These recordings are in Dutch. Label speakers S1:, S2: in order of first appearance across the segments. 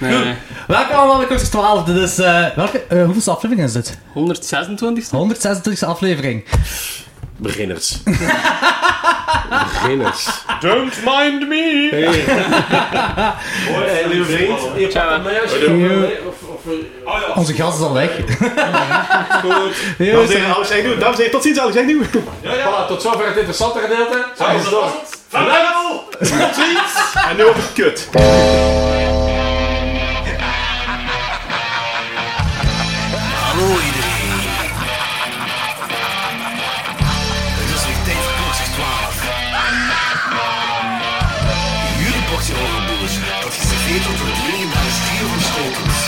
S1: Nee.
S2: Welkom allemaal bij Kortjes 12. Dit is, eh, welke, eh, hoeveelste aflevering is dit?
S1: 126
S2: 126e aflevering.
S3: Beginners. Beginners.
S4: Don't mind me!
S3: Hey, lieve vriend. Hier,
S1: Ciao.
S3: pak dat maar jasje.
S2: Yo.
S3: Of- of- eh, Oh ja,
S2: Onze gast is al weg.
S3: goed.
S2: Yo,
S3: Dames en heren, Alex Agnew. Dames en heren, tot ziens, Alex Agnew.
S4: ja.
S3: Voilà, tot zover het interessante gedeelte. Zo is het door.
S4: Vaarwel!
S3: Tot ziens. En nu over kut.
S5: Hallo iedereen. Het is weer tijd voor klokjes 12. Jullie portie overboers, dat is geserveerd wordt door de legendarische stier van Schotens.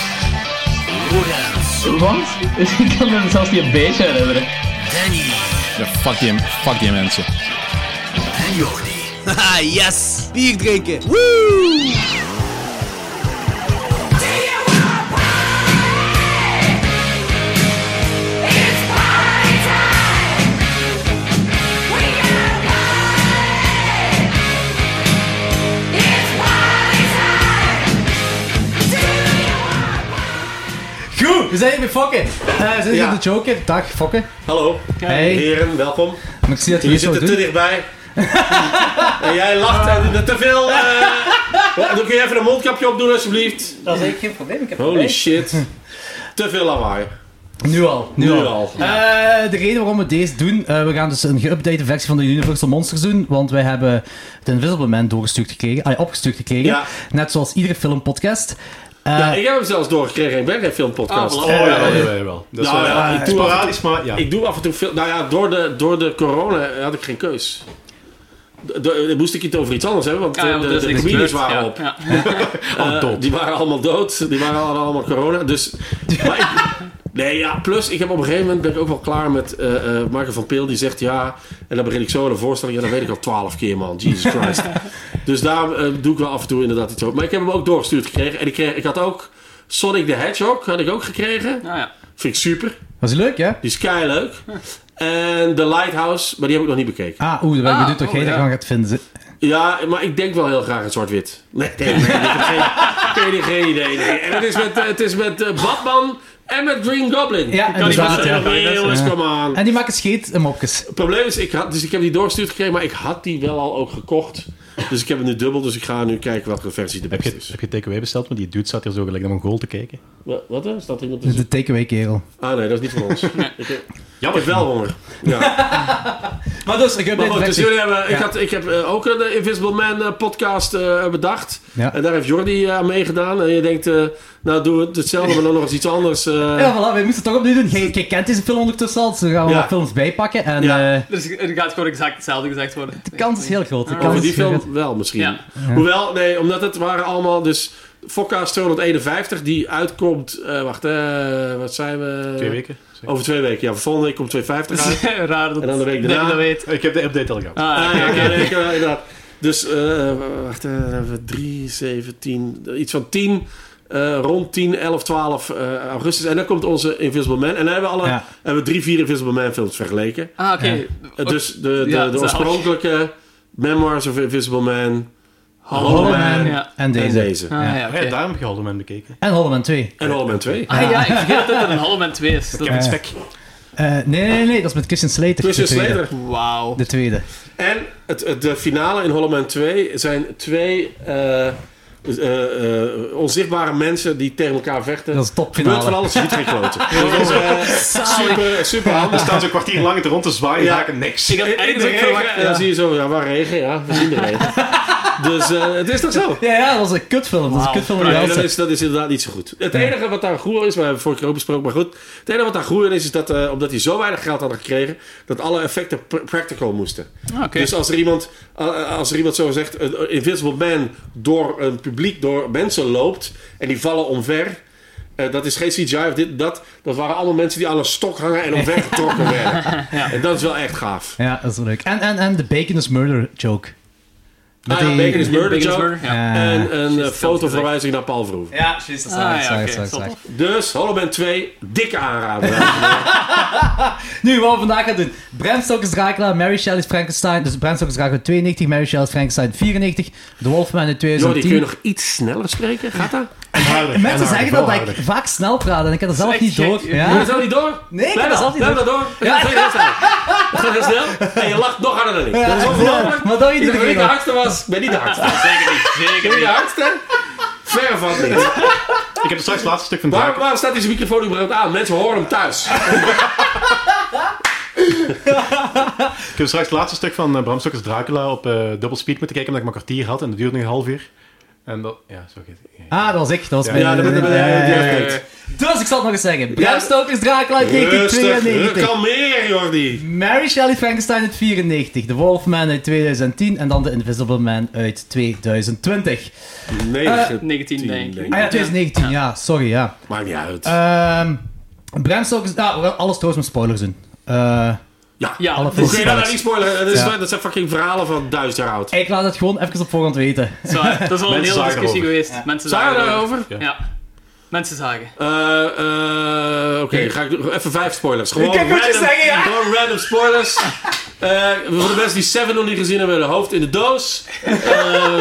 S5: Lorenz,
S6: Wat? Ik kan me zelfs niet een beetje herinneren.
S5: Danny
S7: Ja, fuck die, fuck die mensen.
S5: en Jordi.
S8: Haha, yes! Bier drinken! Woo!
S2: Goed, we zijn hier bij Fokken. Eh, we zijn hier
S3: Ja.
S2: in de Joker. Dag Fokken.
S3: Hallo.
S2: Hey,
S3: Heren, welkom.
S2: ik zie dat je
S3: Jullie
S2: dit zo
S3: zitten te
S2: doet.
S3: dichtbij. En jij lacht en doet te veel. eh. Ja, Dan kun je even een mondkapje opdoen, alsjeblieft.
S2: Dat is eigenlijk geen probleem. Ik heb
S3: Holy shit. Te veel lawaai.
S2: Nu al. Nu,
S3: Nu
S2: al.
S3: al.
S2: Eh, de reden waarom we deze doen, eh, we gaan dus een geüpdate versie van de Universal Monsters doen, want wij hebben de Invisible Man doorgestuurd gekregen, ah, opgestuurd gekregen,
S3: Ja.
S2: net zoals iedere filmpodcast. Eh,
S3: Ja, ik heb hem zelfs doorgekregen. Ik ben geen filmpodcast.
S1: Ah, voilà.
S3: Oh, ja.
S4: Ja, ja, ja, wel. Dat is
S3: Nou,
S4: wel-
S3: ja, ik
S4: het is
S3: doe
S4: sporadisch, maar ja.
S3: Ik doe af en toe veel. Nou ja, door de, door de corona had ik geen keus. De- de- moest ik het over iets anders hebben, want
S1: Ja,
S3: eh,
S1: ja, want er
S3: de,
S1: is
S3: de
S1: niks
S3: comedians
S1: gebeurd.
S3: waren
S1: Ja,
S3: op.
S1: ja.
S3: Eh, die waren allemaal dood, die waren allemaal, allemaal corona. Dus. maar ik- nee, ja, plus ik heb op een gegeven moment ben ik ook wel klaar met eh eh Marco van Peel die zegt ja. En dan begin ik zo aan een voorstelling. Ja, dat weet ik al twaalf keer, man. Jesus Christ. dus daar doe ik wel af en toe inderdaad iets over. Maar ik heb hem ook doorgestuurd gekregen. En ik, kreeg, ik had ook Sonic the Hedgehog had ik ook gekregen.
S1: Nou ja.
S3: Vind ik super.
S2: was leuk, hè?
S3: Die is kei leuk. En The Lighthouse, maar die heb ik nog niet bekeken.
S2: Ah, oeh, dan ben ik
S1: Ah,
S2: benieuwd wat
S1: oh,
S2: jij
S1: ja.
S2: ervan gaat vinden.
S3: Ja, maar ik denk wel heel graag in zwart-wit. Nee, nee, nee, ik heb geen, ik heb geen idee. nee. En het is met, eh, het is met eh, Batman en met Green Goblin.
S2: Ja,
S3: ik kan niet
S2: inderdaad,
S3: met
S2: ja.
S3: zoveel, jongens,
S2: Ja.
S3: come on.
S2: En die maken scheet en mopjes.
S3: Het probleem is, ik had, dus ik heb die doorgestuurd gekregen, maar ik had die wel al ook gekocht. Dus ik heb hem nu dubbel, dus ik ga nu kijken welke versie de
S4: Heb
S3: beste
S4: je,
S3: is.
S4: heb je takeaway besteld? Want die dude zat hier zo gelijk naar een goal te kijken.
S3: Wa- Wat dan? Staat er iemand tussen?
S2: De takeaway kerel.
S3: Ah nee, dat is niet voor ons. Ik heb, ik heb wel honger. Ja.
S2: Maar dus, ik
S3: Maar goed, dus jullie hebben, ik,
S2: Ja.
S3: had, ik heb eh, ook een eh, Invisible Man eh, podcast eh, bedacht.
S2: Ja.
S3: En daar heeft Jordi eh, aan meegedaan. En je denkt, eh, nou doen we het hetzelfde, maar dan nog eens iets anders. eh.
S2: Ja, voilà, wij moesten het toch opnieuw doen. Jij, jij kent deze film ondertussen al, dus we gaan wel
S3: Ja.
S2: wat films bijpakken. En
S3: Ja.
S2: eh,
S1: Er, is, Dus er gaat gewoon exact hetzelfde gezegd worden.
S2: de kans is heel groot. De kans
S3: Over
S2: is
S3: die
S2: heel groot.
S3: film wel misschien.
S1: Ja.
S3: Hoewel, nee, omdat het waren allemaal dus... Fokka's 251, die uitkomt... eh, wacht, eh, wat zijn we?
S4: Twee weken. zeker.
S3: Over twee weken, ja. Volgende week komt 250 uit.
S1: Het is raar dat
S3: En dan de week
S1: dat ik
S3: daarna.
S1: dat weet.
S4: oh, Ik heb de update al gehad.
S1: Ah,
S3: Ah,
S1: oké,
S3: ja,
S1: oké.
S3: ja, nee, ja, inderdaad. Dus, eh wacht, eh, dan hebben we 3, 7, 10, eh, iets van 10, eh, rond 10, 11, 12 eh, augustus. En dan komt onze Invisible Man. En dan hebben we, alle,
S2: Ja.
S3: hebben we drie, vier Invisible Man films vergeleken.
S1: Ah, oké.
S2: Ja.
S3: Eh, dus de, de,
S1: Ja,
S3: de
S1: zalig.
S3: oorspronkelijke Memoirs of Invisible Man
S1: Hollow
S3: Hollow
S1: Man,
S3: Man
S1: ja.
S2: En
S3: en
S2: deze.
S3: deze.
S1: Ah, ja,
S4: Ja,
S1: oké.
S4: daarom heb je Hollow Man bekeken.
S2: En Hollow Man 2.
S3: En Hollow Man 2.
S1: Ah ja, ik vergeet dat het een halve man 2 is. Dat-
S2: heb het Eh, nee, nee, nee, nee, dat is met Christian Slater.
S3: Christian
S2: de tweede.
S3: Slater.
S1: Wauw.
S2: De tweede.
S3: En het, het- de finale in Hollow Man 2 zijn twee eh, eh, eh, onzichtbare mensen die tegen elkaar vechten.
S2: Dat is topfinale.
S3: Gebeurt van alles, je ziet geen kloten. Dus, eh, super, super
S4: Er
S3: handig.
S4: staan ze een kwartier lang rond te zwaaien
S3: Ja.
S4: en raken niks.
S1: Ik had
S3: In, in de
S1: eigenlijk
S3: regen,
S1: verwacht...
S3: en dan zie je zo, ja, waar regen, ja, we zien de regen. dus eh, het is toch zo?
S2: Ja, ja, dat was een kutfilm. Dat is een
S1: Wauw.
S2: kutfilm van de
S3: Nee, dat,
S2: Jansen.
S3: is, dat is inderdaad niet zo goed. Het enige wat daar goed aan is, we hebben het vorige keer ook besproken, maar goed. Het enige wat daar goed aan is, is dat eh, omdat hij zo weinig geld hadden gekregen, dat alle effecten pr- practical moesten.
S1: Ah, oké.
S3: Dus als er iemand, eh, als er iemand zo zegt, een Invisible Man door een publiek, door mensen loopt en die vallen omver. eh, dat is geen CGI of dit, dat. Dat waren allemaal mensen die aan een stok hangen en omver getrokken werden. En dat is wel echt gaaf.
S2: Ja, dat is wel leuk. En, en, en de Bacon is Murder joke. Met
S3: Ah, ja,
S2: die-
S3: Bacon is Murder
S1: Big
S3: Joke.
S1: Burger, ja.
S2: Eh,
S3: En een eh,
S1: dat
S3: fotoverwijzing naar Paul Verhoeven.
S2: Ja, precies. Dat is
S1: Ah,
S2: waar,
S1: ja,
S2: dat
S1: oké,
S2: is waar, dat is
S1: dat
S2: waar.
S1: is
S3: Dus Hollow Man 2, dikke aanrader.
S2: Nu, wat we vandaag gaan doen. Bram Stoker's Dracula, Mary Shelley's Frankenstein. Dus Bram Stoker's Dracula 92, Mary Shelley's Frankenstein 94, The Wolfman in
S3: Jordi, kun
S2: 2010.
S3: je nog iets sneller spreken? Gaat dat?
S4: En harder. en
S2: Mensen
S4: harder,
S2: zeggen
S4: veel
S2: dat ik
S4: harder.
S2: vaak snel praat en ik heb dat zelf
S1: echt
S2: niet
S1: gek.
S2: door.
S3: Doe je
S2: Ja.
S3: dat niet door?
S2: Nee, ik
S3: Blijf
S2: heb dat zelf niet
S3: blijf
S2: door.
S3: dat door.
S2: Ja.
S3: Het gaat heel snel. Het gaat heel snel. En je lacht nog harder dan ik. Dat is
S2: Ja,
S3: ongelooflijk.
S2: maar dat je
S3: Ik dacht
S2: niet
S3: dat ik de
S2: erin had.
S3: hardste was. Ik ben niet de hardste. Ik
S1: Zeker niet, zeker
S3: ben niet de
S1: niet.
S3: hardste. Ver van niet.
S4: Ik heb het straks het laatste stuk van
S3: Waarom,
S4: Draken.
S3: waarom staat deze microfoon überhaupt aan? Mensen horen hem thuis.
S4: Ik heb straks het laatste stuk van eh, Bram Stoker's Dracula op eh dubbel speed moeten kijken, omdat ik maar een kwartier had en dat duurde nog een half uur. En dat... Ja, zo gaat het.
S2: Ah, dat was ik. Dat was mijn...
S3: Ja, dat ben ik.
S2: ja, ja, ja.
S3: Ja, ja.
S2: Dus ik zal het nog eens zeggen.
S3: Ja.
S2: Bram Stoker's Dracula uit
S3: Rustig, Eh,
S2: 1992.
S3: kalmeer Jordi.
S2: Mary Shelley Frankenstein uit 94. The Wolfman uit 2010. En dan The Invisible Man uit 2020.
S3: Nee,
S2: Eh,
S1: 19, denk ik.
S2: Ah ja, 2019. Ja, sorry, ja.
S3: maakt niet uit.
S2: Ehm Bram Stoker's... Ah, we gaan alles trouwens met spoilers doen. Eh,
S3: ja,
S1: Ja,
S2: alle
S3: Dus
S2: films.
S3: nee, dat nou niet spoiler. Dat, is-
S2: Ja.
S3: dat zijn fucking verhalen van duizend jaar oud.
S2: ik laat het gewoon even op voorhand weten.
S1: zo, dat is al een
S4: Mensen
S1: hele
S4: zagen
S1: discussie
S4: erover.
S1: geweest. Mensen
S3: Zijn we
S1: zagen erover.
S3: daarover?
S1: Ja. Mensen zagen.
S3: Eh, eh, Oké, ga ik even vijf spoilers. Gewoon
S2: Ik kan goed
S3: random,
S2: zeggen, ja.
S3: gewoon random spoilers. Eh, voor de mensen die Seven nog niet gezien hebben, de hoofd in de doos. Eh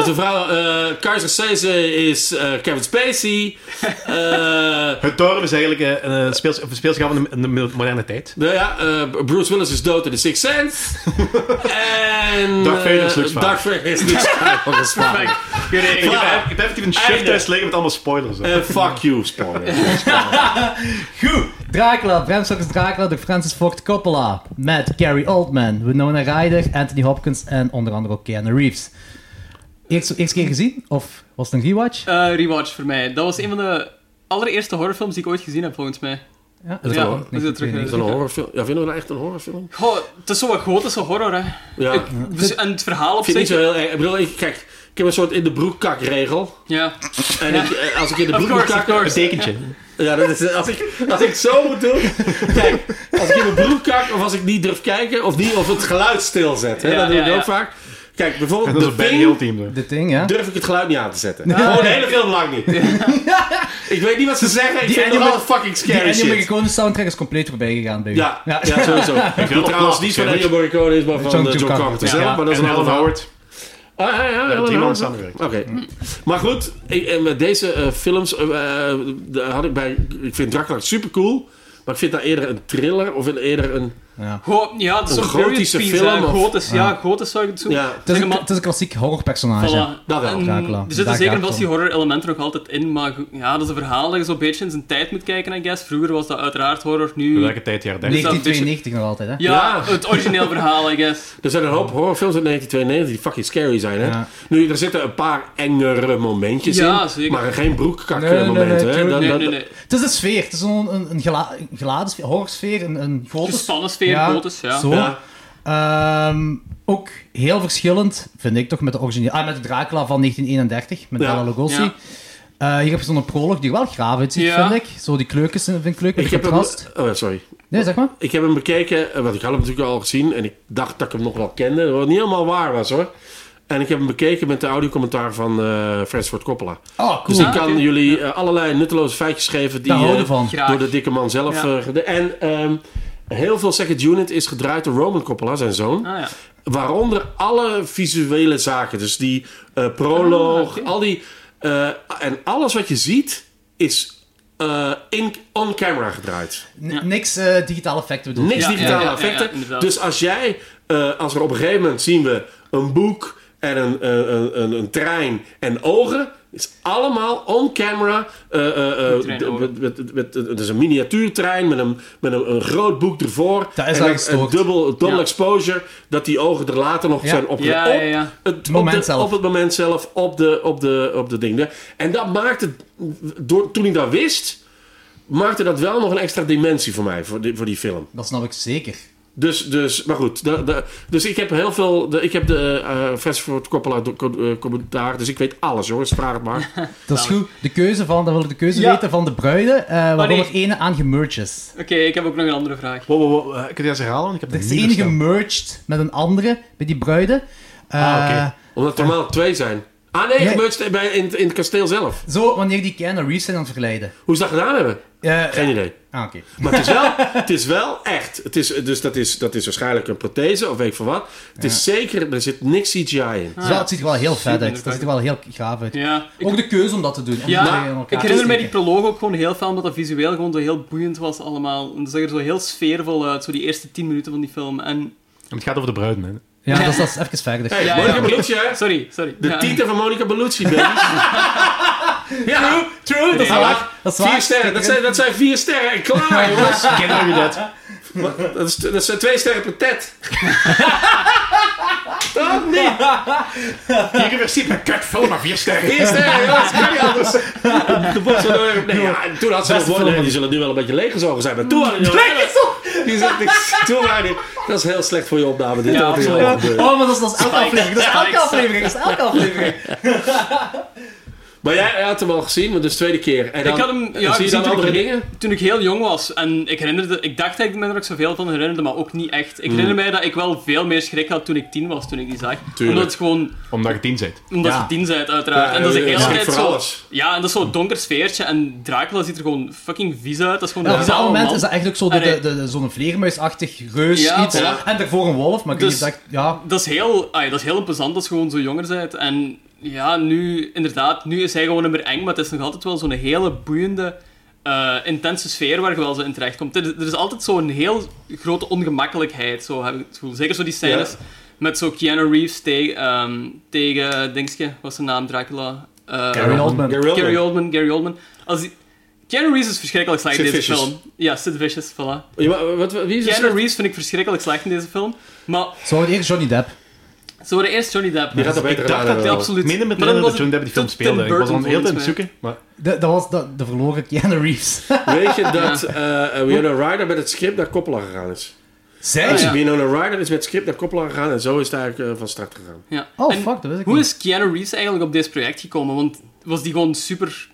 S3: zijn vrouw eh Kaiser Sese is eh, Kevin Spacey. Eh,
S4: Het dorp is eigenlijk eh, een, een speels, of een speelschap van de, in de moderne tijd.
S3: nou ja, eh, Bruce Willis is dood in The Sixth Sense. en...
S4: Darth Vader is
S3: eh,
S4: Luke's vader.
S3: Darth Vader is Luke's vader. Dat is waar.
S4: Ik heb- ik heb- ik heb effectief een shift
S3: Einde.
S4: thuis liggen met allemaal spoilers.
S3: Eh, fuck you, spoilers.
S2: Goed. Dracula, Bram Stoker's Dracula door Francis Ford Coppola. Met Gary Oldman, Winona Ryder, Anthony Hopkins en onder andere ook Keanu Reeves. Eerst, eerst keer gezien? Of was het een rewatch?
S1: Eh, rewatch voor mij. Dat was een van de allereerste horrorfilms die ik ooit gezien heb, volgens mij.
S2: Ja.
S3: is
S1: ja,
S3: wel-
S1: dat is het terug.
S3: Is dat een horrorfilm? Ja, vinden we dat echt een horrorfilm?
S1: Goh, het is zo wat gotische horror, hè.
S3: Ja.
S1: Ik- dus- en het verhaal op
S3: Ik vind het
S1: zich...
S3: niet zo heel erg. Ik bedoel, ik, kijk, ik heb een soort in de broek kakregel.
S1: Ja.
S3: En ik, eh, als ik in de
S1: Of
S3: broek moet
S1: course, of
S3: kakken...
S1: course.
S4: tekentje.
S3: Ja, dat is, als, ik, als ik zo moet doen... Kijk, als ik in mijn broek kak of als ik niet durf kijken of, niet, of het geluid stilzet. Hè,
S1: Ja,
S3: dat doe ik
S1: ja,
S3: ook
S1: ja.
S3: vaak. Kijk,
S4: En
S3: bijvoorbeeld
S4: dat is
S3: de
S4: een Benny
S3: Thing
S4: Hill team. zo.
S2: De ding, ja.
S3: durf ik het geluid niet aan te zetten. Gewoon de hele film lang niet. Ik weet niet wat ze zeggen. Ik
S2: Die
S3: vind het
S2: anime-
S3: allemaal fucking
S2: Die
S3: scary
S2: Ennio
S3: shit.
S2: Morricone soundtrack is compleet voorbij gegaan bij u.
S3: Ja, ja.
S2: Ja.
S3: sowieso. Ik wil trouwens
S4: plaats,
S3: niet van
S4: Gerrit.
S3: Ennio Morricone is, maar van
S2: John
S3: eh, John
S2: Carpenter.
S3: Carpenter
S2: Ja.
S3: zelf. Maar dat is
S4: En
S3: een ander
S4: Alan
S3: verhaal.
S4: Howard.
S3: Ah, ja, ja, ja,
S4: Ja,
S3: ja,
S4: die
S3: ja.
S4: man samenwerkt.
S3: Oké. Hm. Maar goed, ik- en met deze eh, films eh, eh, daar had ik bij. Ik vind Dracula super cool. Maar ik vind daar eerder een thriller of een- eerder een.
S1: Goh, ja, het is
S3: Een
S1: een gotische
S3: gotische
S1: piece,
S3: film,
S1: hè.
S3: of-
S1: Gotisch, ja, gotisch zou ik het zo
S3: Ja.
S2: Het is,
S1: zeggen,
S2: een,
S1: maar-
S2: het is een klassiek horrorpersonage.
S1: Voilà.
S3: Dat wel,
S1: En
S2: Dracula.
S1: Er zitten
S2: Daar
S1: zeker
S2: gaat
S1: wel
S2: het
S1: die horror-elementen nog altijd in, maar go- ja, dat is een verhaal dat je zo'n beetje in zijn tijd moet kijken, I guess. Vroeger was dat uiteraard horror, nu...
S4: Welke tijd jaar denk
S2: 1992 nog altijd, hè?
S1: Ja,
S3: Ja.
S1: het origineel verhaal, I guess.
S3: Er zijn een hoop horrorfilms uit 1992 die fucking scary zijn. Hè?
S2: Ja.
S3: Nu, er zitten een paar engere momentjes
S1: Ja,
S3: in.
S1: zeker.
S3: Maar geen broekkak
S2: Nee, nee,
S3: momenten.
S2: nee,
S3: hè?
S2: tuurlijk.
S3: Dan-
S1: Nee,
S3: dan-
S1: nee, nee.
S2: Het is een sfeer. Het is een, een, een, gela, een geladen sfeer, horrorsfeer, een, een gotische-
S1: Gespannen sfeer, gotisch, ja.
S2: Zo.
S3: Ja.
S2: Ehm, ook heel verschillend, vind ik toch, met de originele... Ah, met de Dracula van 1931, met
S3: Ja.
S2: Bela Lugosi.
S1: Ja.
S2: Eh, hier heb je zo'n prolog die wel graaf uitziet,
S1: Ja.
S2: vind ik. Zo die kleukjes vind ik leuk, met
S3: Ik heb hem,
S2: contrast.
S3: oh, sorry.
S2: Nee, zeg maar.
S3: Ik heb hem bekeken, eh, want ik had hem natuurlijk al gezien en ik dacht dat ik hem nog wel kende, wat niet helemaal waar was hoor. En ik heb hem bekeken met de audiocommentaar van eh Francis Ford Coppola.
S2: Oh, cool.
S3: Dus ik
S1: Ah,
S3: kan
S1: oké.
S3: jullie eh, allerlei nutteloze feitjes geven die
S2: Daar houden we
S3: eh,
S2: van.
S1: Graag.
S3: door de dikke man zelf.
S1: Ja.
S3: eh, gede- en ehm, heel veel Second Unit is gedraaid door Roman Coppola, zijn zoon.
S1: Ah, ja.
S3: Waaronder alle visuele zaken. Dus die eh, proloog,
S1: Ah, oké.
S3: al die. eh, en alles wat je ziet is eh, in, on camera gedraaid.
S2: N-
S1: Ja.
S2: Niks eh, digitale effecten bedoel ik.
S3: Niks
S1: Ja,
S3: digitale
S1: ja, ja,
S3: effecten.
S1: ja, inderdaad.
S3: dus als jij, eh, als we op een gegeven moment zien we een boek en een, een, een, een, een trein en ogen. is allemaal on camera. eh, eh, eh,
S1: Met trein en ogen.
S3: met, met, met- het is een miniatuurtrein met een, met een, een groot boek ervoor.
S2: Dat is
S3: en
S2: eigenlijk
S3: een, een
S2: gestoord.
S3: dubbel, double
S1: Ja.
S3: exposure. Dat die ogen er later nog
S2: Ja.
S3: zijn opge-
S1: Ja,
S3: op-
S1: ja, ja.
S3: Het
S2: moment
S3: op de-
S2: zelf.
S3: Op het moment zelf, op de, op de, op de dingen. En dat maakte, door, toen ik dat wist, maakte dat wel nog een extra dimensie voor mij, voor die, voor die film.
S2: Dat snap ik zeker.
S3: Dus, dus, maar goed. da- da- dus ik heb heel veel. De, ik heb de eh Fast Forward Coppola do- co- eh, commentaar. Dus ik weet alles, jongens. Vraag het maar.
S2: Dat is goed. De keuze van, dan wil ik de keuze
S1: Ja.
S2: weten van de bruiden, eh waarvan
S1: nee.
S2: er ene aan gemerged is.
S1: Oké, ik heb ook nog een andere vraag.
S4: Wow, wow, wow. eh, Kun je dat eens herhalen? Want Ik heb
S2: Er
S4: dat
S2: is
S4: niet
S2: de ene
S4: verstaan.
S2: gemerged met een andere, bij die bruiden.
S4: Ah, oké.
S2: Eh,
S3: Omdat er normaal twee zijn. Ah nee,
S2: Nee.
S3: gebeurt bij in, in het kasteel zelf.
S2: Zo, wanneer die Keanu Reeves zijn aan het verleiden.
S3: Hoe ze dat gedaan hebben?
S2: Eh,
S3: Geen idee.
S2: Ah, oké.
S3: Maar het is wel, het is wel echt. Het is, dus dat is, dat is waarschijnlijk een prothese of weet ik van wat. Het is zeker, er zit niks CGI in.
S2: Het is wel- Het ziet er wel heel vet uit. Het ziet er wel heel gaaf uit.
S1: Ja, ik,
S2: Ook de keuze om dat te doen. om die
S1: ja,
S2: twee in elkaar
S1: ik
S2: te
S1: herinner mij die
S2: steken.
S1: proloog ook gewoon heel veel, omdat dat visueel gewoon zo heel boeiend was allemaal. En het zag er zo heel sfeervol uit, zo die eerste 10 minuten van die film. En,
S4: En het gaat over de bruid, hè.
S2: Ja, dat is, dat is even verder.
S3: Hey,
S1: Ja,
S3: Monica
S1: ja.
S3: Bellucci, hè?
S1: sorry, sorry.
S3: De
S1: Ja.
S3: titel van Monica Bellucci, baby. ja,
S2: True, dat is
S3: Ja.
S2: waar. Dat is waar.
S3: vier sterren. Dat zijn, dat zijn vier sterren. En klaar, jongens.
S4: Kennen jullie dat?
S3: Dat, is, dat zijn twee sterren per tet. Toch? Nee.
S4: Hier in principe een kutfilm, maar vier sterren.
S3: Vier sterren, jongens. Kan niet anders. De bot zo door. Nee, ja, en toen had ze nog woorden. Die zullen nu wel een beetje leeggezogen zijn. Maar toen hadden die nog- Die zat niks. Toen waren die... Dat is heel slecht voor je opname. Dit
S1: Ja,
S3: had heel
S1: absoluut.
S3: gebeurd.
S2: Oh, maar dat is, dat is elke aflevering. Dat is elke aflevering. Dat is elke aflevering.
S3: Maar jij had hem al gezien, maar dus tweede keer. En dan,
S1: Ik had hem, ja,
S3: en zie je
S1: gezien
S3: dan
S1: toen
S3: andere
S1: ik-
S3: dingen?
S1: Toen ik heel jong was, en ik, herinnerde, ik dacht dat ik me er ook zoveel van herinnerde, maar ook niet echt.
S3: Hmm.
S1: Ik herinner mij dat ik wel veel meer schrik had toen ik tien was, toen ik die zag. Omdat het gewoon,
S4: Omdat je tien bent.
S1: omdat
S2: Ja.
S1: je tien bent uiteraard.
S3: Ja,
S1: en dat is de
S3: ja,
S1: hele
S3: ja.
S1: tijd
S3: Voor
S1: zo...
S3: alles.
S1: Ja, en dat is zo'n donker sfeertje, en Dracula ziet er gewoon fucking vies uit. Dat is gewoon
S2: Ja,
S1: een
S2: Nou, op dat
S1: bizarre
S2: moment
S1: man.
S2: is dat eigenlijk ook zo de, de,
S1: Allee.
S2: de, de- zo'n vleermuisachtig reus
S1: Ja,
S2: iets.
S1: voilà.
S2: En daarvoor een wolf, maar ik
S1: Dus-
S2: dus, dacht, ja,
S1: Dat is heel, ah ja, dat is heel plezant als je gewoon zo jonger bent. En ja, nu, inderdaad, nu is hij gewoon niet meer eng, maar het is nog altijd wel zo'n hele boeiende, eh, intense sfeer waar je wel zo in terecht komt. Er, er is altijd zo'n heel grote ongemakkelijkheid, zo heb ik het gevoel. Zeker zo die scènes met zo Keanu Reeves te- ehm, tegen, dingske, wat is zijn naam, Dracula? Eh,
S2: Gary Oldman.
S3: Gary Oldman.
S1: Gary Oldman, Gary Oldman. Als die... Keanu Reeves is verschrikkelijk slecht in
S3: Sid
S1: deze
S3: Vicious.
S1: film. Ja, Sid Vicious, voilà.
S3: Ja, maar wat, wat- wie is
S1: Keanu
S3: het?
S1: Reeves vind ik verschrikkelijk slecht in deze film. Maar
S2: zou het eerst Johnny Depp.
S1: ze worden eerst Johnny Depp.
S3: Die gaat er beter
S4: Ik dacht
S3: aan
S4: dat
S1: Ja,
S3: hebben.
S1: absoluut.
S4: Minder met
S1: Maar
S4: dat
S1: dan was
S4: John Depp
S1: het
S4: die film
S1: Tim
S4: speelde. Ik was al
S1: Burton
S4: een hele tijd aan het
S1: volgens
S4: zoeken. Maar
S2: De, dat was de, de verloren Keanu Reeves.
S3: Weet je dat eh Winona Ryder met het script naar Coppola gegaan is?
S2: Zij?
S1: Ah, ja.
S3: Winona Ryder is met het script naar Coppola gegaan en zo is het eigenlijk eh, van start gegaan.
S1: Ja.
S2: Oh,
S1: En
S2: fuck, dat wist ik
S1: Hoe
S2: niet.
S1: is Keanu Reeves eigenlijk op dit project gekomen? Want was die gewoon super,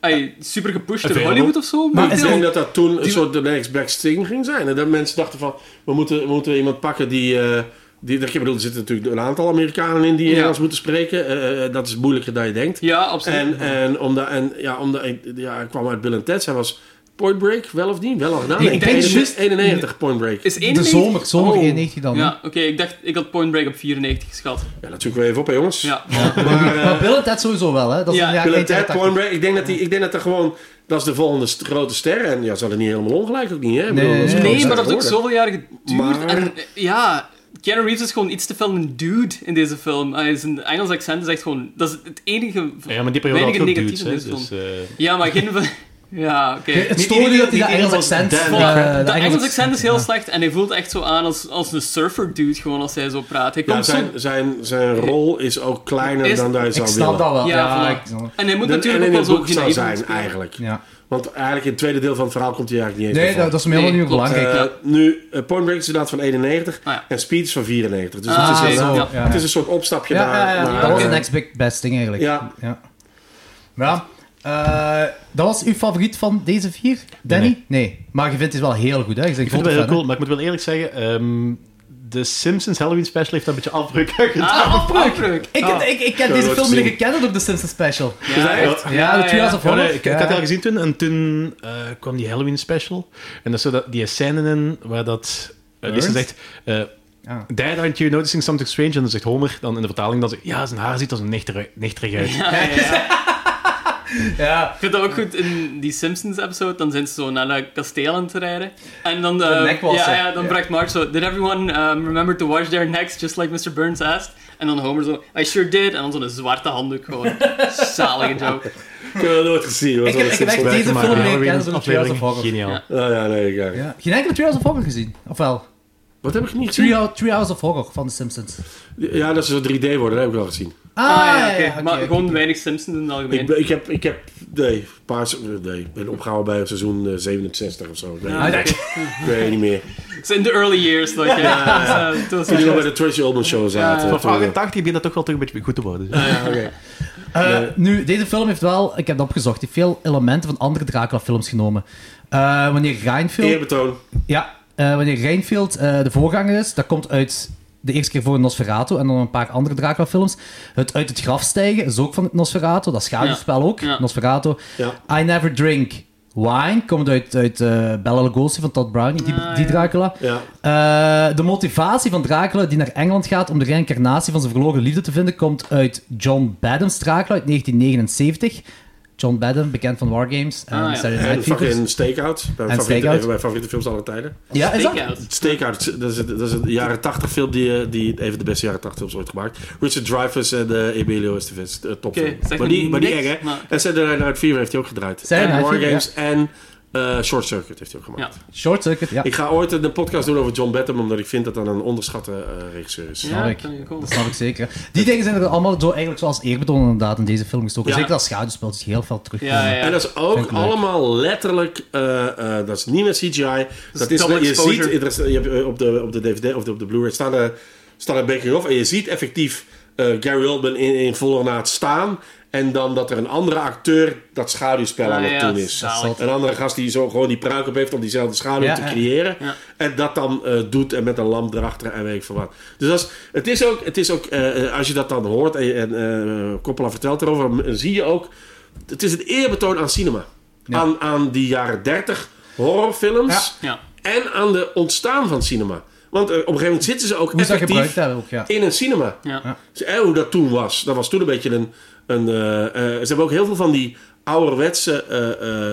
S1: ay, super gepusht door
S4: Available.
S1: Hollywood of zo?
S2: Maar
S3: Ik
S2: is
S1: momenteel?
S3: denk dat dat toen een soort de next best thing ging zijn. En dat mensen dachten van, we moeten, we moeten iemand pakken die... eh die ik bedoel, er zitten natuurlijk een aantal Amerikanen in die
S1: Ja.
S3: Engels moeten spreken. Eh, eh, dat is moeilijker dan je denkt.
S1: Ja, absoluut.
S3: En, en, omdat, en ja, omdat, ja, hij kwam uit Bill and Ted. Hij was Point Break, wel of niet? Wel of gedaan.
S2: Ik denk
S3: 91,
S2: juist-
S3: 91 Point Break.
S1: is
S2: De
S1: 91?
S2: zomer, zomer
S1: Oh.
S2: 91 dan.
S1: Ja, oké, ik dacht, ik had Point Break op 94 geschat.
S3: Ja, dat zoeken we even op, hè, jongens.
S1: Ja,
S2: hè.
S4: eh,
S2: Maar Bill en Ted sowieso wel, hè. Dat is
S1: Ja,
S2: een jaar
S3: Bill en Ted,
S2: 1980.
S3: Point Break. Ik denk dat, die, ik denk dat er gewoon... Dat is de volgende st- grote ster. En ja, ze hadden niet helemaal ongelijk ook niet, hè? Ik
S2: Nee,
S3: dat is
S2: nee,
S3: gewoon
S1: nee, maar dat heeft ook zoveel
S3: tegenwoordig.
S1: jaren geduurd.
S3: Maar-
S1: En eh, ja, Keanu Reeves is gewoon iets te veel een dude in deze film. Hij zijn Engels accent is echt gewoon... Dat is het enige...
S4: ja, maar die periode had
S1: weinige
S4: ook dudes,
S1: negatieve
S4: hè.
S1: in deze
S4: Dus, eh,
S1: Ja, maar geen... van- Ja, oké.
S2: Het
S4: Niet
S2: stoorde
S4: iedereen-
S2: dat hij dat
S4: niet
S2: Engels
S4: iedereen
S2: accent...
S4: was
S2: eh,
S4: Dan.
S2: dat
S1: de Engelse
S2: accent-
S1: accent is heel slecht en hij voelt echt zo aan als, als een surfer dude, gewoon als hij zo praat. Hij
S3: Ja,
S1: komt
S3: zijn,
S1: zo...
S3: zijn, zijn rol is ook kleiner
S1: Is-
S3: dan dat je
S2: Ik
S3: zou
S2: snap
S3: willen.
S2: dat wel.
S1: Ja,
S2: Ja,
S1: voilà.
S2: ja.
S1: En hij moet
S3: Dan-
S1: natuurlijk ook
S3: en in
S1: wel
S3: het
S1: zo
S3: boek
S1: genaiven
S3: zou zijn,
S1: spelen.
S3: eigenlijk. Want eigenlijk in het tweede deel van het verhaal komt hij eigenlijk niet eens
S2: Nee,
S3: meer
S2: dat,
S3: voor.
S2: dat is me helemaal
S1: Nee,
S2: niet
S1: klopt.
S2: belangrijk.
S3: Eh, nu, eh, Point Break is inderdaad van 91
S1: Ah, ja.
S3: en Speed is van 94. Dus
S1: Ah,
S3: het, is
S1: oké,
S3: inderdaad-
S1: ja.
S3: het is een soort opstapje
S2: Ja,
S3: naar...
S2: ja, ja,
S3: naar-
S2: dat was de
S3: eh,
S2: next big best thing eigenlijk.
S3: Ja.
S2: ja. Ja, eh, dat was uw favoriet van deze vier? Danny? Nee. Maar je vindt het wel heel goed, hè? Je bent
S4: Ik vind het wel heel cool, maar ik moet wel eerlijk zeggen... ehm, de Simpsons Halloween special heeft daar een beetje afbreuk aan gedaan.
S1: Ah, afbreuk! Ah.
S2: Ik, ik, ik ken deze
S3: nooit
S2: film leren
S3: gezien.
S2: kennen door de Simpsons Special.
S1: Ja, echt.
S2: Ja,
S1: Ja,
S2: de Two
S1: ja.
S2: Hours of
S4: Ja,
S2: Horror.
S4: Oh, nee, ik, ik had het
S2: Ja.
S4: al gezien toen en toen eh, kwam die Halloween special. En daar zat dat- die scène in waar dat... eh, Lisa
S2: Ernst?
S4: zegt... eh,
S2: Ja.
S4: Dad, aren't you noticing something strange? En dan zegt Homer dan in de vertaling dan zegt... Ja, zijn haar ziet als een nichterig nichterig uit.
S2: Ja.
S1: Ik vind dat ook goed in die Simpsons-episode. Dan zijn ze zo naar dat kasteel aan het rijden. En dan, eh,
S2: nek was
S1: ja,
S2: er.
S1: ja, dan
S2: Ja.
S1: brengt Marge zo... Did everyone um, remember to wash their necks just like Mr. Burns asked? En dan Homer zo... I sure did. En dan zo'n zwarte handdoek gewoon. Zalige joke.
S3: Ik heb dat nooit gezien. hoor.
S2: Ik
S3: Dat
S2: heb
S3: was
S2: ik heb echt
S3: een
S2: deze
S3: soort-
S2: film leren
S4: Halloween
S2: kennen door de Two Hours of
S4: aflevering,
S2: Horror.
S4: Geniaal.
S1: Ja.
S3: Oh, ja, nee, ik- ja.
S2: Ja. Geen enkele Two Hours of Horror gezien? Of wel?
S3: Wat heb ik niet
S2: Three,
S3: gezien?
S2: Hou- Three Hours of Horror van de Simpsons.
S3: Ja, dat ze zo 3D worden, dat heb ik wel gezien.
S2: Ah,
S1: Ah, ja,
S2: ja,
S1: oké.
S2: ja, oké,
S1: maar
S2: oké.
S1: gewoon weinig Simpsons in het algemeen.
S3: Ik, ben- ik heb, ik heb, nee, paar, se- nee, ik ben opgehouden bij seizoen eh, 67 of zo. Ik weet,
S1: Ah,
S3: niet-
S1: oké.
S3: ik weet niet meer.
S1: Het is in de early years dat je... eh, toen was
S3: Toen we
S1: het-
S3: bij de Tracy Oldman show zaten.
S4: Voor
S3: Toen, eh,
S4: 88 begint dat toch wel toch een beetje goed te worden.
S2: Eh, Nu, deze film heeft wel, ik heb het opgezocht, heeft veel elementen van andere Dracula-films genomen. Eh, wanneer Reinfeld...
S3: Eerbetoon.
S2: Ja, eh, wanneer Reinfeldt eh, de voorganger is, dat komt uit de eerste keer voor Nosferatu en dan een paar andere Dracula-films. Het Uit het Graf stijgen is ook van Nosferatu, dat schaduwspel ook,
S1: Ja.
S2: Nosferatu.
S3: Ja.
S2: I Never Drink, Wine komt uit, uit eh, Bela Lugosi van Todd Browning, die,
S1: Ah,
S2: die Dracula.
S3: Ja.
S2: Eh, de motivatie van Dracula, die naar Engeland gaat om de reïncarnatie van zijn verloren liefde te vinden, komt uit John Badham's Dracula uit 1979. John Badham, bekend van Wargames en
S1: Ah, ja.
S2: Saturday
S3: En
S2: Night Fevers.
S3: fucking Stakeout. Mijn
S2: En
S3: favoriete,
S2: Stakeout.
S3: een van mijn favoriete films aller tijden.
S2: Ja, is dat?
S1: Takeout.
S3: Stakeout, dat is, het- dat is een jaren 80 film die, eh, die een van de beste jaren 80 films ooit gemaakt. Richard Dreyfuss en eh, Emilio Estevez, de topfilm.
S1: Oké, zegt
S3: maar,
S1: me
S3: die, maar die
S1: niks,
S3: eng, hè?
S1: maar-
S3: En Saturday Night Fever heeft hij ook gedraaid.
S2: Saturday
S3: en
S2: Night
S3: War
S2: Fever,
S3: Games en eh, Short Circuit heeft hij ook
S1: Ja.
S3: gemaakt.
S2: Short Circuit, ja.
S3: Ik ga ooit een podcast doen over John Batham, omdat ik vind dat dat een onderschatte eh, regisseur is.
S1: Ja,
S2: ik.
S1: kan je cool.
S2: Dat snap ik zeker. Die dingen zijn er allemaal zo, eigenlijk zoals eerbetoon inderdaad in deze film gestoken.
S3: Ja.
S2: Zeker als schaduwspel, dus heel veel terugkomen.
S1: Ja, ja, ja.
S3: En dat is ook
S2: Vind ik leuk.
S3: allemaal letterlijk, eh, eh, dat is niet met CGI. Dat, is,
S1: Dus double
S3: je
S1: exposure.
S3: ziet, er is- je hebt, eh, op, de, op de DVD of de, op de Blu-ray staat een, staat een baking off en je ziet effectief eh, Gary Oldman in, in volle naad staan. En dan dat er een andere acteur dat schaduwspel aan
S1: Ah,
S3: het
S1: ja,
S3: doen is.
S1: zalig.
S2: Dat
S3: Een andere gast die zo gewoon die pruik op heeft om diezelfde schaduw
S2: Ja,
S3: te
S2: ja.
S3: creëren.
S1: Ja.
S3: En dat dan eh, doet en met een lamp erachter en weet ik veel wat. Dus dat is, het is ook, het is ook eh, eh, als je dat dan hoort en, en eh, Coppola vertelt erover, m- zie je ook, het is een eerbetoon aan cinema. Aan, aan die jaren 30 horrorfilms
S1: Ja.
S3: en aan de ontstaan van cinema. Want eh, op een gegeven moment zitten ze ook
S2: Hoe is dat gebruikt
S3: effectief
S2: daar ook, ja.
S3: in een cinema.
S1: Ja. Ja.
S3: Dus, eh, hoe dat toen was. Dat was toen een beetje een. een eh, eh, ze hebben ook heel veel van die ouderwetse eh eh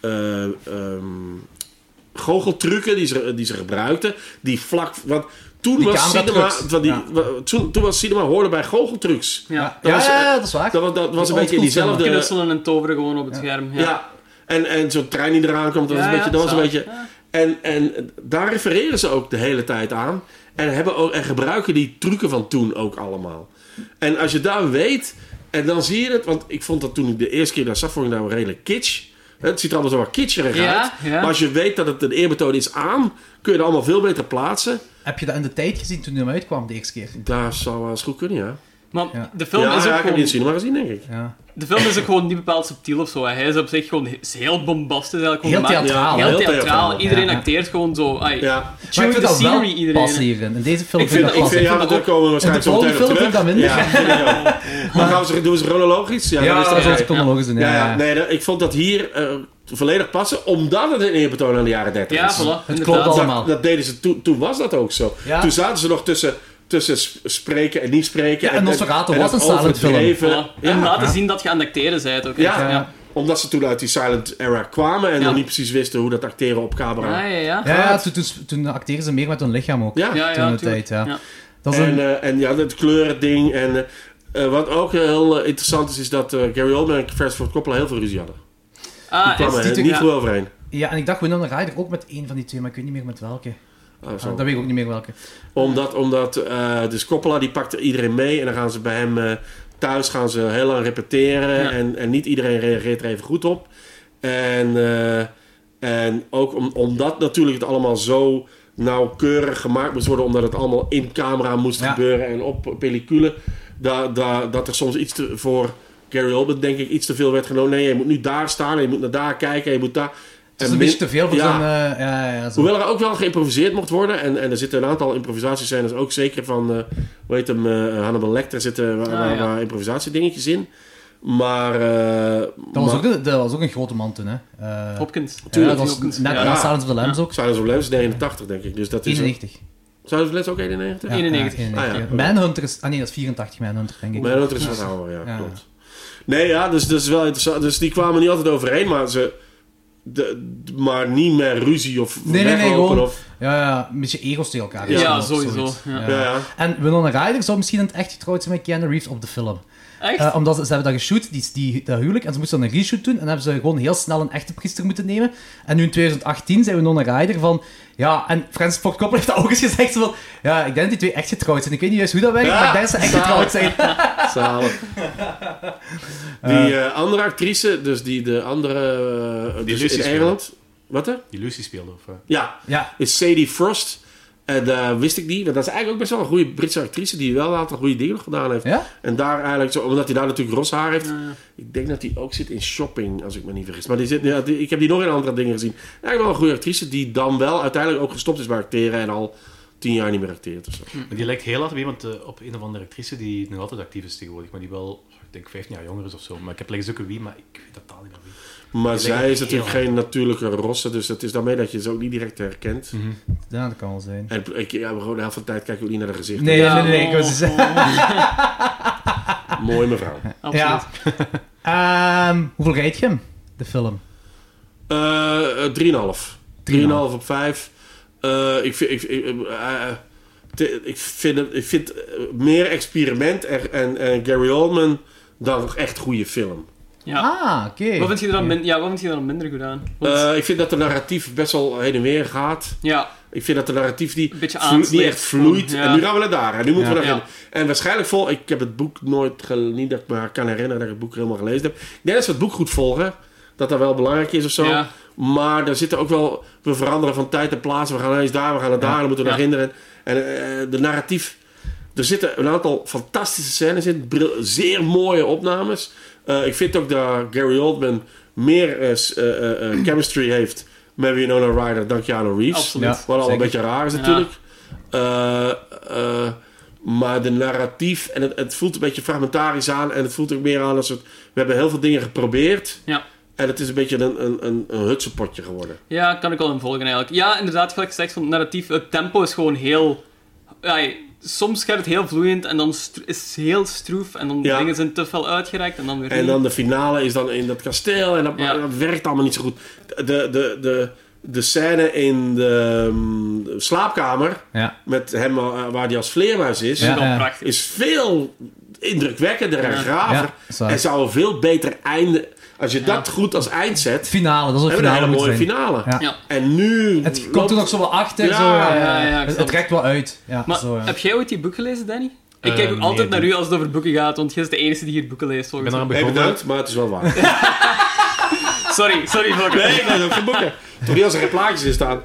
S3: eh, ehm, goocheltrucken die ze, die ze gebruikten. Die vlak. Want toen
S2: Die
S3: was cinema.
S2: cameratrucs.
S3: Van die,
S2: Ja.
S3: wa- toen, toen was cinema hoorde bij goocheltrucs.
S1: Ja.
S2: Ja,
S3: was-
S2: ja, ja, dat is waar.
S3: Dat, was- dat was een
S2: Die
S3: beetje
S2: oldschool
S3: diezelfde.
S1: Knutselen en toveren gewoon op het scherm.
S3: Eh, Ja. En, en zo'n trein die eraan komt, dat was
S1: Ja,
S3: een beetje...
S1: ja,
S3: Dat was een
S1: zalig,
S3: beetje
S1: ja.
S3: en, en daar refereren ze ook de hele tijd aan. En, hebben ook, en gebruiken die trucken van toen ook allemaal. En als je daar weet... En dan zie je het... Want ik vond dat toen ik de eerste keer daar zag, vond ik dat wel redelijk kitsch. Het ziet er allemaal zo wat kitscherig
S1: Ja,
S3: uit.
S1: ja.
S3: Maar als je weet dat het een eerbetoon is aan... kun je het allemaal veel beter plaatsen.
S2: Heb je dat in de tijd gezien toen hij hem uitkwam, de eerste keer?
S3: Daar zou wel eens goed kunnen, ja.
S1: Maar
S2: Ja.
S1: de film
S3: Ja,
S1: is
S3: ja,
S1: ook
S3: ik heb die in
S1: gewoon...
S3: het cinema gezien, denk ik.
S2: Ja.
S1: De film is ook gewoon niet bepaald subtiel of zo. hè. Hij is op zich gewoon he- is heel bombastisch. Eigenlijk gewoon
S2: Heel
S1: gemaakt.
S2: theatraal.
S1: Heel,
S2: hè.
S3: heel
S1: theatraal.
S3: theatraal.
S1: Iedereen
S2: Ja, ja.
S1: acteert gewoon zo. Ai,
S3: Ja.
S2: Maar ik
S1: Chew
S2: vind
S1: the
S2: dat wel
S1: scenery iedereen.
S2: passen hierin. In deze film
S3: Ik vind,
S2: dat
S3: ik
S2: passen.
S3: vind, ja,
S1: dat
S3: daar
S1: ook-
S3: komen we waarschijnlijk
S2: in
S3: zo
S2: de
S3: meteen op
S2: volgende
S3: terug.
S2: film vind ik dat
S3: Ja, ja. Maar gaan ze, doen ze chronologisch? Ja,
S2: Ja,
S3: dan is
S2: dat
S3: dat
S2: is onze
S3: zo.
S2: chronologisch in,
S3: Ja, ja,
S2: ja.
S3: nee, dat- ik vond dat hier eh, volledig passen, omdat het een eerbetoon aan de jaren 30
S1: Ja,
S3: is.
S2: Het
S1: voilà.
S2: klopt
S1: inderdaad.
S2: al.
S3: Dat-
S2: allemaal.
S3: Dat deden ze, toen, toen was dat ook zo.
S2: Ja.
S3: Toen zaten ze nog tussen, tussen s- spreken en niet spreken.
S2: Ja, en Nosferatu was
S3: het
S2: een silent film.
S3: overdreven.
S1: Voilà. En laten zien dat je aan het acteren bent ook. hè.
S3: Ja.
S1: Ja.
S3: Omdat ze toen uit die silent era kwamen en
S1: Ja.
S3: nog niet precies wisten hoe dat acteren op camera...
S1: Ah, ja, ja.
S2: Ja, ja, toen, toen, toen acteren ze meer met hun lichaam ook.
S1: Ja,
S3: Ja.
S1: ja,
S2: toen de
S1: tuurlijk.
S2: tijd, ja.
S1: Ja.
S2: Dat is
S3: En,
S2: een...
S3: eh, en ja, het kleurending. En eh, eh, wat ook heel eh, interessant is, is dat eh, Gary Oldman en Francis Ford Coppola heel veel ruzie hadden.
S1: Ah,
S3: Kwamen
S1: is-
S3: er
S2: die-
S3: niet
S1: ja.
S3: goed overheen.
S2: Ja, en ik dacht Winona Ryder ook met één van die twee, maar ik weet niet meer met welke.
S3: Ah, zo.
S2: Dat weet ik ook niet meer welke. Dus
S3: Omdat, omdat eh, dus Coppola die pakte iedereen mee en dan gaan ze bij hem eh, thuis gaan ze heel lang repeteren
S1: Ja.
S3: en, en niet iedereen reageert er even goed op. En, eh, en ook om, omdat natuurlijk het allemaal zo nauwkeurig gemaakt moest worden, omdat het allemaal in camera moest
S2: Ja.
S3: gebeuren en op pellicule, da, da, dat er soms iets te, voor Gary Oldman denk ik iets te veel werd genomen. Nee, je moet nu daar staan, en je moet naar daar kijken, en je moet daar.
S2: Het is
S3: En
S2: een
S3: min-
S2: beetje te veel voor
S3: Ja.
S2: zo'n... eh, ja, ja, zo.
S3: Hoewel er ook wel geïmproviseerd mocht worden. En, en er zitten een aantal improvisatiescènes. Ook zeker van, eh hoe heet hem, eh, Hannibal Lecter zitten waar,
S1: Ah,
S3: waar,
S1: ja.
S3: waar improvisatiedingetjes in. Maar... eh,
S2: Dat, was
S3: maar-
S2: ook de- dat was ook een grote man toen, hè. Eh,
S1: Hopkins.
S2: ja,
S1: Tuurlijk,
S2: dat was
S1: Hopkins.
S2: net
S1: Ja.
S2: na Silence of the Lambs ook.
S3: Silence of the Lambs is 89, denk ik. Dus dat is...
S2: 91.
S3: Silence of the Lambs ook 91?
S2: Ja,
S1: 91.
S2: ja,
S3: Ah, ja.
S2: Manhunter is... Ah nee, dat is 84 Manhunter, denk ik.
S3: Maar dat is wat ouder, ja,
S2: Ja.
S3: klopt. Nee, ja, dus dat is wel interessant. Dus die kwamen niet altijd overeen, maar ze... De, maar niet meer ruzie of
S2: Nee, nee, nee,
S3: weglopen
S2: gewoon...
S3: of...
S2: Ja, ja, een beetje egels tegen elkaar.
S3: Ja,
S2: Of
S1: sowieso,
S2: zoiets.
S1: ja.
S3: Ja, ja.
S2: En Winona Ryder zou misschien in het echt getrouwd zijn met Keanu Reeves op de film.
S1: Echt?
S2: Eh, omdat ze, ze hebben dat geshoot, die, die, dat huwelijk, en ze moesten dan een reshoot doen. En dan hebben ze gewoon heel snel een echte priester moeten nemen. En nu in 2018 zijn we Nonna Ryder van... Ja, en Francis Ford Coppola heeft dat ook eens gezegd. Zo van, ja, ik denk dat die twee echt getrouwd zijn. Ik weet niet juist hoe dat werkt,
S3: Ja,
S2: maar ik denk dat ze echt getrouwd zijn.
S3: Zalig. Die eh, andere actrice, dus die de andere... eh,
S4: Die
S3: dus in
S4: Lucy
S3: Engeland. Wat hè?
S4: Die Lucy speelde. Of, eh,
S3: Ja,
S2: Ja,
S3: is Sadie Frost. En eh, wist ik niet, want dat is eigenlijk ook best wel een goede Britse actrice die wel een aantal goede dingen nog gedaan heeft.
S2: Ja?
S3: En daar eigenlijk zo, omdat hij daar natuurlijk ros haar heeft. Ik denk dat hij ook zit in shopping, als ik me niet vergis. Maar die zit, ja, die- ik heb die nog in andere dingen gezien. Eigenlijk wel een goede actrice die dan wel uiteindelijk ook gestopt is met acteren en al tien jaar niet meer acteert of zo.
S4: Maar die lijkt heel hard op iemand, eh, op een of andere actrice die nog altijd actief is tegenwoordig, maar die wel, ik denk 15 jaar jonger is of zo. Maar ik heb liggen zoeken wie, maar ik weet totaal niet meer wie.
S3: Maar zij
S4: dat
S3: is
S4: heel
S3: natuurlijk geen natuurlijke rosse, dus het is daarmee dat je ze ook niet direct herkent.
S2: Ja, dat kan wel zijn.
S3: En ik, ja, gewoon de helft van de tijd kijk je ook niet naar haar gezicht.
S2: Nee, nee, nee, nee, ik
S1: oh,
S2: was dus-
S1: oh,
S3: Mooi mevrouw.
S1: absoluut.
S2: Ja. Ehm, hoeveel rijd je hem, de film?
S3: Eh, eh, 3,5. 3,5 op 5. Eh, ik vind, ik, ik, eh, eh, te- ik vind, het- ik vind eh, meer experiment en, en, en Gary Oldman dan echt goede film.
S1: Ja.
S2: Ah, oké.
S1: Wat vind je er dan, min- ja, wat vind je er dan minder goed aan? Want-
S3: Eh, ik vind dat de narratief best wel heen en weer gaat.
S1: ja,
S3: Ik vind dat de narratief die
S1: Een beetje
S3: vlo-
S1: aansleept.
S3: niet echt vloeit.
S1: Ja.
S3: En nu gaan we naar daar. En nu moeten we
S1: Ja.
S3: daarin. En waarschijnlijk vol. Ik heb het boek nooit gel- niet dat ik me kan herinneren dat ik het boek helemaal gelezen heb. Ik denk dat ze het boek goed volgen. Dat dat wel belangrijk is of zo.
S1: Ja.
S3: Maar daar zitten ook wel. We veranderen van tijd en plaats. We gaan ineens daar, we gaan naar daar. Dan moeten we naar
S1: Ja.
S3: hinderen. En eh, de narratief. Er zitten een aantal fantastische scènes in. bril- Zeer mooie opnames. Eh, ik vind ook dat Gary Oldman meer eh, s- eh, eh, eh, chemistry heeft met Winona Ryder dan Keanu Reeves.
S1: Absoluut. Ja,
S3: Wat al een
S2: zeker.
S3: beetje raar is natuurlijk. Eh, eh, maar de narratief, en het, het voelt een beetje fragmentarisch aan. En het voelt ook meer aan als het. We hebben heel veel dingen geprobeerd.
S1: ja.
S3: En het is een beetje een, een, een, een hutsenpotje geworden.
S1: Ja, kan ik wel in volgen eigenlijk. Ja, inderdaad, gelijk gezegd, van het narratief, het tempo is gewoon heel... ai, soms gaat het heel vloeiend en dan stro- is het heel stroef en dan
S3: Ja.
S1: dingen zijn te veel uitgereikt en dan weer
S3: En
S1: niet.
S3: dan de finale is dan in dat kasteel. En dat,
S1: Ja.
S3: dat werkt allemaal niet zo goed. De, de, de, de scène in de, mm, de slaapkamer.
S2: Ja.
S3: Met hem eh, waar hij als vleermuis is.
S2: Ja.
S1: wel prachtig.
S3: is veel indrukwekkender en
S1: Ja.
S3: graver.
S2: Ja, dat is waar.
S3: en zou een veel beter einde. Als je dat goed als eind zet,
S2: Finale, dat is een
S3: hebben we een
S2: finale
S3: hele
S2: moet
S3: mooie
S2: zijn.
S3: finale.
S2: Ja.
S1: Ja.
S3: En nu.
S2: Het komt
S3: loopt-
S2: er nog zo wel achter.
S3: Ja,
S2: zo, ja,
S1: ja, ja, ik
S2: het, het
S1: snap het.
S2: rekt wel uit. Ja,
S1: Maar
S2: zo, ja.
S1: heb jij ooit die boeken gelezen, Danny? Ik
S4: Eh,
S1: kijk ook
S4: nee,
S1: altijd naar
S4: nee.
S1: u als het over boeken gaat, want jij is de enige die hier boeken leest,
S4: Ik
S1: volgens
S4: ben eraan
S1: mij.
S3: Hey,
S4: begonnen.
S3: bedankt, maar het is wel waar.
S1: Sorry, sorry, voor
S3: nee, ik lees ook geen boeken. Toch niet als er geen plaatjes in staan.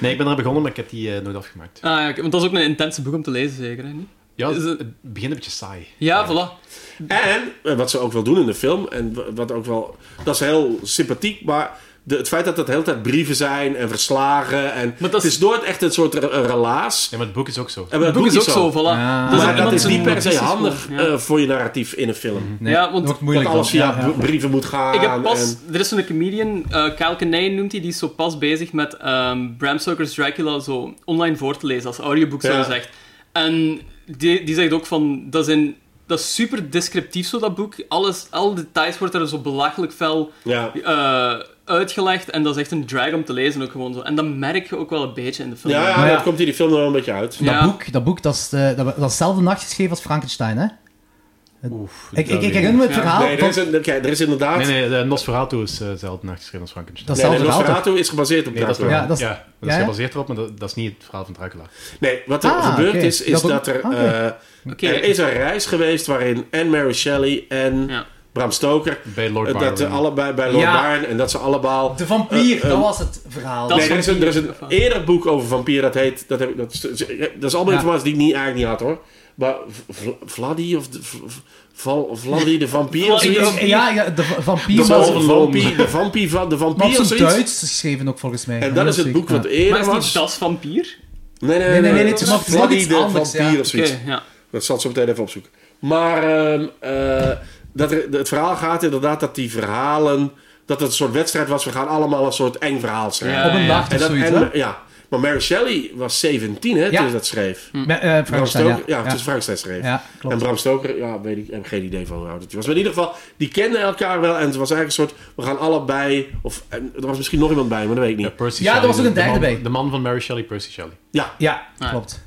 S4: Nee, ik ben eraan begonnen, maar ik heb die eh, nooit afgemaakt.
S1: Ah, ja, oké, want dat is ook een intense boek om te lezen, zeker, hè? niet?
S4: Ja,
S1: Is het-
S4: het, het begint een beetje saai.
S1: Ja, voilà.
S3: En eh, wat ze ook wel doen in de film, en wa- wat ook wel. Dat is heel sympathiek, maar. De, het feit dat dat de hele tijd brieven zijn en verslagen. En,
S1: dat
S3: het
S1: is-
S3: is nooit echt een soort re- een relaas.
S4: Ja, maar het boek is ook zo.
S2: Eh,
S3: En bij
S1: Het boek is ook zo, voilà.
S2: Ja.
S1: Dat is
S3: Maar
S1: iemand
S3: dat is
S1: zijn
S3: niet per se
S1: notities gewoon,
S3: handig
S1: ja.
S3: eh, voor je narratief in een film.
S2: Nee,
S1: ja,
S2: dat
S1: want
S2: wordt moeilijk.
S3: dat alles
S2: dan.
S3: via
S2: Ja, ja.
S3: b- brieven moet gaan.
S1: Ik heb pas,
S3: en-
S1: er is zo'n comedian, eh Kyle Kinane noemt hij, die is zo pas bezig met ehm, Bram Stoker's Dracula zo online voor te lezen, als audioboek zo
S3: Ja.
S1: gezegd. En die, die zegt ook van, dat is, een, dat is super descriptief zo dat boek, alles, alle details wordt er zo belachelijk fel
S3: ja.
S1: eh, uitgelegd en dat is echt een drag om te lezen ook gewoon zo. En dat merk je ook wel een beetje in de film.
S3: Ja, ja,
S2: Maar ja.
S3: dat komt in die film er wel een beetje uit.
S2: Dat
S1: Ja.
S2: boek, dat, boek dat, is, eh, dat, dat is dezelfde nacht geschreven als Frankenstein, hè?
S4: Oef,
S2: Ik, ik,
S4: dat
S2: ik
S4: weet
S2: herinner me het
S1: Ja.
S2: verhaal.
S3: Nee, er
S2: van-
S3: is, een- oké, er is inderdaad...
S4: Nee, nee, de Nosferatu is eh, zelden nachtgeschreven als Frankenstein.
S2: Dat is
S3: Nee, nee,
S2: hetzelfde verhaal, toch?
S3: Nosferatu is gebaseerd op
S4: Nee, dat is,
S3: Dracula.
S2: Ja,
S4: ja,
S2: dat
S4: dat
S2: is-
S4: is,
S2: ja, ja?
S4: gebaseerd erop, maar dat, dat is niet het verhaal van Dracula.
S3: Nee, wat er
S2: Ah,
S3: gebeurd
S2: oké.
S3: is, is
S2: Dat
S3: dat,
S2: ook-
S3: er...
S2: oké.
S3: eh,
S1: Oké.
S3: Er is een reis geweest waarin en Mary Shelley en
S1: Ja.
S3: Bram Stoker...
S4: Bij Lord
S3: eh, dat ze
S4: Byron.
S3: allebei bij Lord
S2: Ja.
S3: Byron en dat ze allemaal...
S2: De vampier,
S3: Eh, eh,
S2: dat was het verhaal.
S1: dat
S3: nee, er is, een, er is een
S1: vampier.
S3: eerder boek over vampier dat heet... Dat, heb, ik- dat, is- dat is allemaal
S2: Ja.
S3: informatie die ik niet, eigenlijk niet had, hoor. Maar V- V- Vladdy of... de- V- Val- Vladdy de vampier of
S1: Vladdy
S2: Ik-
S1: de
S3: zoiets?
S2: ik- ja, ja, de va-
S3: De
S2: vampier was
S3: van
S2: het.
S4: Wolven-
S3: vampie, de vampie van de
S2: Maar op
S3: vampier of
S2: zijn
S3: zoiets.
S2: Duits geschreven ook, volgens mij.
S3: En dat is het boek wat
S2: Ja.
S1: Maar
S3: eerder
S1: is niet
S3: was.
S1: Das Vampier?
S3: Nee, nee,
S2: Nee,
S3: nee,
S2: nee, nee,
S3: nee.
S2: het is nog- het is nog
S3: Vladdy
S2: iets
S3: de
S2: anders,
S3: vampier
S2: ja.
S3: of
S1: Oké,
S3: zoiets.
S1: ja.
S3: Dat zal ik zo meteen even opzoeken. Maar ehm, eh, dat er- het verhaal gaat inderdaad dat die verhalen... Dat het een soort wedstrijd was. We gaan allemaal een soort eng verhaal schrijven.
S1: Ja,
S2: Op een
S1: ja.
S2: nacht
S3: en
S2: of
S3: dat,
S2: zoiets,
S3: en-
S2: hè?
S3: ja. Maar Mary Shelley was 17 hè,
S2: Ja.
S3: toen ze dat schreef.
S2: Met, eh,
S3: Bram
S2: Frankenstein,
S3: Stoker,
S2: ja.
S3: ja, toen ze Frankenstein schreef.
S2: Ja, klopt.
S3: En Bram Stoker, ja, weet ik, heb ik geen idee van hoe oud het was. Maar in ieder geval, die kenden elkaar wel. En het was eigenlijk een soort, we gaan allebei... Of en er was misschien nog iemand bij, maar dat weet ik niet.
S4: Ja, Percy
S2: Ja, er
S4: Shelley,
S2: was ook een
S4: de
S2: derde
S4: man-
S2: bij.
S4: De man van Mary Shelley, Percy Shelley.
S3: Ja,
S2: Ja,
S1: Ja.
S2: klopt.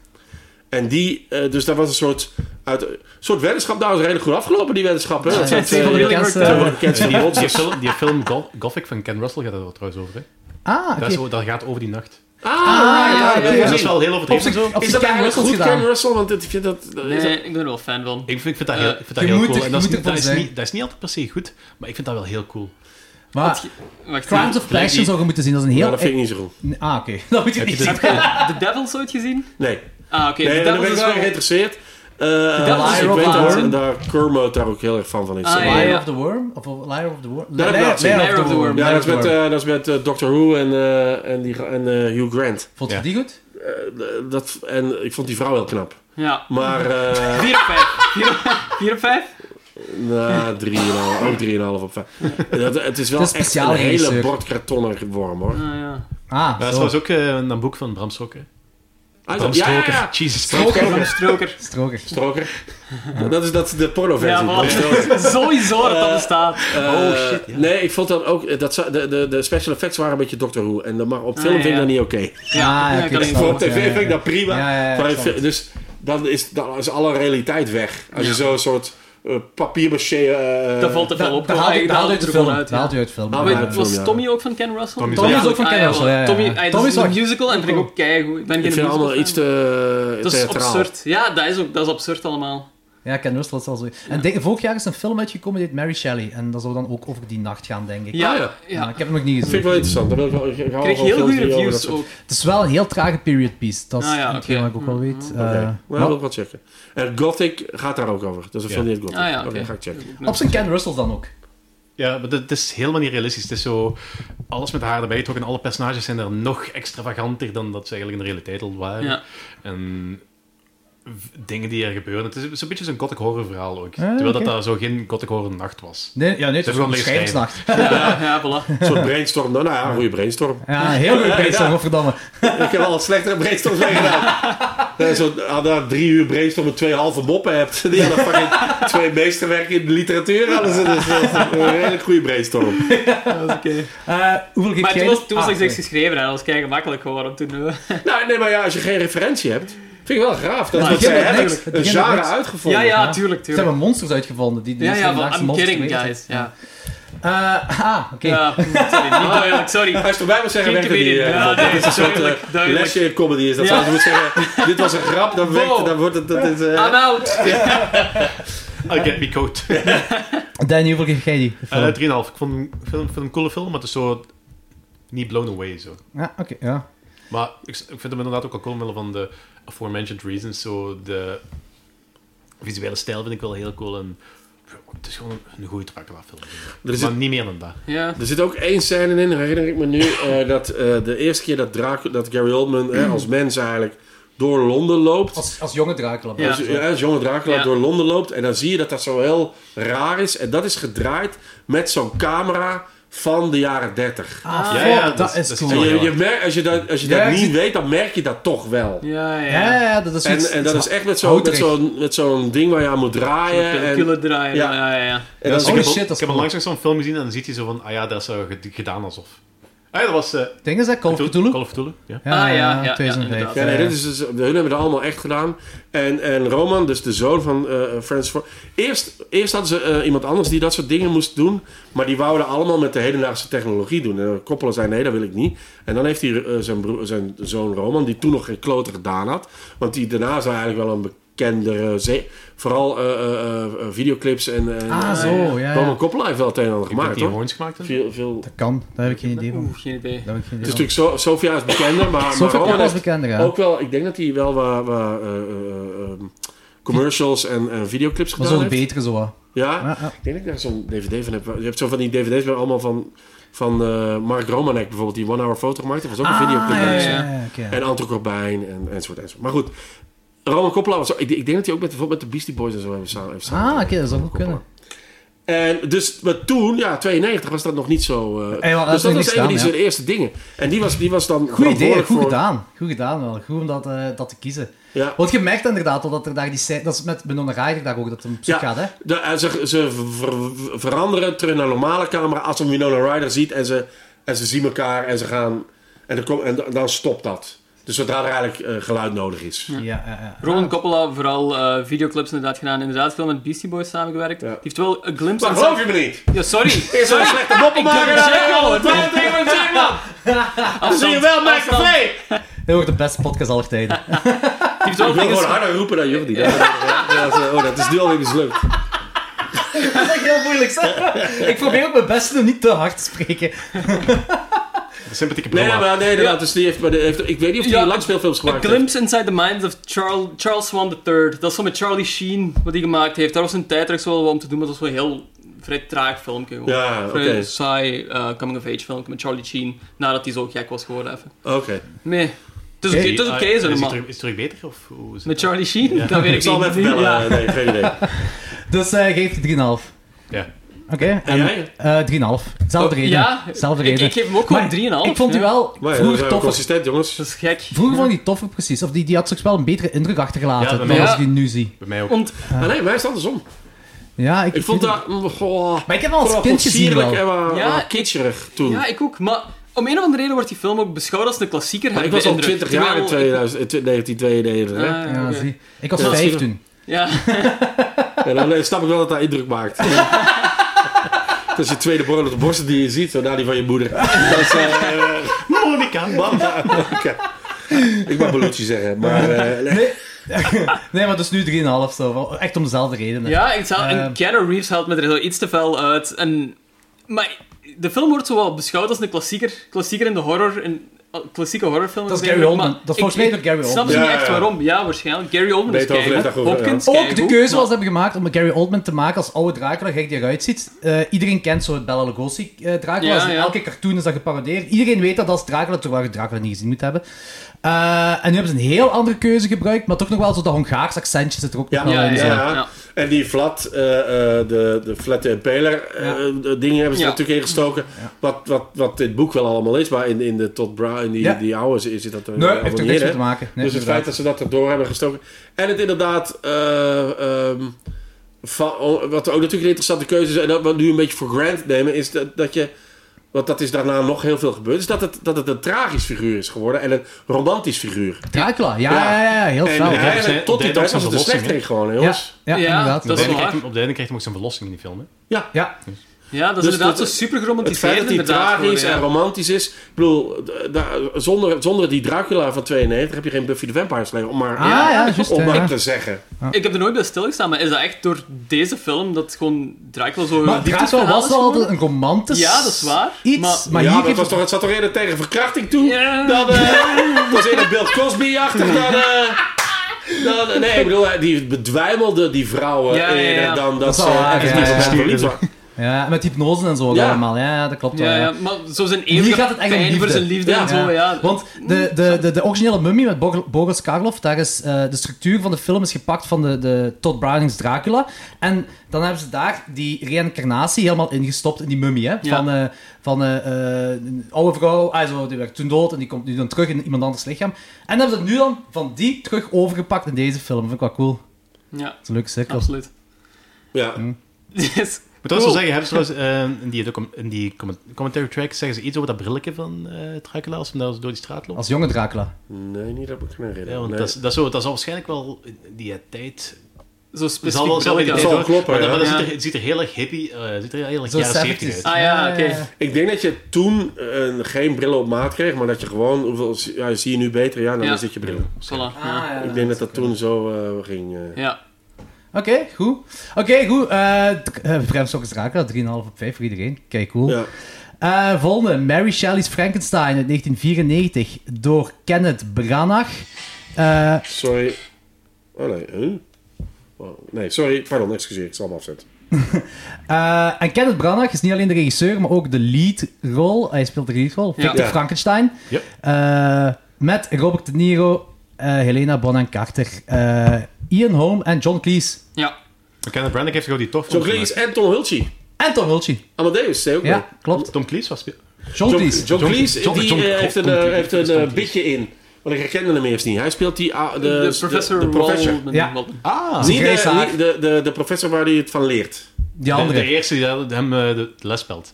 S3: en die... eh, dus dat was een soort... Uit, een soort weddenschap. Nou, is redelijk goed afgelopen, die weddenschap. Hè? Dat
S2: Ja,
S3: zijn
S2: het is een van de
S3: twee-
S2: bekendste-
S3: twee van de bekendste
S4: Die,
S3: monsters.
S4: die film, die film Go- Gothic van Ken Russell gaat er trouwens over. Hè?
S2: Ah, oké.
S4: Dat, is, dat gaat over die nacht.
S3: Ah,
S2: ja,
S3: oké.
S2: ja, ja.
S4: Dat is wel heel
S2: Op
S4: overdreven.
S2: zich- op
S3: Is
S2: zich
S3: dat
S2: Ken
S3: eigenlijk
S2: Russell
S3: goed,
S2: gedaan.
S3: Ken Russell? Want ik vind dat... dat is-
S1: Nee, ik ben er wel fan van.
S4: Ik vind, ik vind dat
S1: Eh,
S4: heel, ik vind dat
S2: je
S4: heel
S2: moet
S4: cool.
S2: er-
S4: En
S2: je
S4: dat, is,
S2: moet ervan
S4: dat, is
S2: zijn.
S4: niet, dat is niet altijd per se goed, maar ik vind dat wel heel cool.
S2: Maar
S1: Wacht,
S2: Crimes of Passion zou je moeten zien, dat is een
S3: Ja,
S2: heel...
S3: dat vind ik niet zo goed.
S2: Ah, oké. Dat moet je niet zien.
S1: The Devils ooit gezien?
S3: Nee,
S1: Ah, oké.
S3: nee
S1: The
S3: daar ben ik
S1: Devils is
S3: wel
S1: wel...
S3: geïnteresseerd. Eh,
S1: Devil
S3: dus
S1: is
S3: ik
S2: een
S3: weet
S2: Robin
S3: dat
S2: Hood.
S3: daar Kermit daar ook heel erg fan van is.
S1: Ah,
S2: Liar
S1: Ja, ja.
S2: of the Worm? Of Liar of the Worm?
S3: Dat heb ik laatst
S1: gezien. Liar of the Worm.
S3: Ja,
S2: Liar
S3: dat
S2: of
S3: is
S2: the
S3: met,
S2: Worm.
S3: eh, dat is met eh, Doctor Who en, eh, en, die, en eh, Hugh Grant.
S2: Vond je
S4: Ja.
S2: die goed?
S3: Eh, eh, dat, en ik vond die vrouw heel knap.
S1: Ja.
S3: Maar, eh
S1: 4 op 5. 4 op 5?
S3: na 3,5, nou, ook 3,5 op 5. Dat, het is wel
S2: Het is
S3: echt
S2: speciaal
S3: een hele
S2: regisseur.
S3: bord kartonnen worm, hoor.
S1: Ah, ja.
S2: Ah,
S4: dat is
S2: zo.
S4: trouwens ook eh, een boek van Bram Stoker.
S3: Ah,
S4: Bram
S3: dat- ja, ja,
S4: Stoker.
S3: ja.
S4: Jesus
S1: Stroker van de stroker.
S2: Stroker.
S3: Stroker. Dat is, dat is de
S1: Ja,
S3: pornoversie.
S1: maar
S3: Bram Stoker.
S1: sowieso dat dat bestaat.
S2: Eh,
S3: oh shit. Nee, ik vond dan ook. eh, Dat, zou- de, de, de special effects waren een beetje Doctor Who. En dat, maar op film
S1: ja,
S3: vind ik
S1: Ah, ja.
S3: dat niet oké.
S2: Ja, ja,
S1: ja,
S2: Ah, oké,
S1: kan
S2: dat
S1: ik
S2: snap
S3: Voor
S1: voor.
S3: op
S2: ik,
S3: tv
S2: ja, ja,
S3: vind ik
S2: ja.
S3: dat prima.
S2: Ja, ja, ja,
S3: maar
S2: ik
S3: ik
S2: snap
S3: vind- dus dan is, dan is alle realiteit weg. Als je zo'n soort eh papier-maché. eh,
S1: Dat valt er veel op.
S2: Dat haalt u- dat haalt u uit de
S1: er gewoon
S2: film.
S1: uit,
S2: Dat
S1: ja.
S2: haalt u uit de film.
S3: Ah,
S1: Weet-
S3: Ja,
S1: het was
S3: ja.
S1: Tommy ook van Ken Russell?
S4: Tommy
S2: Tommy is
S1: Ja,
S2: ook van
S1: ah,
S2: Ken
S1: ja,
S2: Russell, ja, ja.
S1: Tommy, ah, dat
S2: Tommy
S1: is
S2: is
S1: een
S2: ook-
S1: musical en vind ik ook keigoed. Ik ben
S3: Ik
S1: geen
S3: vind het allemaal
S1: musical
S3: iets te.
S1: Dat is
S3: theatraal.
S1: absurd. Ja, dat is ook dat is absurd allemaal.
S2: Ja, Ken Russell is al zo. En denk- vorig jaar is een film uitgekomen die heet Mary Shelley. En dat zou dan ook over die nacht gaan, denk ik.
S1: Ja,
S3: Ah,
S1: ja.
S3: ja.
S2: Maar ik heb hem nog niet
S3: Dat vind
S2: gezien.
S3: ik wel interessant. Dat wil ik wel, ik, ik hou
S1: Ik kreeg
S3: van
S1: heel
S3: films
S1: goede
S3: die over
S1: reviews
S3: dat soort-
S1: ook.
S2: Het is wel een heel trage period piece. Dat is
S1: Ah, ja,
S2: hetgeen
S1: oké. Mm-hmm.
S2: wat ik ook wel weet.
S3: Oké,
S2: Eh,
S3: maar dat wil ik wel checken. En Gothic gaat daar ook over. Dat is een film die heet Gothic.
S1: Ah, ja,
S3: Oké,
S1: oké.
S3: ga ik checken.
S2: op zijn Ken Russell dan ook.
S4: Ja, maar dat is helemaal niet realistisch. Het is zo... Alles met haar erbij getrokken. Alle personages zijn er nog extravaganter dan dat ze eigenlijk in de realiteit al waren.
S1: Ja.
S4: En v- dingen die er gebeuren. Het is een- zo'n beetje zo'n gothic horror verhaal
S3: Ah,
S4: ook. Terwijl dat
S2: oké.
S4: daar zo geen gothic horror nacht was.
S2: Nee, ja, nee, het
S4: Dat
S2: is
S4: wil
S2: een
S4: ik schrijven.
S2: schrijversnacht.
S1: Ja, ja, voilà.
S3: Een soort brainstorm. Nou, nou ja, een goede brainstorm.
S2: Ja, een heel goed bezig,
S3: Ja.
S2: godverdomme. Eh,
S3: Ik heb al een slechtere brainstorm mee gedaan. Eh, Zo, ah, na drie uur brainstorm met twee halve moppen hebt. Die hadden fucking twee meesterwerken in de literatuur. Hadden ze dus dat is een redelijk goede brainstorm.
S2: Eh, hoeveel geef jij
S1: Maar toen
S2: dit?
S1: was, toen
S2: Ah,
S1: was
S2: Oh,
S1: ik niks
S2: sorry.
S1: geschreven en dat was kei gemakkelijk geworden toen. eh.
S3: Nou, nee, maar ja, als je geen referentie hebt. Vind ik wel
S1: Nou,
S3: graaf. Dat is wat
S2: begint
S3: zij
S2: met
S3: hebben.
S2: niks. Het
S3: Een
S2: begint met
S3: genre
S2: niks.
S3: uitgevonden.
S1: Ja, ja, tuurlijk,
S2: Ze hebben
S1: tuurlijk.
S2: monsters uitgevonden. Die, die
S1: Ja, ja,
S2: zijn
S1: van
S2: laagste
S1: I'm
S2: monsters
S1: kidding,
S2: geweest.
S1: guys. Ja,
S2: Eh, ah, oké.
S1: ja sorry, niet duidelijk, sorry.
S3: Als je erbij moet zeggen,
S1: Geen
S3: werkte die...
S1: comedian.
S3: eh,
S1: Ja,
S3: dat
S1: nee,
S3: is een soort
S1: duidelijk,
S3: eh,
S1: duidelijk.
S3: lesje in comedy. Is. Dat
S1: Ja.
S3: zou je moeten zeggen, dit was een grap, dan, werkt,
S1: Wow. Ah.
S3: dan wordt het... Dat is, eh,
S1: I'm out!
S4: I get me coat.
S2: Danny, hoeveel geef jij die?
S4: Eh 3,5. Ik vond hem- ik vind hem een coole film, maar het is zo... Niet blown away, zo.
S2: ja, oké. ja.
S4: Maar ik, ik vind hem inderdaad ook al cool, omwille van de aforementioned reasons. Zo de visuele stijl vind ik wel heel cool. En het is gewoon een, een goede Dracula film.
S3: er is
S4: maar
S3: een-
S4: niet meer dan dat.
S1: Ja,
S3: Er zit ook één scène in, herinner ik me nu, eh, dat eh, de eerste keer dat, Dracu- dat Gary Oldman eh, als mens eigenlijk door Londen loopt.
S2: Hmm. Als, als jonge Dracula.
S1: Ja.
S3: Als, ja, als jonge Dracula
S1: Ja.
S3: door Londen loopt. En dan zie je dat dat zo heel raar is. En dat is gedraaid met zo'n camera van de jaren 30.
S2: Ah,
S4: Ja,
S2: fuck,
S4: ja,
S2: dat,
S4: dat is-
S2: is
S4: dat is
S2: cool.
S3: En
S4: heel
S3: je,
S4: raar.
S3: je merkt, als je dat, als je
S2: Ja,
S3: dat
S2: ik
S3: niet
S2: zie-
S3: weet, dan merk je dat toch wel.
S1: ja,
S2: Ja,
S1: ja.
S2: ja, ja, dat is
S3: En,
S2: iets-
S3: en dat
S2: iets-
S3: is echt met zo'n
S2: houterig.
S3: met zo'n met zo'n ding waar je aan moet draaien. En,
S1: Killer draaien,
S3: Ja.
S1: ja, ja, ja.
S3: en dat is-
S2: Oh,
S4: ik heb,
S2: shit,
S4: al-
S2: dat is
S4: ik heb al
S2: cool.
S4: langs nog zo'n film gezien en dan ziet je zo van, ah ja, dat is eh, ged- gedaan alsof. Ah ja, dat was... eh
S2: Het ding is dat Call of Cthulhu.
S4: Call of Cthulhu, ja.
S1: Ah, ja, ja, ja,
S2: 2005.
S1: inderdaad.
S3: Ja, nee, dit is dus, hun hebben dat allemaal echt gedaan. En, en Roman, dus de zoon van eh Francis Ford. Eerst, eerst hadden ze eh, iemand anders die dat soort dingen moest doen. Maar die wouden allemaal met de hedendaagse technologie doen. En koppelen zei: nee, dat wil ik niet. En dan heeft hij eh, zijn, broer, zijn zoon Roman, die toen nog geen kloter gedaan had. Want die daarna zou eigenlijk wel een bekendere. zee- Vooral eh, eh, eh, videoclips en. eh,
S2: Ah, zo, ja.
S3: Roman
S2: ja.
S3: Coppola heeft wel het een en ander
S4: Ik heb
S3: gemaakt
S4: die
S3: hoor.
S4: horns gemaakt. hè.
S3: Veel, veel...
S2: Dat kan, daar heb ik geen idee van.
S1: Oeh, geen idee.
S2: Daar heb ik geen
S3: Het
S2: idee
S3: is
S2: van.
S3: natuurlijk zo, Sofia is bekender, maar, maar
S2: Zoveel
S3: Roman
S2: koppels
S3: heeft
S2: bekender, ja.
S3: Oh, ook wel, ik denk dat hij wel wat, wat, eh, eh, ehm, commercials en en videoclips
S2: Maar
S3: gedaan
S2: zo'n
S3: heeft.
S2: betere zo. wat.
S3: Ja?
S2: Ja, ja.
S3: ik denk dat ik daar zo'n DVD van heb. Je hebt zo van die DVD's met allemaal van, van eh, Mark Romanek bijvoorbeeld, die One Hour Photo gemaakt heeft. Dat was ook een videoclip.
S2: Ah, ja,
S1: ja,
S2: ja,
S1: ja.
S2: ja, oké.
S3: En Anton Corbijn en, enzovoort, enzovoort. Maar goed, Roman Coppola was ook- ik, ik denk dat hij ook met, bijvoorbeeld met de Beastie Boys en zo hebben samen. Heeft
S2: Ah, oké,
S3: samengewerkt.
S2: dat zou goed kunnen.
S3: En dus, maar toen, ja, 92 was dat nog niet zo. eh,
S2: Hey, wel, dat is
S3: dus
S2: nog
S3: dat
S2: niet
S3: was een van die
S2: gedaan,
S3: zijn eerste dingen. En die was, die was dan.
S2: Goed idee,
S3: verantwoordelijk
S2: goed
S3: voor-
S2: gedaan. Goed gedaan wel. Goed om dat, eh, dat te kiezen.
S3: Ja.
S2: Want je merkt inderdaad al dat er daar die scène... Dat is met Benona Ryder daar ook, dat het om zoek gaat, hè?
S3: de- en ze, ze ver- ver- veranderen terug naar normale camera als een Winona Ryder ziet en ze, en ze zien elkaar en ze gaan. En, dan kom- en dan- dan stopt dat. Dus zodra er eigenlijk eh, geluid nodig is.
S2: Ja, ja, ja.
S1: Roman Coppola, vooral eh, videoclips inderdaad gedaan. Inderdaad veel met Beastie Boys samengewerkt.
S3: Ja.
S1: Die heeft wel een glimpse...
S3: Maar
S1: in
S3: geloof
S1: zijn-
S3: je me niet?
S1: Ja, sorry.
S3: Eerst zo'n slechte moppen maken.
S1: het
S3: Dan
S1: zeggen,
S3: zeggen,
S1: hoor.
S3: wat ben je tegen me zeggen, man? Dan zie je wel mijn
S1: Afstand.
S3: café.
S2: Dit wordt de beste podcast aller tijden.
S1: Die heeft wel
S3: Ik wil
S1: dingen-
S3: gewoon harder roepen dan Jordi. Dat- dat- dat- Oh, dat is nu alweer mislukt.
S2: dat is echt heel moeilijk, hè? Ik probeer ook mijn best om niet te hard te spreken.
S4: De sympathieke
S3: Nee,
S4: bril.
S3: maar nee, inderdaad. Dus die heeft, maar die heeft, ik weet niet of hij
S1: Ja,
S3: langspeelfilms
S1: A
S3: gemaakt heeft.
S1: Glimpse Inside the Minds of Charles, Charles Swan III. Dat is zo met Charlie Sheen, wat hij gemaakt heeft. Daar was een tijd terug zo wel wat om te doen, maar dat was wel een heel vrij traag filmpje. gewoon.
S3: Ja,
S1: Een
S3: oké.
S1: Vrij eh, saai coming-of-age filmpje met Charlie Sheen, nadat hij zo gek was geworden even.
S3: Oké.
S1: Nee. Het is oké, het is oké,
S4: Ah,
S1: zo'n
S4: is het
S1: man.
S4: terug- Is het terug beter? Of hoe is het?
S1: Met Charlie Sheen?
S4: Ja.
S1: Dat weet
S3: Ik
S1: ik
S3: zal hem
S1: niet.
S3: even bellen.
S2: Ja.
S3: eh, Nee, geen idee. En
S2: Dus eh geef je 3,5. Oké,
S4: Ja.
S2: en
S3: jij?
S2: eh 3,5. Zelfde reden.
S1: Oh, Ja,
S2: Zelfde
S1: ik,
S2: reden.
S1: ik geef hem ook gewoon 3,5.
S2: Ik vond die
S1: ja.
S2: wel
S3: Maar ja, dan
S2: vroeger
S3: zijn we
S2: toffer.
S3: eh, consistent, jongens.
S1: Dat is gek.
S2: Vroeger vond ik die toffer precies. Of die, die had soms wel een betere indruk achtergelaten dan
S4: Ja, bij mij
S2: als
S1: ook.
S2: ik die nu zie.
S4: Bij mij ook.
S1: Want
S3: Maar Ah, nee, mij is het andersom.
S2: Ja, ik,
S3: Ik vond dat... mm, goh,
S2: Maar ik heb wel als
S3: wat
S2: kindje zien
S3: sierlijk en
S2: wel.
S3: wat,
S1: Ja,
S3: wat
S1: ik-
S3: kitscherig toen.
S1: ja, ik ook. Maar om een of andere reden wordt die film ook beschouwd als een klassieker.
S3: Maar
S1: heb
S3: ik was
S1: de
S3: al
S1: indruk.
S3: 20 jaar in
S1: Terwijl ik-
S3: 2000, in 1992. hè.
S1: Ah,
S2: Ja,
S1: oké.
S2: zie. Ik was
S3: Ja, dat is
S2: 5
S3: hier-
S2: toen.
S1: Ja.
S3: En dan eh, snap ik wel dat dat indruk maakt. Dat is je tweede borrel op de borsten die je ziet, daarna die van je moeder. Dat is, eh,
S4: Monica, man.
S3: oké. Ik mag Belucci zeggen, maar... eh, nee.
S2: Nee, maar dus nu 3,5 zo. Wel Echt om dezelfde redenen.
S1: Ja, ik zou,
S2: Ehm.
S1: en Keanu Reeves haalt me er zo iets te fel uit. En, maar de film wordt zo wel beschouwd als een klassieker. Klassieker in de horror. Een klassieke horrorfilm.
S2: Dat is
S1: Ik weet
S2: Gary
S1: niet,
S2: Oldman.
S1: maar
S2: Dat is
S1: ik-
S2: volgens mij
S1: ik
S2: door Gary
S1: snap
S2: Oldman.
S1: ze
S3: Ja,
S1: niet
S3: ja,
S1: echt
S3: ja.
S1: waarom. Ja, waarschijnlijk. Gary Oldman is
S3: Beethoven heeft
S1: keigoed.
S3: dat goed,
S1: Hopkins,
S2: Ook de
S1: keigoed,
S2: keuze
S1: maar-
S2: was hebben gemaakt om een Gary Oldman te maken als oude Dracula, gek die eruit ziet. Eh, iedereen kent zo het Bela Lugosi eh, Dracula.
S1: Ja,
S2: Dus in
S1: ja.
S2: Elke cartoon is dat geparodeerd. Iedereen weet dat als Dracula, terwijl je Dracula niet gezien moet hebben. Eh, en nu hebben ze een heel andere keuze gebruikt, maar toch nog wel zo dat Hongaars accentje zit er ook
S3: Ja,
S2: nog wel
S1: Ja,
S2: in.
S1: ja,
S2: zo.
S3: ja.
S1: ja.
S3: En die flat, eh, eh, de, de flat en peler eh, eh, dingen hebben ze
S1: Ja.
S3: er natuurlijk ingestoken. Wat, wat, wat dit boek wel allemaal is, maar in, in de Todd Brown, in die,
S2: Ja.
S3: die oude, zit zit dat eh, er
S2: Nee,
S3: allemaal
S2: heeft er
S3: niet
S2: niks
S3: in,
S2: mee
S3: hè?
S2: te maken. Nee,
S3: dus het feit
S2: inderdaad.
S3: dat ze dat erdoor hebben gestoken. En het inderdaad, eh, ehm, van- oh, wat ook natuurlijk een interessante keuze is, en dat we nu een beetje voor granted nemen, is dat, dat je, want dat is daarna nog heel veel gebeurd, is dat het, dat het een tragisch figuur is geworden en een romantisch figuur.
S2: Dracula, ja, ja,
S3: Ja.
S2: ja, heel
S3: en
S2: fel. Ja,
S4: hij-
S3: eigenlijk tot die
S4: Derde
S3: tijd was het
S4: was
S3: een
S4: een verlossing,
S3: slechterik gewoon, hè,
S2: ja,
S3: jongens.
S2: ja,
S1: eh, Ja,
S2: inderdaad.
S1: dat is
S4: Op het einde
S1: waar.
S4: krijgt hij- op het einde krijgt hij ook zijn verlossing in die film. Hè?
S2: Ja,
S1: Ja, dat is
S3: Dus
S1: inderdaad
S3: dat-
S1: zo super
S3: Het feit
S1: geromantiseerd.
S3: dat hij
S1: inderdaad,
S3: tragisch
S1: gewoon,
S3: en
S1: ja.
S3: romantisch is. Ik bedoel, d- daar- zonder, zonder die Dracula van 92 heb je geen Buffy the Vampire Slayer. Om maar,
S2: Ah, ja, juist,
S3: om
S2: ja,
S3: maar
S2: ja.
S3: te zeggen.
S1: Ik heb er nooit bij stilgestaan, maar is dat echt door deze film dat gewoon Dracula zo...
S2: maar Dracula was wel altijd een romantisch
S1: Ja, dat is waar,
S2: iets, maar,
S1: maar-
S3: ja,
S2: hier
S3: maar het,
S2: geeft
S3: was
S2: het...
S3: toch, het zat toch eerder tegen verkrachting toe?
S1: Ja.
S3: Dan, eh, was eerder Bill Cosby-achtig dan... eh, dan- nee, ik bedoel, eh, die bedwijmelde die vrouwen
S1: Ja, ja, ja.
S3: eerder dan dat,
S2: is
S3: ze
S2: wel waar,
S3: ergens
S2: ja,
S3: niet
S2: ja,
S3: van
S2: ja.
S3: verliefd waren.
S2: Ja, met hypnose en zo
S3: Ja.
S2: allemaal. Ja, ja, dat klopt wel.
S1: Ja,
S2: ja.
S1: ja, maar zo zijn
S2: Hier
S1: eeuwige
S2: gaat het echt om
S1: pijn voor
S2: liefde.
S1: zijn liefde
S3: Ja.
S1: en zo, ja.
S2: Want de, de, de, de originele mummy met Bor- Boris Karloff, daar is, eh, de structuur van de film is gepakt van de, de Todd Browning's Dracula. En dan hebben ze daar die reïncarnatie helemaal ingestopt in die mummy. Hè?
S1: Ja.
S2: Van, eh, van eh, eh, een oude vrouw, ah, zo, die werd toen dood en die komt nu dan terug in iemand anders lichaam. En hebben ze het nu dan van die terug overgepakt in deze film. Vind ik wel cool. Dat
S1: Ja,
S2: is een leuke cirkel.
S1: absoluut.
S3: Ja.
S1: Yes.
S4: Ik moet wel
S1: Cool.
S4: zo zeggen, hebben ze trouwens, eh, in die, docum- in die comment- commentary track zeggen ze iets over dat brilletje van eh Dracula als hem daar door die straat loopt.
S2: Als jonge Dracula.
S3: Nee, niet dat ik me herinner.
S4: Ja, want
S3: Nee.
S4: dat, is, dat, is zo, dat zal waarschijnlijk wel die eh, tijd...
S1: Zo
S4: Dat
S1: specifiek
S4: zal wel, zal wel
S1: brilletje
S4: die tijd
S3: zal
S1: aan.
S3: wel kloppen,
S4: maar dat- maar dat
S1: ja.
S4: ziet, er, het ziet er heel erg hippie, eh, het ziet er heel erg
S2: Zo
S4: jaren 70
S2: 70
S4: uit.
S1: Ah, ja, oké.
S3: Ik denk dat je toen eh, geen brillen op maat kreeg, maar dat je gewoon, hoeveel, ja, zie je nu beter, ja, dan
S1: Ja.
S3: zit je bril.
S1: Voilà. Ah, ja.
S2: ja.
S3: Ik denk dat dat toen zo eh, ging. eh.
S1: Ja.
S2: Oké, goed. Oké, goed. eh d- eh, Bram Stoker's Dracula, 3,5 op 5 voor iedereen. Kijk, cool.
S3: Ja.
S2: Eh, volgende, Mary Shelley's Frankenstein uit 1994 door Kenneth Branagh. Eh,
S3: Sorry. Oh nee, huh? Oh, Nee, sorry, pardon, excuseer, ik zal hem afzetten.
S2: eh, en Kenneth Branagh is niet alleen de regisseur, maar ook de leadrol. Hij speelt de leadrol,
S1: Ja.
S2: Victor
S3: Ja.
S2: Frankenstein.
S4: Yep.
S2: Eh, met Robert De Niro, eh, Helena Bonham Carter, eh, Ian Holm en John Cleese.
S1: Ja.
S4: Maar Kenneth Branagh heeft gewoon die tof
S3: John Cleese en Tom Hulce.
S2: En Tom Hulce.
S3: Amadeus, zei ook mee.
S2: Ja, klopt.
S4: Tom Cleese was... spe-
S2: John
S3: John,
S2: Cleese.
S3: John
S4: John-
S3: Cleese
S4: John-
S3: die,
S4: John-
S3: eh, heeft een,
S4: Tom-
S3: eh,
S4: Tom-
S3: heeft een
S4: Tom-
S3: eh,
S4: Tom-
S3: bitje in. Want ik herkende hem eerst niet. Hij speelt die... ah, de,
S1: De,
S3: de-
S1: professor
S3: de professor.
S1: Waldman.
S2: Ja.
S1: Waldman.
S4: Ah!
S3: Niet
S2: grijs
S3: de,
S2: haar.
S3: niet de, de, de professor waar hij het van leert.
S2: Die
S4: De, de
S2: andere.
S4: eerste die dat- hem eh, de de les spelt.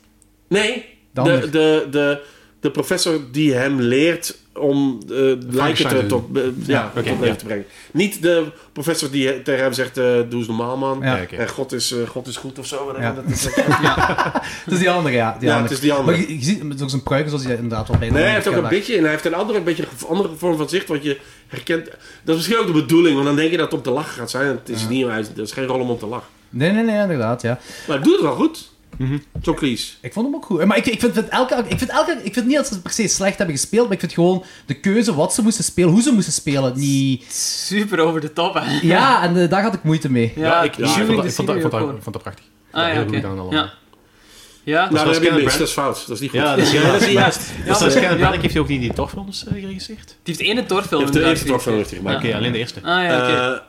S3: Nee,
S2: De
S3: de,
S2: ander.
S3: de, de, de, professor die hem leert om eh lijken
S4: Frankenstein
S3: te,
S4: te
S3: tot, eh, ja,
S4: oké,
S3: tot leven
S4: ja.
S3: te brengen. Niet de professor die tegen hem zegt, eh, doe eens normaal man.
S2: Ja.
S4: oké.
S3: En God is, eh, God is goed of zo.
S2: Ja.
S3: Dat is-
S2: Het is die andere, ja. Die
S3: Ja,
S2: andere.
S3: het is die andere.
S2: Maar je, je ziet hem door zijn pruiken, zoals hij inderdaad wel bijna
S3: Nee, hij heeft ook een
S2: herkenbaar.
S3: beetje en hij heeft een andere, een beetje een andere vorm van zicht, want je herkent... Dat is misschien ook de bedoeling, want dan denk je dat het om te lachen gaat zijn. Het is niet, hij is- dat is geen rol om om te lachen.
S2: Nee, nee, nee, inderdaad, ja.
S3: Maar hij doet het wel goed. John Cleese.
S2: Ik vond hem ook goed. Eh, Maar ik, ik, vind, vind elke, ik, vind elke, ik vind niet dat ze per se slecht hebben gespeeld, maar ik vind gewoon de keuze wat ze moesten spelen, hoe ze moesten spelen, niet...
S1: Super over de top, hè.
S2: Ja, en eh, daar had ik moeite mee.
S1: Ja,
S4: ik, ik, vond dat- ik vond dat- ik vond dat-
S1: Jury
S4: ik vond dat- ik vond dat prachtig.
S1: Ah ja,
S4: heel
S1: oké.
S4: goed gedaan allemaal.
S1: Ja. Ja?
S3: Nou, dat
S4: zoals
S3: heb je
S4: Kenneth
S3: niks.
S4: Branagh.
S3: Dat is fout. Dat is niet goed.
S4: Ja, dat is
S1: Ja, dat is
S4: juist.
S1: juist.
S4: Dus
S1: Ja,
S4: als
S1: maar-
S4: Kenneth
S1: ja.
S4: Branagh heeft hij ook niet die Torfilms eh, geregisseerd?
S1: Die heeft één Thor-film
S3: Heeft de
S1: inderdaad
S3: eerste Thor-film heeft hij
S4: Oké,
S3: gemaakt.
S4: alleen de eerste.
S1: Ah ja, oké.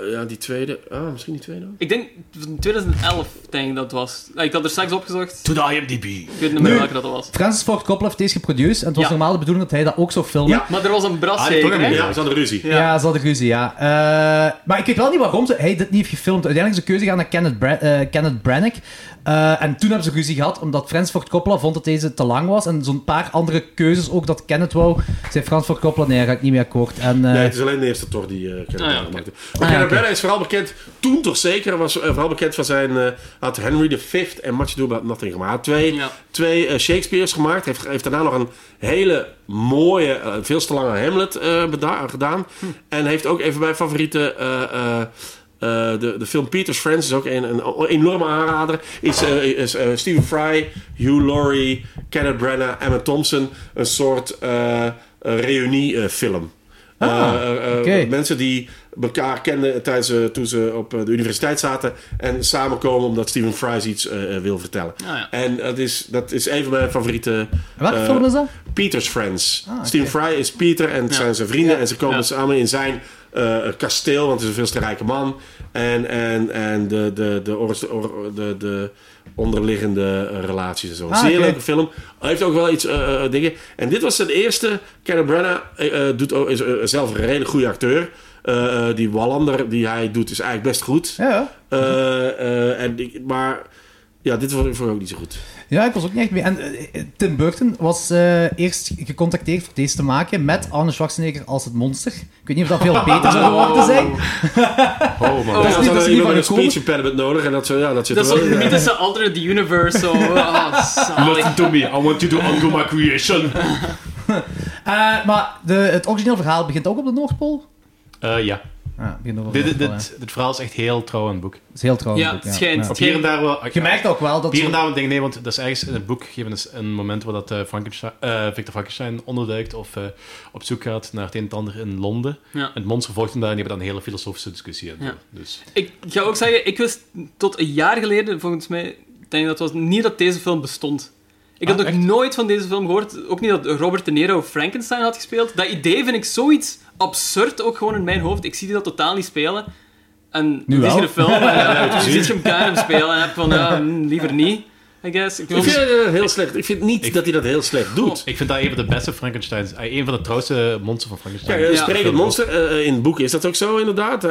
S3: Eh, ja, die tweede. Ah, misschien die tweede ook.
S1: ik denk van 2011, denk ik dat het was. Ah, Ik had er straks opgezocht.
S4: To the IMDb.
S1: Ik weet niet meer
S2: Nu.
S1: welke dat was.
S2: Francis Ford Coppola heeft deze geproduceerd en het was
S1: Ja.
S2: normaal de bedoeling dat hij dat ook zou filmen.
S3: Ja.
S1: Maar er was een bras
S4: Ah, die
S1: zeker,
S4: toch
S1: hè?
S4: een-
S3: Ja, ze hadden ruzie.
S2: Ja, ze hadden ruzie, ja. Eh, maar ik weet wel niet waarom ze, hij dit niet heeft gefilmd. Uiteindelijk is de keuze gaan naar Kenneth, Bra- eh, Kenneth Branagh. Eh, en toen hebben ze ruzie gehad, omdat Frans Ford Coppola vond dat deze te lang was. En zo'n paar andere keuzes ook, dat Kenneth wou. Zei Frans Ford Coppola, nee, daar ga ik niet mee akkoord. En, eh,
S3: Nee, het is alleen de eerste Thor die eh Kenneth
S1: Ah, ja,
S3: Branagh
S1: oké.
S3: maakte. Maar
S2: Ah,
S3: Kenneth
S2: oké.
S3: Branagh is vooral bekend, toen toch zeker, was eh, vooral bekend van zijn... eh had Henry V en Much Ado About Nothing gemaakt. Hij had Twee,
S1: Ja.
S3: twee eh, Shakespeare's gemaakt. Heeft, heeft daarna nog een hele mooie, eh, veel te lange Hamlet eh, beda- gedaan. En heeft ook even mijn favoriete... eh, eh, eh, de, de film Peter's Friends is ook een, een o- enorme aanrader. Is, eh, is eh, Stephen Fry, Hugh Laurie, Kenneth Branagh, Emma Thompson. Een soort eh reuniefilm. Eh,
S2: oké.
S3: Mensen die elkaar kenden tijdens, eh, toen ze op eh, de universiteit zaten. En samenkomen omdat Stephen Fry iets eh, eh, wil vertellen.
S1: Ah, ja.
S3: En dat is, dat is een van mijn favoriete...
S2: welke
S3: eh,
S2: film is dat?
S3: Peter's Friends.
S2: Ah, oké.
S3: Stephen Fry is Peter en het zijn zijn vrienden. En ze komen
S1: Ja.
S3: samen in zijn eh, kasteel, want hij is een veel te rijke man. En, en, en de, de, de, oris- or- de, de onderliggende eh, relaties en zo.
S2: Ah,
S3: Zeer
S2: oké.
S3: leuke film. Hij heeft ook wel iets eh, eh, dingen. En dit was zijn eerste. Kenneth Branagh eh, eh, doet ook, is eh, zelf een hele goede acteur. Eh, eh, die Wallander die hij doet is eigenlijk best goed.
S2: Ja, ja.
S3: Eh, eh, en ik- maar ja, dit vond ik vond ik ook niet zo goed.
S2: Ja, ik was ook niet echt mee. En eh, Tim Burton was eh, eerst gecontacteerd voor deze te maken met Arne Schwarzenegger als het monster. Ik weet niet of dat veel beter zou geworden zijn.
S4: Oh man.
S3: Ja,
S2: is
S3: ze
S2: niet- dat is
S3: hadden
S2: niet van
S3: iemand met een
S2: gekomen.
S3: speech impediment nodig en dat, zo, ja, dat zit
S1: Dat is
S3: er wel
S1: zo'n
S3: in.
S1: mythische alternate universe. Zo. Ah, zalig.
S4: Nothing to me. I want you to undo my creation.
S2: Eh, maar de, het origineel verhaal begint ook op de Noordpool.
S4: Eh, ja.
S2: Ja, het begint ook op de
S4: Dit, dit,
S2: Noordpool, ja.
S4: dit, dit verhaal is echt heel trouw aan het boek.
S2: Dat is heel trouw.
S1: Ja,
S2: ook,
S1: het schijnt.
S2: Ja.
S4: Op hier en daar wel...
S2: Je merkt ook wel dat...
S4: Hier en
S2: zo-
S4: daar denk ik, nee, want dat is ergens in het boek gegeven is een moment waar dat, eh, Frankenstein, eh, Victor Frankenstein onderduikt of eh, op zoek gaat naar het een en het ander in Londen.
S1: Ja.
S4: Het monster volgt hem daar en die hebben dan een hele filosofische discussie. en zo.
S1: Ja.
S4: Dus,
S1: Ik ga ook zeggen, ik wist tot een jaar geleden, volgens mij, ik denk dat het was, niet dat deze film bestond. Ik had
S4: Ah,
S1: nog
S4: echt?
S1: nooit van deze film gehoord. Ook niet dat Robert De Niro Frankenstein had gespeeld. Dat idee vind ik zoiets absurd ook gewoon in mijn hoofd. Ik zie die dat totaal niet spelen. En
S2: Nu
S1: dit is
S2: wel.
S1: hier een film. En, ja, dan zit je hem elkaar hem spelen en heb van, ja, mm, liever niet, I guess. Ik
S3: Ik
S1: wil-
S3: vind dat heel slecht. Ik vind niet
S4: Ik-
S3: dat hij dat heel slecht doet.
S4: ik vind dat een van de beste Frankensteins. eh, Een van de trouwste monsters van
S3: Ja,
S4: Frankenstein.
S3: een
S1: Ja.
S3: sprekend monster eh, in het boek is dat ook zo, inderdaad. Eh,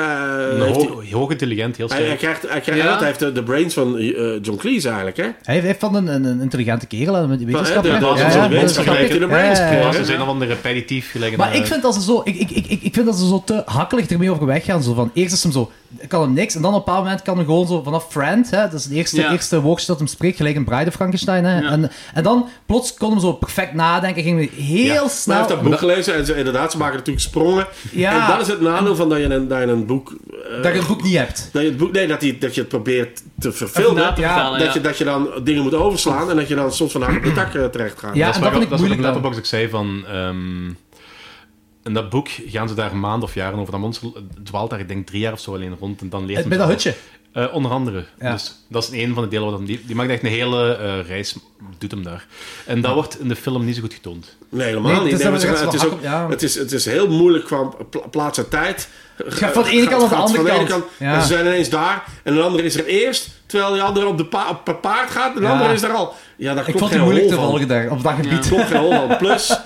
S4: Een
S3: heeft hij-
S4: Hoog, hoog intelligent, heel
S3: hij, hij
S4: sterk.
S3: krijgt, hij, krijgt,
S1: Ja.
S3: hij heeft de, de brains van eh, John Cleese eigenlijk, hè?
S2: Hij heeft van een, een, een intelligente kerel en een wetenschapper.
S3: Ja,
S2: hè?
S3: dat is
S2: Ja,
S3: zo'n
S2: ja,
S3: wetenschapper
S2: dat is
S3: die de
S2: grappig.
S3: brains
S2: Ja, ja,
S4: Ja,
S2: ja.
S4: ze zijn allemaal repetitief gelijk.
S2: Maar
S3: Eh.
S2: ik vind, dat ze zo, ik, ik, ik, ik, ik vind dat ze zo te hakkelig ermee over weggaan. Zo van, eerst is hem zo, kan hem niks. En dan op een bepaald moment kan hij gewoon zo vanaf Friend, hè, dat is het eerste,
S1: Ja.
S2: eerste woordje dat hem spreekt, gelijk een Bride of Frankenstein. Hè,
S1: Ja.
S2: en, en dan plots kon hem zo perfect nadenken, ging hij heel
S4: Ja. Maar
S3: Maar
S2: snel...
S3: hij heeft dat boek gelezen en ze, inderdaad, ze maken natuurlijk sprongen.
S2: Ja.
S3: En dat is het nadeel van dat je een, dat je een boek... eh,
S2: dat je het boek niet hebt.
S3: dat je het boek... Nee, dat, die, dat je het probeert te verfilmen.
S1: na te vertalen,
S3: dat,
S1: ja.
S3: je, dat je dan dingen moet overslaan en dat je dan soms van haar op de tak eh, terecht gaat.
S2: Ja,
S4: dat
S2: en dat
S4: is waar
S2: vind ik
S4: dat is wat
S2: moeilijk
S4: op
S2: dan.
S4: Letterboxd ik zei van... ehm, in dat boek gaan ze daar maanden of jaren over. Dat monster dwaalt daar, ik denk, drie jaar of zo alleen rond. En dan leert
S2: Eh,
S4: hem
S2: Bij dat
S4: zo-
S2: hutje.
S4: Eh, onder andere.
S2: Ja.
S4: Dus dat is een van de delen. Wat hem, die, die maakt echt een hele eh, reis, doet hem daar. En dat wordt in de film niet zo goed getoond.
S3: Nee, helemaal
S2: Nee,
S3: niet.
S2: het is
S3: Nee, maar
S2: dat we
S3: ze-
S2: er
S3: het, is
S2: echt
S3: ook,
S2: wel hak op- ja.
S3: het, is, het is heel moeilijk qua pla- plaats en tijd. Het
S2: gaat van de ene kant naar de
S3: gaat
S2: andere
S3: van ene
S2: kant. Ja.
S3: En ze zijn ineens daar. En de andere is er eerst. Terwijl de andere op de pa op een paard gaat. En de
S2: Ja.
S3: andere is er al. Ja, daar
S2: Ik
S3: klopt
S2: vond
S3: geen
S2: het moeilijk te
S3: hol van.
S2: volgen daar, op dat gebied.
S3: Daar klopt geen hol van. Plus,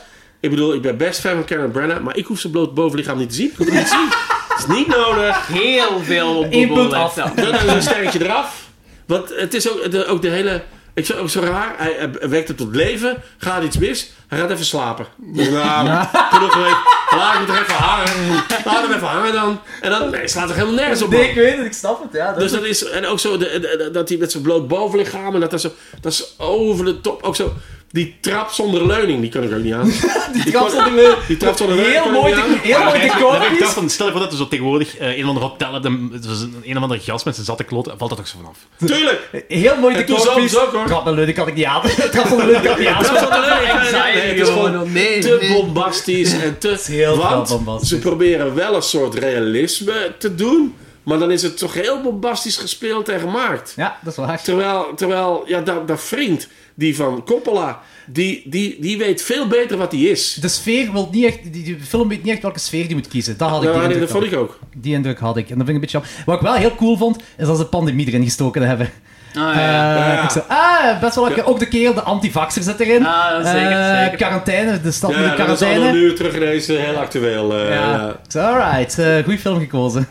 S3: ik bedoel, ik ben best fan van Karen Brennan. Maar ik hoef zijn bloot bovenlichaam niet te zien. Ik hoef het niet te zien. Dat is niet nodig.
S1: Heel veel op
S2: Eén
S1: Bobo
S2: punt
S1: lijkt
S2: af.
S1: dat.
S3: Dan is een sterretje eraf. Want het is ook de, ook de hele... Ik vind het ook zo raar. Hij, hij wekt het tot leven. Gaat iets mis. Hij gaat even slapen. Nou, genoeg geweest. Laat hem er even hangen. Laat hem even hangen dan. En dan nee, slaat er helemaal nergens op. man.
S2: Nee, ik weet het, ik snap het. Ja, dat
S3: Dus dat is... En ook zo de, de- de- dat hij met zijn bloot bovenlichaam... En dat, dat, zo, dat is over de top. Ook zo... Die trap zonder leuning, die kan ik ook niet aan.
S2: die trap zat er weer-
S3: Die trap zonder leuning.
S2: Heel
S3: kan ik
S2: mooi
S3: niet
S2: te-
S3: aan.
S2: heel mooi te
S4: Maar ik dacht
S2: kopies.
S4: van, stel je voor dat er zo tegenwoordig eh, een of ander op tellen, de- het was een, een of ander gast met zijn zatte kloten, valt dat ook zo vanaf.
S3: Tuurlijk!
S2: Heel mooi te
S3: En toen zat
S2: kopies.
S3: ze ook, hoor.
S2: Trap en leuning kan ik niet aan. Trap en leuning kan ik niet aan.
S3: Trap zonder leuning. kan ik niet aan. Nee, het
S1: Anxiety
S3: is gewoon
S1: gewoon, nee.
S3: te bombastisch en te...
S2: is heel
S3: want
S2: bombastisch.
S3: ze proberen wel een soort realisme te doen. Maar dan is het toch heel bombastisch gespeeld en gemaakt.
S2: Ja, dat is waar.
S3: Terwijl, terwijl ja, dat, dat vriend, die van Coppola, die, die, die weet veel beter wat hij is.
S2: De sfeer wil niet echt, die, die film weet niet echt welke sfeer die moet kiezen. Dat had ik die
S3: Ja, nee, dat
S2: indruk
S3: vond
S2: wel.
S3: ik ook.
S2: Die indruk had ik. En dat vind ik een beetje jammer. Wat ik wel heel cool vond, is dat ze pandemie erin gestoken hebben.
S1: Ah,
S2: Eh,
S1: ja.
S2: ik zei, ah, best wel lekker. Ook de kerel, de antivaxer zit erin.
S1: Ah, zeker,
S2: Eh,
S1: zeker.
S2: Quarantaine, de stad met
S3: Ja,
S2: de
S3: dat is
S2: quarantaine.
S3: allemaal nu terug ineens eh, heel actueel. eh,
S2: Ja.
S3: ja.
S2: Ik zei, alright, eh goede film gekozen.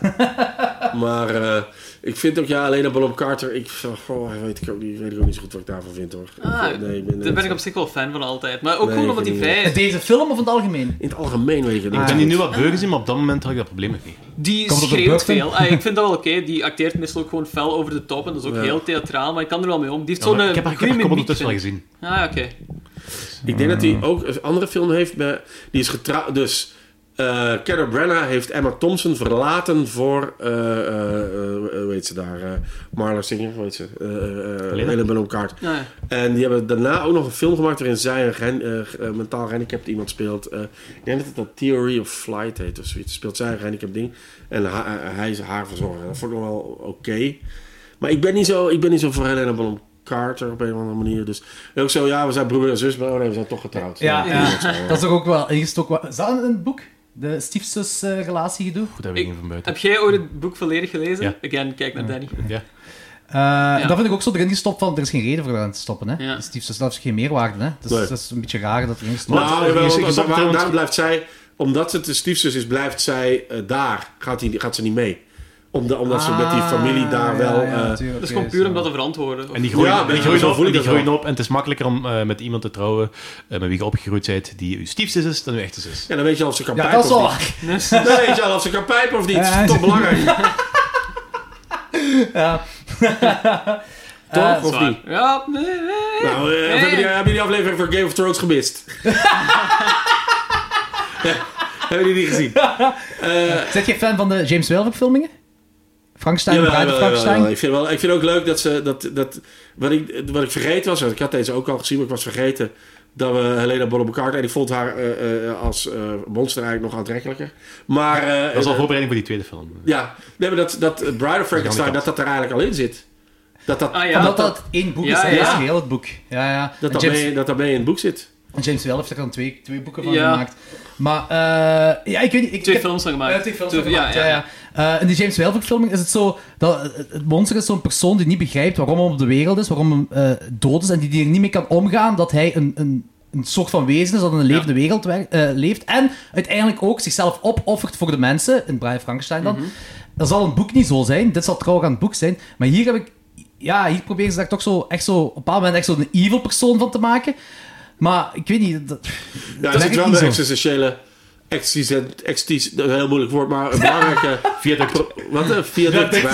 S3: Maar eh, ik vind ook, ja, alleen Bonham Carter, ik, goh, weet, ik ook niet, weet ik ook niet zo goed wat ik daarvan vind hoor.
S1: Ah,
S3: Ik- nee, ik ben,
S1: Daar ben ik op zich wel fan van altijd. Maar ook
S3: Nee,
S1: gewoon
S3: ik
S1: omdat die
S3: vind het
S1: vrij is.
S2: Deze film of in het algemeen?
S3: In het algemeen weet ik het niet.
S4: Ik ben hier nu wat beu gezien, maar op dat moment had ik dat probleem nog niet.
S1: Die
S2: Komt op de
S1: schreeuwt
S2: brug,
S1: veel. Ah, ik vind dat wel oké. Die acteert meestal ook gewoon fel over de top. En dat is ook
S3: Ja.
S1: heel theatraal. Maar ik kan er wel mee om. Die heeft
S4: Ja, maar
S1: zo'n
S4: ik heb
S1: eh,
S4: haar ik
S1: goede
S4: heb haar
S1: mimiek.
S4: ondertussen wel
S1: vind ik.
S4: gezien.
S1: Ah, oké.
S3: Ik denk dat hij ook een andere film heeft. bij- Die is getrouwd. Dus eh Carol Branagh heeft Emma Thompson verlaten voor. eh eh, eh, hoe heet ze daar? eh Marla Singer, hoe heet ze? Eh, eh,
S4: Helena?
S3: Helena Bonham Carter.
S1: Ja, ja.
S3: En die hebben daarna ook nog een film gemaakt waarin zij een gen- eh, ge- eh, mentaal gehandicapt iemand speelt. Eh, ik denk dat het dat Theory of Flight heet of zoiets. Speelt zij een gehandicapt ding. En ha- eh, hij is haar verzorger. Dat vond ik nog wel oké. Maar ik ben niet zo, ik ben niet zo voor Helena Bonham Carter op een of andere manier. Dus en ook zo, ja, we zijn broer en zus, maar oh nee, we zijn toch getrouwd.
S2: Ja,
S3: Ja, Nou,
S2: ja.
S3: dat is wel-
S2: dat is toch ook wel ingestoken. wa- Is dat in het boek? De stiefzus-relatie gedoe?
S4: Goed, daar weet ik
S1: Ik-
S4: niet van buiten.
S1: Heb jij ooit het boek volledig gelezen?
S4: Ja.
S1: Again, kijk naar Danny.
S4: Ja.
S2: Eh, Dat vind ik ook zo erin gestopt van, er is geen reden voor erin te stoppen. Hè?
S1: Ja.
S2: De stiefzus, dat heeft geen meerwaarde. Hè? Dus
S3: Nee.
S2: dat is een beetje raar dat erin gestopt
S3: Nou,
S4: Want-
S3: jawel,
S4: je- je
S3: want-
S4: zat
S3: waar-
S4: trouwens-
S3: daarom blijft zij, omdat ze de stiefzus is, blijft zij eh, daar. Gaat, die, gaat ze niet mee. Omdat, omdat ze met die
S2: Ah,
S3: familie daar wel. eh,
S1: Dat is gewoon puur om dat te verantwoorden.
S4: En die groeien,
S3: Ja,
S4: en die
S3: ja,
S4: groeien
S3: zo
S4: op,
S3: voel
S4: en
S3: ik
S4: die
S3: dat
S4: groeien
S3: wel.
S4: op. En het is makkelijker om eh, met iemand te trouwen eh, met wie je opgegroeid bent, die uw stiefzus is, dan uw echte zus.
S3: ja, dan weet je al of ze kan
S2: ja,
S3: pijpen
S2: dat is wel
S3: of
S2: waar.
S3: niet. Dan weet je al of ze kan pijpen of niet.
S2: Ja,
S3: toch
S2: ze-
S3: belangrijk.
S2: Ja. Eh,
S3: Toch? of
S1: Zwaar.
S3: niet?
S1: Ja, nee, nee.
S3: Nou, eh, of hebben jullie- hebben jullie de aflevering van Game of Thrones gemist? Ja, hebben jullie die gezien?
S2: Zet je fan van de James Whale verfilmingen? Frankenstein,
S3: Jawel,
S2: Bride of
S3: jawel,
S2: Frankenstein?
S3: jawel. Ik vind, wel, ik vind ook leuk dat ze. Dat, dat, wat, ik, wat ik vergeten was, want ik had deze ook al gezien, maar ik was vergeten dat we Helena Bonham Carter. En ik vond haar eh, eh, als eh, monster eigenlijk nog aantrekkelijker. Maar. eh,
S4: Dat is al
S3: eh,
S4: voorbereiding voor die tweede film.
S3: ja, nee, maar dat, dat eh, Bride of Frankenstein, dat dat er eigenlijk al in zit. Dat dat,
S1: Ah, ja,
S2: Omdat
S1: dat,
S2: dat één boek
S1: Ja,
S2: is,
S1: ja.
S2: dat is heel het boek. Ja, ja.
S3: dat,
S2: En
S3: dat,
S2: James,
S3: mee, dat dat mee in het boek zit.
S2: en James Whale heeft er dan twee, twee boeken van
S1: Ja.
S2: gemaakt. Maar, eh ja, ik weet niet... Ik, ik
S1: twee
S2: heb-
S1: films van gemaakt.
S2: Ja, twee films van gemaakt, ja,
S1: Ja,
S2: ja. Eh, in die James Whale verfilming is het zo dat eh, het monster is zo'n persoon die niet begrijpt waarom hij op de wereld is, waarom hij eh, dood is en die, die er niet mee kan omgaan dat hij een, een, een soort van wezen is dat in een levende wereld wer- eh, leeft en uiteindelijk ook zichzelf opoffert voor de mensen, in Brian Frankenstein
S1: Mhm.
S2: dan. Dat zal een boek niet zo zijn, dit zal trouw aan het boek zijn, maar hier heb ik, ja, hier proberen ze daar toch zo, echt zo, op een bepaald moment echt zo'n evil persoon van te maken. Maar ik weet niet, dat,
S3: Ja, er
S2: werkt
S3: zit wel
S2: niet
S3: de
S2: zo.
S3: existentiële. Existent, exist- dat is een heel moeilijk woord, maar een belangrijke. viaduct. Wat eh, een viaduct. Vind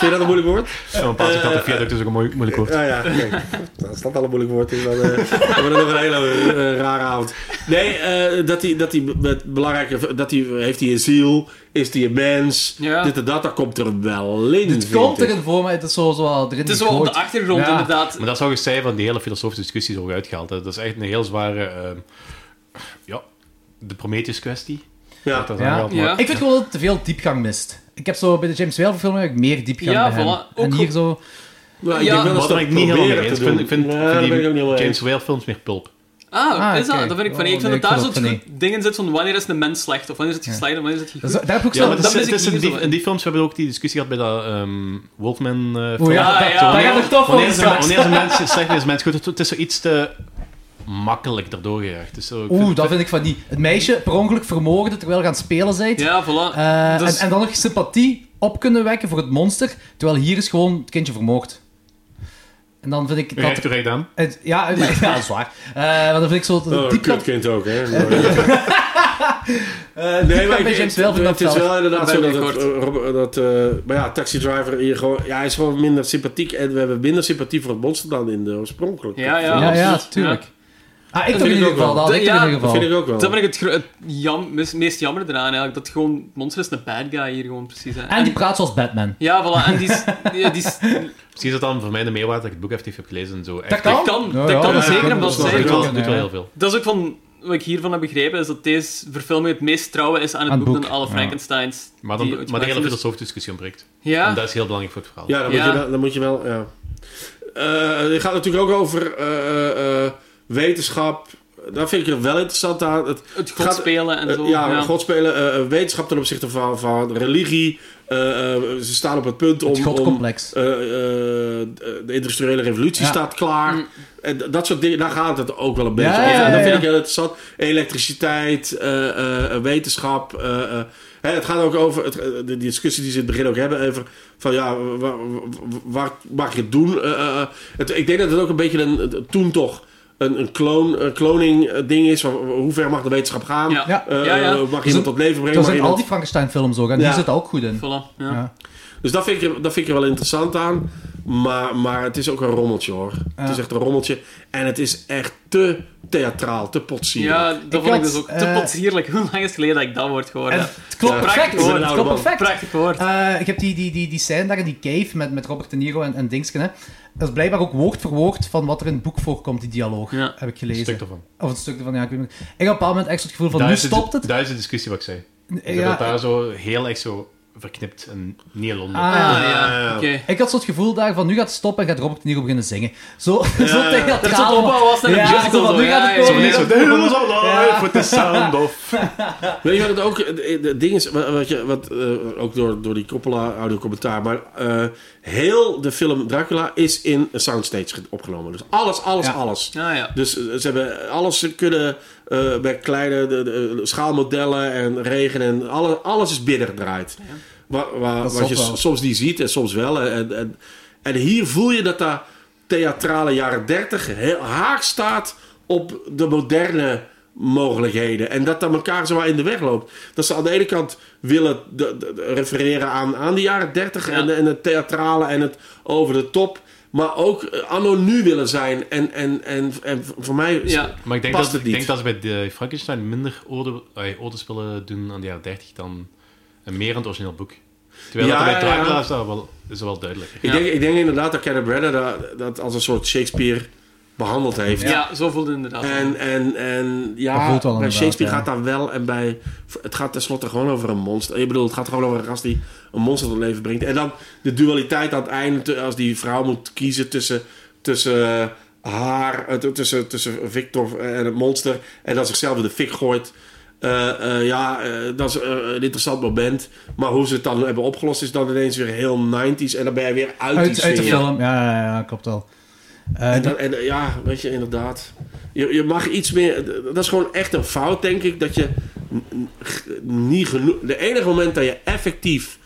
S3: je dat een moeilijk woord?
S4: Zo'n paar uh, de viaduct is ook een mooi, moeilijk woord.
S3: Ja, ja. Kijk, als dat al een moeilijk woord is, dan eh, hebben we nog een hele eh, rare avond. Nee, eh, dat hij, dat hij met belangrijke, dat hij, heeft hij een ziel? Is hij een mens?
S1: Ja.
S3: Dit en dat, dat komt er wel in.
S2: het
S3: vind
S2: komt
S3: ik.
S2: erin voor, maar het is zo, zo erin
S1: Het is wel op de
S2: gegooid.
S1: achtergrond,
S2: Ja.
S1: inderdaad.
S4: Maar dat zou ik zeggen van die hele filosofische discussie is ook uitgehaald. hè. Dat is echt een heel zware, ehm, ja, de Prometheus kwestie.
S3: Ja.
S4: Dat is
S2: Ja.
S4: aangehaald, maar-
S1: Ja.
S2: Ik vind gewoon dat het te veel diepgang mist. Ik heb zo bij de James Whale film heb ik meer diepgang
S1: Ja,
S2: bij hem.
S1: voilà. Ook
S2: en hier zo...
S3: Nou, ik
S1: Ja.
S3: denk wel dat
S4: Wat
S3: ze
S4: ben
S3: dat
S4: ik niet helemaal
S3: proberen
S4: mee eens.
S3: te
S4: Ik vind,
S3: doen.
S4: ik vind,
S3: Nee,
S4: vind
S3: daar
S4: die
S3: ben ik ook niet helemaal
S4: James
S3: eens.
S4: Whale films meer pulp.
S1: Ah,
S2: Ah,
S1: is dat?
S2: oké.
S1: Dat vind ik van
S2: Oh,
S1: nee. Ik
S2: nee, ik
S1: vind dat daar
S2: vind dat
S1: zo'n
S2: van
S1: dingen zit van wanneer is een mens slecht, of wanneer is het geslaagd, of wanneer is het
S2: Dat,
S1: goed.
S2: is- daar heb ik ook
S4: Ja,
S2: zo...
S4: maar dat
S1: dat
S4: is,
S1: mis ik
S4: dat is in,
S1: hier
S4: die,
S1: zo in.
S4: in die films hebben we ook die discussie gehad bij dat ehm, Wolfman eh, film.
S2: Oeh, Oh ja,
S1: Ah,
S2: dat-
S1: ja.
S2: daar gaat het toch
S4: Wanneer is
S2: over.
S4: een, wanneer is een mens slecht, wanneer is een mens goed? Het, het is zoiets te makkelijk erdoor gejaagd. Dus zo, ik
S2: Oeh,
S4: vind-
S2: dat vind ik van niet. Het meisje per ongeluk vermoorden terwijl je aan het spelen bent.
S1: Ja, voilà.
S2: Eh,
S1: Dus-
S2: en, en dan nog sympathie op kunnen wekken voor het monster, terwijl hier is gewoon het kindje vermoord. En dan vind ik
S4: Recht
S2: dat...
S4: toe, recht aan.
S2: Het, ja, ja, dat is waar. Eh, maar dan vind ik zo...
S3: Oh,
S2: dat
S3: een
S2: diepgang,
S3: kutkind ook, hè? Eh, nee,
S2: diepgang bij James Whale vind ik
S3: het
S2: dat
S3: is wel inderdaad
S1: Ben
S3: zo
S1: ik
S3: dat... het,
S1: kort.
S3: eh, Rob- dat eh, maar ja, Taxi Driver, hier gewoon, ja, hij is gewoon minder sympathiek. En we hebben minder sympathie voor het monster dan in de oorspronkelijke.
S1: Ja, ja,
S2: ja, ja,
S1: absoluut.
S2: tuurlijk.
S1: Ja.
S2: Ah, ik
S3: Dat
S2: toch in
S3: vind ik
S2: ieder
S3: ook
S2: geval. Dat
S3: wel.
S2: had ik
S1: Ja,
S2: toch in ieder
S3: Dat vind
S2: geval.
S3: ik ook wel.
S1: Dat vind ik het, gro- het jam, meest, meest jammer eraan eigenlijk. Dat gewoon, Monster is een bad guy hier gewoon precies. Hè.
S2: En die praat zoals Batman.
S1: Ja, voilà. En die is... ja, die is
S4: Misschien is dat dan voor mij de meerwaarde dat ik het boek effectief heb gelezen. en Zo. Echt,
S2: kan.
S1: dat kan,
S2: Ja,
S1: dat
S2: ja,
S1: kan
S2: dat
S1: zeker,
S2: kan,
S1: omdat
S3: dat is
S4: dat
S1: zij...
S4: doet wel,
S2: Ja.
S4: doet wel heel veel.
S1: Dat is ook van... wat ik hiervan heb begrepen, is dat deze verfilming het meest trouw is aan het
S2: Aan het
S1: boek,
S2: boek,
S1: dan alle Frankensteins.
S4: Maar, dan,
S1: die
S4: maar
S1: ooit
S4: de hele
S1: gemaakt zijn.
S4: filosofische discussie ontbreekt.
S1: Ja,
S4: En dat is heel belangrijk voor het verhaal.
S3: Ja, dan,
S1: Ja.
S3: Moet, je wel, dan moet je wel. Ja. Eh, het gaat natuurlijk ook over eh, eh, wetenschap. Dat vind ik er wel interessant aan. Het,
S1: het
S3: gaat-
S1: godspelen en
S3: eh,
S1: zo.
S3: ja, godspelen, eh, wetenschap ten opzichte van, van religie. Eh, eh, ze staan op het punt om.
S2: Het
S3: om
S2: godcomplex.
S3: eh, eh, de industriële revolutie
S2: Ja.
S3: staat klaar.
S1: Mm.
S3: En d- dat soort dingen, daar gaat het ook wel een beetje
S2: Ja,
S3: over.
S2: ja,
S3: En dat
S2: ja,
S3: vind
S2: ja.
S3: ik heel interessant. Elektriciteit, eh, eh, eh, wetenschap. eh, eh. Hè, het gaat ook over het, eh, de die discussie die ze in het begin ook hebben over van ja, wa- wa- wa- waar mag je het doen? Eh, eh, eh. Het- ik denk dat het ook een beetje een, een- toen toch een, een, kloon, een kloning eh, ding is. Van, hoe ver mag de wetenschap gaan?
S1: Ja.
S2: Ja.
S3: Eh,
S1: Ja, ja.
S3: eh,
S2: Dus
S3: Mag iemand tot leven brengen?
S2: Zo
S3: Mag
S2: zijn al
S3: iemand...
S2: die Frankenstein-films ook, en
S3: Ja.
S2: die zit ook goed in.
S1: Voilà, ja.
S2: Ja.
S3: Dus dat vind, ik er, dat vind ik er wel interessant aan. Maar, maar het is ook een rommeltje hoor. Het
S2: Ja.
S3: is echt een rommeltje. En het is echt te theatraal, te potsierlijk.
S1: Ja, dat vond ik
S2: had,
S1: dus ook te
S2: eh,
S1: potsierlijk. Hoe lang is het geleden dat ik dat woord gehoord
S2: En
S1: heb?
S2: het klopt
S3: Ja.
S2: perfect.
S1: Prachtig woord,
S2: het
S3: oude
S2: klopt
S3: man.
S2: perfect.
S1: Prachtig woord.
S2: Eh, ik heb die, die, die, die scène daar in die cave met, met Robert De Niro en, en Dingsken. Hè. Dat is blijkbaar ook woord voor woord van wat er in het boek voorkomt, die dialoog.
S1: Ja.
S2: Heb ik
S4: Een
S2: gelezen.
S4: stuk daarvan.
S2: Of een stuk ervan, ja. Ik, weet niet. ik heb op een bepaald moment echt het gevoel van,
S4: Daar
S2: nu
S4: is de-
S2: stopt het.
S4: Daar is de discussie wat ik zei. Dat het
S2: Ja, eh,
S4: daar zo heel echt zo verknipt en niet in Londen.
S2: Ah.
S1: Ah, ja, oké.
S2: ik had zo het gevoel daar van, nu gaat het stoppen en gaat Robert De Niro beginnen zingen. Zo, zo tegen dat
S1: Dat is wat opbouw was naar een
S2: Ja,
S1: musical.
S2: zo van,
S1: zo.
S2: nu
S1: Ja,
S2: gaat het
S1: ja,
S2: komen.
S1: ja.
S4: Zo, the hell is alive
S2: Ja.
S4: with the sound of...
S3: Weet je wat het ook... Het ding is, wat, wat je, wat, eh, ook door, door die Coppola audio commentaar. Maar eh, heel de film Dracula is in een soundstage ge- opgenomen. Dus alles, alles,
S2: Ja.
S3: alles.
S1: Ja, ja.
S3: Dus eh, ze hebben alles kunnen eh, bij kleine de, de- schaalmodellen en regen en alle, alles is binnengedraaid. Wa- wa-
S2: Dat
S3: wat je
S2: is wel.
S3: soms niet ziet en soms wel. En, en, en hier voel je dat dat theatrale jaren 30 heel haak staat op de moderne mogelijkheden. En dat dat elkaar zo in de weg loopt. Dat ze aan de ene kant willen de- de- de- refereren aan, aan de jaren 30
S1: Ja.
S3: en, en het theatrale en het over de top. Maar ook eh, anno nu willen zijn. En, en, en, en voor mij... is-
S1: Ja.
S4: Maar ik denk,
S3: Past het
S4: dat, ik
S3: niet.
S4: denk dat ze bij de Frankenstein minder ode, ay, odespellen doen aan de jaren 30 dan en meer aan het origineel boek. Terwijl
S3: Ja,
S4: dat bij
S3: ja,
S4: Dracula
S3: ja.
S4: is dat wel, is dat wel duidelijk.
S3: Ik,
S1: Ja.
S3: denk, ik denk inderdaad dat Kenneth Branagh dat, dat als een soort Shakespeare behandeld heeft.
S1: Ja, zo voelde het inderdaad.
S3: En, en, en
S2: Dat
S3: ja,
S2: voelt wel
S3: bij
S2: inderdaad,
S3: Shakespeare
S2: ja.
S3: gaat dat wel. En bij, het gaat tenslotte gewoon over een monster. Ik bedoel, het gaat gewoon over een gast die een monster tot leven brengt. En dan de dualiteit aan het einde. te- Als die vrouw moet kiezen tussen, tussen eh, haar, eh, t- tussen, tussen Victor en het monster. En dan zichzelf in de fik gooit. Eh, eh, ja, eh, dat is eh, een interessant moment. Maar hoe ze het dan hebben opgelost is dan ineens weer heel 90s. En dan ben je weer uit, die
S2: Uit, uit de
S3: sfeer.
S2: film. Ja, ja, ja, klopt wel. Eh,
S3: En, dat- en eh, ja, weet je, inderdaad. Je, je mag iets meer... d- Dat is gewoon echt een fout, denk ik. Dat je n- n- g- niet genoeg... De enige moment dat je effectief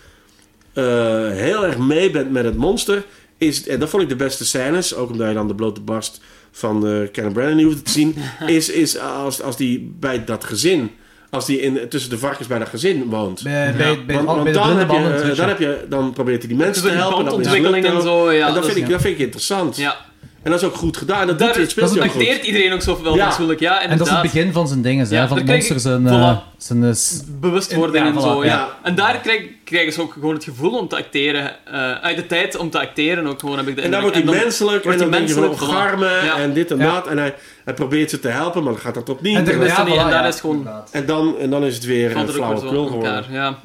S3: eh, heel erg mee bent met het monster... Is, en dat vond ik de beste scènes. Ook omdat je dan de blote barst van eh Kenneth Branagh niet hoeft te zien. Is, is als, als die bij dat gezin... Als die in, tussen de varkens bij dat gezin woont.
S2: bij, bij, bij,
S3: Want,
S2: oh,
S3: want
S2: bij de
S3: dan,
S2: blinde
S3: heb je,
S2: banden.
S3: eh,
S2: terug, ja.
S3: dan, heb je, dan probeert hij die
S1: Dus
S3: mensen te
S1: die
S3: helpen. dan mislukt
S1: bandontwikkeling en
S3: dat.
S1: zo. Ja,
S3: en dat,
S1: dat
S3: vind ik,
S1: is-
S3: dat vind ik interessant.
S1: ja.
S3: En dat is ook goed gedaan. Dat, doet,
S1: Daar
S3: het speelt hij ook goed.
S1: acteert iedereen ook zoveel
S3: Ja.
S1: ja. natuurlijk. Ja,
S2: En dat
S1: inderdaad.
S2: is het begin van zijn dingen,
S1: Ja,
S2: hè van
S1: dan
S2: het
S1: krijg
S2: monster,
S1: ik-
S2: zijn, eh, zijn eh, s-
S1: Bewustwording
S2: Ja,
S1: en
S2: voilà.
S1: zo, ja.
S3: Ja.
S1: En daar krijg, krijgen ze ook gewoon het gevoel om te acteren. eh, uit de tijd om te acteren ook gewoon, heb ik de
S3: En dan
S1: indruk.
S3: wordt hij menselijk en
S1: wordt
S3: dan
S1: hij
S3: denk je van
S1: menselijk, voilà.
S3: omarmen
S1: Ja.
S3: en dit en
S2: Ja.
S3: dat. En hij, hij probeert ze te helpen, maar dan gaat dat opnieuw.
S2: En
S3: En,
S2: de-
S1: wist
S2: ja,
S1: het niet,
S2: voilà,
S1: en daar
S2: ja.
S1: is gewoon-
S2: Inderdaad.
S3: dan, en dan is het weer een
S1: Valt er ook weer
S3: flauwe
S1: zo
S3: krul
S1: aan
S3: geworden.
S1: elkaar, ja.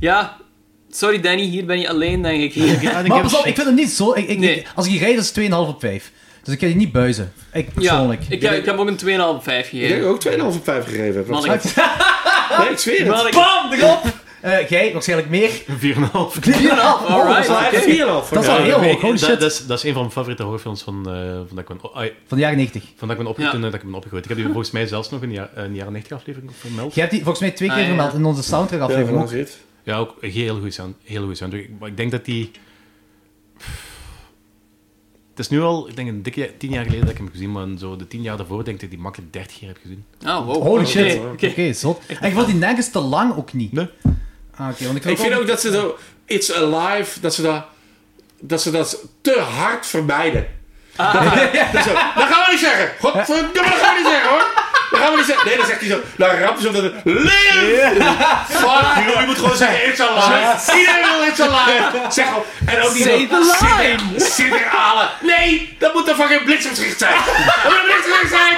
S1: ja, sorry Danny, hier ben je alleen denk ik. Hier.
S2: Maar pas op, ik vind het niet zo... Ik, ik,
S1: Nee.
S2: ik- als ik rijd, is het 2,5 op 5. Dus ik kan die niet buizen. Ik
S1: Ja,
S2: persoonlijk.
S1: ik, heb- ik heb ook een 2,5 5
S3: Ik denk
S1: gegeven.
S3: ook 2,5 op 5 gegeven. heb.
S1: Manneke.
S3: Nee, ik zweer het.
S1: Manneke.
S2: Bam, erop! Eh jij, waarschijnlijk meer.
S4: 4,5. Dat,
S2: 4,5.
S1: alright.
S2: Oh,
S3: Maar hij heeft 4,5 voor
S2: Dat is al
S3: jou.
S2: heel hoog, holy
S4: dat,
S2: shit.
S4: is, dat is een van mijn favoriete horrorfilms van, eh, van dat ik ben, oh, ai,
S2: Van de jaren 90.
S4: van dat ik ben opge-
S1: Ja.
S4: toen, eh, dat ik ben opgegooid. Ik heb die volgens mij zelfs nog in de ja- eh, in de jaren 90 aflevering vermeld.
S2: Je hebt die volgens mij twee keer
S1: Ah, ja.
S2: vermeld in onze soundtrack
S3: Ja,
S2: aflevering
S3: van
S2: ook.
S3: zit.
S4: Ja, ook een heel goed sound. Heel goed sound. Ik- Maar ik denk dat die... Het is nu al, ik denk een dikke tien jaar geleden dat ik hem heb gezien, maar zo de tien jaar daarvoor denk ik dat ik die makkelijk 30 keer heb gezien.
S1: Oh, wow.
S2: Holy
S1: Oké,
S2: shit.
S1: oké.
S2: Oké, zot. En ik vond die nergens te lang ook niet.
S4: Nee.
S2: Ah, oké, want ik,
S3: Ik vind ook dat ze zo... It's Alive, dat ze dat... Dat ze dat te hard vermijden.
S2: Ah.
S3: Dat, is zo, dat gaan we niet zeggen. Godverdomme, dat gaan we niet zeggen hoor. Dat gaan we niet zeggen. Nee, dan zegt hij zo. Dan ramt hij zo dat het leef. Fuck you. Je moet gewoon zeggen, it's alive. Iedereen wil it's alive. Zeg al. En ook niet
S2: Say
S3: zo,
S2: the
S3: zit er- Zit er halen. Nee, dat moet een fucking bliksemschicht zijn. Dat moet een bliksemschicht zijn.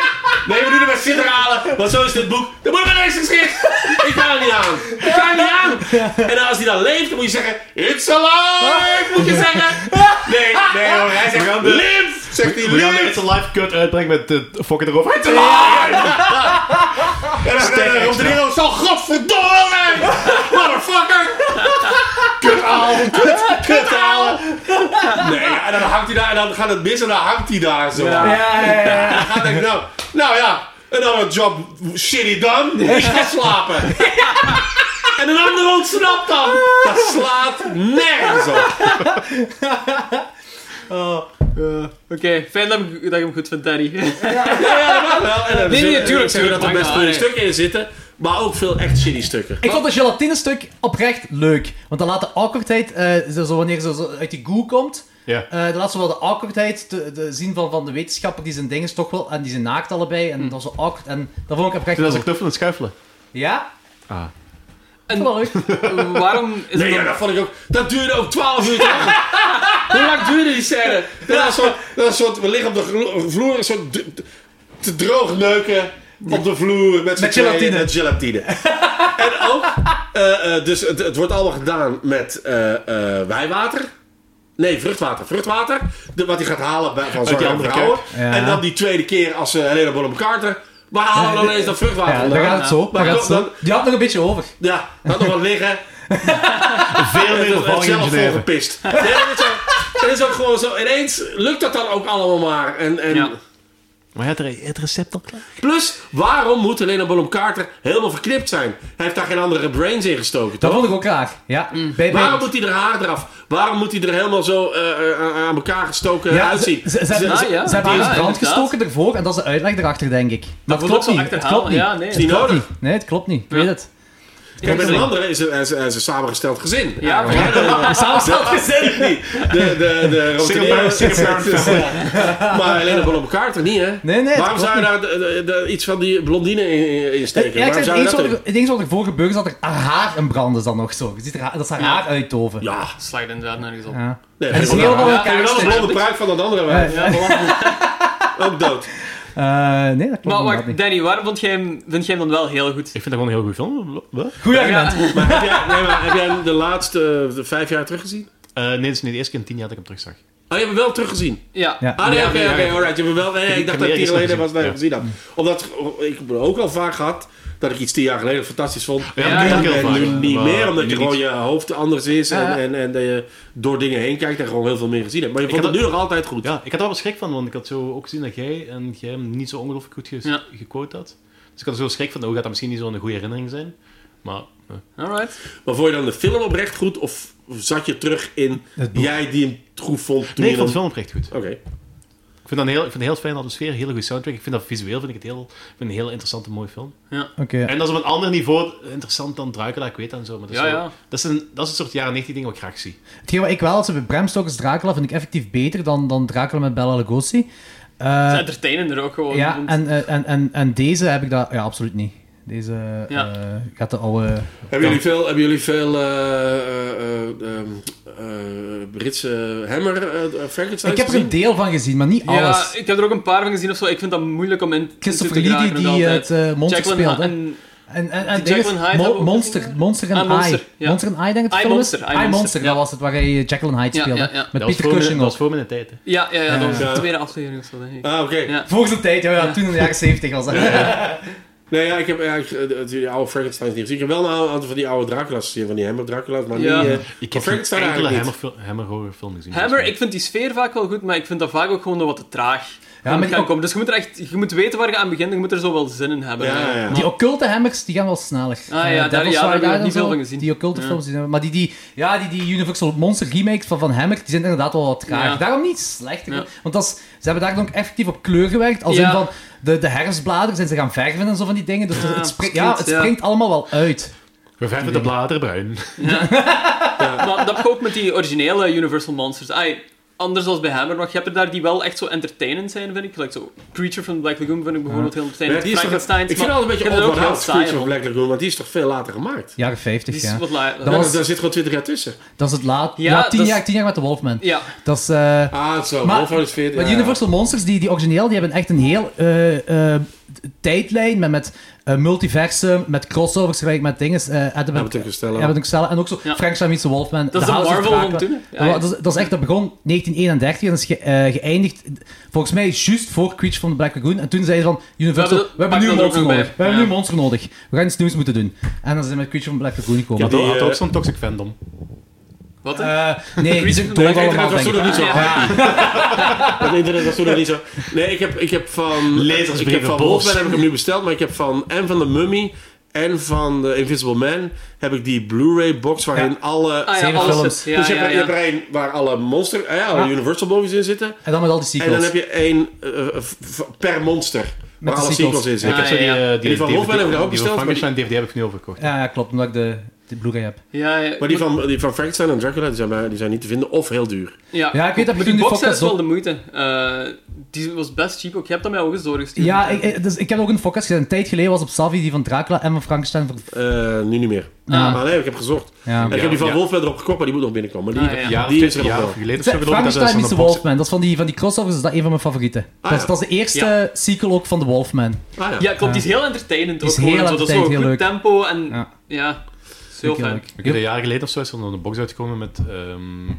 S3: Nee, we doen het met Sinterhalen, want zo is dit boek. Dan moet ik niks geschreven. Ik ga er niet aan. Ik ga er niet aan. En als hij dan leeft, dan moet je zeggen, it's alive, moet je zeggen. Nee, nee hoor, hij zegt,
S4: gaan de-
S3: live, zegt hij,
S4: We gaan de
S3: live.
S4: It's Alive cut uitbrengen met de fokken erover. It's Alive!
S3: En dan op de wereld zo, godverdomme! Motherfucker! Kutalen, kut, kutalen! Nee, ja, en dan hangt hij daar, en dan gaat het mis en dan hangt hij daar zo. aan.
S2: Ja, ja, ja.
S3: En dan gaat hij, nou, nou ja, another job shitty done, ik ga slapen. En een ander ontsnapt dan. Dat slaat nergens op.
S1: Oké, fijn dat, ik- dat je hem goed vindt, Danny.
S3: Ja, ja, dat mag wel. En er
S1: nee,
S3: zullen-
S1: tuurlijk,
S3: er zullen
S1: tuurlijk,
S3: er best
S1: mag
S3: goede
S1: wel,
S3: stukken in zitten, maar ook veel echt shitty stukken.
S2: Ik vond het gelatinestuk oprecht leuk. Want dan laat de awkwardheid, eh, zo, zo wanneer ze zo uit die goo komt,
S4: Ja.
S2: eh, dan laat ze wel de awkwardheid te, de zien van, van de wetenschapper die zijn dingen toch wel, en die zijn naakt allebei, en dat is zo awkward. En dat vond ik oprecht
S4: Toen was
S2: leuk.
S4: ik knuffelen en schuifelen.
S2: Ja?
S4: Ah.
S2: En... Wel leuk.
S1: Waarom is
S3: Nee,
S1: het
S3: ja,
S1: dan...
S3: dat vond ik ook. Dat duurde ook 12 uur. toch? Hoe lang duurde die scène? Dat was zo, dat was zo, we liggen op de glo- vloer, zo d- d- te droog neuken op de vloer met, z'n
S2: Met
S3: tweeën,
S2: gelatine.
S3: Met gelatine. en ook, eh, eh, dus het, het wordt allemaal gedaan met eh, eh, wijwater. Nee, vruchtwater. Vruchtwater. De- wat hij gaat halen bij, van
S4: die
S3: zwangere
S4: andere
S3: vrouwen.
S2: Ja.
S3: En dan die tweede keer als eh, ze Helena Bonham Carter. Maar halen we dan eens dat vruchtwater.
S2: Ja, daar
S3: vandaan?
S2: gaat het zo. Daar
S3: Maar
S2: gaat het
S3: dan-
S2: zo. Die had nog een beetje over.
S3: Ja, dat nog wat liggen.
S4: Veel meer
S3: Het
S4: bevalling in
S3: zelf
S4: Geneve.
S3: volgepist. Nee, dat is ook- dat is ook gewoon zo. Ineens lukt dat dan ook allemaal maar. En, en
S1: Ja.
S4: Maar had er het recept al klaar?
S3: Plus, waarom moet Helena Bonham Carter helemaal verknipt zijn? Hij heeft daar geen andere brains in gestoken,
S2: Dat
S3: toch?
S2: vond ik ook raar. Ja. Bij, bij-
S3: Waarom moet hij er haar eraf? Waarom moet hij er helemaal zo eh, eh, aan elkaar gestoken
S2: ja,
S3: uitzien?
S2: Ze, ze, ze,
S3: Ze-
S2: ze-
S1: Ah, ja.
S2: ze hebben
S1: Ja,
S2: eerst brand
S1: inderdaad.
S2: gestoken ervoor en dat is de uitleg erachter, denk ik. Maar het
S1: wordt ook
S2: klopt
S1: zo
S2: niet. Het klopt
S1: achterhaald.
S2: niet.
S1: Ja,
S2: Het
S1: nee.
S3: is niet
S2: klopt
S3: nodig.
S2: niet. Nee, het klopt niet. Ik weet het.
S3: Kijk, met een andere is een, is, is een samengesteld gezin.
S1: Ja, maar-
S3: Samengesteld gezin niet. De, de, de Rotterdam- Maar Helena Bonham Carter niet, hè?
S2: Nee, nee. het
S3: Waarom
S2: klopt
S3: zou je
S2: niet.
S3: daar de- de- de- iets van die blondine in, in- in steken?
S2: Ja, ik
S3: Waarom
S2: zeg,
S3: zou
S2: het
S3: je
S2: enige
S3: dat
S2: wat
S3: doen?
S2: er- het enige wat er voor gebeurt is dat er haar haar in brand is dan nog zo. Je ziet er haar- dat ze haar
S1: Ja.
S2: haar uittoven.
S3: Ja,
S1: Slag je inderdaad nergens op.
S2: Ja.
S3: nee,
S2: Het is
S3: helemaal
S2: heel
S3: raar.
S2: wel
S1: Ja,
S2: elkaar
S3: En wel een
S2: steken.
S3: blonde pruik van dat andere wijf.
S2: Ja.
S3: Ook dood.
S2: Eh, nee, dat klopt
S1: Maar
S2: inderdaad
S1: wacht,
S2: niet.
S1: Danny, waarom vond jij hem, vind jij hem dan wel heel goed?
S4: Ik vind dat gewoon een heel goede film. Wat?
S2: Goed argument.
S3: Maar heb, jij, nee, maar heb jij hem de laatste eh, vijf jaar teruggezien?
S4: Eh, nee, dat is niet de eerste keer in tien jaar dat ik hem terugzag.
S3: Oh, je hebt hem wel teruggezien?
S1: Ja.
S2: Ja.
S3: Ah, nee,
S1: Ja,
S3: oké,
S1: ja,
S3: oké,
S1: ja.
S3: alright. Je hebt hem wel... Nee, ik
S4: heb
S3: dacht
S4: hem
S3: dat tien
S4: eerst
S3: jaar geleden was
S4: gezien,
S3: dat je
S4: ja.
S3: hem gezien had. Omdat oh, ik heb ook al vaak gehad dat ik iets tien jaar geleden fantastisch vond.
S1: Ja,
S4: dat
S1: ja,
S4: heb ik heel
S3: En
S4: vaak.
S3: nu niet
S4: Maar
S3: meer, omdat
S4: nu
S3: je
S4: niet.
S3: gewoon je hoofd anders is en,
S2: Ja.
S3: en, en dat je door dingen heen kijkt en gewoon heel veel meer gezien hebt. Maar je
S4: Ik
S3: vond het
S4: had
S3: nu nog altijd goed.
S4: Ja, ik had er wel schrik van, want ik had zo ook gezien dat jij en jij hem niet zo ongelooflijk goed ge
S1: Ja.
S4: gequote had. Dus ik had er zo schrik van, nou gaat dat misschien niet zo'n goede herinnering zijn. Maar eh,
S1: Alright.
S3: Maar vond je dan de film oprecht goed of zat je terug in jij die hem goed vond toen
S4: nee, ik
S3: je
S4: vond de
S3: dan-
S4: film oprecht goed.
S3: Oké.
S4: Ik vind dat een heel, ik vind een heel fijne atmosfeer, een hele goede soundtrack. Ik vind dat visueel vind ik het heel, ik vind het een heel interessante, mooie film.
S2: Oké.
S4: En dat is op een ander niveau interessant dan Dracula, ik weet dat en zo. Maar dat is,
S1: Ja,
S4: zo-
S1: ja.
S4: Dat, is een, dat is een soort jaren 90 ding wat ik graag zie.
S2: Hetgeen wat ik wel had bij Bram Stoker's Dracula vind ik effectief beter dan, dan Dracula met Bella Lugosi. Eh,
S1: Het is entertainender ook gewoon.
S2: ja,
S1: want-
S2: en, eh, en, en, en deze heb ik dat... Ja, absoluut niet. Deze
S1: Ja.
S2: eh, gaat de oude...
S3: Hebben jullie veel, hebben jullie veel eh, eh, eh, ehm, eh, Britse Hammer eh, eh, Frankenstein
S2: Ik heb er een
S3: gezien?
S2: deel van gezien, maar niet alles.
S1: Ja, ik heb er ook een paar van gezien of zo. Ik vind dat moeilijk om in
S2: Christopher
S1: in te
S2: Lee die,
S1: geraken nog
S2: die
S1: altijd.
S2: het eh, monster
S1: Jacqueline
S2: speelde.
S1: Ha-
S2: En, en,
S1: en-
S2: en, en
S1: die
S2: ding is,
S1: Jacqueline Hyde
S2: Mo-
S1: hebben we ook
S2: monster,
S1: gezien.
S2: monster en
S1: Ah,
S2: I.
S1: Monster, ja.
S2: Monster en I, denk ik het
S1: I,
S2: film
S1: Monster,
S2: is?
S1: I,
S2: I, Monster,
S1: Monster,
S2: dat
S1: ja.
S2: was het waar hij eh, Jacqueline Hyde
S1: Ja,
S2: speelde.
S1: ja, ja.
S2: Met
S4: Dat was
S2: Peter
S4: voor mijn-
S2: Cushing
S4: Dat was
S2: ook.
S4: voor mijn tijd. Hè.
S1: ja, ja, ja, dat was
S3: Ja.
S1: de tweede aflevering of zo, denk ik.
S3: Ah, oké.
S1: Ja.
S2: Voor zijn tijd, ja, ja, toen in de jaren 70 was dat.
S3: Nee, ja, ik heb eigenlijk eh, die oude Frankenstein niet gezien. Ik heb wel een aantal van die oude Dracula's gezien, van die Hammer Dracula's, maar
S1: Ja.
S3: niet... eh,
S4: Ik
S3: maar
S4: heb geen
S3: Frankenstein
S4: enkele
S3: eigenlijk
S4: Hammer,
S3: niet.
S4: fil- Hammer horror film gezien. Dus
S1: Hammer, ik vind die sfeer vaak wel goed, maar ik vind dat vaak ook gewoon nog wat te traag. Ja,
S2: maar die-
S1: maar komen. Dus je moet, er echt, je moet weten waar je aan begint en je moet er zo wel zin in hebben.
S3: Ja, ja, ja.
S2: Die occulte hammers, die gaan wel sneller.
S1: Ah, ja,
S2: Eh, Devil's
S1: daar- ja, daar heb ik
S2: Ride
S1: nog niet
S2: en zo,
S1: veel van gezien.
S2: Die occulte
S1: Ja.
S2: films, die, zijn- maar die, die, ja, die, die Universal Monster remakes van Van Hammer, die zijn inderdaad wel wat traag.
S1: Ja.
S2: Daarom niet slecht. ik
S1: Ja.
S2: wil- Want dat is, ze hebben daar ook effectief op kleur gewerkt. Als
S1: Ja.
S2: in van, de, de herfstbladeren zijn ze gaan verven en zo van die dingen. Dus het, springt, ja,
S1: klopt,
S2: het
S1: ja.
S2: springt allemaal wel uit.
S4: We vijf met de bladeren bruin.
S1: Maar dat heb ik ook met die originele Universal Monsters. Ai, anders dan bij Hammer, maar je hebt er daar die wel echt zo entertainend zijn, vind ik. Gelijk zo Creature from the Black Lagoon vind ik bijvoorbeeld heel
S3: Ja,
S1: entertainend.
S3: die is toch, ik
S1: Frankenstein.
S3: vind het altijd een beetje
S1: ook heel
S3: overhaald,
S1: saai.
S3: Screech van
S1: vond.
S3: Black Lagoon, want die is toch veel later gemaakt?
S2: Jaren
S1: Die
S2: 50,
S1: is
S2: ja.
S1: wat laai-
S2: Dat was-
S3: Daar zit gewoon twintig jaar tussen.
S2: Dat is het laat. Ja,
S1: Ja,
S2: tien,
S1: dat is-
S2: jaar, tien jaar met de Wolfman.
S1: Ja,
S2: Dat is... eh,
S3: Ah, zo.
S2: Maar-
S3: Wolfhard is
S2: Maar
S3: 40.
S2: Universal Monsters, die, die origineel, die hebben echt een heel eh, eh, tijdlijn, met, met eh, multiversum, met crossovers gelijk met dingen. eh Adam
S3: Abbott en Costello.
S2: Abbott en Costello. En ook zo
S1: Ja.
S2: Frank Sami's Wolfman.
S1: Dat is de
S2: House of
S1: Marvel van
S2: Dracula.
S1: toen, hè? Ja,
S2: Dat, was-
S1: ja.
S2: dat, is, dat is echt, dat begon 1931 en is ge- eh, geëindigd, volgens mij, juist voor Creature from the Black Lagoon. En toen zeiden ze van, Universal,
S1: We
S2: we
S1: hebben-
S2: hebben, nu een
S1: pak dat er
S2: monster
S1: ook nog
S2: nodig.
S1: bij.
S2: We hebben nu
S1: Ja.
S2: een monster nodig. We gaan iets nieuws moeten doen. En dan zijn ze met Creature from the Black Lagoon gekomen.
S3: Ja,
S4: Die
S3: Die,
S4: had
S3: eh,
S4: ook zo'n toxic fandom.
S1: Wat? hè?
S2: Eh, nee, die zijn
S1: Nee,
S2: dood
S1: kijk, dat
S2: allemaal,
S3: was
S2: denk
S3: toen
S2: ik.
S3: nog niet zo
S2: Ja.
S3: Dat internet was toen nog niet zo. Nee, ik heb, ik heb van.
S4: Lezersbrieven
S3: Ik heb van
S4: boos.
S3: Wolfman heb ik hem nu besteld, maar ik heb van. En van de Mummy. En van de Invisible Man heb ik die Blu-ray box waarin alle.
S1: Ah ja,
S2: zeven
S1: alles
S2: films.
S1: zit. Ja,
S3: dus je
S1: ja,
S3: hebt, je hebt
S1: ja.
S3: er een waar alle monster. ah ja, alle
S2: Ja.
S3: Universal movies in zitten.
S2: En dan met al die sequels.
S3: En dan heb je één eh, eh, v- per monster. Waar
S2: de
S3: alle
S2: sequels.
S3: sequels in
S4: Ik
S3: zitten.
S1: Ah,
S4: heb zo die,
S1: ja, ja.
S4: eh,
S3: Die van Wolfman heb ik daar ook
S4: die
S3: besteld,
S4: van
S3: maar
S4: Frankenstein DVD heb ik nu overgekocht.
S2: Ja, ja, klopt, omdat ik de, de Blu-ray heb.
S1: Ja, ja.
S3: Maar die van, die van Frankenstein en Dracula die zijn, bij- die zijn niet te vinden of heel duur.
S1: Ja,
S2: Ja, ik weet dat
S1: maar
S2: toen
S1: die
S2: die
S1: box set is
S2: podcast
S1: wel
S2: op-
S1: de moeite. Eh, die was best cheap ook. Je hebt dat mij ook eens doorgestuurd.
S2: Ja, ik, ik- dus, ik heb ook een focus gezien. Een tijd geleden was op Savi die van Dracula en van Frankenstein. Ver...
S3: Eh, nu niet meer.
S2: Ja.
S3: Maar nee, ik heb gezocht.
S2: Ja.
S3: En ik heb die van
S4: Ja.
S3: Wolfman erop gekocht, maar die moet nog binnenkomen. Maar die,
S1: Ah, ja.
S4: Ja,
S3: die is er nog
S4: jaar
S3: wel.
S4: of geleden. of zo, geloof ik, dat ze
S2: Frankenstein is
S4: zo'n
S2: de
S4: box-
S2: Wolfman. Dat is van die, van die crossovers, is dat een van mijn favorieten. dat, is,
S3: ja.
S2: dat is de eerste sequel ook van de Wolfman.
S3: Ah, ja.
S1: Ja, klopt. Die is heel entertainend.
S2: Die is
S1: ook gewoon
S2: heel
S1: zo. Dat is
S2: entertainend,
S1: zo'n
S2: heel
S1: goed
S2: leuk.
S1: tempo en ja,
S2: Ja.
S1: dat is heel
S2: Vind ik
S1: fijn.
S2: leuk.
S4: Ik heb een jaar geleden of zo is er nog een box uitgekomen met ehm,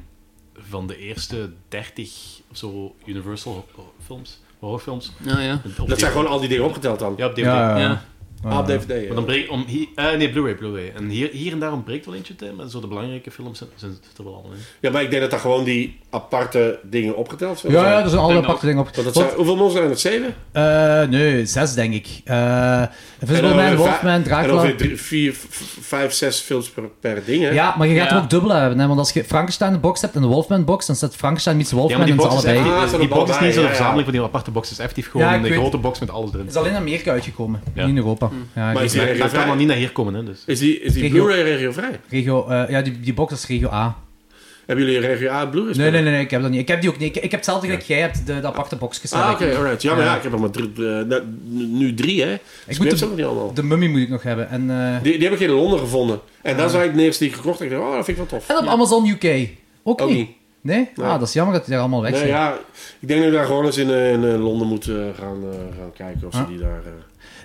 S4: van de eerste 30 of zo Universal ho- films, horrorfilms.
S1: Ja, ja.
S4: Op
S3: Dat zijn
S4: DVD.
S3: gewoon al die dingen opgeteld dan.
S4: Ja, op DVD.
S2: Ja, ja.
S1: Ja.
S3: Ah, op DVD. ja.
S4: Maar dan breekt om hier, eh, nee, Blu-ray, Blu-ray. En hier, hier en daar ontbreekt wel eentje te, maar zo de belangrijke films zijn, zijn er wel allemaal in.
S3: Ja, maar ik denk dat daar gewoon die aparte dingen opgeteld zijn.
S2: Ja, ja, er zijn alle
S1: Denk
S2: aparte dingen op.
S3: Want dat
S2: Want,
S3: zijn, hoeveel monsters zijn er? Zeven?
S2: eh, nee, zes denk ik. Eh Invisible
S3: En
S2: Man,
S3: ongeveer
S2: Wolfman,
S3: vijf- En
S2: Dracula.
S3: ongeveer drie, vier, v- vijf, zes films per, per ding, hè?
S2: Ja, maar je gaat
S1: Ja.
S2: hem ook dubbel hebben. Hè? Want als je Frankenstein de box hebt en de Wolfman box, dan staat Frankenstein meets
S4: Ja,
S2: Wolfman
S4: maar die
S2: en ze
S4: box is,
S2: allebei.
S3: echt-
S2: Het
S3: Ah,
S4: die,
S3: zo'n
S4: die box is niet
S3: baldaai,
S4: zo'n
S3: ja, ja.
S4: verzameling van die aparte box. Het is effectief
S2: Ja,
S4: gewoon
S2: ik
S4: een
S2: weet-
S4: grote box met alles erin.
S2: is alleen in Amerika uitgekomen,
S4: Ja.
S2: niet in Europa. Ja,
S3: Mm. Maar
S2: die
S3: is die,
S4: Maar
S3: regio
S4: het gaat allemaal
S3: vrij?
S4: niet naar hier komen, hè. Dus.
S3: Is die, is die
S2: Regio-
S3: Blu-ray regio vrij?
S2: regio, eh, ja, die, die box is regio A.
S3: Hebben jullie een regio A Blu-ray?
S2: Nee,
S3: spelen?
S2: nee, nee, nee, ik heb dat niet. Ik heb die ook niet. Ik, ik heb hetzelfde gelijk jij hebt, de, de aparte boxjes. heb
S3: Ah,
S2: ik.
S3: oké, alright. Ja, maar
S2: Ja.
S3: ja, ik heb er maar drie, eh, nou, nu drie, hè? Dus
S2: moet
S3: ik weet
S2: de-
S3: ze ook niet allemaal.
S2: De mummy moet ik nog hebben. En, eh,
S3: Die, die heb ik in Londen gevonden. En
S2: Ah.
S3: dat is eigenlijk de eerste die ik gekocht heb. Ik dacht, oh, dat vind ik wel tof.
S2: en op Amazon UK. Ook,
S3: Ook
S2: niet.
S3: niet.
S2: Nee?
S3: Nee.
S2: Ah, dat is jammer dat die daar allemaal weg
S3: Nee,
S2: zijn.
S3: ja, ik denk dat we daar gewoon eens in, eh, in eh, Londen moeten eh, gaan, eh, gaan kijken of ze
S2: Ah.
S3: die daar... eh,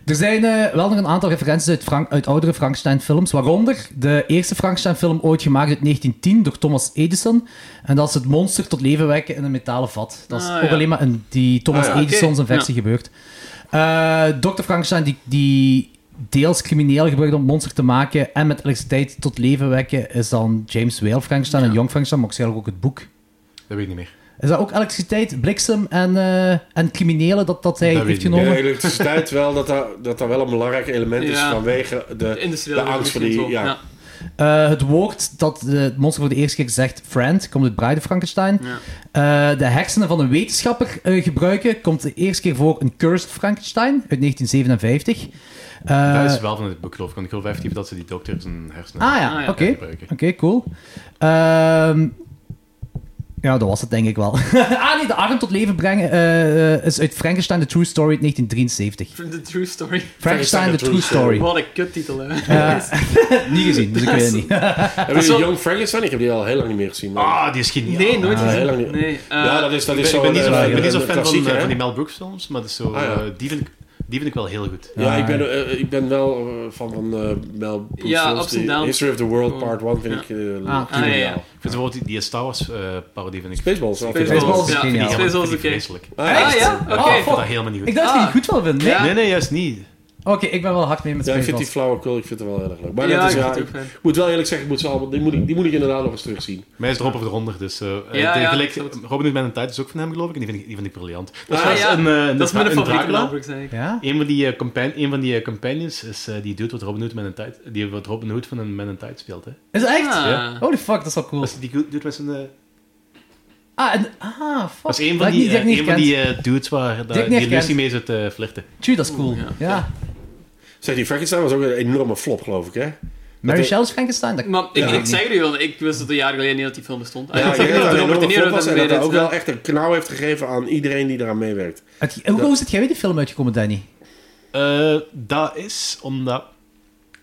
S2: Er zijn eh, wel nog een aantal referenties uit, Frank- uit oudere Frankenstein-films, waaronder de eerste Frankenstein-film ooit gemaakt uit 1910 door Thomas Edison. En dat is het monster tot leven wekken in een metalen vat. Dat is
S1: Ah,
S2: ook
S1: ja.
S2: alleen maar in die Thomas
S3: Ah, ja.
S2: Edison zijn
S1: Oké,
S2: versie gebeurd. Eh Dr. Frankenstein, die, die deels crimineel gebruikt om het monster te maken en met elektriciteit tot leven wekken, is dan James Whale Frankenstein en Young Frankenstein, maar ook zelf ook het boek.
S4: Dat weet ik niet meer.
S2: Is dat ook elektriciteit, bliksem en, eh, en criminelen dat, dat hij
S4: Dat weet
S2: heeft
S4: ik niet.
S3: Ja,
S2: genomen?
S3: elektriciteit wel, dat daar, dat daar wel een belangrijk element is
S1: Ja.
S3: vanwege de...
S1: Industriële
S3: De angst voor
S1: revolutie
S3: die-
S1: en zo.
S3: ja.
S2: Eh, het woord dat eh, het monster voor de eerste keer zegt, friend, komt uit Bride of Frankenstein.
S1: Ja.
S2: Eh, de hersenen van een wetenschapper eh, gebruiken, komt de eerste keer voor een Cursed Frankenstein uit 1957. Eh,
S4: dat is wel van het boek, geloof ik. Want ik geloof effectief dat ze die dokter zijn hersenen
S2: Ah ja,
S1: Ah, ja.
S2: oké.
S4: gebruiken.
S2: Oké, cool. Ehm, ja, dat was het denk ik wel. ah nee, de arm tot leven brengen eh, is uit Frankenstein The True Story uit 1973.
S1: From the true story.
S2: Frankenstein The True Story.
S1: Wat een kuttitel, hè.
S2: Eh, Niet gezien, dus ik weet het niet.
S3: Hebben jullie
S1: wel-
S3: Young Frankenstein? Ik heb die al heel lang niet meer gezien. maar-
S4: Ah, die is geniaal.
S1: Nee, nooit
S3: Ah, heel
S1: gezien.
S3: lang niet.
S1: Nee, eh,
S3: ja, dat is, dat
S4: Ik
S3: is
S4: ben, ik
S3: zo
S4: ben niet zo,
S3: een-
S4: ik ben niet zo
S3: een
S4: fan van,
S3: klassieker,
S4: eh,
S3: hè?
S4: van die Mel Brooks films, maar dat is zo,
S3: Ah, ja.
S4: eh, die, vind ik, die vind ik wel heel goed.
S3: Ja, ik ben, eh, ik ben wel eh, van, van eh, Mel Brooks.
S1: Ja,
S3: films,
S1: Ups and
S3: die
S1: Downs.
S3: History of the World
S1: Oh.
S3: Part 1 vind
S1: Ja.
S3: ik eh
S2: Ah,
S1: ah, ja, ja.
S3: geniaal.
S4: Ik vind bijvoorbeeld die, die Star Wars eh, parodie vind ik
S3: Spaceballs. wel, vind ik
S2: Spaceballs.
S3: wel.
S2: is
S1: ja.
S2: geniaal.
S4: vind ik
S1: Spaceballs is oké.
S4: vreselijk. Ik
S1: Ah ja, oké.
S2: Ah,
S4: vond
S2: fuck.
S4: dat helemaal niet goed.
S2: Ik dacht dat je
S1: Ah.
S2: het goed wel vindt. Nee?
S1: Ja.
S4: Nee, nee, juist niet.
S2: Oké, ik ben wel hard mee met
S3: Ja, ik vind
S2: Spaceballs.
S3: die flauwekul, ik vind het wel heel erg leuk. Maar
S1: Ja,
S3: dat is,
S1: ik
S3: ja,
S1: vind het ook
S3: ik
S1: fijn.
S3: moet wel eerlijk zeggen, ik moet ze allemaal, die, moet ik, die moet ik inderdaad nog eens terugzien.
S4: Mij is erop of eronder, dus... eh, eh,
S1: Ja, ja,
S4: gelijk-
S1: dat klopt.
S4: Robin Hood Man in Tijd is ook van hem, geloof ik, en die vind ik, die vind ik briljant. Dat is
S1: Ah,
S4: trouwens
S1: ja.
S4: een, eh,
S1: Dat is mijn
S4: een
S1: favoriete
S4: Dracula.
S1: Mel Brooks, eigenlijk.
S2: Ja?
S4: Een van die, eh, compan- een van die eh, companions is eh, die dude wat Robin Hood Man in Tijd... Die wat Robin Hood van een Man in Tijd speelt, hè.
S2: Is het echt?
S1: Ah.
S4: Ja.
S2: Holy fuck, dat is wel cool.
S4: Dat is die dude met zijn... eh,
S2: Ah, en, ah fuck.
S4: dat is een
S2: Dat
S4: van
S2: ik
S4: die,
S2: niet- dat
S4: eh,
S2: ik niet
S4: een van
S2: gekend.
S4: die eh, dudes waar
S2: ik
S4: daar-
S2: niet
S4: die Lucy
S2: gekend.
S4: mee zit te flirten.
S2: Tjie, dat is cool.
S1: ja.
S2: ja.
S3: Zeg, die Frankenstein was ook een enorme flop, geloof ik, hè?
S2: Mary
S3: Dat-
S2: Shelley's Frankenstein. Dat...
S1: Maar ik,
S3: Ja.
S1: ik zeg er wel, ik wist het een jaar geleden niet dat die film bestond. Ah,
S3: Ja,
S1: ik
S3: ik
S1: zeg
S3: denk
S1: niet
S3: dat
S1: dat
S3: het een
S1: Robert De
S3: enorme
S1: Niro
S3: flop was en
S1: dat deed.
S3: dat dat ook
S1: Ja.
S3: wel echt een knauw heeft gegeven aan iedereen die eraan meewerkt.
S2: Het, hoe
S3: Dat-
S2: is het? Jij weet die film uitgekomen, Danny.
S4: Eh, dat is omdat...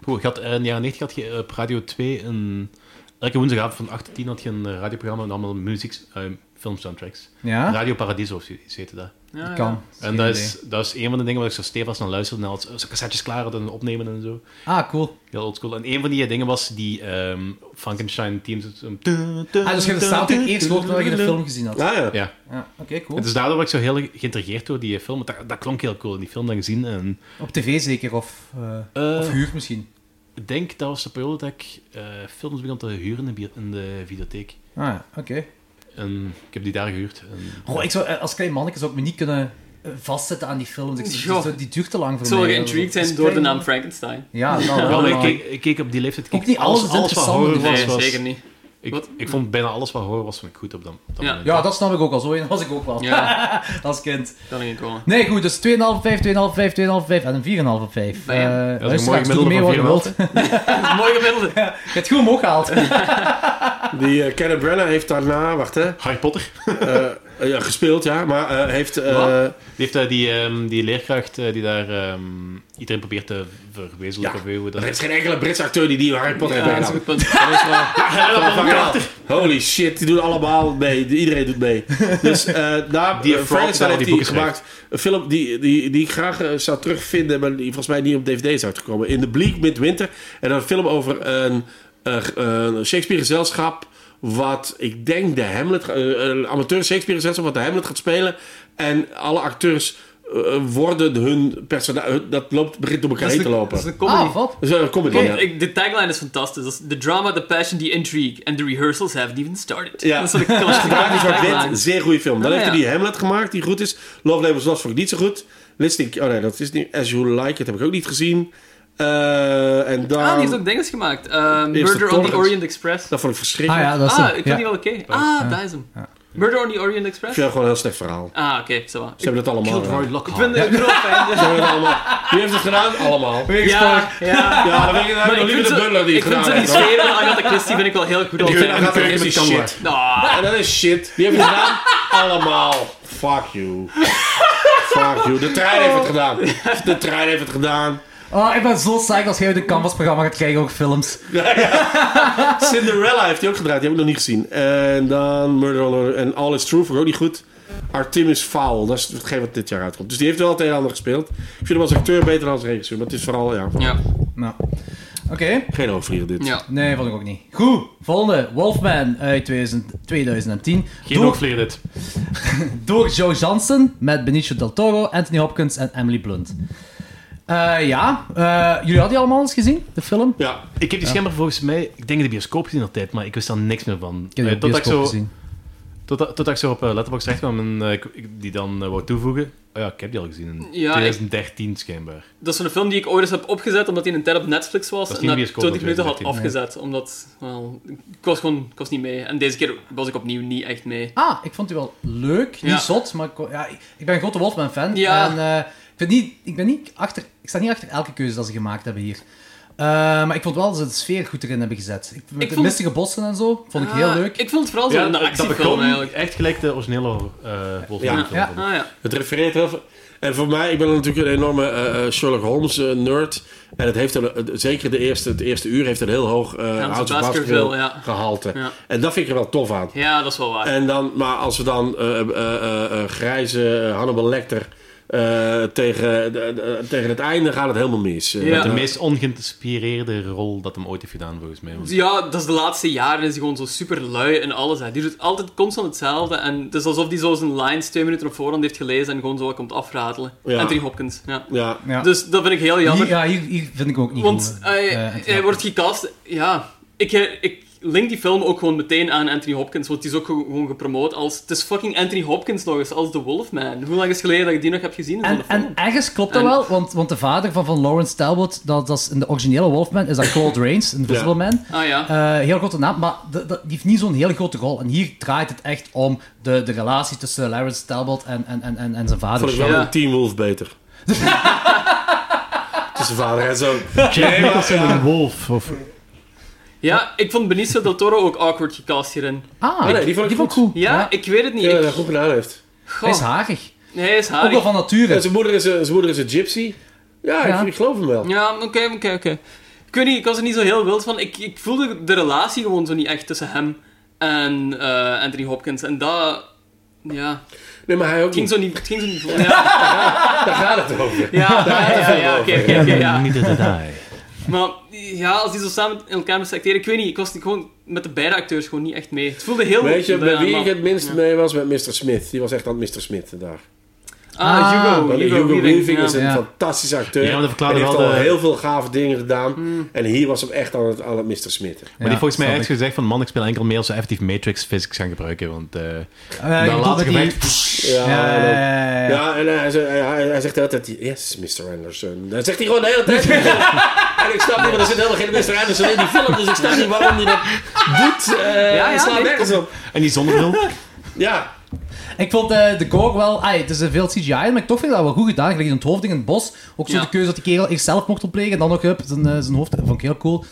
S4: Goed, ik had, eh, in de jaren 90 had je eh, op Radio 2 een... Elke woensdagavond van 8 tot 10 had je een eh, radioprogramma met allemaal muziek, eh, filmsoundtracks.
S2: Ja?
S4: Radio Paradiso of zo- iets heette dat.
S2: Ah. Dat kan.
S4: En dat is, dat is een van de dingen waar ik zo stevig was naar luisterde. En als zo cassettes klaar hadden en opnemen en zo.
S2: Ah, cool.
S4: Heel oldschool. En een van die eh, dingen was die ehm Frankenstein teams.
S2: Ah, dus je hebt de soundtrack eerst gehoord nadat je de film gezien had.
S3: Ah, ja.
S4: Ja.
S2: Ja, Oké, cool.
S4: Het is daardoor werd ik zo heel geïntrigeerd door die film. want Dat, dat klonk heel cool, die film dan gezien. En,
S2: Op tv zeker, of, eh
S4: Eh,
S2: of huur misschien.
S4: ik denk, dat was de periode dat ik eh, films begon te huren in de, bi- in de videotheek.
S2: Ah ja, oké.
S4: En ik heb die daar gehuurd. En,
S2: Goh, ik zou, eh, als klein manneke zou ik me niet kunnen eh, vastzetten aan die films. Ik,
S1: Goh.
S2: die, die duurt te lang voor
S1: Ik zou
S2: mij.
S1: geïntrigued
S2: Als
S1: zijn door de
S2: klein
S1: naam
S2: man-
S1: Frankenstein.
S2: Ja, dat wel,
S4: Wel, ik,
S2: maar-
S4: keek, ik keek op die leeftijd... keek
S2: Ook niet alles is
S4: alles wat
S2: interessant,
S4: horror was,
S1: Nee,
S4: was...
S1: zeker niet.
S4: Ik,
S1: Wat-
S4: ik vond bijna alles wat horror was vond ik goed op dat, op dat
S1: Ja.
S4: moment.
S2: Ja, dat snap ik ook al zo. En was ik ook wel.
S1: Ja,
S2: Als kind.
S1: kan ik wel.
S2: Nee, goed, dus 2,5 op 5, 2,5 op 5, 2,5 op 5 en een 4,5 op 5.
S4: Nou
S1: Ja, ja.
S2: Eh,
S4: een
S2: luisteraars,
S4: mooi
S2: doe
S4: gemiddelde
S2: mee
S4: van
S2: wat je wilt. Je
S4: 4,5,
S1: Mooi gemiddelde.
S2: hebt goed omhoog gehaald.
S3: Die eh Kenneth Branagh heeft daarna, wacht hè,
S4: Harry Potter. Die
S3: eh, eh, ja, gespeeld, ja. Maar eh, heeft... eh,
S4: heeft eh, die, ehm, die leerkracht eh, die daar ehm, iedereen probeert te verwezenlijken.
S3: Ja.
S4: of weet je hoe dat
S3: er is geen enkele Britse acteur die die Harry Potter heeft
S1: Ja, dat is
S3: gedaan.
S1: een goed punt. Dat is wel-
S3: Holy shit, die doen allemaal mee. Die- Iedereen doet mee. Dus eh na
S4: Die
S3: die
S4: heeft
S3: Frankenstein
S4: vooral
S3: heeft
S4: die
S3: hij
S4: boeken
S3: gemaakt. Een film die, die, die ik graag eh, zou terugvinden, maar die volgens mij niet op DVD is uitgekomen. In de Bleak Midwinter. En een film over een, eh, een Shakespeare-gezelschap. Wat ik denk de Hamlet, eh, een amateur Shakespeare-gezelschap, wat de Hamlet gaat spelen. En alle acteurs eh, worden hun personage. Dat loopt, begint door elkaar
S1: dat is
S3: heen te
S1: de-
S3: lopen.
S1: Dat is de comedy.
S2: Ah, wat?
S3: Dus eh, comedy. ja.
S1: Want ik- de tagline is fantastisch. Dat is The drama, the passion, the intrigue. And the rehearsals haven't even started.
S3: Ja.
S1: Dat is wat ik klassieke
S3: Draak in
S1: tagline.
S3: zwart-wit, zeer goede film. Dan
S1: Ah,
S3: heeft hij
S1: ja.
S3: die Hamlet gemaakt, die goed is. Love Labels Lost vond ik niet zo goed. Listening, oh nee, dat is niet. As You Like It heb ik ook niet gezien. Eh, en dan...
S1: Ah, die heeft ook dinges gemaakt. Ehm,
S3: de
S1: Murder on the
S3: Torrent.
S1: Orient Express.
S3: Dat vond ik
S2: Ah
S3: verschrikkelijk.
S2: ja, dat is
S1: Ah,
S2: hem.
S1: ik vind
S2: Ja.
S1: die wel oké. Ah, daar is hem. Murder on the Orient
S3: Ik
S1: Express?
S3: vind dat gewoon een heel slecht verhaal.
S1: Ah, oké, zo
S3: Ze hebben dat allemaal gedaan.
S4: Roy Lockhart.
S1: Ik vind het groot fijn.
S3: Ze hebben het allemaal. Wie heeft het gedaan? Allemaal.
S1: Ja, ja.
S3: Ja, dan weet ik
S1: Maar
S3: nog
S1: ik
S3: liever
S1: vind
S3: de Butler
S1: ze-
S3: die
S1: ik
S3: het
S1: vind
S3: gedaan
S1: ze die
S3: heeft. hoor.
S1: sfeer van Agatha Christie vind ik wel heel goed
S3: Die
S1: altijd.
S3: gaat er echt
S4: met
S3: die
S4: Canva.
S3: shit.
S1: Ah,
S3: En dat is shit. Wie heeft het gedaan? Allemaal. Fuck you. Fuck you. De trein heeft het gedaan. De trein heeft het gedaan.
S2: Ah, ik ben zo psyched als jij uit een Canvas-programma gaat krijgen, ook films.
S3: Cinderella heeft hij ook gedraaid, die heb ik nog niet gezien. En dan Murder on the- en All is True vond ik ook niet goed. Artemis Fowl, dat is hetgeen wat dit jaar uitkomt. Dus die heeft wel het een en ander gespeeld. Ik vind hem als acteur beter dan als regisseur, maar het is vooral, ja,
S1: Ja,
S2: Nou, oké.
S3: geen overvliegen dit.
S1: ja.
S2: Nee, vond ik ook niet. Goed, volgende. Wolfman uit 2000 2010.
S4: Geen
S2: Door,
S4: hoogvleer dit.
S2: door Joe Jansen met Benicio Del Toro, Anthony Hopkins en Emily Blunt. Eh, ja, eh, jullie hadden die allemaal eens gezien, de film?
S3: Ja,
S4: Ik heb die schijnbaar volgens mij... Ik denk in de bioscoop gezien altijd, maar ik wist daar niks meer van.
S2: Ik heb
S4: Eh,
S2: die op
S4: totdat ik
S2: bioscoop
S4: zo-
S2: gezien.
S4: Totdat totdat ik zo op eh, Letterboxd terecht kwam en eh, ik- ik die dan eh, wou toevoegen. Oh ja, ik heb die al gezien in
S1: Ja,
S4: 2013 schijnbaar.
S1: Dat is een film die ik ooit eens heb opgezet omdat hij een tijd op Netflix was.
S4: Dat is
S1: en dat
S4: niet in
S1: ik
S4: bioscoop
S1: 20 minuten had
S4: natuurlijk,
S1: afgezet. Omdat, wel, ik was gewoon ik was niet mee. En deze keer was ik opnieuw niet echt mee.
S2: Ah, ik vond die wel leuk. Niet
S1: Ja.
S2: zot, maar ik, wou- ja, ik, ik ben een grote Wolfman-fan.
S1: Ja.
S2: En, eh, ik, ben niet, ik, ben niet achter, ik sta niet achter elke keuze dat ze gemaakt hebben hier. Eh, maar ik vond wel dat ze de sfeer goed erin hebben gezet. Ik, met
S1: Ik
S2: de
S1: vond-
S2: mistige bossen en zo, vond ik heel
S1: Ah,
S2: leuk.
S1: Ik vond het vooral zo een actiefilm
S4: begon
S1: eigenlijk.
S4: echt gelijk de originele eh Wolfman
S3: Ja.
S4: film.
S2: Ja.
S1: Ah ja.
S3: het refereert heel veel. En voor mij, ik ben natuurlijk een enorme eh, eh, Sherlock Holmes eh, nerd. En het heeft een, eh, zeker de eerste, het eerste uur heeft een heel hoog eh House of
S1: Baskerville,
S3: Baskerville
S1: ja.
S3: gehalte.
S1: Ja.
S3: En dat vind ik er wel tof aan.
S1: ja, dat is wel waar.
S3: En dan, maar als we dan eh, eh, eh, eh, grijze Hannibal Lecter eh, tegen, de- de- tegen het einde gaat het helemaal mis. Eh,
S1: Ja.
S4: De meest ongeïnspireerde rol dat hem ooit heeft gedaan, volgens mij. Want
S1: Dus Ja, dat is de laatste jaren is hij gewoon zo super lui en alles. Hè. Die doet altijd constant hetzelfde. En het is alsof hij zo zijn lines twee minuten op voorhand heeft gelezen en gewoon zo wat komt afratelen.
S3: Ja.
S1: Anthony Hopkins. Ja.
S3: ja.
S2: Ja.
S1: Dus dat vind ik heel jammer.
S2: Hier, ja, hier, hier vind ik hem ook niet
S1: want
S2: goed.
S1: hij,
S2: eh,
S1: hij
S2: Anthony
S1: wordt gecast. Ja, ik, ik link die film ook gewoon meteen aan Anthony Hopkins. Want die is ook ge- gewoon gepromoot als. Het is fucking Anthony Hopkins nog eens, als The Wolfman. Hoe lang is het geleden dat je die nog hebt gezien? in zo'n
S2: En,
S1: film?
S2: en ergens klopt dat
S1: En-
S2: wel, want, want de vader van, van Lawrence Talbot, dat, dat is in de originele Wolfman, is dat Claude Rains, Invisible
S3: Ja.
S2: Man.
S1: Ah ja.
S2: Eh, heel grote naam, maar de- de- die heeft niet zo'n hele grote rol. En hier draait het echt om de, de relatie tussen Lawrence Talbot en, en, en, en, en zijn vader.
S3: Vond ik wel
S1: Ja.
S3: een Teen Wolf beter. Tussen vader en zoon.
S4: Jack Nicholson en Wolf. Of...
S1: ja, ik vond Benicio del Toro ook awkward gecast hierin.
S2: Ah,
S3: nee, die vond ik goed.
S2: cool.
S1: Ja, ik weet het niet.
S3: Ja,
S1: Ik-
S3: dat goed gedaan heeft.
S2: Hij is
S1: Goh.
S2: harig.
S1: Nee, hij is
S2: Ook
S1: haarig.
S2: wel van
S3: Ja,
S2: nature.
S3: zijn, moeder is een, zijn moeder is een gypsy. Ja,
S2: Ja.
S3: Ik, ik geloof hem wel.
S1: Ja, oké, oké, oké. Ik weet niet, ik was er niet zo heel wild van. Ik, ik voelde de relatie gewoon zo niet echt tussen hem en eh, Anthony Hopkins. En dat... Ja.
S3: Nee, maar hij ook
S1: ging
S3: niet.
S1: zo niet, het ging zo niet voor. Ja,
S3: Daar gaat het over.
S1: ja, ja, ja, ja, oké, oké, oké, ja.
S4: Niet dat hij.
S1: Maar ja, als die zo samen in elkaar moesten acteren, ik weet niet, ik was niet gewoon met de beide acteurs gewoon niet echt mee. Het voelde heel...
S3: Weet je, bij
S1: Ja,
S3: wie
S1: maar-
S3: ik het minst mee was? Met Mr. Smith. Die was echt aan het Mr. Smith daar.
S1: Ah, Hugo.
S3: Want
S1: Hugo,
S3: Hugo
S1: Weaving,
S3: Weaving is
S1: ja.
S3: een
S2: Ja.
S3: fantastische acteur.
S4: Ja, maar dat verklaarde
S3: Hij heeft
S4: wel
S3: al
S4: de-
S3: heel veel gave dingen gedaan. En hier was hem echt aan het, aan het Mr. Smith.
S4: Maar die volgens mij
S2: snap
S4: heeft gezegd van man, ik speel enkel mee als we effectief Matrix physics gaan gebruiken. Want eh
S2: ik. Eh, ik
S4: dan
S2: bedoel dat
S4: laat
S2: die-
S4: gewerkt.
S3: Ja,
S2: Ja,
S3: en dan-
S2: ja, ja.
S3: ja, en hij, zegt- hij, hij- hij zegt de hele tijd, yes, Mr. Anderson. Dat zegt hij gewoon de hele tijd. en ik snap niet, want er zit helemaal geen Mr. Anderson in die film. Dus ik snap niet waarom hij dat doet. Eh ja,
S1: ja,
S3: slaat
S1: nee,
S3: nergens op.
S4: En die zonnebril.
S3: Ja,
S2: Ik vond eh, de gore wel... ai, het is eh, veel CGI, maar ik toch vind ik dat wel goed gedaan. Gelijk in het hoofdding in het bos. Ook zo
S1: Ja.
S2: de keuze dat die kerel eerst zelf mocht opplegen en dan nog hup, zijn, eh, zijn hoofd. Dat vond ik heel cool.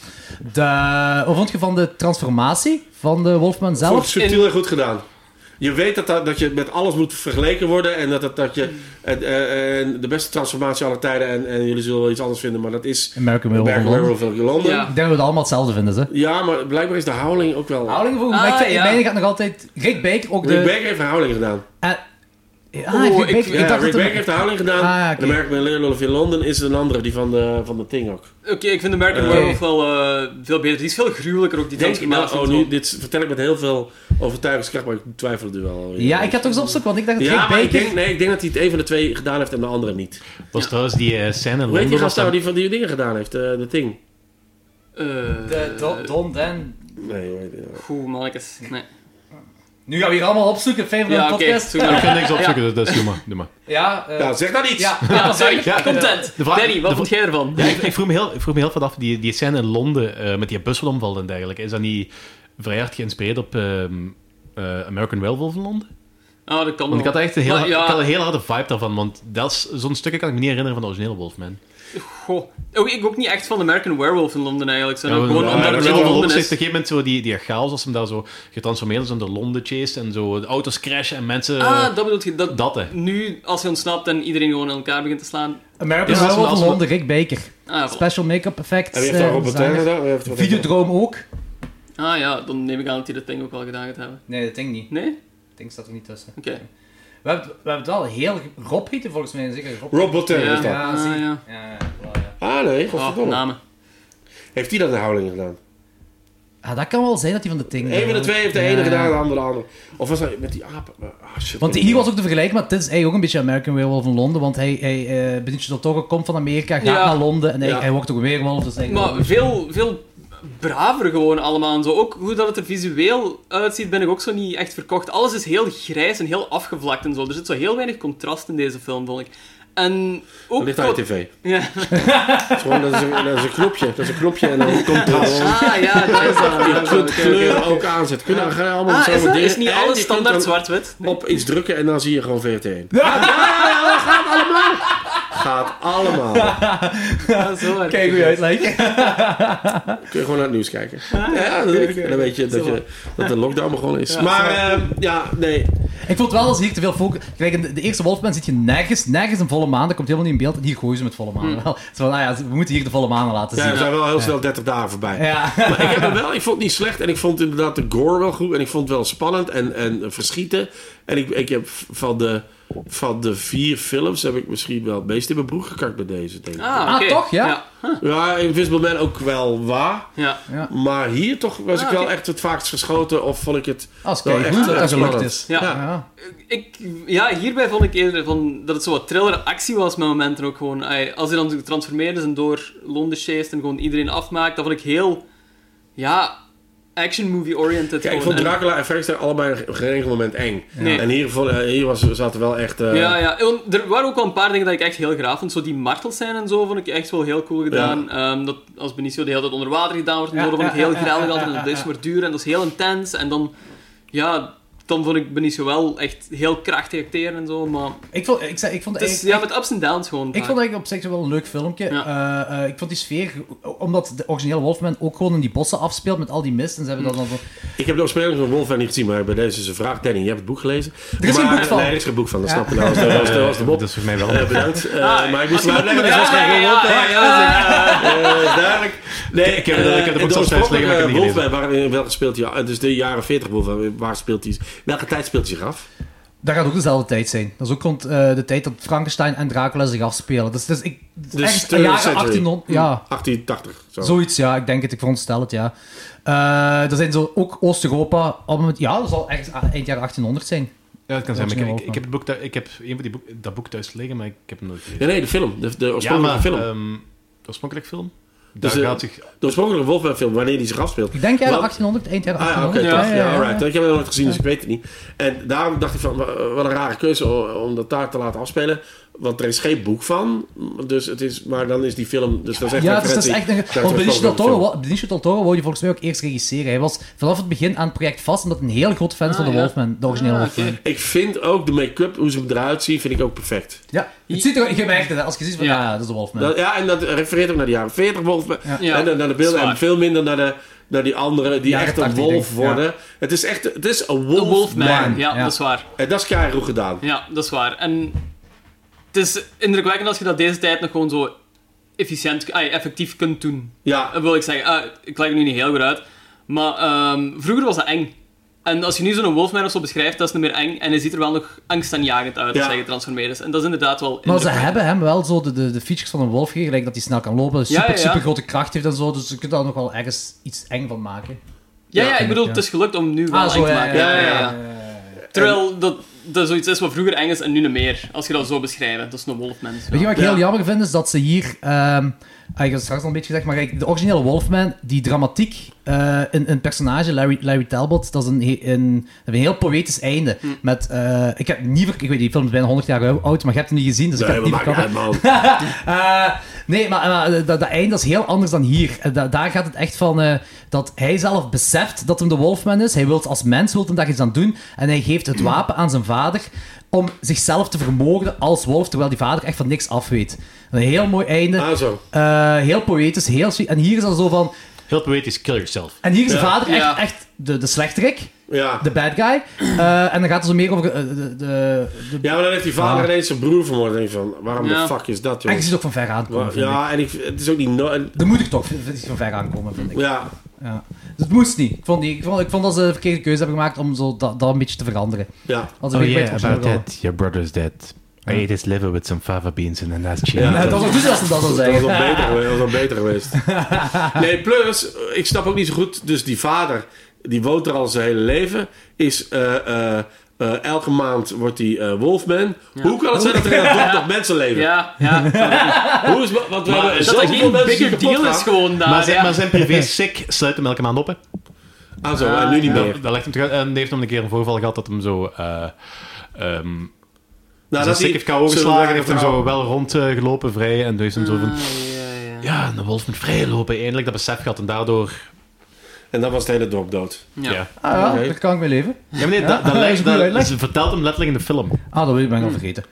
S2: De, wat vond je van de transformatie van de Wolfman
S3: ik vond het
S2: zelf?
S3: subtiel en goed gedaan. Je weet dat, dat, dat je met alles moet vergeleken worden. En dat, dat, dat je en, eh, en de beste transformatie aller tijden. En, en jullie zullen wel iets anders vinden, maar dat is...
S2: American Werewolf in
S3: Berg
S2: London.
S3: Werewolf in Londen.
S1: Ja.
S2: Ik denk dat we het allemaal hetzelfde vinden, ze.
S3: Ja, maar blijkbaar is de Howling ook wel...
S2: Houding voor
S1: Ah,
S2: maar ik vind,
S1: ja.
S2: in mijn gaat nog altijd... Rick Baker ook de...
S3: Rick Baker heeft de Howling gedaan.
S2: eh, ah,
S1: Oh,
S2: Rick Baker.
S1: ik-
S2: Ik,
S3: Ja,
S2: dacht
S3: Rick
S2: dat
S3: Baker
S2: hem-
S3: heeft de Howling gedaan.
S2: Ah, ja, oké.
S3: En de American Werewolf in Londen is een andere, die van de, van de Thing ook.
S1: Oké, ik vind de American
S3: Eh.
S1: Werewolf wel eh, veel beter. Die is veel gruwelijker ook, die
S3: Denk ik nou,
S1: transformatie.
S3: oh,
S1: en zo.
S3: nu, dit vertel ik met heel veel overtuigingskracht, maar ik twijfel er wel.
S2: Ja, ik had toch eens opzoeken, want ik dacht dat
S3: Ja,
S2: Rick
S3: maar
S2: Baker...
S3: ik denk, nee, ik denk dat hij het een van de twee gedaan heeft en de andere niet.
S4: was trouwens die eh, scène
S3: Hoe
S4: in
S3: heet die
S4: Londen. was
S3: gast nou
S4: dat-
S3: die van die dingen gedaan heeft? eh, de Thing.
S1: Eh,
S2: De Don, Don Dan.
S3: Nee, hoe heet die nou?
S1: Goed, mannetjes. Nee.
S2: Nu gaan we hier allemaal opzoeken, fijn van
S1: Ja,
S2: de
S1: oké.
S2: podcast.
S1: doe maar.
S4: Ik kan niks opzoeken, dus, dus doe maar. Doe maar.
S2: Ja, eh,
S3: Ja, zeg dan iets!
S2: ja.
S1: Ja, sorry.
S4: Ja,
S1: Content.
S4: de vraag-
S1: Danny, wat
S4: de
S1: vond jij ervan?
S4: Ja, ik, ik vroeg me heel, ik vroeg me heel veel af, die, die scène in Londen eh, met die busselomval en dergelijke, is dat niet vrij hard geïnspireerd op ehm, eh, American Werewolf in Londen?
S1: Ah, dat kan
S4: Want ik
S1: wel.
S4: had echt een heel,
S1: Maar ja.
S4: ik had een heel harde vibe daarvan, want dat is- zo'n stukje kan ik me niet herinneren van de originele Wolfman.
S1: Goh. Oh, ik ook niet echt van American Werewolf in Londen eigenlijk. Zijn
S4: Ja,
S1: ook
S4: gewoon
S1: gewoon
S4: ja,
S1: omdat
S4: American
S1: het in
S4: Werewolf
S1: Londen
S4: heeft op een
S1: is.
S4: gegeven moment zo die, die chaos als hem daar zo getransformeerd is en door Londen chase en zo de auto's crashen en mensen... eh,
S1: Ah, dat bedoelt je. Dat,
S4: dat, hè.
S1: nu, als je ontsnapt en iedereen gewoon in elkaar begint te slaan.
S2: American
S4: Ja,
S2: Werewolf
S4: als
S2: in
S4: we-
S2: Londen, Rick Baker.
S1: Ah, voilà.
S2: Special make-up effects.
S3: En wie heeft
S2: eh,
S3: daar Robert
S2: designer.
S3: Turner gedaan? Wie heeft- wat heeft-
S2: Videodroom ook.
S1: ah ja, dan neem ik aan dat die dat ding ook wel gedaan gaat hebben.
S2: Nee, dat denk ik niet.
S1: Nee?
S2: Dat ding staat er niet tussen.
S1: Oké.
S2: We hebben, we hebben het wel heel... Rob heette volgens mij zeker Rob.
S3: Rob Bottin
S1: Ja.
S3: is dat.
S2: Ja, zie.
S1: Ah, ja.
S2: Ja, ja, wel, ja.
S3: Ah nee,
S1: Oh,
S3: godverdomme.
S1: namen.
S3: heeft hij dat de houding gedaan?
S2: Ah, dat kan wel zijn dat hij van de ting... eh,
S3: Eén van de twee heeft de ene
S2: Ja.
S3: gedaan, de andere de andere. Of was dat met die apen? Ah, shit.
S2: Want hier was ook te vergelijken, maar dit is eigenlijk ook een beetje American Werewolf in Londen, want hij, hij eh, Benicio del Toro komt van Amerika, gaat
S1: Ja.
S2: naar Londen en hij,
S3: Ja.
S2: hij wordt ook een weerwolf. Dus eigenlijk wel
S1: Maar
S2: een beetje-
S1: veel, veel braver gewoon allemaal. en Zo. Ook hoe dat het er visueel uitziet, ben ik ook zo niet echt verkocht. Alles is heel grijs en heel afgevlakt en zo. Er zit zo heel weinig contrast in deze film, vond ik. En ook...
S3: Dat ligt aan de tv.
S1: Ja.
S3: Dat is gewoon- dat, is een, dat is een knopje. Dat is een knopje en dan komt er gewoon...
S1: Ah, ja, dat is dat.
S3: Je kunt kleur ook aanzetten. Kunnen we gaan allemaal
S1: Ah,
S3: samen
S1: is, dat,
S3: dingen.
S1: is niet
S3: En je
S1: alles
S3: kunt
S1: standaard
S3: dan
S1: zwart-wit?
S3: Op iets drukken en dan zie je gewoon VRT 1. Ja, gaat allemaal. Gaat allemaal.
S1: Ja, zo werkt
S2: Kijk
S1: het.
S2: hoe je uitlegt.
S3: Kun je gewoon naar het nieuws kijken. Ja, dan, en dan weet je dat, je dat de lockdown begonnen is. maar eh, ja, nee.
S2: Ik vond wel dat ze hier te veel focus... Kijk, in de, de eerste Wolfman zit je nergens, nergens een volle maan, dat komt helemaal niet in beeld, en hier gooien ze met volle maan
S1: Hmm.
S2: wel. Zo van, ah ja, we moeten hier de volle maan laten
S3: Ja,
S2: zien.
S3: we zijn wel heel snel 30 dagen voorbij.
S2: Ja.
S3: Maar ik, heb hem wel, ik vond het niet slecht. En ik vond inderdaad de gore wel goed. En ik vond het wel spannend en, en verschieten. En ik, ik heb van de, van de vier films heb ik misschien wel het meest in mijn broek gekakt bij deze. Denk ik.
S1: Ah,
S2: Ah,
S1: oké.
S2: toch? Ja.
S1: Ja.
S3: Ja, Invisible Man ook wel waar.
S1: ja.
S3: Maar hier toch was
S1: Ah,
S3: ik wel
S1: oké.
S3: echt het vaakst geschoten. Of vond ik het...
S2: Als
S3: wel
S2: kijk,
S3: echt,
S2: goed dat
S3: eh,
S2: dat gelukt
S3: spannend.
S2: is.
S1: Ja.
S2: Ja.
S1: Ik, ja, hierbij vond ik eerder van dat het zo wat thriller-actie was met momenten ook gewoon. Ai, Als hij dan getransformeerd is en door Londen chased en gewoon iedereen afmaakt, dat vond ik heel, ja, action movie-oriented.
S3: Kijk, ik
S1: gewoon.
S3: vond
S1: En-
S3: Dracula en Frankenstein allebei op geen enkel moment eng.
S1: Nee.
S3: En hier, vond, eh, hier was, zaten wel echt... eh,
S1: Ja, ja. Want er waren ook wel een paar dingen dat ik echt heel graag vond. Zo die martels zijn en zo vond ik echt wel heel cool gedaan. Ehm, dat als Benicio de hele tijd onder water gedaan wordt en
S2: Ja,
S1: zo, dat vond ik
S2: ja,
S1: heel
S2: ja,
S1: grellig
S2: ja,
S1: altijd. En
S2: ja,
S1: dat is maar duur en dat is heel intens. En dan, ja, dan vond ik Benicio wel echt heel krachtig acteren en zo. Maar
S2: Ik vond, ik, zei- ik vond
S1: het is,
S2: eigenlijk-
S1: ja, met ups en downs gewoon. eh,
S2: Ik
S1: vaak.
S2: vond eigenlijk op zich wel een leuk filmpje.
S1: Ja.
S2: Eh, eh, ik vond die sfeer, omdat de originele Wolfman ook gewoon in die bossen afspeelt met al die mist. En ze
S1: Hmm.
S2: hebben dat dan zo...
S3: Ik heb de oorspronkelijke van Wolfman niet gezien, maar bij deze is een vraag. Danny, je hebt het boek gelezen.
S2: Er is
S3: maar,
S2: geen boek van.
S3: Nee, er is geen boek van, dat snap je nou. Dat was de- dat was de- dat was de
S4: dat
S3: mop.
S4: is voor mij wel...
S3: Eh, bedankt. Eh,
S4: Ah,
S3: maar ik moest
S1: Ja,
S3: het uitleggen, dus
S1: ja,
S3: was geen
S1: ja, ja, ja, ja, ja.
S3: Eh, duidelijk. Nee, ik
S4: heb- ik heb er ook zo'n slecht liggen, maar ik heb het niet
S3: Eh, dus Wolfman, waar, in welke speelt hij? Het is de jaren 40 Wolfman. Waar speelt hij? Welke tijd speelt hij zich af?
S2: dat gaat ook dezelfde tijd zijn. Dat is ook rond eh, de tijd dat Frankenstein en Dracula zich afspelen. Dus, dus ik... ergens in de
S3: third
S2: jaren
S3: century.
S2: 1800... Ja,
S3: 1880. Zo.
S2: zoiets, ja. Ik denk het, ik veronderstel het, ja. Eh er zijn zo ook Oost-Europa... op het- Ja, dat zal ergens a- eind jaren 1800 zijn.
S4: Ja, dat
S2: Dat
S4: kan zijn.
S2: is
S4: maar Ik,
S2: nu
S4: ik,
S2: ook
S4: ik heb het boek thu- ik heb een van die boek, dat boek thuis liggen, maar ik heb hem nooit gelezen.
S3: Ja, nee, de film. De, de oorspronkelijke film.
S4: ehm, de oorspronkelijke film?
S3: Dus,
S4: Daar
S3: eh,
S4: gaat zich...
S3: de oorspronkelijke Wolfman-film, wanneer die zich afspeelt.
S2: Ik denk jaren
S3: Wel-
S2: 1800, eind jaren
S3: Ah ja, oké.
S2: 1800.
S3: ja, ja, alright. Ik heb het nooit gezien, dus ik weet het niet. En daarom dacht ik van, wa- wat een rare keuze om- om dat daar te laten afspelen. Want er is geen boek van. Dus het is, maar dan is die film... Dus dat is echt
S2: Ja,
S3: een
S2: het is, dat is echt
S3: referentie
S2: een...
S3: naar
S2: Want
S3: de
S2: Benicio del Toro,
S3: oorspronkelijke
S2: wa- Benicio del Toro wou je volgens mij ook eerst regisseren. Hij was vanaf het begin aan het project vast, omdat hij een heel groot fan is van de
S1: ja.
S2: Wolfman, de originele Wolfman.
S3: film. Ik vind ook de make-up, hoe ze hem eruit zien, vind ik ook perfect.
S2: Ja, het ziet er... Je merkt het, hè, als je ziet van... Ja,
S1: Ja.
S2: dat is de Wolfman.
S3: Dat- ja, en dat refereert ook naar de jaren 40 Wolfman.
S1: Ja.
S3: En dan naar de beelden.
S1: Zwaar.
S3: En veel minder naar, de, naar die anderen die
S2: Jaren
S3: echt een
S2: 80,
S3: wolf
S2: denk ik, ja.
S3: worden. Het is echt... Het is een
S1: De
S3: wolfman.
S1: Wolfman. Ja,
S2: ja.
S1: dat is waar.
S3: En dat is keihard gedaan.
S1: Ja, dat is waar. En het is indrukwekkend als je dat deze tijd nog gewoon zo efficiënt, ai, effectief kunt doen.
S3: Ja,
S1: Dat wil ik zeggen. Ah, ik leg het nu niet heel goed uit. Maar ehm, vroeger was dat eng. En als je nu zo'n Wolfman of zo beschrijft, dat is niet meer eng. En hij ziet er wel nog angstaanjagend uit als
S3: Ja.
S1: hij getransformeerd is. En dat is inderdaad wel
S2: Maar ze
S1: indrukwekkend.
S2: hebben hem wel zo de, de, de features van een wolf gegeven, gelijk dat hij snel kan lopen, super,
S1: Ja, ja, ja.
S2: super grote kracht heeft en zo, dus je kunt daar nog wel ergens iets eng van maken.
S1: Ja, ja, ik bedoel,
S2: ja.
S1: het is gelukt om nu wel
S2: Ah,
S1: eng
S2: zo,
S1: te
S2: ja,
S1: maken.
S3: ja, ja,
S1: Terwijl dat, dat zoiets is wat vroeger eng is en nu niet meer. Als je dat zo beschrijft, dat is een Wolfman.
S2: Weet je wat ik
S3: Ja.
S2: heel jammer vind, is dat ze hier, ehm ah, ik had het straks al een beetje gezegd, maar kijk, de originele Wolfman, die dramatiek, eh een, een personage, Larry, Larry Talbot, dat is een, he- een, een heel poëtisch einde. Met, eh, ik heb niet, ver- ik weet die film is bijna 100 jaar oud, maar je hebt hem niet gezien, dus ik
S3: Nee,
S2: heb
S3: maar
S2: het niet
S3: maakt niet
S2: verklappen.
S3: uit, man.
S2: Eh, nee, maar, maar dat, dat einde is heel anders dan hier. Eh, da- daar gaat het echt van eh, dat hij zelf beseft dat hem de Wolfman is. Hij wil als mens wil hem daar iets aan doen. En hij geeft het wapen aan zijn vader om zichzelf te vermoorden als wolf, terwijl die vader echt van niks af weet. Een heel mooi einde.
S3: Ah, zo.
S2: Eh, heel poëtisch, heel sweet. En hier is dat zo van...
S4: Heel poëtisch, kill yourself.
S2: En hier is de vader echt,
S1: Ja.
S2: echt de, de slechterik,
S3: Ja.
S2: de bad guy. Eh, en dan gaat het zo meer over eh, de... de, de,
S3: Ja, maar dan heeft die
S4: Ah.
S3: vader
S2: Ja.
S3: ineens zijn broer vermoord. En ik van, waarom
S1: Ja.
S3: de fuck is dat,
S2: En
S3: joh?
S2: je ziet het ook van ver aankomen, vind ik.
S3: Ja, en ik, het is ook niet... No en-
S2: De moeder toch, vind ik, van ver aankomen, vind ik.
S3: ja,
S2: Ja. Dus het moest niet. Ik vond, die, ik, vond, ik vond dat ze de verkeerde keuze hebben gemaakt om zo dat, dat een beetje te veranderen.
S3: ja.
S2: Als een beetje bij het origineel
S4: Your brother's dead. I ate his liver with some fava beans and then that's chill.
S3: Ja.
S2: wilden. Het was ook dus als ze dat zou
S3: Dat was
S2: zeggen.
S3: nog beter, geweest, dat was nog beter geweest. Nee, plus, ik snap ook niet zo goed. Dus die vader, die woont er al zijn hele leven. Is eh, eh, eh, elke maand wordt hij eh, Wolfman. Hoe kan het zijn dat er in dat dorp nog mensen leven?
S1: Ja, ja.
S3: Hoe is, want we hebben
S1: dat dat
S3: zoveel
S1: geen
S3: mensen die
S1: bigger
S3: kapot
S1: deal is
S3: gaan.
S1: gewoon daar.
S4: Maar, zijn,
S1: Ah, ja.
S4: maar zijn privé sick sluit hem elke maand op, hè?
S3: Ah, zo, en nu niet
S4: Dat,
S3: meer.
S4: dat legt hem terug. En die heeft hem een keer een voorval gehad dat hem zo... eh ehm
S3: Nou,
S4: zijn
S3: hij-
S4: sick heeft KO
S3: zullen we
S4: geslagen en heeft hem
S3: verhaal-
S4: zo wel rondgelopen vrij. En toen heeft hem zo
S1: Mm.
S4: van...
S1: Ja, ja.
S4: Ja, de wolf moet vrij lopen. Eindelijk dat besef gehad en daardoor...
S3: En dan was het hele dorp dood.
S1: Ja.
S4: Ja.
S2: Ah ja,
S3: Oké.
S2: daar kan ik mee leven.
S4: Ja, maar nee, dat,
S2: dat
S4: dat,
S2: is
S4: lijkt-
S2: een goede
S4: dat-
S2: uitleg.
S4: ze vertelt hem letterlijk in de film.
S2: Ah, dat ben ik al vergeten.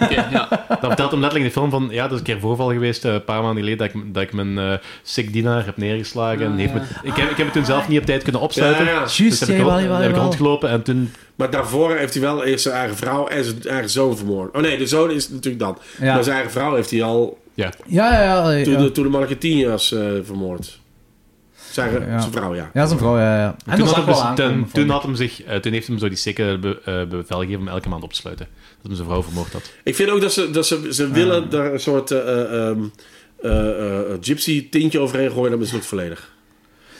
S1: Oké, ja.
S4: Dat vertelt hem letterlijk in de film van... Ja, dat is een keer voorval geweest, eh, een paar maanden geleden, dat ik, dat ik mijn eh sick dienaar heb neergeslagen. en heeft me, ik, heb, ik heb het toen zelf niet op tijd kunnen opsluiten.
S3: Ah, Ja, ja.
S4: Dus
S2: Juist,
S4: heb ik,
S2: ja,
S4: rond-
S2: jawel, jawel,
S4: heb ik
S2: jawel.
S4: rondgelopen en toen...
S3: Maar daarvoor heeft hij wel eerst zijn eigen vrouw en zijn eigen zoon vermoord. Oh nee, de zoon is natuurlijk dan.
S2: Ja.
S3: Maar zijn eigen vrouw heeft hij al
S4: Ja.
S2: Ja, ja, ja. ja.
S3: toen, de, toen de mannetje tien was eh, vermoord. Zijn, eigen-
S2: Ja.
S3: zijn vrouw, ja.
S2: Ja, zijn vrouw, ja, ja. En dat
S4: toen, had
S2: zag
S4: hem,
S2: wel
S4: dus-
S2: aankomen,
S4: toen,
S2: vond
S4: toen
S2: ik.
S4: had hem zich, eh, toen heeft hem zo die sikke be, eh, bevel gegeven om elke maand op te sluiten. Dat hem zijn vrouw vermoord had.
S3: Ik vind ook dat ze, dat ze, ze willen daar een soort eh, ehm, eh, eh, eh, gypsy tintje overheen gooien. Dat mislukt volledig.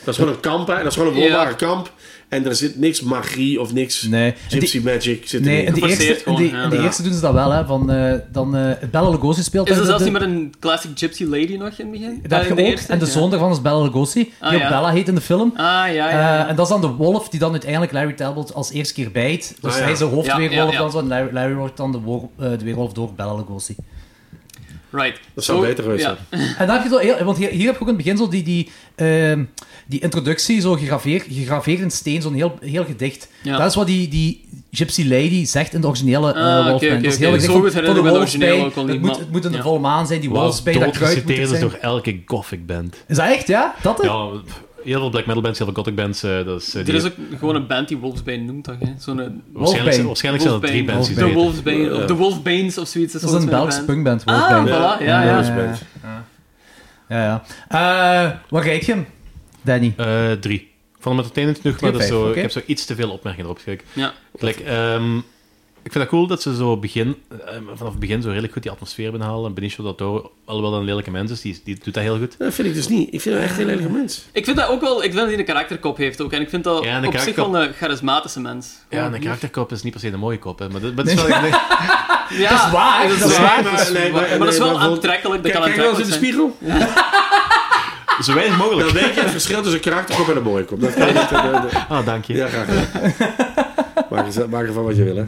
S3: Dat is gewoon een kamp, hè. Dat is gewoon een wolbare
S1: Ja.
S3: kamp. En er zit niks magie of niks
S2: Nee.
S3: gypsy magic. Zit
S2: Nee, in
S3: erin.
S2: de
S1: Geforceerd
S2: eerste, in
S1: gewoon,
S2: die,
S1: ja.
S2: in die
S3: Ja.
S2: eerste doen ze dat wel, hè. Van, eh dan eh Bella Lugosi speelt
S1: Is
S2: daar
S1: er
S2: de-
S1: zelfs
S2: de-
S1: niet met een classic gypsy lady nog in het begin?
S2: Dat
S1: Eh,
S2: heb
S1: in
S2: je ook.
S1: eerste?
S2: En de
S1: Ja.
S2: zoon daarvan is Bella Lugosi, die
S1: Ah,
S2: ook
S1: ja.
S2: Bella heet in de film.
S1: Ah, ja, ja.
S2: Eh,
S1: ja.
S2: en dat is dan de wolf die dan uiteindelijk Larry Talbot als eerste keer bijt. Dus
S3: Ah, ja.
S2: hij is de hoofdweerwolf
S1: Ja, ja, ja.
S2: dan zo. En Larry, Larry wordt dan de, woor- eh, de weerwolf door Bella Lugosi.
S1: right.
S3: Dat zou
S1: Zo-
S3: beter geweest
S1: ja.
S3: zijn.
S2: En dan heb je zo heel... Want hier, hier heb je ook in het begin zo die, die, ehm, die introductie, zo gegraveerd, gegraveerd in steen, zo'n heel, heel gedicht.
S1: Ja.
S2: Dat is wat die, die Gypsy Lady zegt in de originele eh
S1: Ah, oké,
S2: Wolfman.
S1: oké,
S2: dat is
S1: oké.
S2: heel
S1: Zo
S2: gedicht van-
S1: goed
S2: van
S1: herinner ik me de
S2: wolfsbij.
S1: originele ook al
S2: Het
S1: niet,
S2: moet,
S1: maar-
S2: het moet in de
S1: ja.
S2: volle maan zijn, die wolfsbij, dat kruid moet er
S4: Doodgeciteerd is
S2: zijn.
S4: door elke gothic band.
S2: Is dat echt, ja? Dat hè?
S4: Ja, heel veel black metal bands, heel veel gothic bands. eh, dat is, eh,
S1: Er
S4: die-
S1: is ook gewoon een band die Wolfsbane noemt, toch? hè? Zo'n
S4: waarschijnlijk
S2: Wolfbane.
S4: waarschijnlijk zijn er drie
S1: Wolfbane.
S4: bands die
S1: De
S4: dat heten.
S1: Wolfsbane, of de Wolfbanes of zoiets.
S2: Dat is een Belgische
S1: punt.
S2: punkband,
S1: Ah,
S3: Eh,
S2: Wolfbane.
S1: voilà, ja, ja.
S3: dat is beter.
S2: Ja, ja. Eh, waar kijk je hem, Danny?
S4: Eh, drie. Ik vond hem entertainend genoeg, maar
S2: Drie
S4: dat is
S2: op
S4: zo,
S2: vijf, oké.
S4: ik heb zo iets te veel opmerkingen erop gekeken.
S1: Ja.
S4: Gelijk, ehm, Ik vind dat cool dat ze zo begin, eh, vanaf het begin zo redelijk goed die atmosfer binnenhalen. En Benicio del Toro, alhoewel dat een lelijke mens is, die, die doet dat heel goed.
S3: Dat vind ik dus niet. Ik vind hem echt een heel erg mens.
S1: Ik vind dat ook wel... Ik vind dat hij een karakterkop heeft ook. En ik vind dat
S4: Ja, en een
S1: op zich
S4: karakterkop-
S1: wel een charismatische mens.
S4: Ja, en een karakterkop is niet per se een mooie kop, hè, maar dat maar dat is wel...
S1: Ja, dat is waar. Dat is waar.
S3: maar, nee, maar,
S1: Maar dat is
S3: nee,
S1: wel
S3: maar-
S1: aantrekkelijk. Dat
S3: Kijk,
S1: kan
S3: kijk wel eens in
S1: aantrekkelijk
S3: de
S1: zijn.
S3: spiegel.
S4: Zo weinig mogelijk.
S3: Dan weet je het verschil tussen karakterkop en een mooie kop. Dat kan niet, eh, de- de-
S4: Ah, dank je.
S3: Ja, graag gedaan. Maak er- Maak ervan wat je wil, hè.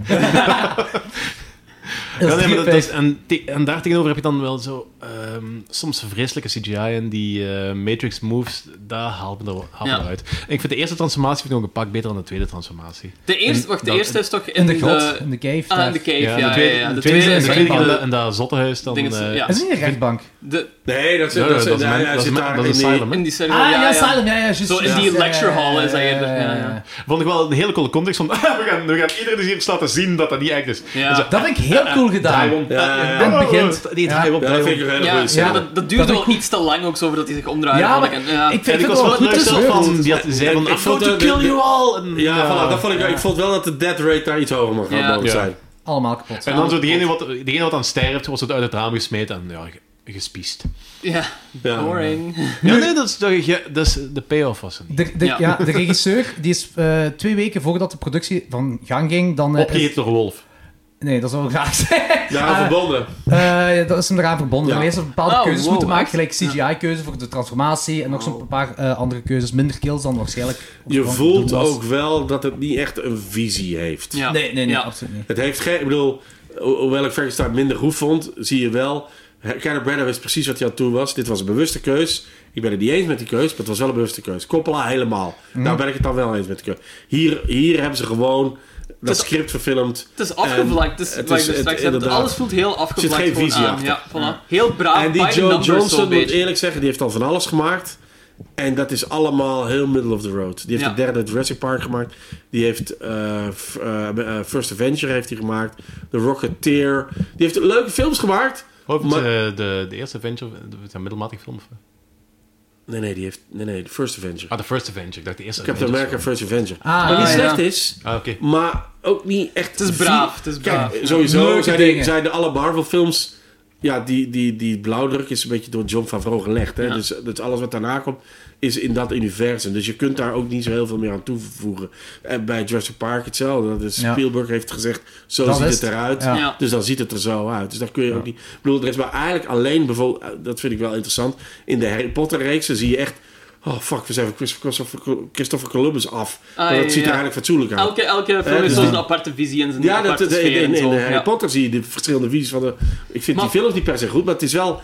S2: Dat
S4: Ja, nee, maar dat- dat is-
S2: drie-
S4: en, te- en daar tegenover heb je dan wel zo ehm, soms vreselijke CGI en die eh, Matrix moves, daar haalt me, er, haalt me
S1: Ja.
S4: eruit. En ik vind de eerste transformatie vind ik nog een pak beter dan de tweede transformatie.
S1: De eerste... Wacht, de
S4: Dat-
S1: eerste is toch in,
S2: In de grot, in de cave.
S1: Ah, in
S2: daar.
S1: de cave, ja. ja,
S4: de tweede,
S1: ja,
S4: de tweede,
S1: is
S4: de tweede
S1: wel-
S4: keer dat- en dat zottehuis dan.
S1: Dingen-
S4: eh,
S1: ja.
S2: Dat is niet een rechtbank.
S1: De,
S3: Nee, dat zit
S4: Ja,
S3: dat
S4: dat
S3: zit-
S4: is mijn-
S3: hij- hij
S4: dat is
S3: zit
S4: mijn-
S3: daar
S4: dat
S3: in
S4: is
S3: die-
S4: asylum, hè.
S1: in die cirkel,
S2: Ah,
S1: ja,
S2: ja,
S1: ja.
S2: Salem, ja, ja, juist.
S1: Zo in
S2: juist,
S1: die
S2: ja,
S1: lecture hall
S2: ja,
S1: is dat
S2: ja,
S1: eerder, ja,
S2: ja,
S1: ja.
S2: ja.
S4: Vond ik wel een hele coole context van, we, gaan, we gaan iedereen dus hier eens laten zien dat dat niet echt is.
S1: Ja.
S4: En zo, Eh,
S2: Dat vind ik heel cool gedaan.
S4: om.
S3: Ja, ja, ja.
S2: En het begint.
S4: Die
S2: Ja.
S4: draai op,
S3: Ja,
S4: draai
S3: dat
S4: om.
S3: vind ik een hele
S1: Ja,
S3: goede scène.
S1: ja, dat, dat duurde
S2: Dat
S1: wel
S2: ik goed-
S1: iets te lang ook zo voordat hij zich omdraaide.
S2: Ja,
S1: vond
S2: maar
S1: ik.
S2: ik,
S1: En, ja.
S2: ik
S4: En
S2: vind het
S4: ik was
S2: wel
S4: wel
S2: goed
S4: leuk zelf
S2: gespeeld.
S4: van, die had- zei van,
S3: Ik
S4: I'm
S3: vond
S4: going to
S3: dat de-
S4: kill
S3: de-
S4: you all. En, eh,
S3: Ja, voilà, dat vond ik, ik vond wel dat de death rate daar iets hoger mag
S1: Ja.
S3: mogen
S4: Ja.
S3: zijn.
S2: Allemaal kapot.
S4: En dan zo degene wat, degene wat aan sterft, was het uit het raam gesmeten en ja, ge- gespiest.
S1: ja,
S3: Ja.
S1: boring.
S4: Ja, nee, dat is, dat, is- dat is de payoff was er niet.
S2: De, de,
S1: Ja.
S2: ja. de regisseur die is eh, twee weken voordat de productie van gang ging, dan... eh,
S4: Opgegeten door een wolf.
S2: nee, dat zou graag zijn.
S3: Ja, verbonden.
S2: Eh, dat is hem eraan verbonden.
S3: Ja.
S2: Hij heeft een bepaalde
S1: Oh,
S2: keuzes
S1: wow,
S2: moeten maken,
S1: echt?
S2: gelijk CGI-keuze voor de transformatie en nog zo'n paar eh, andere keuzes, minder kills dan waarschijnlijk.
S3: Je
S2: van-
S3: voelt
S2: was.
S3: ook wel dat het niet echt een visie heeft.
S1: Ja.
S2: Nee, nee, nee,
S1: Ja.
S2: absoluut niet.
S3: Het heeft geen... Ik bedoel, ho- hoewel ik Frankenstein minder goed vond, zie je wel... Kenneth Branagh wist precies wat hij aan toe was. Dit was een bewuste keus. Ik ben het niet eens met die keus, maar het was wel een bewuste keus. Coppola helemaal.
S1: Mhm.
S3: Daar ben ik het dan wel eens met de keus. Hier, hier hebben ze gewoon dat
S1: is-
S3: script verfilmd.
S1: Het is afgevlakt.
S3: En
S1: Dus,
S3: het
S1: wat
S3: is-
S1: ik dus
S3: het-
S1: straks heb,
S3: inderdaad.
S1: alles voelt heel afgevlakt.
S3: geen
S1: gewoon
S3: visie
S1: aan.
S3: achter.
S1: Ja, voilà. Heel braaf.
S3: En die
S1: by the
S3: Joe
S1: Ah, numbers,
S3: Johnson,
S1: zo'n
S3: moet
S1: beetje.
S3: eerlijk zeggen, die heeft al van alles gemaakt. En dat is allemaal heel middle of the road. Die heeft
S1: Ja.
S3: de derde Jurassic Park gemaakt. Die heeft eh, f- eh, eh, First Adventure heeft hij gemaakt. The Rocketeer. Die heeft leuke films gemaakt.
S4: Hoop
S3: Maar-
S4: eh, de, de eerste Avenger, de, een middelmatige film. Of,
S3: Nee, nee, die heeft... Nee, nee, First Adventure.
S4: ah, de First Avenger. Ik dacht de eerste
S3: Captain
S4: Avengers
S3: America First Adventure.
S2: Ah,
S3: Wat niet
S2: ja.
S3: slecht is,
S4: film. Ah, oké.
S3: maar ook niet echt...
S1: Het is braaf. Het is braaf.
S3: Kijk, eh, sowieso
S2: Leuke
S3: zijn, die-
S2: dingen.
S3: zijn de alle Marvel films... Ja, die, die, die blauwdruk is een beetje door John Favreau gelegd. Hè?
S1: Ja.
S3: Dus, dus alles wat daarna komt, is in dat universum. Dus je kunt daar ook niet zo heel veel meer aan toevoegen. En bij Jurassic Park hetzelfde. Dat is,
S2: Ja.
S3: Spielberg heeft gezegd, zo
S2: Dat
S3: ziet
S2: is
S3: het
S2: het.
S3: eruit.
S2: Ja.
S1: Ja.
S3: Dus dan ziet het er zo uit. Dus daar kun je ook niet... Ik bedoel, er is maar eigenlijk alleen bijvoorbeeld... eh, Dat vind ik wel interessant. In de Harry Potter-reeksen zie je echt... Oh fuck, we zijn van Christopher, Christopher Columbus af.
S1: Ah,
S3: maar dat
S1: ja,
S3: ziet er
S1: ja.
S3: eigenlijk fatsoenlijk uit.
S1: Elke, elke film
S3: Ja,
S1: heeft
S3: dus
S1: zo'n
S3: die-
S1: aparte visie en zijn
S3: Ja, dat,
S1: aparte
S3: in,
S1: sfeer
S3: in,
S1: en
S3: in
S1: zo.
S3: Harry
S1: Ja.
S3: Potter zie je de verschillende visies van de... Ik vind
S1: Maar-
S3: die films niet per se goed, maar het is wel...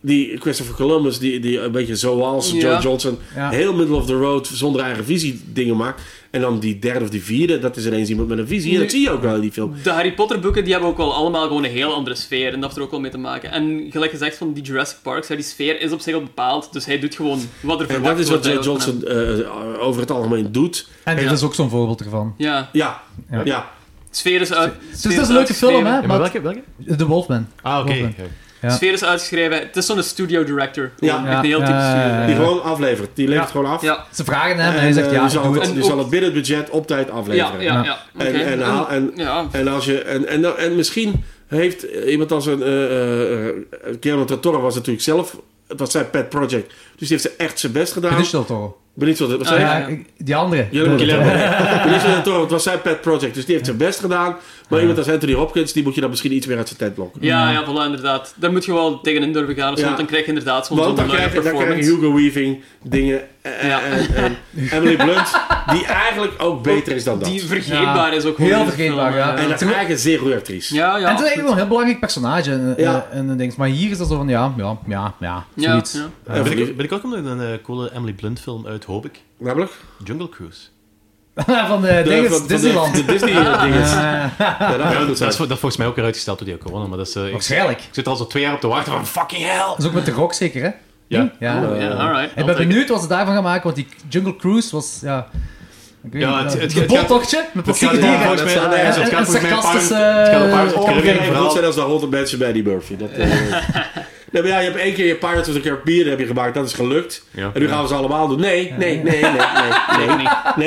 S3: Die Christopher Columbus, die, die een beetje zoals
S1: Ja.
S3: John Johnson...
S2: Ja.
S3: heel middle of the road, zonder eigen visie dingen maakt. En dan die derde of die vierde, dat is ineens iemand met een visie. En
S1: Nu-
S3: dat zie je ook wel in die film.
S1: De Harry Potter boeken die hebben ook wel allemaal gewoon een heel andere sfeer. En dat heeft er ook wel mee te maken. En gelijk gezegd van die Jurassic Parks, ja, die sfeer is op zich al bepaald. Dus hij doet gewoon wat er
S3: En
S1: verwacht
S3: dat is wat
S1: wordt
S3: John
S1: eigenlijk van
S3: Johnson eh, over het algemeen doet.
S2: En dit
S1: Ja.
S2: is ook zo'n voorbeeld ervan.
S1: hem. Ja,
S3: Ja, ja.
S2: Ja.
S1: sfeer is uit.
S2: Dus dat is een leuke film, hè?
S4: Ja, maar
S2: Maar
S4: welke, welke?
S2: The Wolfman.
S4: Ah, oké.
S2: Wolfman. Ja.
S1: Sfeer is uitgeschreven. Het is zo'n studio director.
S3: Ja.
S1: Echt een heel
S2: Ja,
S1: typisch
S2: ja,
S1: studio.
S2: ja,
S3: eh, Die
S2: ja.
S3: gewoon aflevert. Die levert
S2: Ja.
S3: gewoon af.
S1: Eh, Ja,
S2: Ze vragen hem en
S3: En,
S2: hij zegt
S3: eh,
S2: ja,
S3: die zal
S2: doe
S3: het,
S2: het.
S1: En
S3: die
S1: ook-
S3: zal het binnen het budget op tijd afleveren.
S1: ja, ja. ja.
S3: En,
S1: Oké.
S3: en, haal- en,
S1: ja.
S3: En, als je, en, en, en misschien heeft iemand als een... eh eh, eh, Guillermo del Toro was natuurlijk zelf... Het was zijn pet project. Dus die heeft ze echt zijn best gedaan.
S2: Benicio del Toro.
S3: Benicio del Toro.
S1: Ah, ja.
S2: Ja, ik- Die andere.
S3: Guillermo
S2: De-
S3: Guillermo. Nee, Benicio del Toro, het was zijn pet project. Dus die heeft zijn best gedaan. Maar iemand als Anthony Hopkins, die moet je dan misschien iets meer uit zijn tent lokken.
S1: Ja, ja, voilà, inderdaad. Daar moet je wel tegenin durven gaan. Of zo,
S3: Ja.
S1: want dan krijg je inderdaad zo'n
S3: Want
S1: zo'n
S3: dan
S1: leuke
S3: krijg, je, dan krijg je
S1: performance.
S3: Hugo Weaving dingen. En,
S1: Ja.
S3: en, en Emily Blunt, die eigenlijk ook beter is dan dat.
S1: Die vergeetbaar
S2: Ja.
S1: is ook gewoon
S2: Heel
S1: in de
S2: vergeetbaar,
S1: film,
S2: ja.
S1: hè.
S3: en dat is eigenlijk een zeer goede actrice.
S1: Ja,
S2: En het is
S1: ja.
S2: eigenlijk wel een heel belangrijk personage en,
S3: Ja.
S2: en, en, ding. Maar hier is dat zo van ja, ja, ja, ja,
S1: Ja,
S2: zoiets.
S1: ja.
S3: En
S4: Ben,
S3: verliefd-
S4: ik, ben ik ook nog een eh, coole Emily Blunt film uit, hoop ik.
S3: Namelijk?
S4: Jungle Cruise.
S2: van eh, de,
S3: De-
S2: dinges,
S3: van- van de-
S2: Disneyland.
S3: De, Disney-dinges. Ja, dat gaat goed
S4: Dat
S3: zijn.
S4: is, vo- dat is volgens mij ook weer uitgesteld toen die ook gewonnen. Maar dat is, eh, ik,
S2: Waarschijnlijk.
S4: ik zit er al zo twee jaar op te wachten van fucking hell.
S2: Dat is ook met de rock zeker, hè?
S4: Ja.
S2: Hm? Ja.
S3: Oh,
S1: Ja,
S3: eh,
S1: alright.
S2: ik ben benieuwd wat ze daarvan gaan maken, want die Jungle Cruise was, ja... Ik weet
S4: Ja,
S2: niet,
S4: het-
S2: ja,
S4: het-
S2: een
S4: het gaat-
S2: bottochtje met
S4: Het gaat,
S2: plastieke
S3: ja,
S2: dieren.
S4: volgens mij,
S3: dat
S4: nee,
S3: is-
S4: het
S2: en-
S4: gaat
S2: en
S4: volgens mij een paar-
S2: sarcastische-
S4: het gaat een paar- het
S3: Het
S4: gaat
S3: kan
S4: een
S3: weer even
S4: verhaal.
S3: goed zijn als de 100 mensen bij die Murphy. Dat, eh, nee, maar ja, je hebt één keer je Pirates of the Caribbean heb je gemaakt, dat is gelukt.
S4: Ja.
S3: en nu gaan we ze allemaal doen. Nee, nee, nee, nee, nee, nee,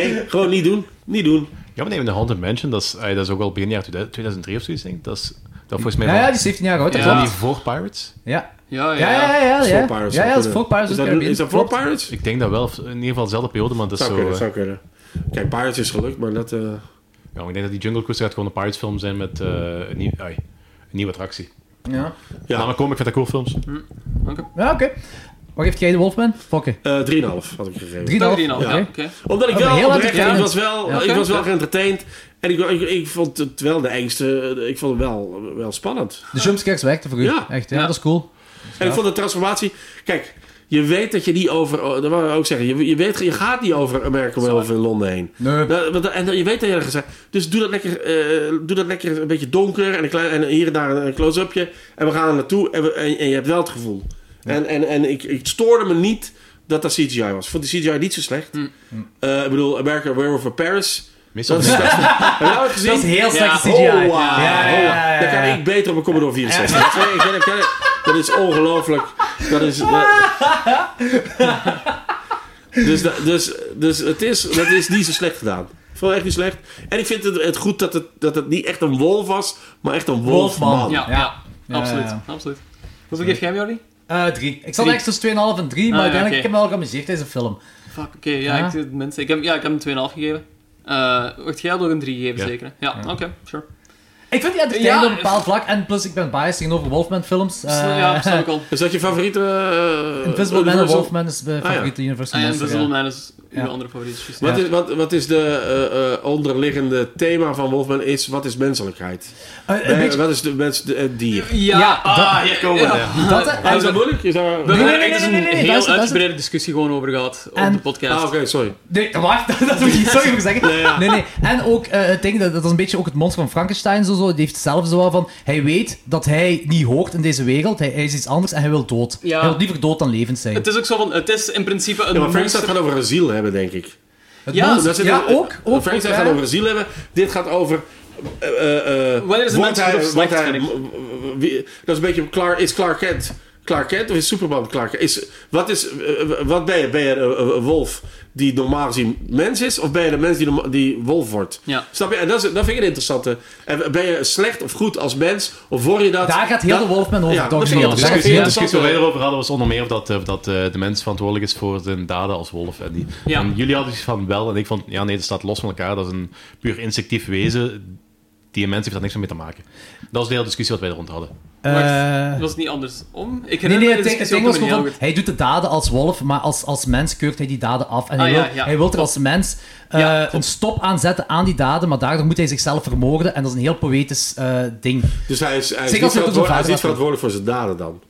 S3: nee. Gewoon niet doen. Niet doen.
S4: Ja, maar nee, de Haunted Mansion, dat is, ah, dat is ook al begin jaar 2000 2003 of zoiets, denk ik. Dat is, dat volgens mij
S2: Ja,
S4: van,
S2: ja, die is 17 jaar oud, dat
S4: van
S1: Ja.
S4: die
S2: klopt.
S4: voor Pirates.
S2: Ja. Ja,
S1: Ja,
S2: ja, ja. Oh, Ja,
S3: Is
S2: ja,
S3: voor Pirates
S2: ja,
S3: zou
S2: ja dat is
S3: kunnen.
S2: voor Pirates
S3: Is
S2: of the
S3: dat,
S2: Caribbean.
S3: is dat voor
S2: Klopt.
S3: Pirates?
S4: Ik denk dat wel, of in ieder geval dezelfde periode, maar dat is
S3: Zou
S4: zo...
S3: kunnen,
S4: eh,
S3: zou kunnen. Kijk, Pirates is gelukt, maar dat... eh,
S4: ja, maar ik denk dat die Jungle Cruise gaat gewoon een Pirates film zijn met eh, een, nieuw- ai, een nieuwe attractie.
S2: Ja,
S4: Ja. Nou, maar kom, ik vind dat cool films.
S2: ja oké. Wat geeft jij de Wolfman? Fokken. 3,5.
S3: eh 3,5 had ik gegeven.
S1: Dat is al.
S2: Oké.
S1: Ja, oké.
S3: Omdat ik
S2: Oh, maar
S3: wel
S2: heel
S3: oprecht,
S2: entertainend.
S3: ik was wel,
S2: Ja.
S3: ik was wel geëntertained. En ik, ik, ik vond het wel de engste, eh, ik vond het wel, wel spannend.
S2: De jumpscares werkten voor u.
S3: Ja.
S2: Echt, ja,
S1: Ja.
S2: dat is cool.
S3: En ik vond de transformatie, kijk, je weet dat je niet over, oh, dat wou ik ook zeggen, je, je weet, je gaat niet over American Way of in Londen heen.
S2: Nee.
S3: Nou, want- en je weet dat je er gezegd Dus doe dat, lekker, eh, doe dat lekker een beetje donker en, een klein, en hier en daar een, een close-upje. En we gaan er naartoe en, we- en, en je hebt wel het gevoel. En, en, en ik, ik stoorde me niet dat dat CGI was. Ik vond die CGI niet zo slecht. Eh, ik bedoel, American Werewolf in Paris.
S4: Meestal
S3: Dat is, dat is, heb je dat gezien?
S2: Dat is heel slechte CGI.
S3: Oh, wow.
S2: Ja, ja, ja, ja,
S3: Dat kan
S2: ja.
S3: ik beter op een Commodore 64. Dat, is- ik weet- ik weet- dat is ongelooflijk. Dat is... dat- dus, dat- dus, dus het is, dat is niet zo slecht gedaan. Ik vond het echt niet slecht. En ik vind het, het goed dat het, dat het niet echt een wolf was, maar echt een wolfman.
S2: Wolfman.
S1: Ja,
S2: Ja.
S1: ja.
S2: Ja,
S1: absoluut.
S2: ja.
S1: absoluut. Hoeveel geef jij hem, Jordi?
S2: Eh, drie. Ik zat
S1: Drie.
S2: echt tussen 2,5 en 3, maar
S1: Ah, ja,
S2: uiteindelijk
S1: oké.
S2: ik heb me wel geamuseerd deze film.
S1: Fuck, oké. ja,
S2: Ja.
S1: ik doe het minste. Ik heb, ja, ik heb hem 2,5 gegeven. Eh wacht, jij had ook een 3 gegeven,
S4: Ja.
S1: zeker? hè? Ja, oké, sure.
S2: Ik vind die entertainend
S1: Ja,
S2: op een bepaald vlak. En plus, ik ben biased tegenover Wolfman films. Eh,
S1: ja, snap ik al.
S3: Is dat je favoriete... eh,
S2: Invisible Man en
S3: Universal?
S2: Wolfman is mijn favoriete Universal
S1: Ah, ja,
S2: monster,
S1: Invisible
S2: ja.
S1: Man is
S2: Ja.
S1: uw andere favoriet. juist.
S3: Wat is, wat, wat is de eh, eh, onderliggende thema van Wolfman? Is, wat is menselijkheid?
S2: Eh, een
S3: Eh,
S2: beetje-
S3: wat is de mens, de- het dier?
S1: Ja,
S2: Ja,
S1: ah, hier komen we.
S2: dat, eh,
S3: Ah, is dat moeilijk? Is dat...
S1: We
S2: Nee,
S1: hebben
S2: nee,
S1: er echt
S2: nee,
S1: een
S2: nee, nee, nee,
S1: heel
S2: luister, luister.
S1: uitgebreide discussie gewoon over gehad op
S2: En-
S1: de
S3: Ah,
S1: podcast.
S3: oké, sorry.
S2: Nee, wacht, dat moet ik iets sorry voor zeggen. Nee, nee. En ook eh, het ding, dat, dat is een beetje ook het monster van Frankenstein. Zo, zo. Die heeft zelf zo wel van, hij weet dat hij niet hoort in deze wereld. Hij, hij is iets anders en hij wil dood.
S1: Ja.
S2: Hij wil liever dood dan levend zijn.
S1: Het is ook zo van, het is in principe een
S3: Ja, maar Frankenstein
S1: monster-
S3: gaat over een ziel hebben, denk ik.
S2: Het
S1: ja,
S2: monster-
S3: Dat zit
S2: ja
S3: er-
S2: ook. ook
S3: Frankenstein
S2: ook,
S3: gaat
S2: ja.
S3: over een ziel hebben. Dit gaat over... eh, eh, eh,
S1: Wanneer is een
S3: wordt
S1: mens goed
S3: hij-
S1: of slecht,
S3: wordt hij-
S1: vind
S3: wie- Dat is een beetje... Clark, is Clark Kent Clark Kent of is Superman Clark Kent? Is, wat, is, eh, wat ben je? Ben je een, een- een wolf die normaal gezien mens is? Of ben je de mens die, norma- die wolf wordt?
S1: Ja.
S3: Snap je? En dat, is, dat vind ik een interessante. En ben je slecht of goed als mens? Of word je dat...
S2: Daar gaat heel
S3: dat-
S2: de Wolfman over,
S3: Ja,
S2: dat
S3: dat
S2: is
S3: vind ik
S2: heel-
S3: een
S2: daar gaat
S4: discussie,
S2: heel
S4: de
S2: de
S4: discussie waar wij
S3: interessante.
S4: erover hadden was onder meer of dat, eh, dat eh, de mens verantwoordelijk is voor zijn daden als wolf. En, die,
S1: Ja.
S4: en jullie hadden iets van wel, en ik vond, ja nee, dat staat los van elkaar. Dat is een puur instinctief wezen. Die mens heeft daar niks mee te maken. Dat is de hele discussie wat wij eronder hadden.
S2: Eh,
S1: Was het niet andersom? Ik
S2: Nee,
S1: herinner
S2: nee,
S1: me
S2: het
S1: de
S2: ding- het
S1: discussie
S2: ding
S1: ook
S2: was
S1: nog
S2: gewoon
S1: heel
S2: van,
S1: goed.
S2: hij doet de daden als wolf, maar als, als mens keurt hij die daden af. En hij,
S1: Ah,
S2: wil,
S1: ja, ja.
S2: hij wil er als mens eh,
S1: Ja,
S2: een stop aan zetten aan die daden, maar daardoor moet hij zichzelf vermoorden. En dat is een heel poëtisch eh, ding.
S3: Dus hij is, hij
S2: Zeg
S3: is, niet,
S2: als het op zo'n
S3: verantwoordelijk, hij is
S2: vader
S3: niet verantwoordelijk voor zijn daden dan.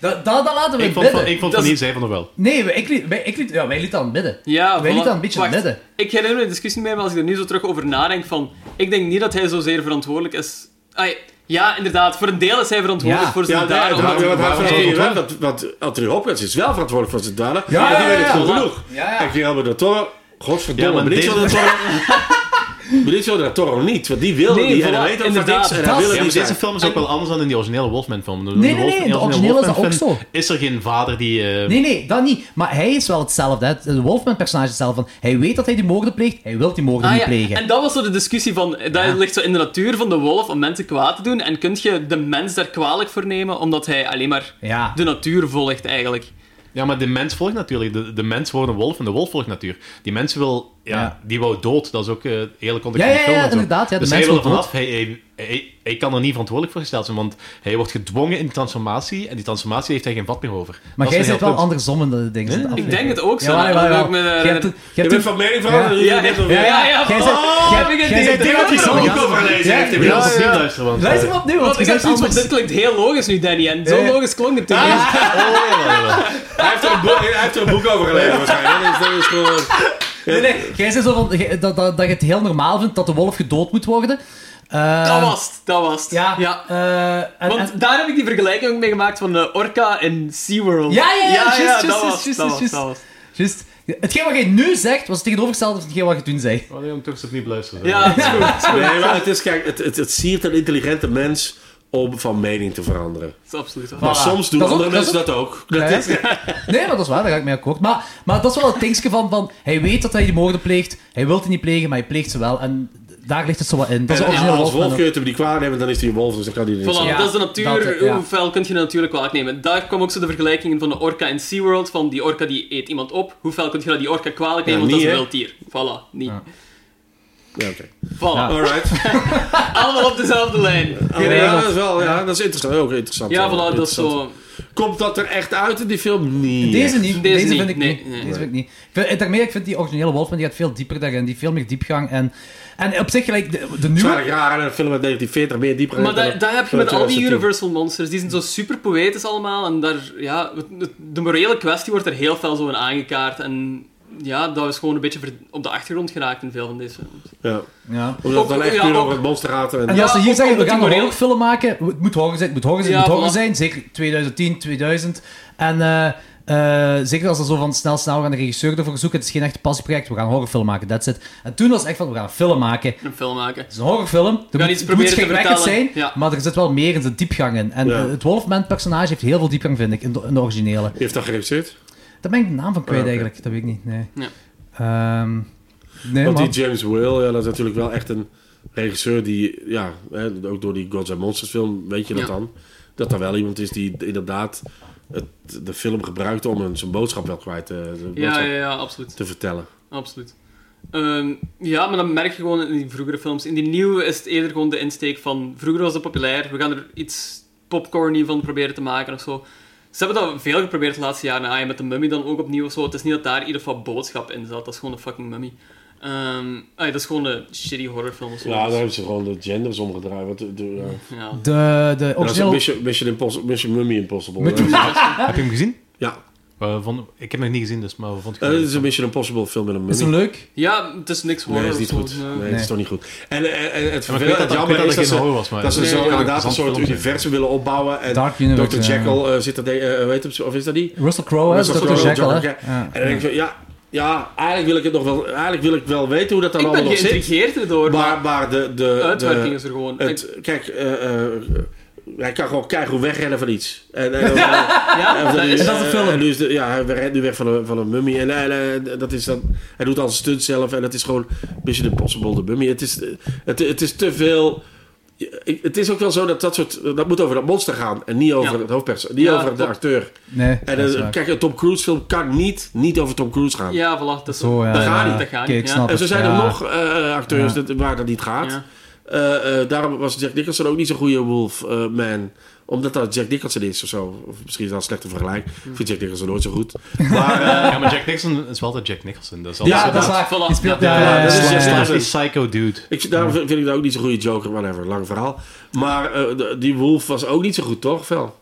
S2: Dat, dat, dat laten we
S4: Ik vond,
S2: bidden.
S4: van, ik vond
S1: Dat is-
S4: van niet, zij van er wel.
S2: Nee, wij- ik liet, wij, ik liet, ja, wij lieten aan het midden.
S1: Ja,
S2: wij
S1: voilà.
S2: lieten aan een beetje aan
S1: Wacht,
S2: het midden.
S1: Ik herinner me de discussie niet meer, maar als ik er nu zo terug over nadenk, van, ik denk niet dat hij zozeer verantwoordelijk is. Ai, ja, inderdaad, voor een deel is hij verantwoordelijk
S2: Ja.
S1: voor zijn Ah,
S3: Ja, daar,
S1: daden.
S3: daar,
S1: omdat-
S3: daar, daar,
S1: Hey,
S3: want, want Anthony Hopkins is wel verantwoordelijk voor zijn daden.
S2: Ja,
S3: en
S2: ja,
S3: die weet
S2: ja,
S3: het goed
S2: ja.
S3: genoeg.
S2: Ja, ja.
S3: En Guillermo de Toro, godverdomme,
S4: Ja, maar
S3: Benicio de
S4: deze-
S3: Toro... Benicio de Toro niet, want die wilde
S1: Nee,
S3: die, en
S1: voilà,
S3: hij weet over
S1: inderdaad.
S3: niks en
S2: Dat-
S3: hij wil
S2: Ja,
S3: er
S4: Ja, maar
S3: niet zijn.
S4: deze film is ook wel anders dan in die originele Wolfman-film. In
S2: nee, nee,
S4: Wolf- in
S2: de originele is dat
S4: Wolfman-film
S2: ook zo.
S4: Is er geen vader die... eh,
S2: Nee, nee, dat niet. Maar hij is wel hetzelfde. Hè. De Wolfman-personage is hetzelfde. Van, hij weet dat hij die moorden pleegt, hij wil die moorden
S1: Ah,
S2: niet
S1: ja.
S2: plegen.
S1: En dat was zo de discussie van, eh, dat ligt zo in de natuur van de wolf om mensen kwaad te doen. En kun je de mens daar kwalijk voor nemen, omdat hij alleen maar
S2: Ja.
S1: de natuur volgt eigenlijk.
S4: Ja, maar de mens volgt natuurlijk. De, de mens wordt een wolf en de wolf volgt natuur. Die mens wil... Ja,
S2: Ja.
S4: die wou dood. Dat is ook eh de hele context
S2: Ja,
S4: van de
S2: ja,
S4: film.
S2: ja,
S4: en zo.
S2: inderdaad, ja, de
S4: dus
S2: mens
S4: hij wil
S2: wil
S4: vanaf. Hij, hij, hij, hij kan er niet verantwoordelijk voor gesteld zijn, want hij wordt gedwongen in die transformatie en die transformatie heeft hij geen vat meer over.
S2: maar jij zit
S4: zit
S2: wel andersom in de dingen.
S1: Ik denk het ook zo.
S2: Ja,
S1: Dat
S2: ja,
S1: heb
S2: ja.
S1: ik me, eh,
S2: Je hebt het- je hebt
S3: Je bent
S2: het-
S3: van mening veranderd.
S1: Ja, ja,
S3: ja,
S1: ja, ja, ja.
S2: Jij
S1: Oh,
S2: zegt- jij-
S1: heb ik het
S2: jij
S1: idee
S2: zegt-
S1: dat ik
S4: Ik
S1: het
S4: zal
S1: ook
S4: ook overlezen.
S2: Ja,
S4: Ja,
S2: ja,
S4: ja, ja.
S2: ja.
S4: luisteren, want...
S2: Luister maar opnieuw, want
S1: Want
S2: je
S1: ik
S2: zegt
S1: had zoiets van,
S2: anders.
S1: dit klinkt heel logisch nu, Danny. En zo
S2: Ja, ja.
S1: logisch klonk het toen niet.
S3: eh, Hij heeft er een boek- hij heeft er een boek over gelezen waarschijnlijk. Dat is- dat is gewoon...
S2: Nee, nee, jij zei zo van, jij- dat, dat, dat je het heel normaal vindt dat de wolf gedood moet worden. Eh,
S1: Dat was het, dat was het.
S2: Ja,
S1: ja.
S2: eh, en- en-
S1: Want daar heb ik die vergelijking ook mee gemaakt van de orca in SeaWorld.
S2: Ja, ja, ja, juist, juist,
S1: dat
S2: juist,
S1: was,
S2: juist,
S1: dat was,
S2: juist.
S1: dat was.
S2: Juist. Hetgeen wat jij nu zegt, was het tegenovergestelde van hetgeen wat je toen zei.
S4: Oh, nee, om toch eens opnieuw luisteren.
S1: Ja, dat is goed. dat
S3: Nee, maar het is, kijk, het, het, het siert een intelligente mens om van mening te veranderen.
S1: is absoluut waar.
S3: Maar soms doen
S2: Dat is ook-
S3: andere
S2: dat is
S3: mensen dat ook. Dat
S2: Ja.
S3: is-
S2: Nee, maar dat is waar, daar ga ik mee akkoord. Maar, maar dat is wel het dingetje van, van, hij weet dat hij die moorden pleegt, hij wil die niet plegen, maar hij pleegt ze wel. En daar ligt het zo wat in. Dat is
S3: En
S2: een originele
S3: als wolf
S2: Wolfman.
S3: kun je het hem niet kwaad nemen, dan is hij een wolf, dus dan kan hij niet.
S1: Voilà,
S2: Ja,
S1: dat is de natuur.
S2: dat, ja.
S1: Hoe fel kun je de natuur kwalijk nemen? Daar kwam ook zo de vergelijking van de orka in SeaWorld. Van die orka die eet iemand op. Hoe fel kun je dat die orka kwalijk nemen?
S3: Ja,
S1: want
S3: niet,
S1: dat is een wild dier. Voilà, niet.
S3: Ja, oké.
S1: Voilà.
S3: Alright.
S1: Allemaal op dezelfde lijn.
S3: Ja, dat is wel, ja, dat is interessant. Ook interessant.
S1: Ja,
S3: wel,
S1: voilà, dat is
S3: interessant.
S1: zo.
S3: Komt dat er echt uit in die film? Nee.
S2: Deze niet.
S1: Deze
S2: Deze,
S1: niet,
S2: vind ik
S1: nee,
S2: niet.
S1: nee.
S2: Deze vind ik niet. Ik vind, en daarmee, ik vind die originele Wolfman die gaat veel dieper daarin. Die veel meer diepgang. En, en op zich gelijk de, de
S3: Het
S2: nieuwe...
S3: waren jaren en een film uit 1940 meer dieper.
S1: Maar daar daar heb je met al die
S3: 2010.
S1: Universal Monsters. Die zijn zo super poëtisch allemaal. En daar, ja, het- de morele kwestie wordt er heel fel zo in aangekaart. En ja, dat is gewoon een beetje ver- op de achtergrond geraakt in veel van deze films.
S3: Ja.
S2: Ja.
S3: Omdat het dan
S1: Ook-
S3: echt
S1: ja,
S3: puur
S1: ook-
S3: over het monster gaat. En,
S2: En
S1: Ja,
S2: als ze
S1: ook
S2: hier zeggen, we
S1: omdat
S2: gaan
S1: die
S2: een
S1: moreel-
S2: horrorfilm maken, het moet horror zijn, het moet horror zijn, het
S1: Ja,
S2: moet horror
S1: voilà.
S2: zijn. Zeker 2010, 2000. En eh, eh, zeker als er zo van snel, snel, we gaan de regisseur ervoor zoeken. Het is geen echt passieproject, we gaan een horrorfilm maken, that's it. En toen was het echt van, we gaan een film maken. Het
S1: Een film maken.
S2: is een horrorfilm, er moet, het
S1: iets
S2: moet
S1: proberen te
S2: schrikwekkend zijn,
S1: vertellen, ja.
S2: maar er zit wel meer in de diepgang in. En
S3: Ja.
S2: eh, het Wolfman-personage heeft heel veel diepgang, vind ik, in de, in de originele.
S3: Wie heeft dat geregisseerd?
S2: Daar ben ik de naam van kwijt
S3: Ja, Ah, oké.
S2: eigenlijk, dat weet ik niet, nee.
S1: Ja.
S2: Ehm, nee,
S3: Want
S2: man.
S3: die James Will, ja, dat is natuurlijk wel echt een regisseur die, ja, hè, ook door die Gods and Monsters film, weet je dat
S1: Ja.
S3: dan? Dat er wel iemand is die inderdaad het, de film gebruikte om een, zijn boodschap wel kwijt eh, zijn
S1: Ja,
S3: boodschap
S1: ja, ja, absoluut.
S3: te vertellen.
S1: absoluut. Ehm, ja, maar dan merk je gewoon in die vroegere films. In die nieuwe is het eerder gewoon de insteek van... Vroeger was dat populair, we gaan er iets popcorny van proberen te maken of zo. Ze hebben dat veel geprobeerd de laatste jaren. Ah, ja, met de mummy dan ook opnieuw of zo. Het is niet dat daar in ieder geval boodschap in zat. Dat is gewoon een fucking mummy. Ehm, ah, ja, dat is gewoon een shitty horrorfilm of zo.
S3: Ja, daar hebben ze gewoon de genders omgedraaid. Want, de, de, ja.
S1: Ja.
S2: De, de
S3: Dat is
S2: originele...
S3: Mission, Mission, Impossible, Mission Mummy Impossible.
S2: Mission-
S3: Ja.
S7: Heb je hem gezien?
S3: Ja,
S4: Eh, vond- ik heb hem nog niet gezien, dus, maar wat vond je
S3: Eh, dit is een Mission Impossible film met een
S2: Is
S3: mummy.
S2: hem leuk?
S1: ja, het is niks horror.
S3: Nee, dat is niet
S1: of zo,
S3: goed.
S1: nee.
S3: Nee, dat is toch niet goed. En, en, en het
S4: eh? maar ik weet
S3: vervelende
S4: dat, dat, ik weet
S3: jammer
S4: dat
S3: is dat
S4: dat geen
S3: ze,
S4: horror was, maar...
S3: dat ze
S4: Nee,
S3: zo
S4: ja,
S3: inderdaad een
S4: interessant
S3: soort
S4: film.
S3: universum willen opbouwen. En
S2: Dark Universe,
S3: Dr.
S2: ja.
S3: Jekyll eh, zit er, de- eh, weet hem, of is dat die?
S2: Russell Crowe, hè?
S3: Russell
S2: Dat is
S3: Crowe,
S2: Dr. Jekyll,
S3: John
S2: hè?
S3: Jekyll.
S2: Ja.
S3: En dan denk ik zo, ja, ja, eigenlijk wil ik het nog wel, eigenlijk wil ik wel weten hoe dat dan
S1: Ik
S3: allemaal
S1: ben
S3: nog zit.
S1: geïntrigeerd erdoor, maar,
S3: Maar, maar de, de, de
S1: de uitwerking is er gewoon. Ik-
S3: het, kijk, eh, eh, hij kan gewoon keihard wegrennen van iets. En, eh, en,
S1: ja, dat is,
S2: dat is een film.
S3: En eh, nu is de, ja, hij rent nu weg van een, van een mummy. En, en, eh, dat is dan, hij doet al zijn stunt zelf. En het is gewoon Mission Impossible, de mummy. Het is, eh, het, het is te veel... Ik- Het is ook wel zo dat dat soort... Dat moet over dat monster gaan. En niet over
S1: Ja.
S3: het hoofdpers. Niet
S1: Ja,
S3: over de
S1: klopt.
S3: acteur.
S2: Nee,
S3: En
S2: dat is
S3: eh,
S2: waar.
S3: kijk, een Tom Cruise film kan niet, niet over Tom Cruise gaan.
S1: ja, voilà. Dat, is,
S2: Zo, ja,
S1: dat gaat
S2: ja.
S1: niet, dat gaat
S2: Oké,
S1: niet.
S2: ik
S1: ja.
S2: snap
S3: En zo zijn
S2: Ja.
S3: er nog eh, acteurs
S2: Ja.
S3: dat- waar dat niet gaat.
S1: Ja.
S3: Eh, eh, daarom was Jack Nicholson ook niet zo'n goede Wolfman. man omdat dat Jack Nicholson is of zo. Of misschien is dat een slechte vergelijking. Ik vind Jack Nicholson nooit zo goed. Maar eh,
S4: Ja, maar Jack Nicholson is wel altijd Jack Nicholson. Dat is altijd
S2: Ja,
S4: zo-
S2: dat is waar.
S1: Voilà.
S2: Die speelt
S1: Ja,
S2: ja,
S3: ja, dat is
S2: Sly.
S3: juist-
S4: Dat is die psycho dude.
S3: ik, daarom vind ik dat ook niet zo'n goede Joker. Whatever, lang verhaal. Maar eh, de- die Wolf was ook niet zo goed, toch? Vel.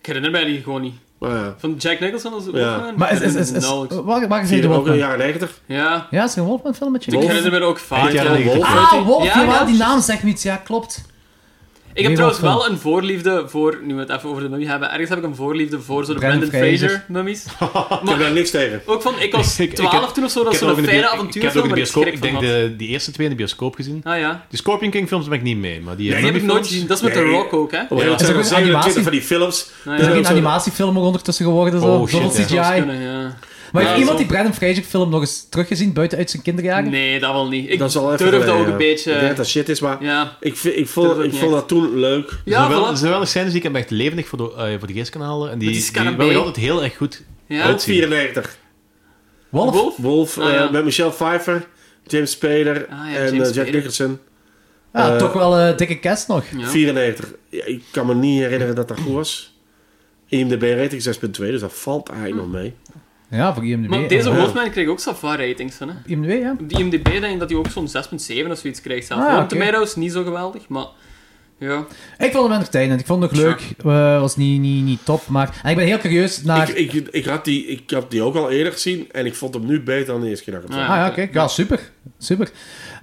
S1: Ik herinner mij die gewoon niet.
S3: Maar ja.
S1: Van Jack Nicholson als Wolfman?
S2: Maar is, is, is, oh. is,
S1: Nauwelijks.
S2: waar, waar is hij
S3: Vier,
S2: de
S3: Nou, ook in de
S2: Wolfman?
S3: jaren 90.
S1: Ja,
S2: Ja, is er een Wolfman filmetje?
S1: ik
S3: Wolf?
S1: herinner me er ook vaak.
S4: Eind jaren
S1: ja.
S4: negentig.
S3: Wolf.
S2: Ah, Wolf,
S1: Ja,
S2: ja,
S1: ja. dus-
S2: die naam zegt me iets. Ja, klopt.
S1: Ik heb
S2: Wie
S1: trouwens
S2: Wolfman?
S1: wel een voorliefde voor, nu we het even over de mummy hebben, ergens heb ik een voorliefde voor zo'n
S2: Brendan
S1: Brandon Fraser,
S2: Fraser.
S1: mummies.
S3: Ik heb daar niks tegen.
S1: Ook van, ik was
S4: Ik- ik-
S1: 12
S4: ik heb-
S1: toen of zo, dat
S4: Ik
S1: is
S4: heb ook
S1: zo'n
S4: in
S1: fijne
S4: de bio- ik heb ook
S1: avontuurfilm,
S4: in
S1: maar
S4: de
S1: ik
S4: bioscoop.
S1: schrik
S4: Ik denk
S1: van had.
S4: de, die eerste twee in de bioscoop gezien.
S1: Ah ja,
S4: Die Scorpion King films ben ik niet mee, maar die...
S1: die heb ik nooit gezien. Dat is met The
S3: Nee.
S1: Rock ook, hè?
S3: Op een gegeven
S2: Is
S3: moment
S2: er
S3: zijn
S2: ook
S3: er
S2: een
S3: 27
S2: animatie?
S3: van die films.
S1: Nee,
S2: Is er
S3: Ja,
S2: geen
S3: zo-
S2: animatiefilm ook ondertussen geworden? Zo,
S4: Oh, shit,
S2: zoveel
S4: ja.
S1: Dat zou
S2: CGI.
S1: kunnen, ja.
S2: maar
S1: Ja,
S2: heeft iemand
S1: zo.
S2: die Brandon Fraser film nog eens teruggezien buiten uit zijn kinderjaren?
S1: Nee, dat wel niet. Ik
S3: Dat is al
S1: durf
S3: even
S1: dat
S3: geleden,
S1: ook een
S3: ja. Ik denk dat
S1: beetje...
S3: dat shit is, maar
S1: Ja,
S3: ik, vind- ik
S1: Dat
S3: vond,
S1: is ook
S3: ik
S1: niet
S3: vond
S1: echt.
S3: dat toen leuk.
S1: ja,
S4: er
S1: voilà.
S4: zijn wel nog scènes die ik hem echt levendig voor de, eh, voor de geest kan halen. En die,
S1: Met die
S4: die,
S1: scarabee.
S4: wel nog altijd heel erg goed
S1: Ja.
S3: Ook
S4: uitzien.
S3: 94.
S2: Wolf?
S1: Wolf?
S3: Wolf
S1: Ah,
S3: eh,
S1: ja.
S3: met Michelle Pfeiffer, James Spader
S1: Ah, ja,
S3: en
S1: James
S3: eh, Jack
S1: Spader.
S3: Nicholson.
S2: Ja,
S3: Eh,
S2: toch wel eh, dikke cast nog.
S1: Ja.
S3: 94. Ja, ik kan me niet herinneren dat dat goed was. IMDb rating 6.2, dus dat valt eigenlijk
S1: Hm.
S3: nog mee.
S2: Ja, voor IMDb.
S1: Maar deze
S2: ja.
S1: Wolfman kreeg ook Safa ratings van, hè?
S2: IMDb, ja.
S1: Op die IMDb denk ik dat hij ook zo'n 6.7 of zoiets krijgt zelf.
S2: Ah,
S1: Rotten
S2: oké.
S1: Tomatoes, niet zo geweldig, maar... Ja.
S2: Ik vond hem entertainend. Ik vond het nog leuk. Eh, was niet, niet, niet top, maar... En ik ben heel curieus naar...
S3: Ik, ik, ik, had die, ik had die ook al eerder gezien en ik vond hem nu beter dan de eerste keer dat ik hem zag.
S2: Ah ja, kijk. Ja, super. Super.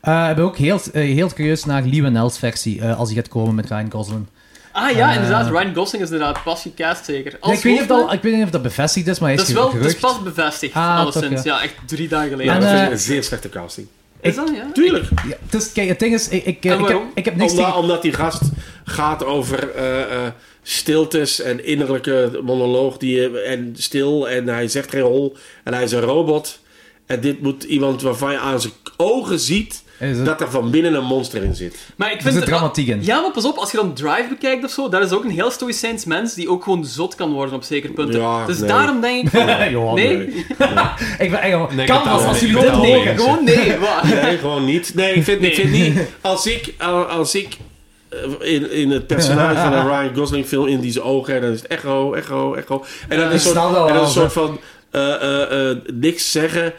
S2: Eh, ik ben ook heel, eh, heel curieus naar Lee Wennell's versie, eh, als die gaat komen met Ryan Gosling.
S1: Ah ja, inderdaad. Ryan Gosling is inderdaad pas gecast, zeker. Als
S2: Nee, Eh. ik, weet niet of
S1: Wolfman-
S2: dat, ik weet niet of dat bevestigd is, maar hij is,
S1: Dat is wel, dat is
S2: gerucht.
S1: pas bevestigd,
S2: Ah,
S1: alleszins.
S2: toch,
S1: Ja. echt drie dagen geleden.
S3: Ja,
S2: En,
S3: dat
S2: eh,
S3: is een zeer slechte casting.
S1: is dat, ja?
S3: Tuurlijk,
S2: Ja, dus, kijk, het ding is, ik, ik, eh,
S1: En
S2: ik, heb,
S1: waarom?
S2: ik heb niks
S3: omdat,
S2: tegen...
S3: omdat die gast gaat over eh, eh, stiltes en innerlijke monoloog die, je- en stil en hij zegt geen hol en hij is een robot. En dit moet iemand waarvan je aan zijn ogen ziet
S2: Is het-
S3: dat er van binnen een monster in zit.
S1: Maar ik
S2: Er
S1: vind
S2: zit dramatiek in.
S1: Ja, maar pas op, als je dan Drive bekijkt of zo, daar is ook een heel stoïcijns mens die ook gewoon zot kan worden op zekere punten.
S3: Ja,
S1: dus
S3: nee.
S1: daarom denk ik. van,
S2: Johan,
S1: Nee,
S2: Ik ben echt al-
S4: Nee,
S2: Canvas,
S4: totaal
S2: als
S4: niet.
S2: jullie dit
S4: Totaal
S2: horen.
S4: niet.
S1: gewoon nee. Wat?
S3: Nee, gewoon niet. Nee, ik vind, Ik
S1: Nee.
S3: vind niet. Als ik, als ik eh, in, in het personage van een Ryan Gosling film in die zijn ogen, dan is het echo, echo, echo. En dan
S2: ik
S3: is het
S2: snap
S3: een
S2: wel
S3: soort, en dan
S2: wel.
S3: een soort van eh, eh, eh, niks zeggen.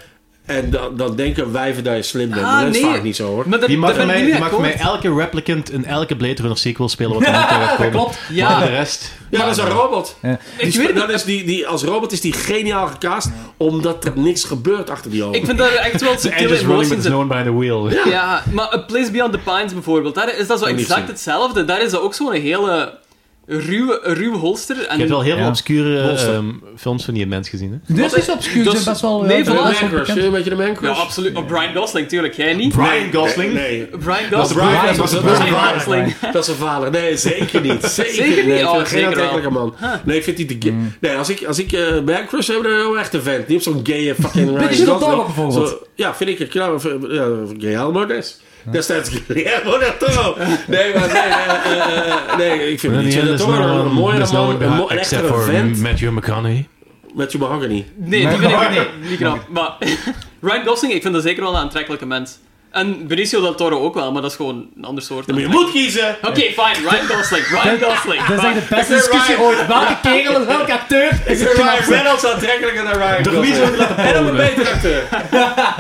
S3: En dan, dan denken wijven dat je slim bent.
S1: Ah,
S3: Maar dat is
S1: nee.
S3: vaak niet zo hoor.
S1: Maar daar-
S4: Die mag
S1: daar
S4: voor
S1: ben ik niet
S4: mij, die
S1: mee
S4: mag voor mij
S1: akkoord.
S4: elke replicant in elke Blade Runner sequel spelen wat er niet uit
S2: Dat
S4: komt.
S2: klopt.
S1: Ja.
S4: Maar de rest...
S3: Ja, dat is een robot.
S2: Ja.
S3: Die
S1: Ik
S3: spe-
S1: weet het.
S3: dan is die, die, als robot is die geniaal gecast, omdat er niks gebeurt achter die ogen.
S1: Ik vind dat er echt wel
S4: The edge
S1: subtiele
S4: is rolling but
S1: emoties
S4: it's
S1: in.
S4: known by the wheel.
S1: Ja, maar A Place Beyond the Pines bijvoorbeeld, daar is dat zo
S3: Kan niet
S1: exact
S3: zien.
S1: hetzelfde. Daar is dat ook zo'n hele ruwe, ruwe holster. En
S4: Je hebt wel heel veel
S2: Ja.
S4: obscure
S3: Monster.
S4: ehm, films van die mens gezien. Hè?
S2: Dit is obscuur,
S1: dat
S2: zijn
S1: is-
S2: best wel...
S1: nee,
S2: eh,
S1: voilà.
S2: best
S3: de
S2: wel
S3: man crush,
S2: bekend.
S3: een beetje de man
S1: Ja,
S3: crush.
S1: absoluut. Oh, Brian Gosling, tuurlijk. Jij niet?
S3: Brian Gosling? Nee.
S1: Brian Gosling.
S3: Brian,
S2: Brian
S3: dat was- dat was
S2: Gosling.
S3: een
S1: Brian
S3: vader.
S1: Gosling.
S3: Dat is een vader. Nee, zeker niet. Zeker,
S1: Zeker niet?
S3: Nee, ik
S1: Oh,
S3: vind geen
S1: zeker wel.
S3: aantrekkelijke man. Nee, ik vind die te gay. Nee, als ik, als ik eh Man Crush heb, dan ben ik wel echt een vent. Niet op zo'n gay eh, fucking Ryan
S2: Zit op
S3: Gosling.
S2: Dorp bijvoorbeeld.
S3: Zo, ja, vind ik een knap. of, eh, Ja, of Guillermo Des. Destijds Guillermo del Toro. Nee, maar nee, eh, eh, eh, nee, ik vind
S4: En die
S3: Benicio del
S4: is
S3: Toro
S4: nou-
S3: een mooie
S4: is nou
S3: man,
S4: een-
S3: een mo- een
S4: except
S3: echtere
S4: for
S3: vent.
S4: Matthew McConaughey.
S3: Met je mahogany.
S1: Nee, die vind ik niet, niet knap. Maar Ryan Gosling, ik vind dat zeker wel een aantrekkelijke mens. En Benicio del Toro ook wel, maar dat is gewoon een ander soort.
S3: Dan moet je
S1: aantrekking.
S3: moet kiezen.
S1: Oké, fijn. Ryan Gosling. Ryan Gosling.
S2: Dat is echt de beste
S3: Is er
S2: discussie
S3: Ryan-
S2: ooit. Welke kerel, welke acteur is
S3: Ik
S2: het
S3: vind Ryan
S2: knapste?
S3: Reynolds aantrekkelijker dan Ryan
S4: Door wie zou
S3: Gosling. En dan een betere acteur.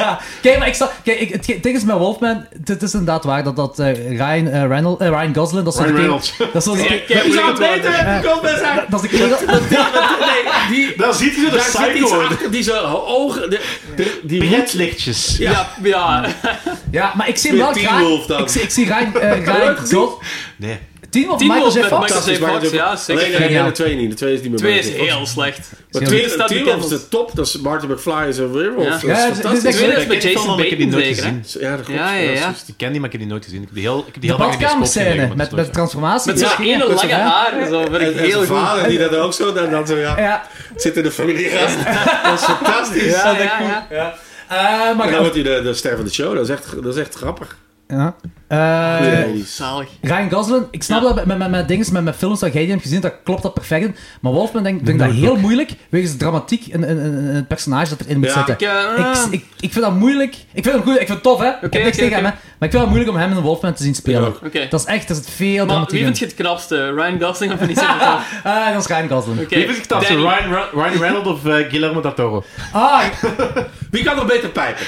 S2: Kijk, maar ik sta... Kijk, ik, het, het ding is met Wolfman, het is inderdaad waar dat, dat eh, Ryan, eh, Reynolds, eh, Ryan Gosling... Dat is
S4: Ryan
S2: zo'n kerel-
S4: Reynolds.
S2: Dat is zo'n kerel-
S1: Kijk,
S3: Wie
S1: hoe
S3: zou
S1: ik
S3: het
S1: het wou.
S3: beter hebben? Kom, best aan.
S2: Dat is een kerel...
S3: Nee, die,
S4: Dan ziet hij
S3: daar zit iets achter die zijn ogen. De, de, die
S4: Pretlichtjes.
S1: Ja, ja.
S2: Ja, maar ik zie hem
S3: Weer
S2: wel
S3: Teen
S2: graag...
S3: Wolf dan.
S2: Ik zie, ik zie Ryan, eh, Ryan Gosling...
S4: Nee.
S2: Teen Wolf,
S1: Teen
S2: Michael
S1: Wolf
S2: J.
S1: met
S2: Fox.
S1: Michael J. Fox, ja, zeker.
S3: Alleen alleen de twee niet. De twee is niet meer
S1: Twee
S3: bij.
S1: is heel slecht.
S3: Maar
S2: Tweede
S3: twee
S1: staat
S3: staat
S1: bekend
S3: is de top. Dat is Marty McFly is een werewolf.
S1: Ja.
S3: Dat is
S2: Ja, dit- dit is
S3: fantastisch.
S2: echt-
S1: Tweede is
S4: Ik
S1: met
S4: ken die
S1: Jason
S4: film, maar ik heb die
S1: Bacon
S4: nooit
S1: zeker, hè?
S4: gezien.
S3: Ja, dat klopt.
S1: Ja, ja,
S3: dat
S1: ja.
S3: is-
S4: Die ken die, maar ik heb die nooit gezien. Ik heb die heel, ik heb die
S2: De
S4: heel lang in de bioscoop gekeken,
S2: badkamerscène
S4: maar dat
S2: met,
S4: is
S2: met
S4: nooit
S2: transformatie.
S1: Met zo'n
S2: Dat is
S1: hele
S2: geen-
S1: lange
S2: Ja.
S1: haar. Zo vind
S3: En,
S1: ik
S3: en
S1: heel
S3: zijn
S1: goed.
S3: vader die dat ook zo, dan, dan zo ja,
S2: Ja,
S3: zit in de familie gast. Dat is fantastisch.
S1: Ja, ja, ja.
S2: Eh, maar
S3: En dan
S2: goed.
S3: wordt hij de, de ster van de show. Dat is echt, dat is echt grappig.
S2: Ja. Eh,
S3: Nee, die-
S1: Zalig.
S2: Ryan Gosling, ik snap dat met, met, met, dingen, met, met films dat jij die hebt gezien, dat klopt dat perfect in. Maar Wolfman denk, vind ik dat heel moeilijk, wegens de dramatiek en, en, en- en het personage dat erin moet
S3: Ja,
S2: zitten.
S1: ik, eh,
S2: ik, ik, ik vind dat moeilijk. Ik vind hem goed, ik vind het tof, hè. ik heb niks
S1: oké,
S2: tegen hem, hè. Maar ik vind het moeilijk om hem in Wolfman te zien spelen.
S3: Ik ook.
S1: Oké.
S2: Dat is echt, dat is veel
S1: Maar
S2: dramatiek
S1: wie vind je het knapste? Ryan Gosling of Benicio del Toro?
S2: in. Ah, dat is Ryan Gosling.
S1: Oké,
S4: Wie vind ik dat?
S1: Danny.
S4: Ryan, Ra- Ryan Reynolds of eh, Guillermo del Toro?
S2: Ah,
S3: Wie kan nog beter pijpen?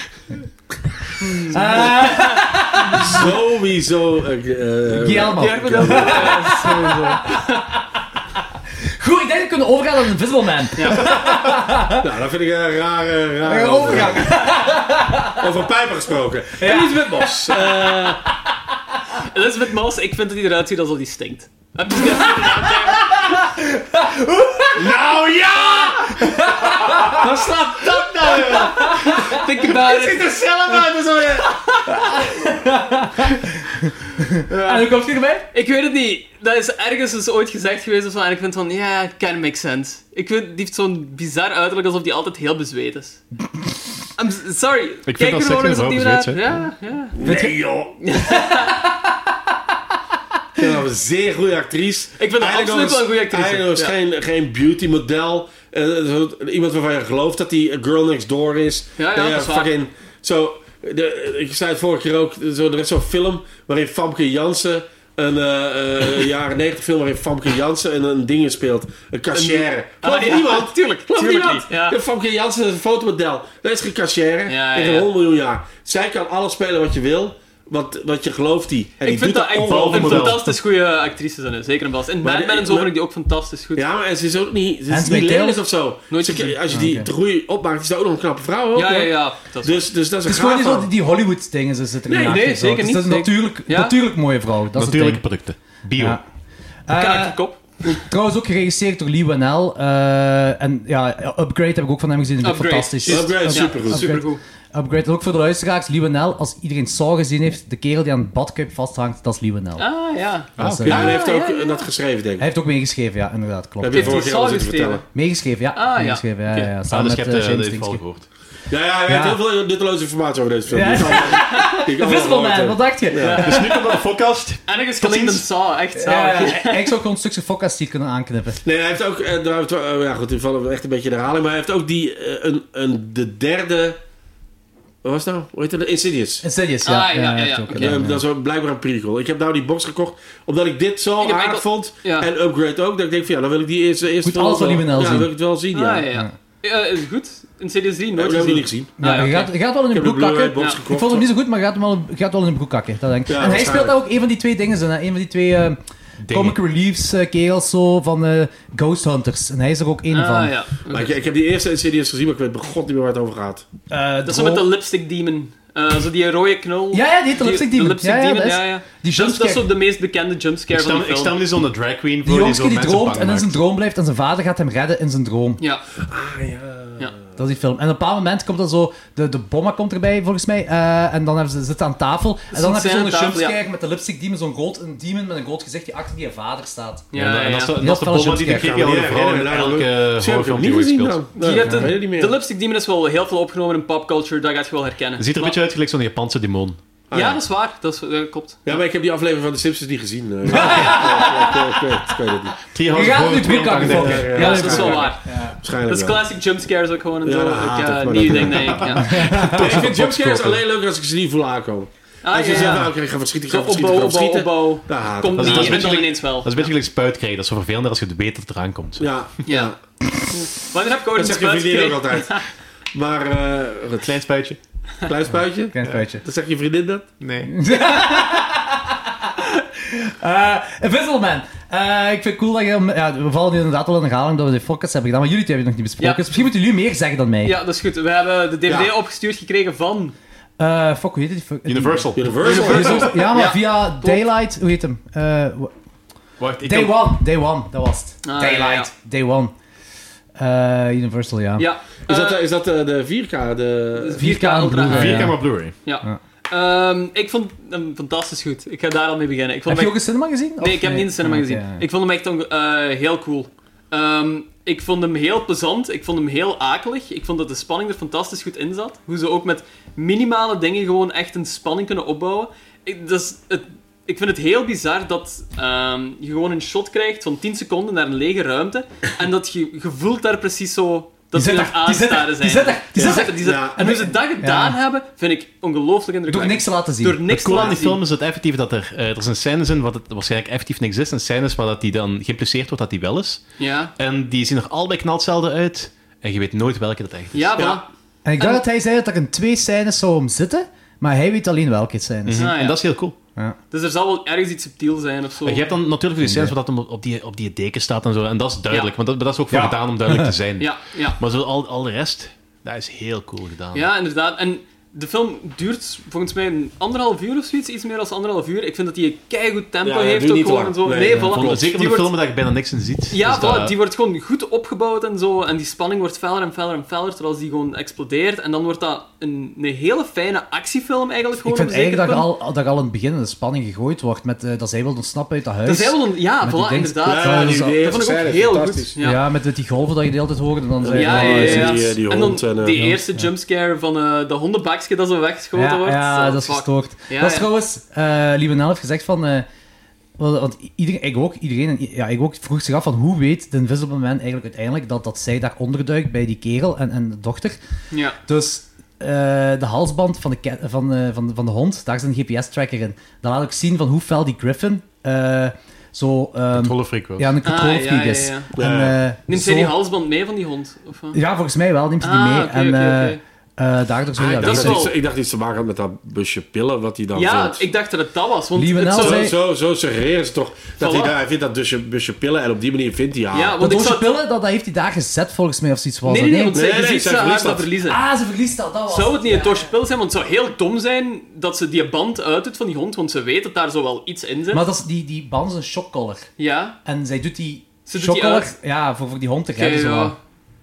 S2: eh,
S1: Eh.
S3: Sowieso. eh, eh,
S2: Guillermo. goed, ik denk dat we kunnen overgaan naar Invisible Man.
S3: Nou, dat vind ik een rare, rare
S2: Een overgang.
S3: Over pijpen gesproken. Elisabeth Bos. Eh,
S1: Elizabeth Moss, ik vind dat hij eruit ziet alsof hij stinkt.
S3: nou ja! Wat slaat dat nou, joh?
S1: Think about it.
S3: Ziet er zelf uit als je...
S2: En hoe komt je erbij?
S1: Ik weet het niet. Dat is ergens dus ooit gezegd geweest of zo. En ik vind van, ja, it kind of makes sense. Ik vind, die heeft zo'n bizar uiterlijk alsof die altijd heel bezweet is. I'm s- sorry.
S4: vind
S1: Kijk
S4: dat
S1: er gewoon
S4: seks
S1: eens
S4: en
S1: opnieuw
S4: vrouw
S1: naar.
S4: bezweet
S1: Ja, ja.
S3: Nee, joh. Ik vind dat een zeer goede actrice.
S1: Ik vind haar
S3: Eigenlijk
S1: absoluut
S3: nog
S1: wel een goede
S3: eens-
S1: actrice.
S3: Eigenlijk nog
S1: Ja.
S3: eens geen, geen beauty model. Eh, iemand waarvan je gelooft dat die eh, girl next door is.
S1: Ja, ja,
S3: Eh,
S1: dat is waar.
S3: fucking, zo, de, eh, ik zei het vorige keer ook, zo, er is zo'n film waarin Famke Jansen, een eh, eh, jaren 90 film waarin Famke Jansen een, een ding speelt. Een cashier. Geloof
S1: Ah,
S3: je
S1: ja,
S3: niemand?
S1: tuurlijk,
S3: Geloof je
S1: tuurlijk
S3: niemand?
S1: niet, ja.
S3: De Famke Jansen is een fotomodel. Dat is geen cashier.
S1: Ja,
S3: in
S1: ja.
S3: 100 miljoen jaar. Zij kan alles spelen wat je wil. Want, want je gelooft die. En
S1: Ik
S3: die
S1: vind
S3: doet
S1: dat echt
S3: ongelooflijk
S1: een
S3: goed.
S1: fantastisch goede actrice zijn. Zeker en vast. In
S3: Maar
S1: Batman
S3: de-
S1: en zo
S3: maar-
S1: vond ik die ook fantastisch goed.
S3: Ja, maar en ze is ook niet, ze is
S2: Handsome
S3: niet
S2: Tail?
S3: lelijk of zo.
S1: Nooit
S3: Ze-
S1: gezien.
S3: als je die
S2: Ah, oké.
S3: groei opmaakt, is dat ook nog een knappe vrouw. Hoor.
S1: ja, ja. ja. Dat is-
S3: Dus, dus dat is een
S2: Het is gewoon
S3: gaaf
S2: niet zo
S3: aan.
S2: die, die Hollywood-dingen ze zitten
S1: Nee,
S2: in
S1: nee,
S2: en zo.
S1: zeker
S2: Dus
S1: niet.
S2: dat is een
S1: Zeker-
S2: natuurlijk,
S1: Ja?
S2: natuurlijk mooie vrouw. Dat is het
S4: Natuurlijke producten. Bio.
S2: Ja. ding. Eh,
S1: Kaak je kop.
S2: trouwens ook geregisseerd door Lee Wanell. eh, en ja, Upgrade heb ik ook van hem gezien. Dat is
S1: Upgrade.
S2: fantastisch.
S1: Juist.
S3: Upgrade is
S1: Ja,
S3: supergoed.
S1: Supergoed.
S2: Upgrade, ook voor de luisteraars. Lee Wanell, als iedereen Saw gezien heeft, de kerel die aan het badkuip vasthangt, dat is Lee Wanell.
S1: Ah, ja.
S2: Dat is, eh,
S3: Ja, hij heeft
S1: Ah,
S3: ook
S1: ja, ja.
S3: dat geschreven, denk ik.
S2: Hij heeft ook meegeschreven, ja, inderdaad,
S3: Dat
S2: klopt.
S3: heb je
S1: Heeft hij
S3: vorige keer al
S1: Saul
S3: zitten
S1: geschreven?
S3: vertellen.
S2: Meegeschreven, ja.
S1: Ah, ja.
S2: meegeschreven, ja, ja, ja.
S4: Ah,
S2: Samen
S4: dus je
S2: met
S4: hebt
S2: eh,
S4: eh,
S2: James
S4: de val
S2: Dingske.
S4: gehoord.
S3: Ja, ja, je hebt
S2: Ja.
S3: heel veel nutteloze informatie over deze film.
S2: Ja.
S3: Die ik allemaal- die ik allemaal
S2: Visible Man,
S3: gehoord
S2: wat
S3: heb.
S2: dacht je? Ja.
S4: Dus nu komt dat de podcast.
S1: Ergens klinkt een saw, echt
S2: Ja,
S1: zalig.
S2: Ik zou gewoon een stukje fokkast hier kunnen aanknippen.
S3: Nee, hij heeft ook... eh, daar hebben we het wel- eh, ja, goed, die vallen echt een beetje in herhaling. Maar hij heeft ook die... eh, een, een, de derde... Wat was het nou? Hoe heet het? Insidious.
S2: Insidious, ja.
S1: Ah, ja, ja,
S2: heeft
S1: ja,
S2: ook
S1: oké.
S3: Ja,
S2: gedaan, ja.
S3: Dat is wel blijkbaar een prequel. Ik heb nou die box gekocht omdat ik dit zo
S1: Ik heb
S3: aardig
S1: enkel-
S3: vond.
S1: ja.
S3: En Upgrade ook. Dat ik denk van ja, dan wil ik die eerste... eerste
S2: Moet alles van die
S3: wel
S2: Menel
S3: Ja, dan
S2: zien.
S3: wil ik het wel zien, ja.
S1: Ah, ja, ja. Ja, is het goed? In Series 3
S3: Dat
S1: nooit
S3: heb ik
S1: gezien.
S3: niet gezien.
S1: Ah, ja,
S2: Je
S1: oké.
S2: gaat, je gaat wel in
S3: Ik
S2: de
S3: heb de
S2: broek kakken.
S3: Blu-ray box
S1: Ja.
S2: Ik
S3: gekocht.
S2: vond hem niet zo goed, maar je gaat, hem wel, je gaat wel in de broek kakken. Dat denk ik.
S3: Ja,
S2: en hij speelt
S3: waarschijnlijk.
S2: ook een van die twee dingen. Hè? Een van die twee eh, comic reliefs eh, kerels zo, van eh, Ghost Hunters. En hij is er ook één van.
S1: Ah, ja.
S3: Maar ik, ik heb die eerste Insidious gezien, maar ik weet begot niet meer waar het over gaat.
S4: Eh,
S1: Dat is zo met de lipstick demon. Eh, zo die rode knol.
S2: Ja, ja, die heet de lipstick demon.
S1: De lipstick
S2: Ja, ja,
S1: demon,
S2: dat is-
S1: ja, ja.
S2: die
S1: Dat is- Dat is zo
S2: jumpscare.
S1: de meest bekende
S4: Ik
S1: jumpscare van
S4: stel,
S1: die
S4: ik
S1: film.
S4: stel nu zo'n drag queen
S2: Die
S4: voor die
S2: jongske
S4: zo
S2: die
S4: mensen
S2: droomt
S4: bang
S2: en in
S4: maakt.
S2: zijn droom blijft en zijn vader gaat hem redden in zijn droom.
S1: Ja.
S2: Dat is die film. En op een bepaald moment komt dan zo... De, de bomma komt erbij, volgens mij. eh, en dan hebben ze, zitten aan tafel. En dan
S1: een
S2: hebben ze zo'n
S1: scène aan tafel,
S2: jumpscare met de lipstick demon. Zo'n rood, een demon met een rood gezicht die achter die vader staat.
S1: Ja,
S4: Ja,
S1: ja,
S4: en dat is
S1: ja.
S4: de- dat is de
S2: Dat is
S4: bomma die
S2: wel
S4: de
S3: Ja,
S4: creepy oude
S3: maar
S4: vrouw in
S3: herinneren, herinneren.
S4: elke
S3: Zie, heb ik
S4: horrorfilm
S3: hem
S4: die
S3: niet
S4: ooit
S3: gezien
S4: speelt.
S3: dan?
S1: Die
S3: Ja,
S1: heeft
S3: weet
S1: een-
S3: ik niet meer.
S1: de lipstick demon is wel heel veel opgenomen in popculture, dat gaat je wel herkennen.
S4: Ziet er een beetje
S1: Maar-
S4: uit gelijk zo'n Japanse demon.
S3: Ah, ja.
S1: Ja, dat is waar. Dat, is, dat klopt.
S3: Ja, maar ik heb die aflevering van de Simpsons niet gezien. eh. Ja, ik, weet- ik, weet- ik weet het niet.
S4: Three
S2: Je
S4: Houses
S2: gaat
S4: of
S2: hem niet
S4: Horror,
S2: broek kakken,
S4: 238.
S2: fucker.
S1: Ja, dat is wel waar.
S3: Waarschijnlijk
S1: Dat is
S3: wel.
S1: classic jumpscares ook gewoon. en
S3: Ja,
S1: zo.
S3: dat
S1: Ik,
S3: haat
S1: eh,
S3: ik, maar
S1: nieuw
S3: dat-
S1: ding, denk ik. Ja.
S3: Ik vind jumpscares alleen leuk als ik ze niet voel aankomen.
S1: Ah,
S3: Als je
S1: ja,
S3: zegt,
S1: ja.
S3: nou, oké, ik ga verschieten, ik
S1: Zo
S3: ga verschieten,
S1: opbouw,
S3: ik ga
S1: opbouw,
S3: verschieten.
S1: opbouw.
S3: Daar haat ik.
S1: Komt
S4: Dat is-
S1: die
S4: dat is
S1: en dan
S4: beetje-
S1: ineens wel.
S4: Dat is een beetje gelijk spuit krijgen. Dat is zo vervelender als je het weet dat het eraan komt.
S3: Ja,
S1: Ja. Wanneer heb ik ooit
S3: dat
S1: een
S3: zegt je
S1: spuit
S3: vriendin ook
S1: gekregen?
S3: altijd. Maar, eh goed,
S4: Klein spuitje.
S3: klein spuitje.
S2: Klein spuitje.
S3: Dat zegt je vriendin dat?
S4: Nee.
S2: Eh, Invisible Man. Eh, ik vind het cool dat je... Ja, we vallen nu inderdaad wel in de herhaling dat we de podcast hebben gedaan, maar jullie twee hebben het nog niet besproken.
S1: Ja.
S2: Dus misschien moeten jullie meer zeggen dan mij.
S1: Ja, dat is goed. We hebben de DVD
S3: Ja.
S1: opgestuurd gekregen van...
S2: Eh, fuck, hoe heet die? fuck-
S4: Universal.
S3: Universal.
S2: Universal. Ja, maar
S1: Ja,
S2: via Daylight... Hoe heet hem? Eh, wa-
S4: Wacht, ik
S2: day
S4: kan-
S2: One. Day One, dat was het.
S1: Ah,
S2: Daylight. Day One. Eh, Universal, ja.
S1: Ja.
S3: Is dat,
S1: Eh,
S3: eh, is dat eh, de 4K? De...
S2: 4K aan
S1: Ultra.
S2: Blu-ray.
S4: Vier
S2: Ja.
S4: camera Blu-ray.
S1: Ja. Ehm, ik vond hem fantastisch goed. Ik ga daar al mee beginnen. Ik vond
S2: Heb
S1: hem
S2: je ook Oh,
S1: echt-
S2: een cinema gezien?
S1: Nee, ik heb hem niet in de cinema gezien.
S2: Ik...
S1: Ik vond hem echt onge- eh, heel cool. Ehm, ik vond hem heel plezant. Ik vond hem heel akelig. Ik vond dat de spanning er fantastisch goed in zat. Hoe ze ook met minimale dingen gewoon echt een spanning kunnen opbouwen. Ik, dat is het, ik vind het heel bizar dat ehm, je gewoon een shot krijgt van 10 seconden naar een lege ruimte. En dat je, je voelt daar precies zo... Dat ze
S2: zit
S1: aan het
S2: daar, die zit daar,
S1: aanstaren zijn.
S2: die zit daar, die
S1: Ja.
S2: zit daar.
S1: Die zit-
S3: Ja.
S1: En hoe ze dat gedaan
S2: Ja.
S1: hebben, vind ik ongelooflijk
S2: Door
S1: indrukwekkend.
S2: niks te laten zien.
S1: Door niks
S4: Het cool
S1: te
S4: aan die
S1: laten zien.
S4: film is dat effectief dat er, eh, er zijn scènes in wat het waarschijnlijk effectief niks is en scènes waar dat die dan geïmpliceerd wordt dat die wel is.
S1: Ja.
S4: En die zien er allebei knal hetzelfde uit en je weet nooit welke dat echt is.
S1: Ja, voilà.
S3: Ja.
S2: En ik dacht dat hij zei dat er in twee scènes zou om zitten, maar hij weet alleen welke het zijn. is.
S1: Ah, ja.
S4: En dat is heel cool.
S1: Dus er zal wel ergens iets subtiel zijn of zo.
S4: En je hebt dan natuurlijk die scènes waar dat hem op- op die, op die deken staat en zo en dat is duidelijk,
S1: Ja.
S4: want dat, dat is ook voor gedaan om duidelijk te zijn.
S1: Ja, ja.
S4: Maar zo al, al de rest, dat is heel cool gedaan.
S1: ja, inderdaad. En de film duurt volgens mij een anderhalf uur of zoiets, iets meer dan anderhalf uur. Ik vind dat die een goed tempo
S3: Ja, ja,
S1: heeft
S3: duurt
S1: ook
S3: niet
S1: gewoon
S3: lang.
S1: en zo.
S3: Nee,
S1: Nee,
S3: nee,
S1: voilà.
S4: Vooral- zeker
S1: die
S4: met
S1: wordt,
S4: filmen dat je bijna niks in ziet.
S1: Ja,
S4: Dus
S1: voilà,
S4: dat-
S1: die wordt gewoon goed opgebouwd en zo. En die spanning wordt feller en feller en feller, terwijl die gewoon explodeert. En dan wordt dat een, een hele fijne actiefilm eigenlijk
S2: Ik
S1: gewoon.
S2: vind
S1: op een zeker
S2: eigenlijk dat je,
S1: punt.
S2: al, dat je al in het begin in de spanning gegooid wordt met eh, dat zij wil ontsnappen uit dat huis.
S1: Dat is helemaal... een- Ja,
S2: Met die
S1: voilà,
S2: dings-
S1: inderdaad.
S2: Ja,
S3: die
S2: dat
S3: idee
S1: Dat vond ik ook
S3: scène is
S1: heel goed.
S3: fantastisch.
S2: Ja, met, met die golven dat je de hele tijd hoort en dan zei je
S1: Ja,
S2: van,
S1: ja,
S2: oh,
S1: ja.
S2: is het-
S1: ja.
S3: die, eh, die
S1: en dan
S3: hond en, eh,
S1: die
S3: ja.
S1: eerste jumpscare van eh dat hondenbakje dat zo weggeschoten
S2: Ja,
S1: wordt.
S2: ja,
S1: Zo,
S2: dat is
S1: fuck.
S2: gestoord.
S1: Ja,
S2: dat is
S1: ja.
S2: trouwens, eh Lieve Nel heeft gezegd van... eh, wel, want iedereen, ik ook, iedereen, en i- ja, ik ook vroeg zich af van hoe weet de Invisible Man eigenlijk uiteindelijk dat, dat zij daar onderduikt bij die kerel en, en de dochter.
S1: Ja.
S2: Dus eh, de halsband van de, cat- van, eh, van, de- van de hond, daar zit een GPS-tracker in. Dat laat ook zien van hoe fel die Griffin eh, zo... ehm,
S4: Volle freak wel.
S2: ja, een controlfreak
S1: Ah, ja, ja,
S2: is.
S1: ja.
S2: En, eh,
S1: Neemt
S2: zo-
S1: zij die halsband mee van die hond? Of, wat?
S2: Ja, volgens mij wel, neemt hij die
S1: Ah,
S2: mee.
S1: oké,
S2: en
S1: oké,
S2: eh,
S1: oké.
S2: eh, daardoor zou je
S1: Ah, dat is
S2: weten.
S1: wel-
S3: iets- ik dacht iets te maken had met dat busje pillen wat hij dan
S1: ja,
S3: vult.
S1: ik dacht dat het dat was. Want
S2: Lieve
S1: het
S2: Nel
S1: zou-
S2: zei-
S3: Zo, zo, zo suggereren ze toch dat hij,
S1: Voilà.
S3: daar, hij vindt dat busje, busje pillen en op die manier vindt hij haar.
S1: Ja,
S2: Dat
S1: want ik
S2: doosje
S1: zou...
S2: pillen, dat, dat heeft hij daar gezet volgens mij of zoiets was.
S1: Nee,
S2: dat,
S1: nee, nee,
S2: hè?
S1: want
S3: Nee,
S1: zij
S3: nee,
S1: je ziet
S3: zij
S1: ze haar
S3: verliest
S1: dat
S3: dat.
S1: verliezen.
S2: Ah, ze verliest dat, dat was
S1: zou het niet een
S2: ja.
S1: doosje pil zijn? Want het zou heel dom zijn dat ze die band uitdoet van die hond, want ze weet dat daar zo wel iets in zit.
S2: Maar dat is die, die band is een shockcollar.
S1: Ja,
S2: En zij doet die
S1: Ze doet die
S2: shockcollar
S1: uit.
S2: ja, voor, voor die hond te
S1: oké,
S2: redden. zo.
S1: ja.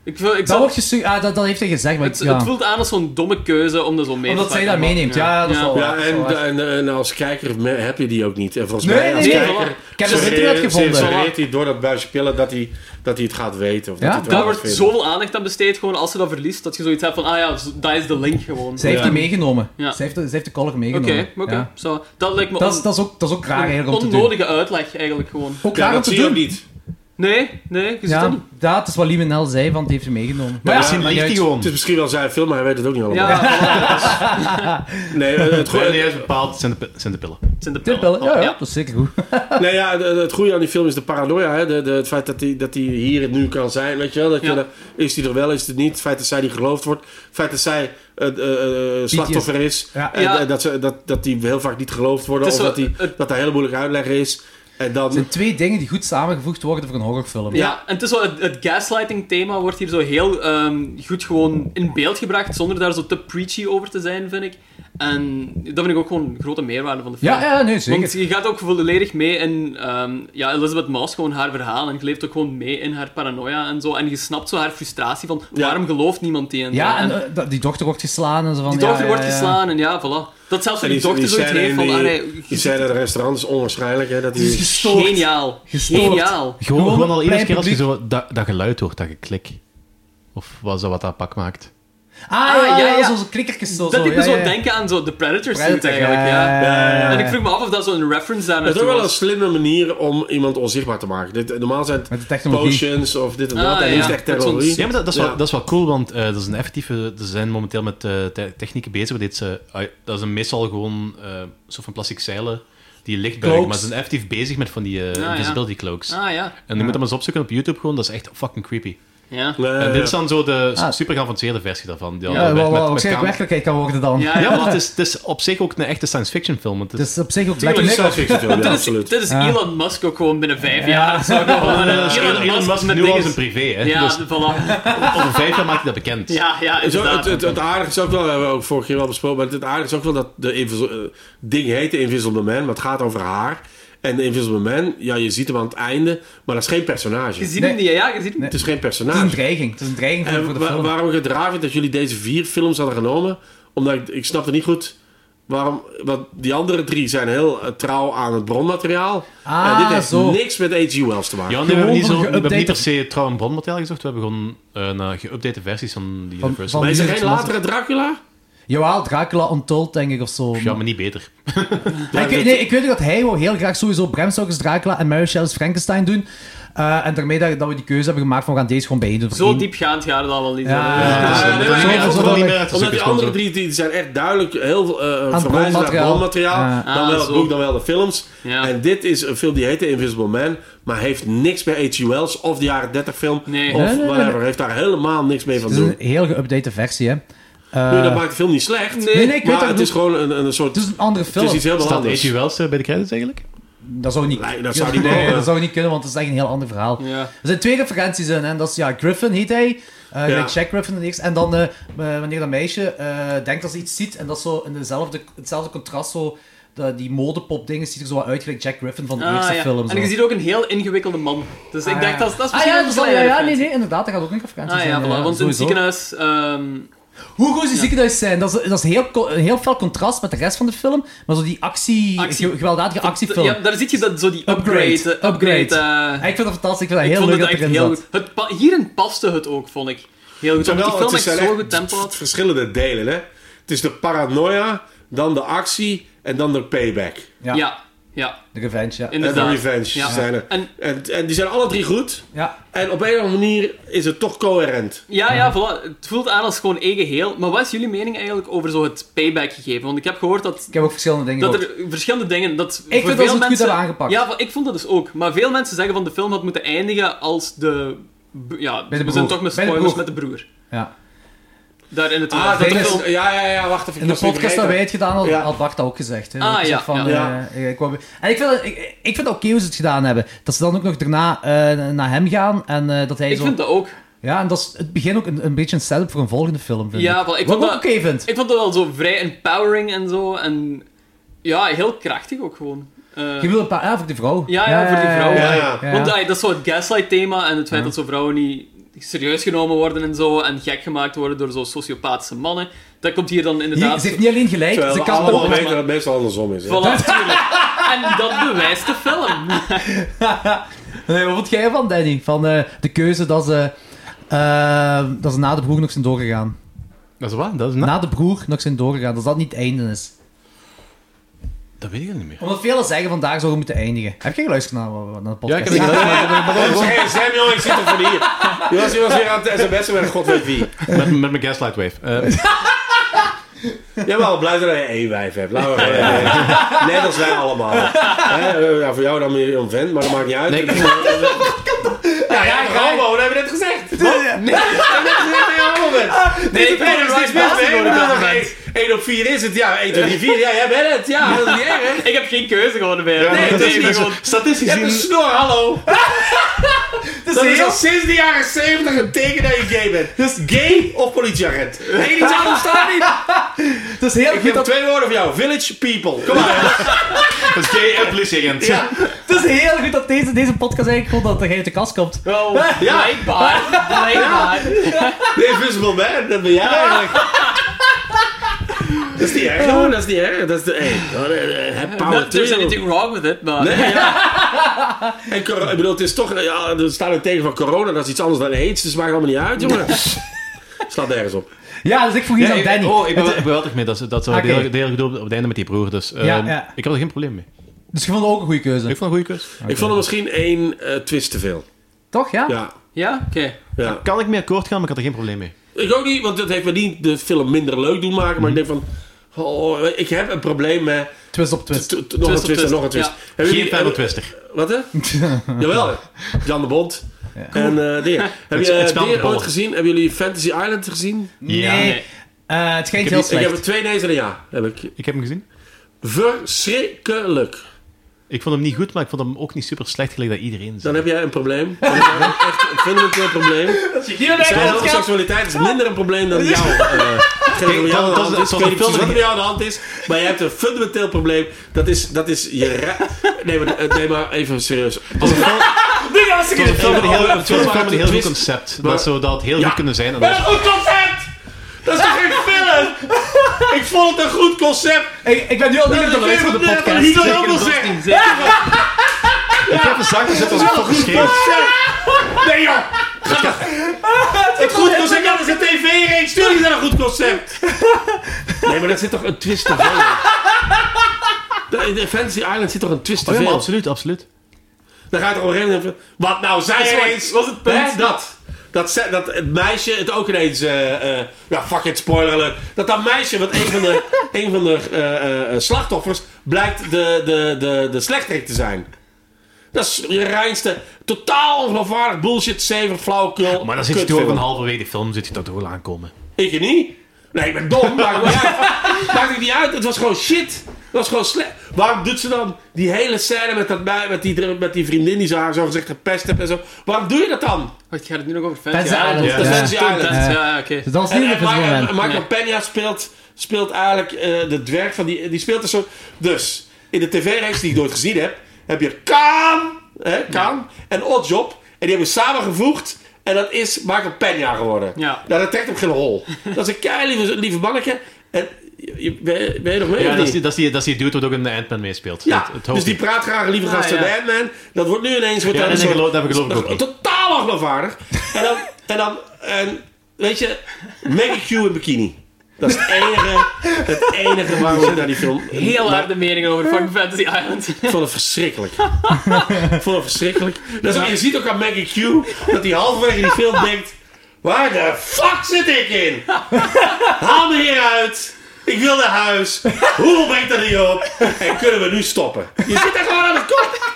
S1: Ik, wil- ik
S2: Dat,
S1: zal,
S2: wordt gestu- ah, dat, dat heeft hij gezegd, maar
S1: het,
S2: ik- ja.
S1: het voelt aan als zo'n domme keuze om dat zo mee
S2: Omdat
S1: te
S2: zij dat
S1: pakken, maar-
S2: meeneemt, ja, dat is wel
S3: Ja,
S2: waar, dat
S3: en,
S2: is wel waar.
S3: en, en als kijker me- heb je die ook niet. En volgens
S2: Nee,
S3: mij,
S2: nee,
S3: als
S2: nee.
S3: kijker...
S2: Ik heb het
S3: suggereert-
S2: internet gevonden.
S3: suggereert hij door dat buisje pillen dat hij, dat hij het gaat weten. Of dat
S2: Ja,
S3: hij het wel
S1: Daar wordt
S3: gaat vinden.
S1: zoveel aandacht aan besteed, gewoon als ze dat verliest, dat je zoiets hebt van, ah ja, z- dat is de link gewoon.
S2: Zij heeft
S1: Ja.
S2: die meegenomen.
S1: Ja.
S2: Zij, heeft de, zij heeft de collar
S1: Oké,
S2: meegenomen.
S1: oké.
S2: Ja.
S1: zo. Dat lijkt me
S2: Dat, is,
S1: on-
S2: dat, is ook, dat is ook raar eigenlijk om te doen.
S1: onnodige uitleg eigenlijk gewoon.
S2: Ook
S3: Ja,
S2: raar om
S3: dat
S2: te
S3: zie je ook
S2: doen.
S3: niet.
S1: Nee, nee, je ziet dat
S2: Ja,
S1: niet.
S2: dat is wat Limenel zei, want die heeft ze meegenomen.
S4: Maar
S2: ja,
S4: misschien
S2: maakt
S4: ligt hij
S2: niet
S4: gewoon.
S3: Het is misschien wel zijn film, maar hij weet het ook niet allemaal.
S1: Ja,
S3: Nee, eh, het,
S4: Nee, nee,
S3: goeie,
S4: hij is bepaald. Het zijn de, pi- het zijn de pillen.
S1: het zijn de
S2: uit.
S1: pillen.
S2: Tippel, ja, ja,
S1: Ja.
S2: dat is zeker goed.
S3: nee, ja, het- het goede aan die film is de paranoia. Hè? De, de, het feit dat hij, dat hij hier en nu kan zijn. Weet je wel? Dat je,
S1: Ja.
S3: dat- is hij er wel, is het niet. Het feit dat zij niet geloofd wordt. Het feit dat zij eh, eh, eh, slachtoffer is.
S2: Ja.
S3: En,
S1: Ja.
S3: eh, dat, ze, dat, dat die heel vaak niet geloofd worden.
S1: Het
S3: Of
S1: is
S3: dat,
S1: zo-
S3: die,
S1: het-
S3: dat dat een hele moeilijke uitleg is. En dan...
S2: Het zijn twee dingen die goed samengevoegd worden voor een horrorfilm.
S1: Ja, en het, is zo, het, het gaslighting-thema wordt hier zo heel ehm, goed gewoon in beeld gebracht, zonder daar zo te preachy over te zijn, vind ik. En dat vind ik ook gewoon een grote meerwaarde van de film.
S2: Ja, ja, nee,
S1: Want
S2: zeker.
S1: je gaat ook volledig mee in ehm, ja, Elizabeth Moss, gewoon haar verhaal. En je leeft ook gewoon mee in haar paranoia en zo. En je snapt zo haar frustratie van waarom gelooft niemand die. En,
S2: Ja,
S1: eh,
S2: en
S1: en
S2: eh, dat- die dochter wordt geslaan en zo van...
S1: die
S2: ja,
S1: dochter
S2: ja,
S1: wordt
S2: ja.
S1: geslaan en ja, voilà. Dat zelfs die,
S3: En
S1: dochter zoiets
S3: scène
S1: heeft
S3: in
S1: van. ah, nee,
S3: die, die scène in het restaurant is onwaarschijnlijk. Hè, dat die,
S2: Gestoord.
S1: geniaal.
S2: Gestoord.
S1: Geniaal.
S4: Gewoon,
S2: Gewoon
S4: gewoon al
S2: plein
S4: iedere keer als je
S2: publiek.
S4: zo dat, dat geluid hoort, dat geklik. Of was dat wat dat pak maakt?
S2: Ah,
S1: Ah,
S2: ja,
S1: ja,
S2: ja,
S1: ja.
S2: Zo'n zo klikkertjes zo.
S1: Dat
S2: zo,
S1: doet
S2: ja,
S1: me zo
S2: ja.
S1: denken aan zo de Predator suit
S2: Prettig,
S1: eigenlijk. Ja.
S3: Ja, ja, ja.
S1: En ik vroeg me af of dat zo'n reference daar
S3: Het is
S1: naartoe
S3: ook wel een
S1: was.
S3: slimme manier om iemand onzichtbaar te maken. Dit, normaal zijn
S2: Met de
S3: het
S2: technologie.
S3: potions of dit en
S1: Ah,
S3: dat. en nu is
S1: ja.
S3: het
S1: Met
S3: echt
S1: zo'n
S3: technologie.
S4: Ja, maar dat, dat is,
S3: Ja.
S4: Wel, dat is wel cool, want eh, dat is een effectieve... Ze zijn momenteel met eh, te- technieken bezig. waar dit ze, ah, dat is een meestal gewoon eh, een soort van plastic zeilen die licht buigen.
S2: Cloaks.
S4: Maar ze zijn effectief bezig met van die eh,
S1: ja.
S4: invisibility cloaks.
S1: Ah ja.
S4: En je moet dat maar eens opzoeken op YouTube gewoon. Dat is echt fucking creepy.
S1: Ja.
S3: Nee,
S2: Eh,
S4: en dit is dan zo de
S2: Ah.
S4: super geavanceerde versie daarvan. Die al
S2: Ja,
S4: met-
S2: wel wel
S4: met- met
S2: waarschijnlijk
S4: camera-
S2: werkelijkheid kan worden dan.
S1: Ja,
S4: Ja,
S1: ja.
S4: maar het is, het is op zich ook een echte science fiction film. want het
S2: Dus op zich ook
S3: het is
S2: lekker
S3: een
S2: niks.
S3: science fiction film, ja,
S1: Dit is,
S3: absoluut.
S1: dit is Elon Musk ook gewoon binnen vijf jaar. Zo gewoon, eh,
S4: is Elon, Elon Musk
S1: met
S4: nu al
S1: dingen-
S4: zijn privé, hè?
S1: Ja,
S4: Dus
S1: voilà.
S4: over vijf jaar maakt hij dat bekend.
S1: Ja, ja,
S3: Zo,
S1: inderdaad.
S3: het, het, het aardige is ook wel, we hebben ook vorig keer wel besproken, maar het, het aardige is ook wel dat de invis- eh, ding heet de Invisible Man, maar het gaat over haar. En de Invisible Man, ja, je ziet hem aan het einde, maar dat is geen personage.
S1: je ziet
S2: Nee.
S1: hem niet, ja, je ziet hem
S3: Het is geen
S2: Het is een
S3: personage.
S2: dreiging. Het is een dreiging voor, voor
S3: En
S2: de
S3: Eh, wa-
S2: film.
S3: waarom ik het raar vind dat jullie deze vier films hadden genomen, omdat ik, ik snapte niet goed waarom, want die andere drie zijn heel eh, trouw aan het bronmateriaal.
S2: Ah,
S3: en dit heeft
S2: zo.
S3: niks met H.G. Wells te maken.
S4: Ja, nee, we hebben niet, zo, we
S2: Gewoon
S4: hebben niet per
S2: geüpdate-
S4: se trouw en bronmateriaal gezocht. We hebben gewoon eh, naar geüpdate versies van die
S2: Van-
S4: Universal.
S2: van-
S3: maar is er
S2: hier
S3: geen
S2: is het
S3: latere Dracula?
S2: Jawel, Dracula Untold, denk ik, of zo.
S4: Ja, maar niet beter.
S2: Ja, ik, weet- nee, ik weet ook dat hij wou heel graag sowieso Bram Stoker's Dracula en Mary Shelley's Frankenstein doen. Eh, en daarmee dat, dat we die keuze hebben gemaakt van we gaan deze gewoon bijeen doen. voor
S1: Zo
S2: één.
S1: diepgaand gaat het allemaal niet.
S2: Ja,
S1: zijn.
S2: ja,
S3: Ja,
S4: Dus, eh,
S2: ja.
S3: nee,
S2: zo-
S3: nee,
S2: zo-
S3: nee,
S2: zo-
S3: nee,
S2: zo-
S3: Omdat die
S4: Superstorm,
S3: andere
S4: zo.
S3: drie die zijn echt duidelijk heel eh verwijzen naar
S2: bronmateriaal.
S3: bronmateriaal.
S2: Ja.
S3: dan
S1: Ah,
S3: wel het
S1: zo.
S3: boek, dan wel de films.
S1: Ja.
S3: En dit is een film die heet The Invisible Man, maar heeft niks bij H.G. Wells of de jaren 30 film.
S1: Nee.
S3: Of
S2: Nee, nee,
S3: whatever. Heeft daar helemaal niks mee van
S2: Het is
S3: doen.
S2: een heel geüpdate versie, hè. Eh,
S3: Nee, dat maakt de film niet slecht.
S2: nee, nee, ik weet
S3: maar
S2: dat
S3: het
S2: ik
S3: is gewoon een, een soort.
S2: het is een andere
S3: Het
S2: film.
S3: is iets helemaal
S4: Staat
S3: anders.
S4: H.G. Wells eh, bij de credits eigenlijk?
S2: Dat zou niet
S3: Nee, dat zou niet
S2: Nee,
S3: mogen.
S2: dat zou niet kunnen, want het is echt een heel ander verhaal.
S1: Ja.
S2: Er zijn twee referenties in, en dat is ja, Griffin heet hij. eh
S3: Ja.
S2: Jack Griffin en niks. En dan eh, eh, wanneer dat meisje eh, denkt dat ze iets ziet, en dat is zo in dezelfde, hetzelfde contrast, zo, dat die modepop dingen ziet er zo wat uit, gelijk Jack Griffin van de
S1: Ah,
S2: eerste
S1: ja.
S2: film. Zo.
S1: En je ziet ook een heel ingewikkelde man. Dus ik
S2: Ah,
S1: dacht,
S2: ja.
S1: dat is, dat is
S2: Ah ja, dat
S1: misschien een
S2: zal- ja, ja,
S1: kleine
S2: nee,
S1: referentie.
S2: nee, inderdaad, dat gaat ook een referentie
S1: Ah
S2: zijn. eh,
S1: ja, voilà, want in het
S2: sowieso.
S1: ziekenhuis... ehm,
S2: Hoe goed ze ziekenhuis zijn, dat is, dat is heel, co- een heel fel contrast met de rest van de film, maar zo die actie,
S1: Actie.
S2: ge- gewelddadige actiefilm.
S1: Ja, daar zie je dat, zo die upgrade.
S2: Upgrade,
S1: eh, upgrade. eh,
S2: Ik vind dat fantastisch, ik vind dat
S1: ik
S2: heel
S1: vond
S2: leuk
S1: het
S2: dat
S1: echt
S2: erin
S1: heel
S2: zat.
S1: goed. Het pa- hierin paste het ook, vond ik. Heel goed. Omdat
S3: Terwijl
S1: die film
S3: het
S1: echt
S3: zijn
S1: zo
S3: echt
S1: goed tempo
S3: v-
S1: had.
S3: verschillende delen, hè? Het is de paranoia, dan de actie en dan de payback.
S2: Ja.
S1: Ja, ja,
S2: De revenge, ja.
S3: En de
S1: inderdaad.
S3: revenge
S1: Ja.
S3: zijn er.
S1: En-
S3: En, en die zijn alle drie goed.
S2: Ja.
S3: En op een of andere manier is het toch coherent.
S1: Ja, ja, voilà. Het voelt aan als gewoon één geheel. Maar wat is jullie mening eigenlijk over zo het payback gegeven? Want ik heb gehoord dat
S2: Ik heb ook verschillende dingen
S1: Dat
S2: gehoord.
S1: er verschillende dingen. Dat
S2: vind
S1: voor
S2: dat
S1: veel
S2: ze het goed
S1: mensen-
S2: hebben aangepakt.
S1: Ja, ik vond dat dus ook. Maar veel mensen zeggen van de film had moeten eindigen als de. b- Ja,
S2: Bij de
S1: we zijn
S2: broer.
S1: toch met
S2: Bij de
S1: spoilers
S2: broer.
S1: met de broer.
S2: Ja.
S1: Daar in het
S3: Ah, dat
S2: Velen-
S3: is, ja, ja, ja, wacht even.
S2: In de podcast dat wij het gedaan hadden,
S3: Ja.
S2: had Bart dat ook gezegd. Hè.
S1: Ah,
S2: Dat ik
S1: ja,
S2: zeg Van,
S3: ja.
S2: eh, ik, wou- en ik vind, dat- ik, ik vind het oké hoe ze het gedaan hebben. Dat ze dan ook nog daarna eh, naar hem gaan en eh, dat hij
S1: Ik
S2: zo...
S1: vind dat ook.
S2: Ja, en dat is het begin ook een, een beetje een setup voor een volgende film, vind
S1: Ja,
S2: ik.
S1: wel, ik
S2: Wat
S1: vond
S2: ik ook
S1: dat-
S2: oké vind.
S1: Ik vond dat wel zo vrij empowering en zo. En ja, heel krachtig ook gewoon. Eh,
S2: Je wil een paar... Ja, voor die vrouw.
S1: Ja, eh, ja, voor die vrouw.
S3: Ja, ja.
S2: ja.
S1: Want ah, dat is zo het gaslight thema en het feit dat zo vrouwen niet serieus genomen worden en zo, en gek gemaakt worden door zo sociopathische mannen. Dat komt hier dan
S2: Hier,
S1: inderdaad...
S2: ze heeft niet alleen gelijk,
S3: Terwijl
S2: ze
S3: we
S2: kan
S3: allemaal
S2: ook...
S3: weten dat het meestal andersom is. hè.
S1: Voilà, tuurlijk. En dat bewijst de film.
S2: Nee, wat vond jij ervan, Danny? Van eh, de keuze dat ze, eh, dat ze na de broer nog zijn doorgegaan.
S7: Dat is waar, dat is
S2: Na de broer nog zijn doorgegaan, dat dat niet het einde is.
S7: Dat weet ik niet meer.
S2: Omdat velen zeggen vandaag zouden we moeten eindigen. Heb jij geluisterd naar, naar de
S7: Ja,
S2: podcast?
S7: ik heb het gedaan, maar- maar- maar- maar- maar-
S3: Hey, Samuel, ik zit er van hier. Je was, je was weer aan het sms'en met een god weet wie.
S4: Met, met mijn Gaslight Wave. Eh,
S3: Jawel, blij dat je één wijf hebt. Laten we eh, Net als wij allemaal. Hè, eh, ja, voor jou dan meer een vent, maar dat maakt niet uit.
S4: Nee, ik-
S3: ja, ja, homo, dat hebben we net gezegd. Nee, nee, ik ben er steeds mis mee. Ik bedoel, nog één- één op vier is het, ja. 1, 2, 3, 4, ja, jij bent het. Ja, dat is niet erg.
S1: Ik heb geen keuze gewoon meer.
S3: Nee, dus-
S1: dat
S3: dat
S1: is
S3: is
S1: niet gewoon...
S3: Je
S7: Statistisch
S3: hebt een
S7: gezien...
S3: snor, hallo. Dat is
S2: heel-
S3: al sinds de jaren 70 een teken dat je gay bent. Dus gay of politieagent. Nee, iets anders staat niet.
S2: Het is heel
S3: Ik
S2: goed
S3: heb
S2: dat
S3: twee woorden voor jou. Village people. Kom maar.
S4: Dat is gay en politieagent.
S3: Ja.
S2: Het is heel goed dat deze, deze podcast eigenlijk gewoon dat hij uit de kast komt.
S1: Wel,
S3: Ja.
S1: Oh, blijkbaar. Blijkbaar.
S3: De Invisible Man, dus dat ben jij eigenlijk. Dat is niet erg, hoor. Dat is niet erg. Dat is de... Hey, oh, eh, eh, heb power
S1: Not- There's
S3: too.
S1: anything wrong with it, maar...
S3: Nee, ja. En cor- ik bedoel, het is toch... eh, Ja, er staat ook tegen van corona. Dat is iets anders dan aids. Dus het maakt allemaal niet uit, jongen. Slaat nergens op.
S2: Ja, dus ik vroeg iets
S4: Ja,
S2: aan
S4: ik-
S2: Danny.
S4: Oh, ik ben, ik ben wel terug mee. Dat, is- dat zou
S2: Oké.
S4: okay. deel, deel op het einde met die broer. Dus eh,
S2: Ja, ja.
S4: ik had er geen probleem mee.
S2: Dus je vond het ook een goede keuze.
S4: Ik vond het een goede keus.
S3: Ik vond er misschien één eh, twist te veel.
S2: Toch, ja?
S3: Ja.
S1: Ja? Oké.
S3: ja.
S4: Kan ik mee akkoord gaan, maar ik had er geen probleem mee.
S3: Ik ook niet, want dat heeft me niet de film minder leuk doen maken. Maar ik denk van... Oh, ik heb een probleem met...
S2: Twist op twist.
S3: t- t- Nog een
S1: op
S3: twist en
S1: twist.
S3: nog een twist.
S1: Ja.
S3: Hebben
S4: Geen
S3: jullie-
S4: Fable Twister.
S3: Wat hè? Jawel, Jan de Bond. En eh Deer. Heb je
S4: het
S3: eh
S4: spel
S3: Deer
S4: begonnen.
S3: ooit gezien? Hebben jullie Fantasy Island gezien?
S4: Ja.
S2: Nee.
S1: Nee.
S2: Eh, het schijnt
S4: Ik
S2: heel
S4: heb niet-
S3: Ik
S2: slecht.
S3: heb er twee nezen en een ja. Heb ik.
S4: Ik heb hem gezien.
S3: Verschrikkelijk.
S4: Ik vond hem niet goed, maar ik vond hem ook niet super slecht gelijk dat iedereen
S3: Dan
S4: zei.
S3: heb jij een probleem. Dan heb jij echt een fundamenteel probleem. Zijn seksualiteit is minder een probleem dan jou. eh, hetgeen er met jou aan de
S4: dat is-
S3: hand is.
S4: dat
S3: Ik
S4: is
S3: weet niet precies
S4: een
S3: wat er met jou aan de hand is, maar je hebt een fundamenteel probleem. Dat is, dat is je... ra- Nee maar, eh, nee, maar even serieus. Als een
S4: Het was een film met een heel- het was een film met een heel goed
S3: Twist.
S4: concept.
S3: Maar-
S4: Dat zou dat heel
S3: Ja.
S4: goed kunnen zijn. En
S3: Maar
S4: dat
S3: een goed concept! Dat is toch geen film? Ik vond het een goed concept.
S2: Ik, ik ben nu al niet meer te luisteren van de
S3: Dat
S2: podcast.
S3: is heel veel zeggen.
S4: Ik heb een zak gezet als een fucking scheef.
S3: Nee joh! Het goed concept, dat is een tv-reeks. Stuur niet naar een goed concept. Nee, maar daar zit toch een twist te veel. In de Fantasy Island zit toch een twist te
S4: Oh ja, maar
S3: veel.
S4: absoluut, absoluut.
S3: Dan gaat er op een gegeven moment... van, Wat nou, zij ineens... Was het punt? Dat. Dat, ze- dat het meisje het ook ineens... eh, eh, ja, fuck it, spoiler alert. Dat dat meisje, wat een van de, een van de eh, eh, slachtoffers... blijkt de, de, de, de slechterik te zijn. Dat is je reinste... Totaal ongeloofwaardig bullshit, zever, flauwkul.
S4: Maar dan zit je toch
S3: kutfilm.
S4: ook een halverwege de film, zit je dat toch wel aankomen.
S3: Ik niet. Nee, ik ben dom. Maakt niet uit. Maakt het niet uit. Het was gewoon shit. Het was gewoon slecht. Waarom doet ze dan die hele scène met, dat, bij- met, die, met die vriendin die ze haar zo gezegd gepest heeft en zo. Waarom doe je dat dan?
S1: Wat gaat het nu nog over
S2: Fantasy
S1: Fantasy Island?
S2: Island,
S1: Dat
S2: ja.
S1: is Fantasy
S3: Ja.
S1: Island.
S2: Ja.
S1: Ja, oké.
S2: Dus dat is
S3: En,
S2: niet
S3: en
S2: meer
S3: Michael,
S2: moment.
S3: Michael Peña speelt, speelt eigenlijk eh, de dwerg van die... Die speelt een soort... Dus, in de tv-reeks die ik nooit gezien heb, heb je Kaan, hè, Kaan en Oddjob. En die hebben samengevoegd. En dat is Michael Peña geworden.
S1: Ja.
S3: Nou, dat trekt hem geen hol. Dat is een keilieve lieve mannetje. En je, je, ben, je, ben je nog mee
S4: Ja,
S3: of
S4: dat
S3: niet?
S4: is die, dat is die, dat is die dude wat ook in de Ant-Man meespeelt.
S3: Ja,
S4: Het- het
S3: dus
S4: hoofd.
S3: die praat graag liever
S1: Ah,
S3: gasten
S1: ja.
S3: bij Ant-Man. Dat wordt nu ineens... Wordt
S4: Ja,
S3: dat
S4: dat
S3: een soort-
S4: geloof- dat heb ik geloof ik ook niet.
S3: Totaal ongeloofwaardig. En dan... En dan en, weet je... Maggie Q in bikini. Dat is het enige, het enige waarom ik naar die film...
S1: Heel
S3: maar,
S1: harde meningen over fucking Fantasy Island.
S3: Ik vond het verschrikkelijk. ik vond het verschrikkelijk. Dat is ook- je ziet ook aan Maggie Q... dat hij halverwege die film denkt... Waar de fuck zit ik in? Haal me hier uit. Ik wil naar huis. Hoe brengt dat niet op? En kunnen we nu stoppen? Je zit daar gewoon aan de kop.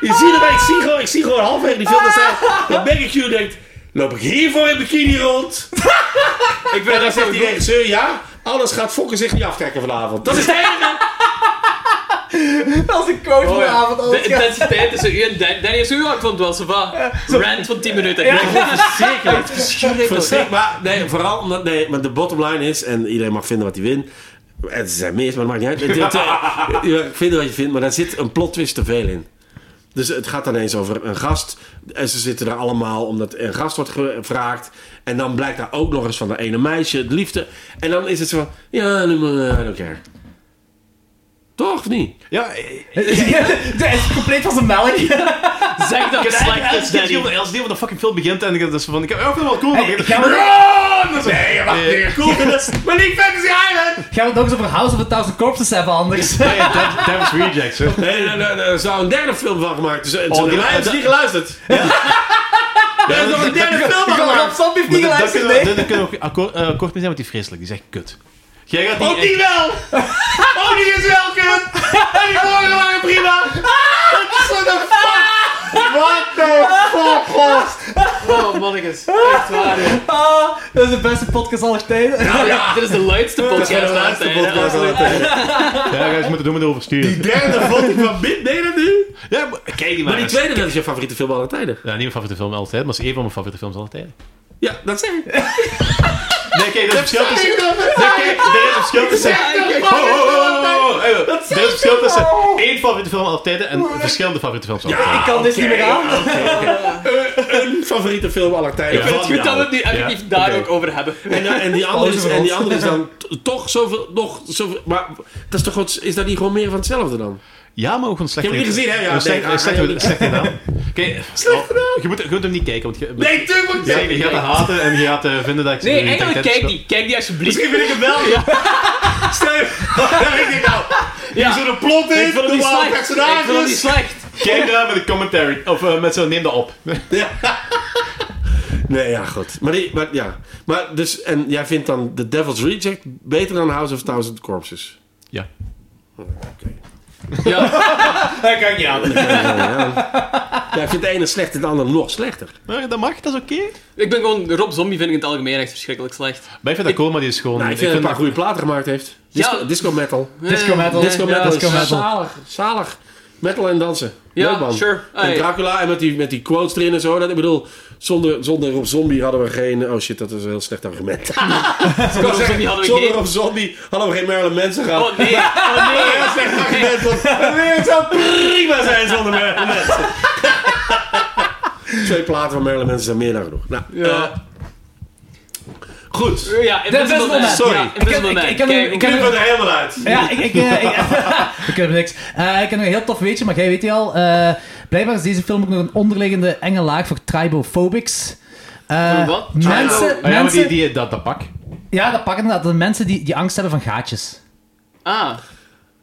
S3: Je ziet erbij, ik zie gewoon, ik zie gewoon halverwege die film dat zij, dat Maggie Q denkt, loop ik hiervoor in bikini rond? ik ben en dan zegt die regisseur, ja, alles gaat fokken zich niet aftrekken vanavond. Dat is het enige.
S2: Dat is een coach vanavond.
S1: De intensiteit tussen u en Dan- Danny is zo, ja, ik vond het wel, sava. Rant van 10 minuten.
S3: Verschrik, maar nee, vooral omdat, nee, maar de bottom line is, en iedereen mag vinden wat hij wint. En ze zijn mis, maar dat maakt niet uit. Je mag vinden wat je vindt, maar daar zit een plot twist te veel in. Dus het gaat dan eens over een gast. En ze zitten daar allemaal omdat er een gast wordt gevraagd. En dan blijkt daar ook nog eens van dat ene meisje het liefde. En dan is het zo van, ja, nu maar, I don't care. Toch of niet?
S7: Ja, eh,
S2: Dat is compleet van zijn melk.
S1: Zeg dat slecht is,
S4: Als
S1: Danny.
S4: die- als die van de fucking film begint en ik dat is van, ik heb ook wel cool.
S2: Hey,
S4: ik-
S2: gaan, we,
S3: Run! Dat is- Nee, wacht,
S4: Nee.
S3: nee, cool, dat is- Maar niet Fantasy Island!
S2: gaan we het ook eens over House of a Thousand Corpses hebben anders?
S4: Nee, Dev- Devil's Rejects, hè.
S3: Nee, daar- daar- daar zou een derde film van gemaakt. Dus, oh,
S4: die-
S3: die mij hebben
S4: dat-
S3: niet geluisterd. Er is nog een derde film van
S2: Ik had
S3: gemaakt.
S2: op zombie niet
S4: Daar
S2: geluisterd,
S4: kunnen we-
S2: nee.
S4: Daar daar kunnen we ook akkoord, eh, akkoord mee zijn, want die is vreselijk. Die is echt kut. Jij gaat die...
S3: Ook die wel! Oh, die is wel kut! En die vorige waren prima! What the fuck? What the fuck, gast?
S1: Oh, mannetjes. Echt waar, hè.
S2: Ah, dat is de beste podcast aller tijden.
S1: Nou ja, dit is de luidste podcast.
S3: de laatste
S1: hè, hè.
S3: podcast. altijd.
S4: Ja, guys, moeten doen met oversturen.
S3: Die derde vond ik van Bit, nee dat nu?
S4: Ja, maar- kijk die maar
S3: Maar die
S4: eens.
S3: tweede, dat is je favoriete film aller tijden.
S4: Ja, niet mijn favoriete film altijd, maar het is een van mijn favoriete films altijd.
S3: Ja, dat zeg ik.
S4: Nee, kijk, dat is verschil tussen...
S3: Ik dacht, dat
S4: Nee, kijk, er is verschil tussen...
S3: zeg ik.
S4: Oh, oh, oh, oh, oh, hey, Er is verschil tussen één favoriete film altijd en verschillende favoriete films altijd.
S2: Ik kan dit niet meer aan.
S3: Een favoriete film aller tijden.
S1: Ik vind het
S3: van
S1: goed dat we het
S3: jou.
S1: nu effectief daar ook over hebben.
S3: En, dan- en, die andere is,
S2: Alles
S3: en
S2: rond.
S3: die andere is dan t- toch zoveel, nog zoveel... Maar dat is, toch, wat- is dat niet gewoon meer van hetzelfde dan?
S4: Ja, maar ook een slechte...
S3: Ik heb hem niet gezien, hè? Ja,
S4: Een slechte,
S3: nee,
S4: een slechte,
S3: ah,
S4: een slechte naam. Kijk,
S3: Slechte
S4: oh, Je moet, je moet hem niet kijken, want je...
S3: Nee, tuurlijk
S4: Je
S3: niet!
S4: je gaat het haten en je gaat eh, vinden dat ik...
S1: Nee,
S4: dat ik
S1: eigenlijk
S4: dat ik-
S1: kijk die. Kijk die alsjeblieft.
S3: Misschien vind ik hem wel. Stel je... Ja, ik denk nou...
S1: Ja.
S3: Hier zit een plot in,
S1: Ik vind hem niet
S3: normaal
S1: slecht. Ik vind hem niet
S3: personages.
S1: slecht.
S4: Kijk daar met de commentary. Of eh, met zo'n neem dat op.
S3: Nee, ja, goed. Maar, die, maar ja. Maar dus... En jij vindt dan The Devil's Reject beter dan House of Thousand Corpses?
S4: Ja.
S2: Dat kan ik niet aan.
S3: Ja, ik vind de ene slecht en de andere nog slechter. Nou,
S4: Maar dat mag, dat is oké.
S1: Ik ben gewoon... Rob Zombie vind ik in het algemeen echt verschrikkelijk slecht.
S4: Maar ik vind dat cool, maar die is gewoon...
S3: Nou, ik vind dat hij een paar goede platen gemaakt heeft. Disco,
S1: Ja.
S3: disco metal.
S1: Eh,
S2: Disco metal.
S3: Disco
S2: Ja,
S3: metal.
S2: disco
S3: is
S2: metal.
S3: Zalig. Zalig. Metal en dansen.
S1: Ja,
S3: Leuk man.
S1: sure.
S3: En
S1: Hey.
S3: Dracula en met die, met die quotes erin en zo. Dat, ik bedoel, zonder, zonder Rob Zombie hadden we geen... Oh shit, dat is een heel slecht argument.
S1: Rob Zombie hadden we
S3: zonder
S1: geen...
S3: Rob Zombie hadden we geen Marilyn Manson gehad.
S1: Oh nee, oh nee.
S3: Heel slecht argument. want Het weer zou prima zijn zonder Marilyn Manson. Twee platen van Marilyn Manson zijn meer dan genoeg. Nou, eh, goed.
S1: Ja, in
S2: Invisible Man.
S3: Sorry.
S1: Ja, Invisible
S2: Ik heb-
S1: Man.
S2: ik- ik heb
S1: Kijk,
S2: hem- ik
S3: Ik
S2: heb
S3: ben er helemaal uit.
S4: Ah
S2: Ja, ik... ik, eh, ik we kunnen niks. Eh, ik heb nog een heel tof weetje, maar jij weet die al. Eh, blijkbaar is deze film ook nog een onderliggende enge laag voor tribophobics. Eh,
S1: Wat?
S2: Mensen,
S4: Ah, ja, maar
S2: mensen,
S4: die, die, dat, dat pak.
S2: ja, dat pakken inderdaad. De mensen die, die angst hebben van gaatjes.
S1: Ah.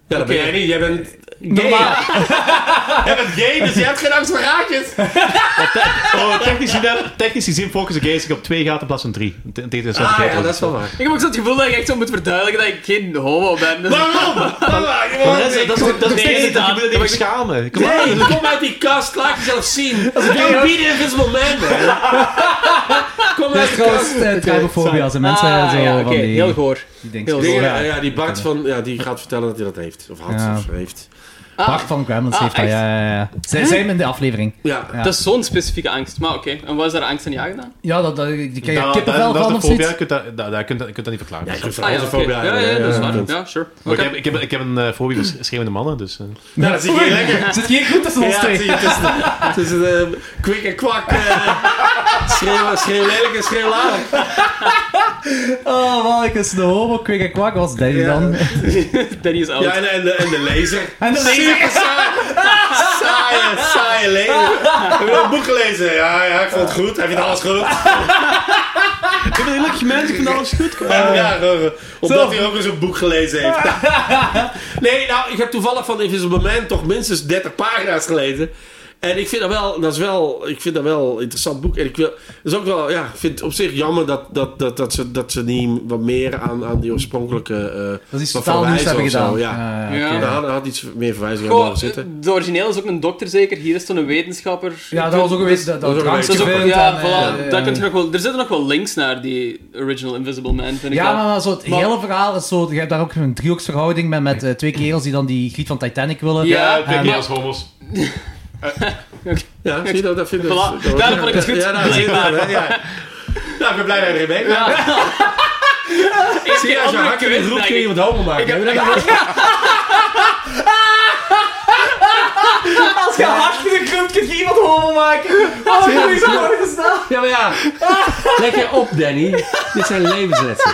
S3: Ja, dat ben jij niet. Jij bent,
S2: Normaal.
S3: jij bent gay, dus je hebt geen angst voor raadjes.
S4: Oh, technisch gezien, technisch gezien focussen gays zich op twee gaten in plaats van drie. Tegen de
S3: Ah ja, dat is wel waar.
S1: Ik heb ook zo het gevoel dat ik echt zo moet verduidelijken dat ik geen homo ben. Dus...
S3: Waarom?
S4: Dat is, dat is, dat is
S1: Nee,
S4: steeds
S1: inderdaad.
S4: dat je moet schamen. Kom maar.
S3: Nee, kom uit die kast, laat jezelf zien. Don't be the invisible man, man. Kom
S2: Dat
S3: uit
S2: is
S3: de kast.
S2: trouwens eh, tribofobie. Als de mensen
S1: ah,
S2: zo
S1: ja,
S2: van
S1: oké,
S2: die...
S1: heel goor.
S2: die denken
S1: heel
S2: zo,
S1: goed.
S2: ja.
S3: Ja, ja, die Bart van, ja, die gaat vertellen dat hij dat heeft. Of had,
S2: Ja.
S3: of heeft.
S2: Bart van Gremlins
S1: Ah,
S2: heeft dat,
S1: echt?
S2: ja, ja, ja. Zij zijn hem in de aflevering.
S3: Ja.
S2: Ja.
S1: Dat is zo'n specifieke angst. Maar oké, en wat is daar angst aan jagen dan?
S2: Ja, dat, dat, die krijg je
S4: Dat- dat-
S2: kippenvel
S4: dat is
S2: van
S4: de
S2: of
S4: fobia,
S2: zoiets.
S4: je kunt dat, dat, dat, kunt dat, je kunt dat niet verklaren.
S3: Ja, ik
S4: Maar
S3: vind
S1: Ah, ja, oké.
S3: fobie
S1: ja, ja, dat is waar.
S3: ja.
S1: Ja, sure.
S4: ik,
S1: Oké.
S4: heb, ik, heb, ik heb een eh, fobie voor schreeuwende mannen, dus... eh.
S3: Nou, dat zie je lekker.
S2: Zit hier goed tussen ons
S3: Ja,
S2: twee?
S3: zie je, tussen de- tussen de kwik en kwak. eh, Schreeuw, schreeuw lelijk en schreeuw laag.
S2: Oh, man, ik is de homo, kwik en kwak. was Danny
S3: Ja.
S2: dan?
S1: Danny is oud.
S3: Ja, en, en, de, en de laser.
S2: En de
S3: Super saai. Saaie, saaie lezer. Heb je dat boek gelezen? Ja, ja, ik vond het goed. Heb je alles goed?
S4: Ik ben een gelukkig mens, ik vind alles goed.
S3: ja, gewoon, eh, omdat hij ook eens een boek gelezen heeft. nee, nou, ik heb toevallig van Invisible Man toch minstens 30 pagina's gelezen. En ik vind dat wel, dat is wel, ik vind dat wel een interessant boek. En ik wil, dat is ook wel, ja, ik vind het op zich jammer dat, dat, dat, dat, ze, dat ze niet wat meer aan, aan die oorspronkelijke. eh,
S2: Dat is iets
S3: wat
S2: totaal nieuws
S3: verwijzen
S2: hebben
S3: of zo,
S2: gedaan.
S3: ja.
S2: Ja,
S1: Ja.
S3: Daar had, had iets meer verwijzingen aan
S1: Goh, eh,
S3: mogen zitten.
S1: de origineel is ook een dokter zeker. Hier is toen een wetenschapper.
S2: Ja, dat was ook geweest dat,
S3: Dat
S2: dat,
S3: was ook
S2: drankje
S1: Dat is ook,
S2: vindt
S1: ja,
S2: en,
S1: voilà,
S2: eh,
S1: daar
S2: eh,
S1: kun je nog wel, er zitten nog wel links naar die original Invisible Man, vind ik
S2: Ja,
S1: wel.
S2: maar, maar zo het
S1: Maar-
S2: hele verhaal is zo... Je hebt daar ook een driehoeksverhouding met, met eh, twee kerels die dan die griet van Titanic willen.
S1: Ja,
S4: Ik denk niet
S1: maar-
S4: als homo's.
S3: Ja, zie je dat? dat vind ik dus-
S1: Voilà,
S3: dat-
S1: daarom vond ik het goed.
S3: Ja, nou, zie je dat, hè? Ja. Nou, ik ben blij dat je erin bent. Zie je, als je
S1: andere
S3: hard in de
S1: quiz,
S3: groep
S1: denk
S3: kun je
S1: ik.
S3: iemand homo maken. Heb je dat
S2: Als je hard genoeg groeit, kun je iemand homo maken. Oh, Wat heb je zo gestaan?
S3: Ja, maar ja. Let je op, Danny. Dit zijn levenslessen.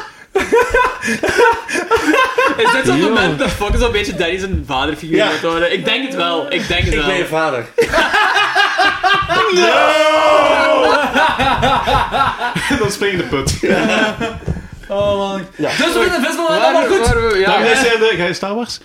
S1: Is dit zo'n
S3: Yo.
S1: moment dat Fox een beetje Danny zijn vaderfiguur
S9: Ja.
S1: moet worden? Ik denk het wel, ik denk
S9: Ik
S1: het wel.
S9: ben je vader.
S4: Dan spring je in de put.
S2: Oh man. Dus we vinden Visma wel
S1: Waar-
S2: maar goed.
S1: waar- ja.
S4: Ga jij de- eh, ga je Star Wars?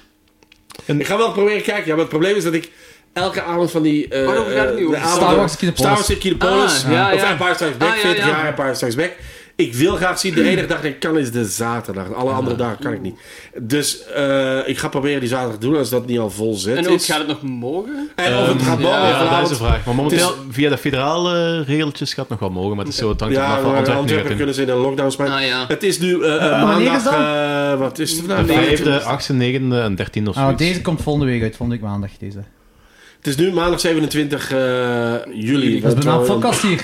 S3: Ik ga wel proberen kijken. Ja, maar het probleem is dat ik elke avond van die... eh,
S1: Waarover Oh, gaat het nu
S3: eh, de
S1: over?
S3: avonden-
S2: Star Wars Kinepolis.
S3: Star Wars Kinepolis.
S1: Ah, ja,
S3: Of
S1: ja.
S3: Empire Strikes Back.
S1: Ah, ja,
S3: 40
S1: ja.
S3: jaar Empire Strikes Back. Ik wil graag zien. De enige dag dat ik kan is de zaterdag. Alle andere dagen kan ik niet. Dus eh, ik ga proberen die zaterdag te doen als dat niet al vol zit
S1: En ook,
S3: is.
S1: gaat het nog mogen?
S3: En of Eh, het gaat mogen
S4: Ja, dat is de
S3: vanavond.
S4: vraag. Maar momenteel,
S3: Het
S4: via de federale eh, regeltjes gaat het nog wel mogen, maar het is zo, het hangt er
S3: Ja,
S4: vanaf wat
S3: maar
S4: Antwerpen nu gaat
S3: Antwerpen
S4: doen.
S3: kunnen ze in een lockdown spelen.
S1: Ah ja.
S3: Het is nu eh, eh,
S2: wanneer
S3: maandag...
S2: is dat?
S3: eh, wat is het vandaag?
S4: De vijfde,
S3: 25e.
S4: achtste, negende en dertiende of
S2: Ah,
S4: zoiets.
S2: deze komt volgende week uit, volgende week maandag. Deze.
S3: Het is nu maandag 27 eh, juli.
S2: Dat is bijna een
S3: Wat wel-
S2: podcast hier.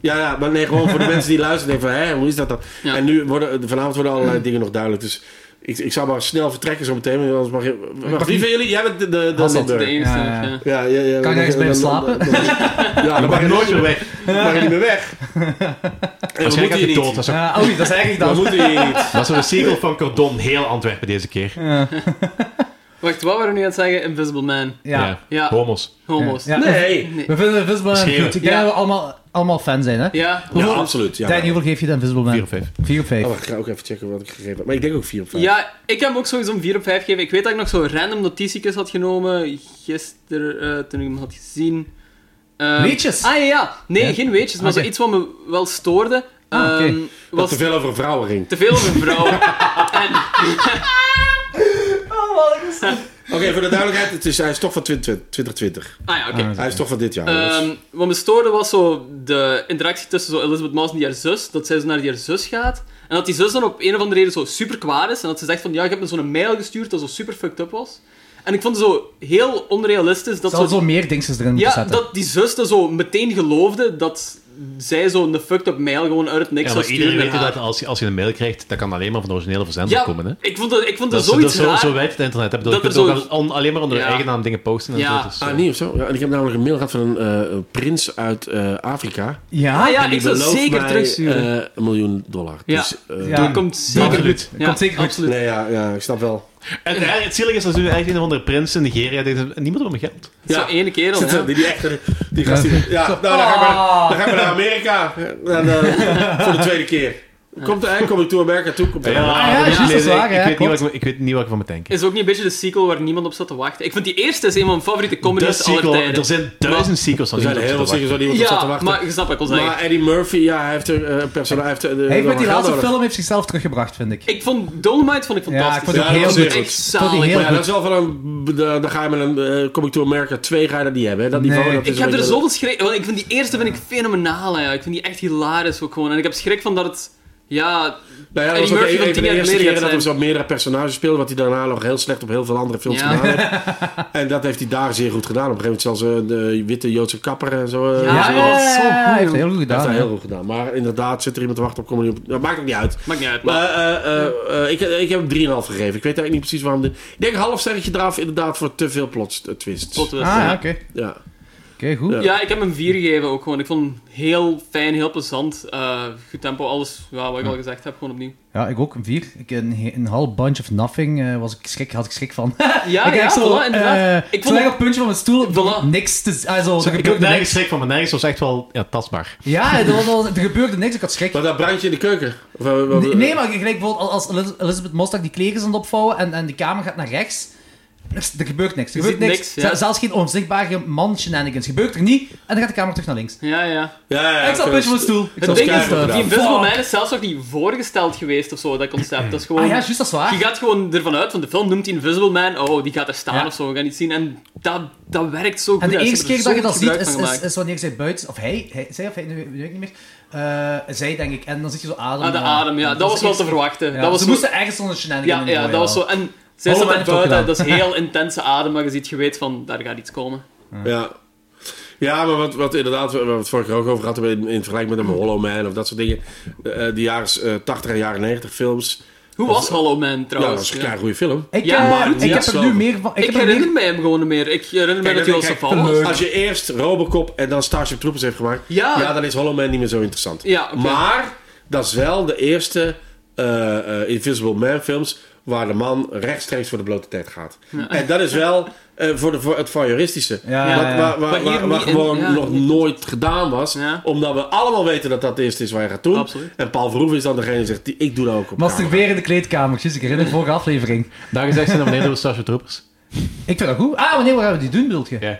S3: Ja, ja, maar nee, gewoon voor de mensen die luisteren denken van, hè, hoe is dat dan?
S1: Ja.
S3: En nu worden, eh, vanavond worden allerlei dingen nog duidelijk. Dus ik, ik zou maar snel vertrekken zo meteen. want Anders mag je, wacht, wie van jullie? Jij bent de, de, de
S2: Hasselt.
S1: De
S3: Limburg.
S1: enige,
S2: Ja, ja.
S1: ja.
S3: Ja, ja, ja,
S2: Kan ik ergens blijven
S3: dan- dan-
S2: slapen?
S3: Ja, dan mag je nooit meer weg. Dan mag je niet meer weg. En we
S4: Waarschijnlijk
S3: moeten
S4: gaat
S3: hier
S4: hij dood.
S3: niet.
S4: Dat is ook-
S2: Ja, oei, dat is eigenlijk
S3: We
S2: dat.
S3: moeten hier niet.
S4: dat is een sequel van Cordon, heel Antwerpen deze keer. Ja.
S1: Wacht, wat waren we nu aan het zeggen? Invisible Man.
S2: Ja.
S1: Ja.
S4: Homo's.
S1: Homo's.
S2: Ja.
S3: Nee.
S2: We vinden Visma
S4: Schreeuwen.
S2: goed. Ik denk
S1: Ja.
S2: dat we allemaal, allemaal fan zijn, hè?
S1: Ja.
S3: Ja, absoluut. Ja,
S2: Danny, hoeveel geef je dan Invisible Man?
S4: Vier of vijf.
S2: 4 op 5.
S3: Oh, ik ga ook even checken wat ik gegeven heb. Maar ik denk ook 4 op 5.
S1: Ja, ik heb hem ook sowieso een 4 op 5 gegeven. Ik weet dat ik nog zo'n random notitiekjes had genomen gisteren eh, toen ik hem had gezien. Ehm,
S2: Weetjes?
S1: Ah ja, ja. Nee,
S2: Ja?
S1: geen weetjes, maar
S2: Oké.
S1: zoiets wat me wel stoorde.
S2: Ah, oké.
S1: ehm,
S3: Dat
S1: was
S3: te veel over vrouwen ging.
S1: te veel over vrouwen. en
S3: Oké, voor de duidelijkheid, het is, hij is toch van 2020. 2020.
S1: Ah ja, oké.
S3: Hij is toch van dit jaar. dus-
S1: Ehm, wat me stoorde was zo de interactie tussen zo Elizabeth Moss en die haar zus. Dat zij zo naar die haar zus gaat. En dat die zus dan op een of andere reden zo super kwaad is. En dat ze zegt van, ja, ik heb me zo'n mail gestuurd dat zo super fucked up was. En ik vond het zo heel onrealistisch dat
S2: Zal
S1: zo...
S2: zo meer dingetjes erin moeten
S1: Ja,
S2: zetten.
S1: dat die zus dan zo meteen geloofde dat zij zo'n fucked up mail gewoon uit het niks
S4: Ja,
S1: zou
S4: maar iedereen
S1: sturen
S4: weet
S1: naar haar.
S4: dat als je, als je een mail krijgt, dat kan alleen maar van de originele verzender
S1: ja,
S4: komen. Hè?
S1: ik vond dat, ik vond dat,
S4: Dat, is- dat
S1: zoiets
S4: is zo,
S1: raar. Ah,
S4: zo werkt het internet. Ik bedoel, je
S1: Dat
S4: kunt
S1: er
S4: ook
S1: zo-
S4: al- on- alleen maar onder je
S1: Ja.
S4: eigen naam dingen posten. En
S1: Ja.
S4: zo, dus, eh,
S3: Ah, niet of zo? Ja, en ik heb namelijk een mail gehad van een eh, prins uit eh, Afrika.
S2: Ja,
S1: Ah ja,
S3: En die
S1: ik zou
S3: belooft
S1: zeker
S3: mij,
S1: terugsturen.
S3: eh, een miljoen dollar.
S1: Ja.
S3: Dus, eh,
S2: Ja.
S1: dat komt zeker
S4: Absoluut.
S1: Ja,
S2: Komt zeker goed.
S1: absoluut.
S3: Nee, ja, ja, ik snap wel.
S1: Oh,
S4: En eigenlijk het zielige is dat nu eigenlijk een van de prins in Nigeria denkt, niemand wil mijn geld.
S1: Zo'n ene kerel,
S3: Zit
S1: ja. Ah.
S3: er- Die, die echte, die gast die... Ja, nou, dan gaan we, dan gaan we naar Amerika. Dan, eh, voor de tweede keer. Komt er eigenlijk, kom ik toe Amerika toe? Komt er-
S4: Ah,
S2: ja,
S4: dat is
S2: juist, dat is
S4: geleden.
S2: waar,
S4: Ik-
S2: hè,
S4: ik, weet niet
S2: klopt.
S4: wat ik, ik weet niet wat ik van me denk.
S1: Is ook niet een beetje de sequel waar niemand op zat te wachten? Ik vind die eerste is een van mijn favoriete comedies
S4: De
S1: aller
S4: sequel,
S1: tijden.
S4: er zijn duizend sequels
S3: Er
S4: van
S3: zijn heel veel
S4: sequels.
S3: ziekers waar niemand op zat te
S1: Ja,
S3: wachten.
S1: maar je snapt wat ik wil zeggen.
S3: Maar Eddie Murphy, ja, hij heeft er eh persona... Hij heeft, er- er-
S2: Hij heeft
S3: er
S2: met die
S3: geld
S2: laatste
S3: nodig.
S2: film heeft zichzelf teruggebracht, vind ik.
S1: ik vond Dolomite vond ik
S2: Ja, ik
S1: fantastisch.
S2: vond het
S3: Ja,
S2: heel
S3: dat was
S2: goed.
S3: heel
S1: Echt
S3: goed.
S2: vond die
S1: zalig.
S2: heel
S3: Maar ja, dat is wel van een... de- Dan ga je met een eh, Kom ik toe Amerika 2 ga je dat niet hebben. hè. Dat niveau,
S2: Nee.
S3: dat is
S1: Ik heb
S3: een
S1: er
S3: beetje-
S1: zoveel schrik... Want ik vind die eerste vind ik fenomenaal, ja. Ik vind die echt hilarisch ook gewoon. En ik heb schrik van dat het... Ja...
S3: Nou ja, dat
S1: Eddie
S3: was ook
S1: Murphy
S3: een
S1: van
S3: van
S1: tien
S3: de
S1: jaar
S3: eerste
S1: geleden
S3: keren dat hij
S1: gaat
S3: zo meerdere personages speelde, wat hij daarna nog heel slecht op heel veel andere films
S1: Ja.
S3: gedaan heeft. En dat heeft hij daar zeer goed gedaan. Op een gegeven moment zelfs eh, de witte Joodse kapper en zo. eh,
S1: Ja,
S3: dat
S2: Ja,
S3: is
S2: ja,
S3: wel-
S1: dat
S2: ja,
S1: was zo
S2: ja,
S1: goed,
S2: hij heeft
S1: joh.
S2: het heel goed
S3: dat heeft
S2: gedaan.
S3: hij heel
S2: hè.
S3: goed gedaan. Maar inderdaad, zit er iemand te wachten op, kom er niet op. Dat maakt ook niet uit.
S1: Maakt niet uit, maar...
S3: Maar eh, eh, eh, ik, ik heb hem 3,5 gegeven. Ik weet eigenlijk niet precies waarom. De, ik denk een half sterretje eraf inderdaad voor te veel plots eh, twists.
S1: Plot twist,
S2: Ah
S1: ja.
S2: ja, oké.
S3: Ja.
S2: Oké, goed.
S3: Ja.
S1: Ja, ik heb hem vier gegeven ook gewoon. Ik vond hem heel fijn, heel plezant. Eh, goed tempo, alles ja, wat ik al gezegd heb, gewoon opnieuw.
S2: Ja, ik ook een vier. Ik, een, he- een half bunch of nothing eh, was ik schrik, had ik schrik van.
S1: Ja,
S2: ik
S1: ja,
S2: echt zo,
S1: voilà, inderdaad.
S2: eh,
S1: ik
S2: zo
S1: vond
S2: leg op het puntje van mijn stoel,
S1: Voilà.
S2: niks te... Also, er
S4: Ik heb
S2: gebeurde
S4: nergens
S2: niks.
S4: schrik van, maar nergens was echt wel ja, tastbaar.
S2: Ja, er, was al- er gebeurde niks, ik had schrik.
S3: Maar dat brandje in de keuken. Of, eh, wat-
S2: Nee, nee, maar gelijk bijvoorbeeld als Eliz- Elizabeth Mostag die kleren is aan het opvouwen en, en de kamer gaat naar rechts. Er er gebeurt niks. Er
S1: Je
S2: gebeurt
S1: ziet
S2: niks.
S1: niks, ja.
S2: Z- Zelfs geen onzichtbare man shenanigans. Gebeurt er niet en dan gaat de kamer terug naar links.
S1: Ja, ja.
S3: Ja, ja, ja,
S2: ik zat een beetje op mijn stoel. Ik
S1: Het
S2: zat
S1: ding is,
S3: keihard
S2: keihard
S1: die
S3: gedaan.
S2: op de-
S1: Invisible
S2: Fuck.
S1: Man is zelfs nog niet voorgesteld geweest of zo, dat concept. Dat is gewoon...
S2: Ah ja, juist, dat is waar.
S1: Je gaat gewoon ervan uit, van de film noemt hij Invisible Man, oh, die gaat er staan
S2: Ja.
S1: of zo, we gaan iets zien. En dat, dat werkt zo goed.
S2: En de
S1: hè. Ze
S2: eerste
S1: hebben
S2: keer
S1: er
S2: dat je
S1: zo
S2: dat
S1: goed
S2: ziet
S1: gebruik
S2: is,
S1: van
S2: is,
S1: gemaakt.
S2: is wanneer zij buiten, of hij, hij zij of hij, nu weet ik niet meer, Eh, zij denk ik. En dan zit je zo adem.
S1: Ah, de
S2: eh,
S1: adem, ja.
S2: en
S1: Dat, was
S2: is
S1: wel
S2: eerst-
S1: te verwachten.
S2: ja,
S1: dat was
S2: ze
S1: zo-
S2: moesten ergens zonder shenanigans
S1: ja,
S2: in
S1: ja,
S2: gooien,
S1: dat was
S2: wel.
S1: zo. En zij
S2: Hollow Man
S1: staat daar
S2: heeft ook
S1: buiten,
S2: gedaan.
S1: dat is heel intense adem, maar je ziet, je weet van, daar gaat iets komen.
S3: Ja. Ja, maar wat, wat inderdaad, waar we het vorige keer ook over hadden, in, in vergelijking met een Hollow Man of dat soort dingen, eh, eh, die jaren eh, 80 en jaren 90 films,
S1: Hoe was Hollow Man
S3: Ja, dat
S1: trouwens?
S3: is een klaar goede film.
S2: Ik,
S1: Oh, Ja,
S2: eh,
S1: maar
S2: ik
S1: niet
S2: heb er nu
S3: hetzelfde.
S2: meer van. Ik,
S1: Ik,
S2: heb er
S1: herinner
S2: meer-
S1: mij hem gewoon niet meer. Ik herinner mij dat hij al
S3: Kijk,
S1: Saval was.
S3: Als je eerst Robocop en dan Starship Troopers heeft gemaakt,
S1: Ja.
S3: dan is Hollow Man niet meer zo interessant.
S1: Ja, oké.
S3: Maar dat is wel de eerste eh, eh, Invisible Man films waar de man rechtstreeks voor de blote tent gaat. En dat is wel eh, voor, de, voor het voyeuristische.
S2: Ja, ja,
S3: Wat-
S2: ja.
S3: Waar, waar,
S1: Maar hier
S3: waar- waar
S1: niet in-
S3: gewoon
S1: ja,
S3: nog
S1: niet.
S3: nooit gedaan was.
S1: Ja.
S3: Omdat we allemaal weten dat dat het eerste is waar je gaat doen.
S1: Absoluut.
S3: En Paul Verhoeven is dan degene die zegt, die- ik doe dat ook op camera.
S2: Masturberen in de kleedkamer. Jezus, ik herinner de vorige aflevering.
S4: Daar gezegd zijn, dan beneden de Starship Troopers.
S2: Ik vind dat goed. Ah, wanneer gaan we die doen, wilt je?
S4: Ja.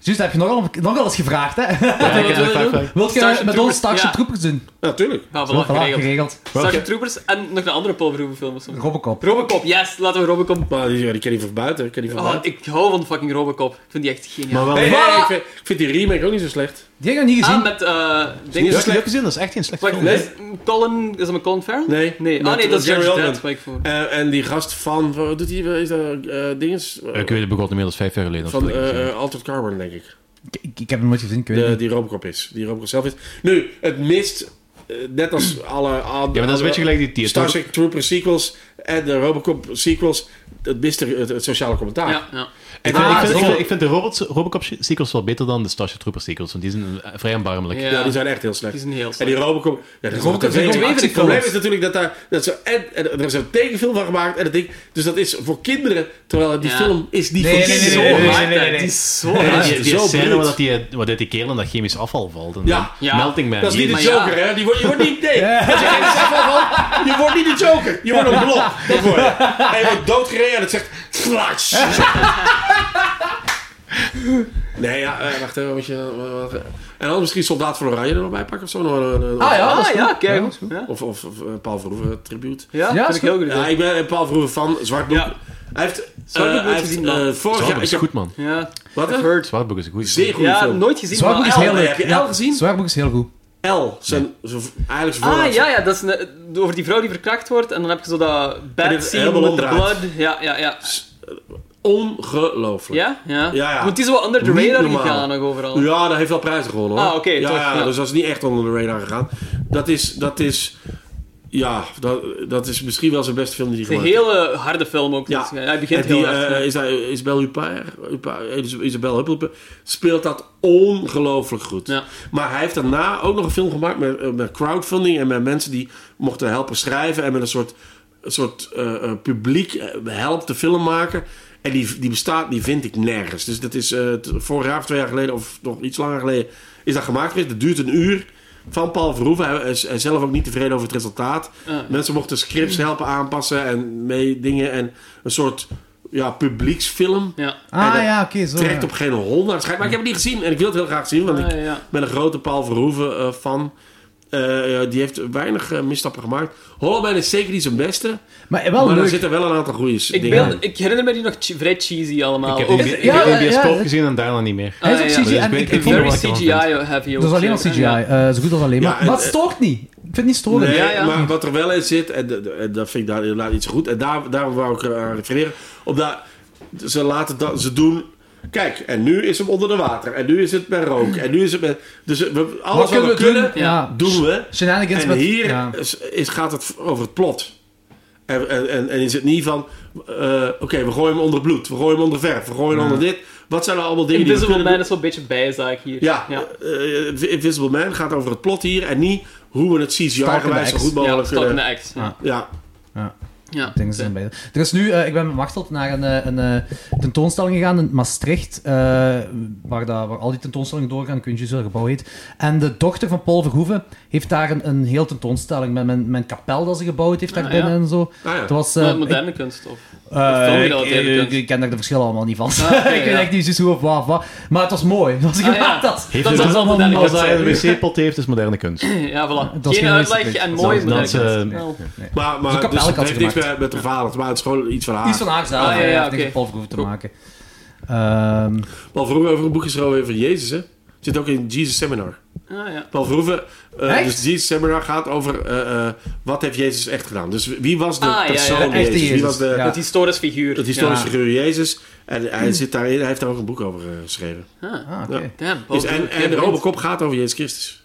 S2: Juist, dat heb je nogal, nogal eens gevraagd, hè?
S1: Ja, wat willen we doen?
S2: wilt je
S1: Starship
S2: met
S1: Troopers,
S2: ons Starship
S1: ja.
S2: Troopers doen?
S3: Natuurlijk.
S1: Ja,
S2: Zo,
S1: Ah, voilà,
S2: voilà,
S1: geregeld.
S2: geregeld.
S1: Starship Troopers en nog een andere Paul Verhoeven film of zo.
S2: Robocop.
S1: Robocop, yes, laten we Robocop...
S3: Maar die, die ken je van buiten. die Ken je van
S1: Oh,
S3: buiten.
S1: ik hou van fucking Robocop. Ik vind die echt geniaal.
S4: Maar wel...
S3: Nee, nee,
S1: Voilà.
S3: ik, vind, ik vind die remake ook niet zo slecht.
S2: Die heb ik nog niet gezien.
S1: Ah, met... eh
S3: niet
S1: dingen...
S3: zo
S7: Dat heb ik gezien, dat is echt geen dus slecht
S1: Wacht,
S7: film.
S1: is Colin... Is dat met Colin Farrell?
S3: Nee.
S1: Nee,
S3: Met- eh,
S1: ah nee, dat
S3: met
S1: is
S3: Gary
S1: Judge
S3: Oldman.
S1: Dredd, waar ik voor...
S3: Eh, en die gast van, wat doet hij, is dat eh, dinges? Eh,
S4: Ik weet het begon niet meer, dat is vijf jaar geleden.
S3: van eh, eh, Altered Carbon, denk ik.
S2: Ik- Ik, ik heb hem nooit gezien, ik weet het
S3: De,
S2: niet.
S3: die Robocop is. Die Robocop zelf is. Nu, het mist, eh, net als alle andere...
S4: Ja, maar dat is een beetje gelijk die
S3: Star
S4: Theater.
S3: Trek Trooper sequels en de Robocop sequels, het mist er- het, het sociale commentaar.
S1: Ja, ja.
S4: Ik,
S3: Ah,
S4: vind- ik, vind- ik
S3: zo.
S4: vind- ik vind de Robots- Robocop sequels wel beter dan de Starship Troopers sequels, want die zijn eh, vrij erbarmelijk.
S1: Ja.
S3: Ja, die zijn echt heel
S1: Die
S3: slecht.
S1: is een heel
S3: En die Robocop... Ja, dat is
S2: Robocop
S3: dat
S2: zijn
S3: is-
S2: gewoon
S3: Het
S2: actiefilms.
S3: probleem is natuurlijk dat daar... Dat ze, en, en er is een tekenfilm van gemaakt en dat ding... Dus dat is voor kinderen, terwijl die
S1: Ja.
S3: film is niet
S2: Nee,
S3: voor
S2: nee, nee,
S3: kinderen.
S2: nee, nee, nee.
S1: hard, hè. Die is zo
S4: Ja,
S1: hard.
S4: die, die
S3: Zo
S4: scène
S3: bruut.
S4: waar dat die, eh, waar dat die kerel in dat chemisch afval valt. En
S3: Ja.
S4: dan
S1: Ja.
S4: Melting Man.
S3: Dat is niet de
S1: Maar
S3: Joker,
S1: ja.
S3: hè? Die wordt, je wordt niet... Nee. Als je ergens afval valt, je wordt niet de Joker. Je wordt een blob. Dat word je. En je wordt doodgereden en het zegt... Flash. Nee, ja, eh, wacht even. Wat je, wat- wat- en dan misschien Soldaat van Oranje er nog bij pakken of zo. Nog een, een-
S2: Ah ja, dat is
S1: Ah,
S2: goed.
S1: ja, kijk.
S2: dat is goed.
S1: Ja,
S3: Of, of, of, eh, Paul Verhoeven tribute.
S1: ja,
S2: Ja,
S1: vind
S2: is
S1: ik heel goed.
S3: Ja, ik ben een Paul Verhoeven van Zwartboek.
S1: Ja.
S3: Hij heeft... eh,
S1: Zwartboek
S3: hij
S1: nooit
S3: heeft
S1: gezien, man.
S3: eh, vorig jaar...
S4: Zwartboek
S3: Ik
S4: is
S3: heb,
S4: goed, man.
S1: Ja,
S3: wat? hè?
S1: Heard.
S4: Zwartboek is een goede
S3: Zeer goede
S1: Ja,
S3: film.
S1: nooit gezien.
S2: Zwartboek
S1: maar
S2: is
S1: El-
S2: heel leuk.
S3: Heb je
S2: Ja,
S3: El gezien?
S2: Zwartboek is heel goed.
S3: L. Zijn, zijn, eigenlijk zijn
S1: Ah,
S3: voornaamste.
S1: ja, ja, dat is een- over die vrouw die verkracht wordt en dan heb je zo dat
S3: En
S1: bad
S3: het
S1: scene
S3: helemaal
S1: met de
S3: omdraait.
S1: blood. Ja, ja, ja.
S3: Ongelooflijk.
S1: Ja? Ja.
S3: Ja, ja.
S1: Want die is wel under the
S3: Niet
S1: radar
S3: normaal.
S1: gegaan nog overal.
S3: Ja, dat heeft wel prijzen gewonnen hoor.
S1: Ah, oké,
S3: ja,
S1: toch,
S3: ja,
S1: ja.
S3: dus dat is niet echt onder de radar gegaan. Dat is, dat is ja, dat, dat is misschien wel zijn beste film die hij
S1: Het is een
S3: gemaakt heeft.
S1: hele harde film ook.
S3: Ja.
S1: dus, ja, hij begint
S3: En die,
S1: heel hard.
S3: eh,
S1: ja.
S3: is dat Isabel Huppert, Huppert- Is- Isabel Huppert, speelt dat ongelooflijk goed.
S1: Ja.
S3: Maar hij heeft daarna ook nog een film gemaakt met, eh, met crowdfunding en met mensen die mochten helpen schrijven en met een soort, een soort eh, eh, publiek eh, helpt de film maken. En die, die bestaat, die vind ik nergens. Dus dat is eh, t- vorig jaar of twee jaar geleden, of nog iets langer geleden, is dat gemaakt geweest. Dat duurt een uur. Van Paul Verhoeven. Hij hij is hij is zelf ook niet tevreden over het resultaat.
S1: Ja.
S3: Mensen mochten scripts helpen aanpassen en mee dingen. En een soort ja, publieksfilm.
S1: Ja.
S3: En
S2: Ah
S3: dat
S2: ja, oké, zo.
S3: Trekt
S2: ja.
S3: op geen hol naar het schijnt. Maar ik heb het niet gezien en ik wil het heel graag zien. Want
S1: Ah,
S3: ik
S1: ja, ja.
S3: ben een grote Paul Verhoeven eh, fan. Eh, eh, die heeft weinig eh, misstappen gemaakt. Hollowman is zeker niet zijn beste.
S2: Maar eh, wel
S3: maar er
S2: Oh, leuk.
S3: zitten wel een aantal goede
S1: Ik,
S3: dingen in.
S1: beeld- ik herinner me die nog che- vrij cheesy allemaal.
S4: Ik heb
S1: Ook-
S4: die- ik
S2: ja,
S4: heb die
S2: ja,
S4: bij
S2: ja,
S4: Spock
S2: ja.
S4: gezien en daarna niet meer.
S1: Ah,
S2: Hij is
S1: ja,
S2: ook
S1: ja.
S2: CGI
S4: Dus ik
S2: en
S4: weet-
S2: ik
S4: ik
S2: ik vond
S4: vond hem
S1: Very
S2: het...
S4: wel wat je ervan
S1: CGI-heavy ook.
S2: Dat is alleen maar
S1: zeker,
S2: CGI,
S1: ja.
S2: eh, zo goed als alleen
S3: Ja,
S2: maar.
S3: en-
S2: Maar het stoort niet. Ik vind het niet storend.
S3: Nee,
S1: Ja, ja.
S3: maar wat er wel in zit, en, de- de- en dat vind ik daar inderdaad niet zo goed. En daar, daarom wou ik eh, aan refereren. Omdat ze laten dat, ze doen... Kijk, en nu is hem onder de water. En nu is het met rook. En nu is het met... Dus we, alles wat we, kunnen,
S2: doen? Ja.
S3: doen we.
S2: Shenanigans
S3: En
S2: met...
S3: hier
S2: ja.
S3: is, is- gaat het over het plot. En, en, en, en is het niet van... eh, Oké, we gooien hem onder bloed. We gooien hem onder verf. We gooien hem onder dit. Wat zijn er allemaal dingen die we
S1: Invisible
S3: kunnen
S1: Man is wel een beetje bijzaak hier.
S3: ja,
S1: ja.
S3: eh, eh, Invisible Man gaat over het plot hier en niet hoe we het CGI-gewijs zo
S2: Axe.
S3: goed
S1: Ja,
S3: mogelijk
S1: Stalking
S3: kunnen...
S1: the Axe. Ja.
S3: Ja,
S1: Ja.
S2: Dingen zijn bij. Er is nu, eh, ik ben met Wachtelt naar een, eh, een eh, tentoonstelling gegaan in Maastricht, eh, waar, dat, waar al die tentoonstellingen doorgaan, ik weet niet welk gebouw heet. En de dochter van Paul Verhoeven heeft daar een, een heel tentoonstelling met mijn, mijn kapel dat ze gebouwd heeft daar
S1: Ah,
S2: binnen
S1: ja.
S2: en zo.
S3: ah, ja.
S2: Het was, eh,
S1: Maar
S2: ik-
S1: moderne kunst, of?
S2: eh,
S1: filmgerelateerde
S2: ik- ik-
S1: kunst.
S2: ik ken daar de verschillen allemaal niet van.
S1: Ah, oké,
S2: ik weet
S1: ja. Ah,
S2: echt niet precies hoe of wat, of wat. Maar het was mooi. Het was
S1: ja.
S2: gemaakt dat.
S1: Dat
S4: het-
S1: is wel moderne
S4: Als
S1: kunst.
S4: hij een
S1: hè.
S4: wc-pot heeft, is moderne kunst.
S1: Ja, voilà.
S2: Dat is
S1: Geen
S2: geen
S1: uitleg
S2: kunst.
S1: en mooie
S4: Dat is-
S1: moderne
S4: dat
S1: kunst.
S4: is, eh,
S1: Wel.
S3: Maar, maar
S2: Zo'n
S3: dus,
S2: kapel had
S3: het heeft
S2: ze
S3: niks
S2: gemaakt.
S3: met, met de verhaal, het maar het is gewoon iets van haar.
S2: Iets van haar zelf.
S1: Ah, ja,
S2: ja,
S1: ja,
S2: heeft niks
S1: oké.
S2: met Paul Verhoeven te
S1: Goed.
S2: maken. Ehm,
S3: Paul Verhoeven over een boekje schrijven over Jezus, hè? Zit ook in Jesus Seminar.
S1: Ah, ja.
S3: Paul Verhoeven, eh,
S2: Echt?
S3: dus Jesus Seminar gaat over eh, eh, wat heeft Jezus echt gedaan. Dus wie was de
S1: Ah, ja, ja,
S3: persoon
S1: de
S2: echte
S3: Jezus? Wie
S2: Jezus,
S3: was de,
S2: ja.
S1: Het historisch figuur.
S3: het historische
S2: Ja. Mm.
S3: figuur Jezus? En hij zit daarin, hij heeft daar ook een boek over eh, geschreven.
S1: Ja. Ah,
S2: ah, oké.
S3: Ja.
S1: damn.
S3: Dus,
S1: Paul
S3: en,
S1: Verhoeven,
S3: en de
S1: geen
S3: Robocop gaat over Jezus Christus.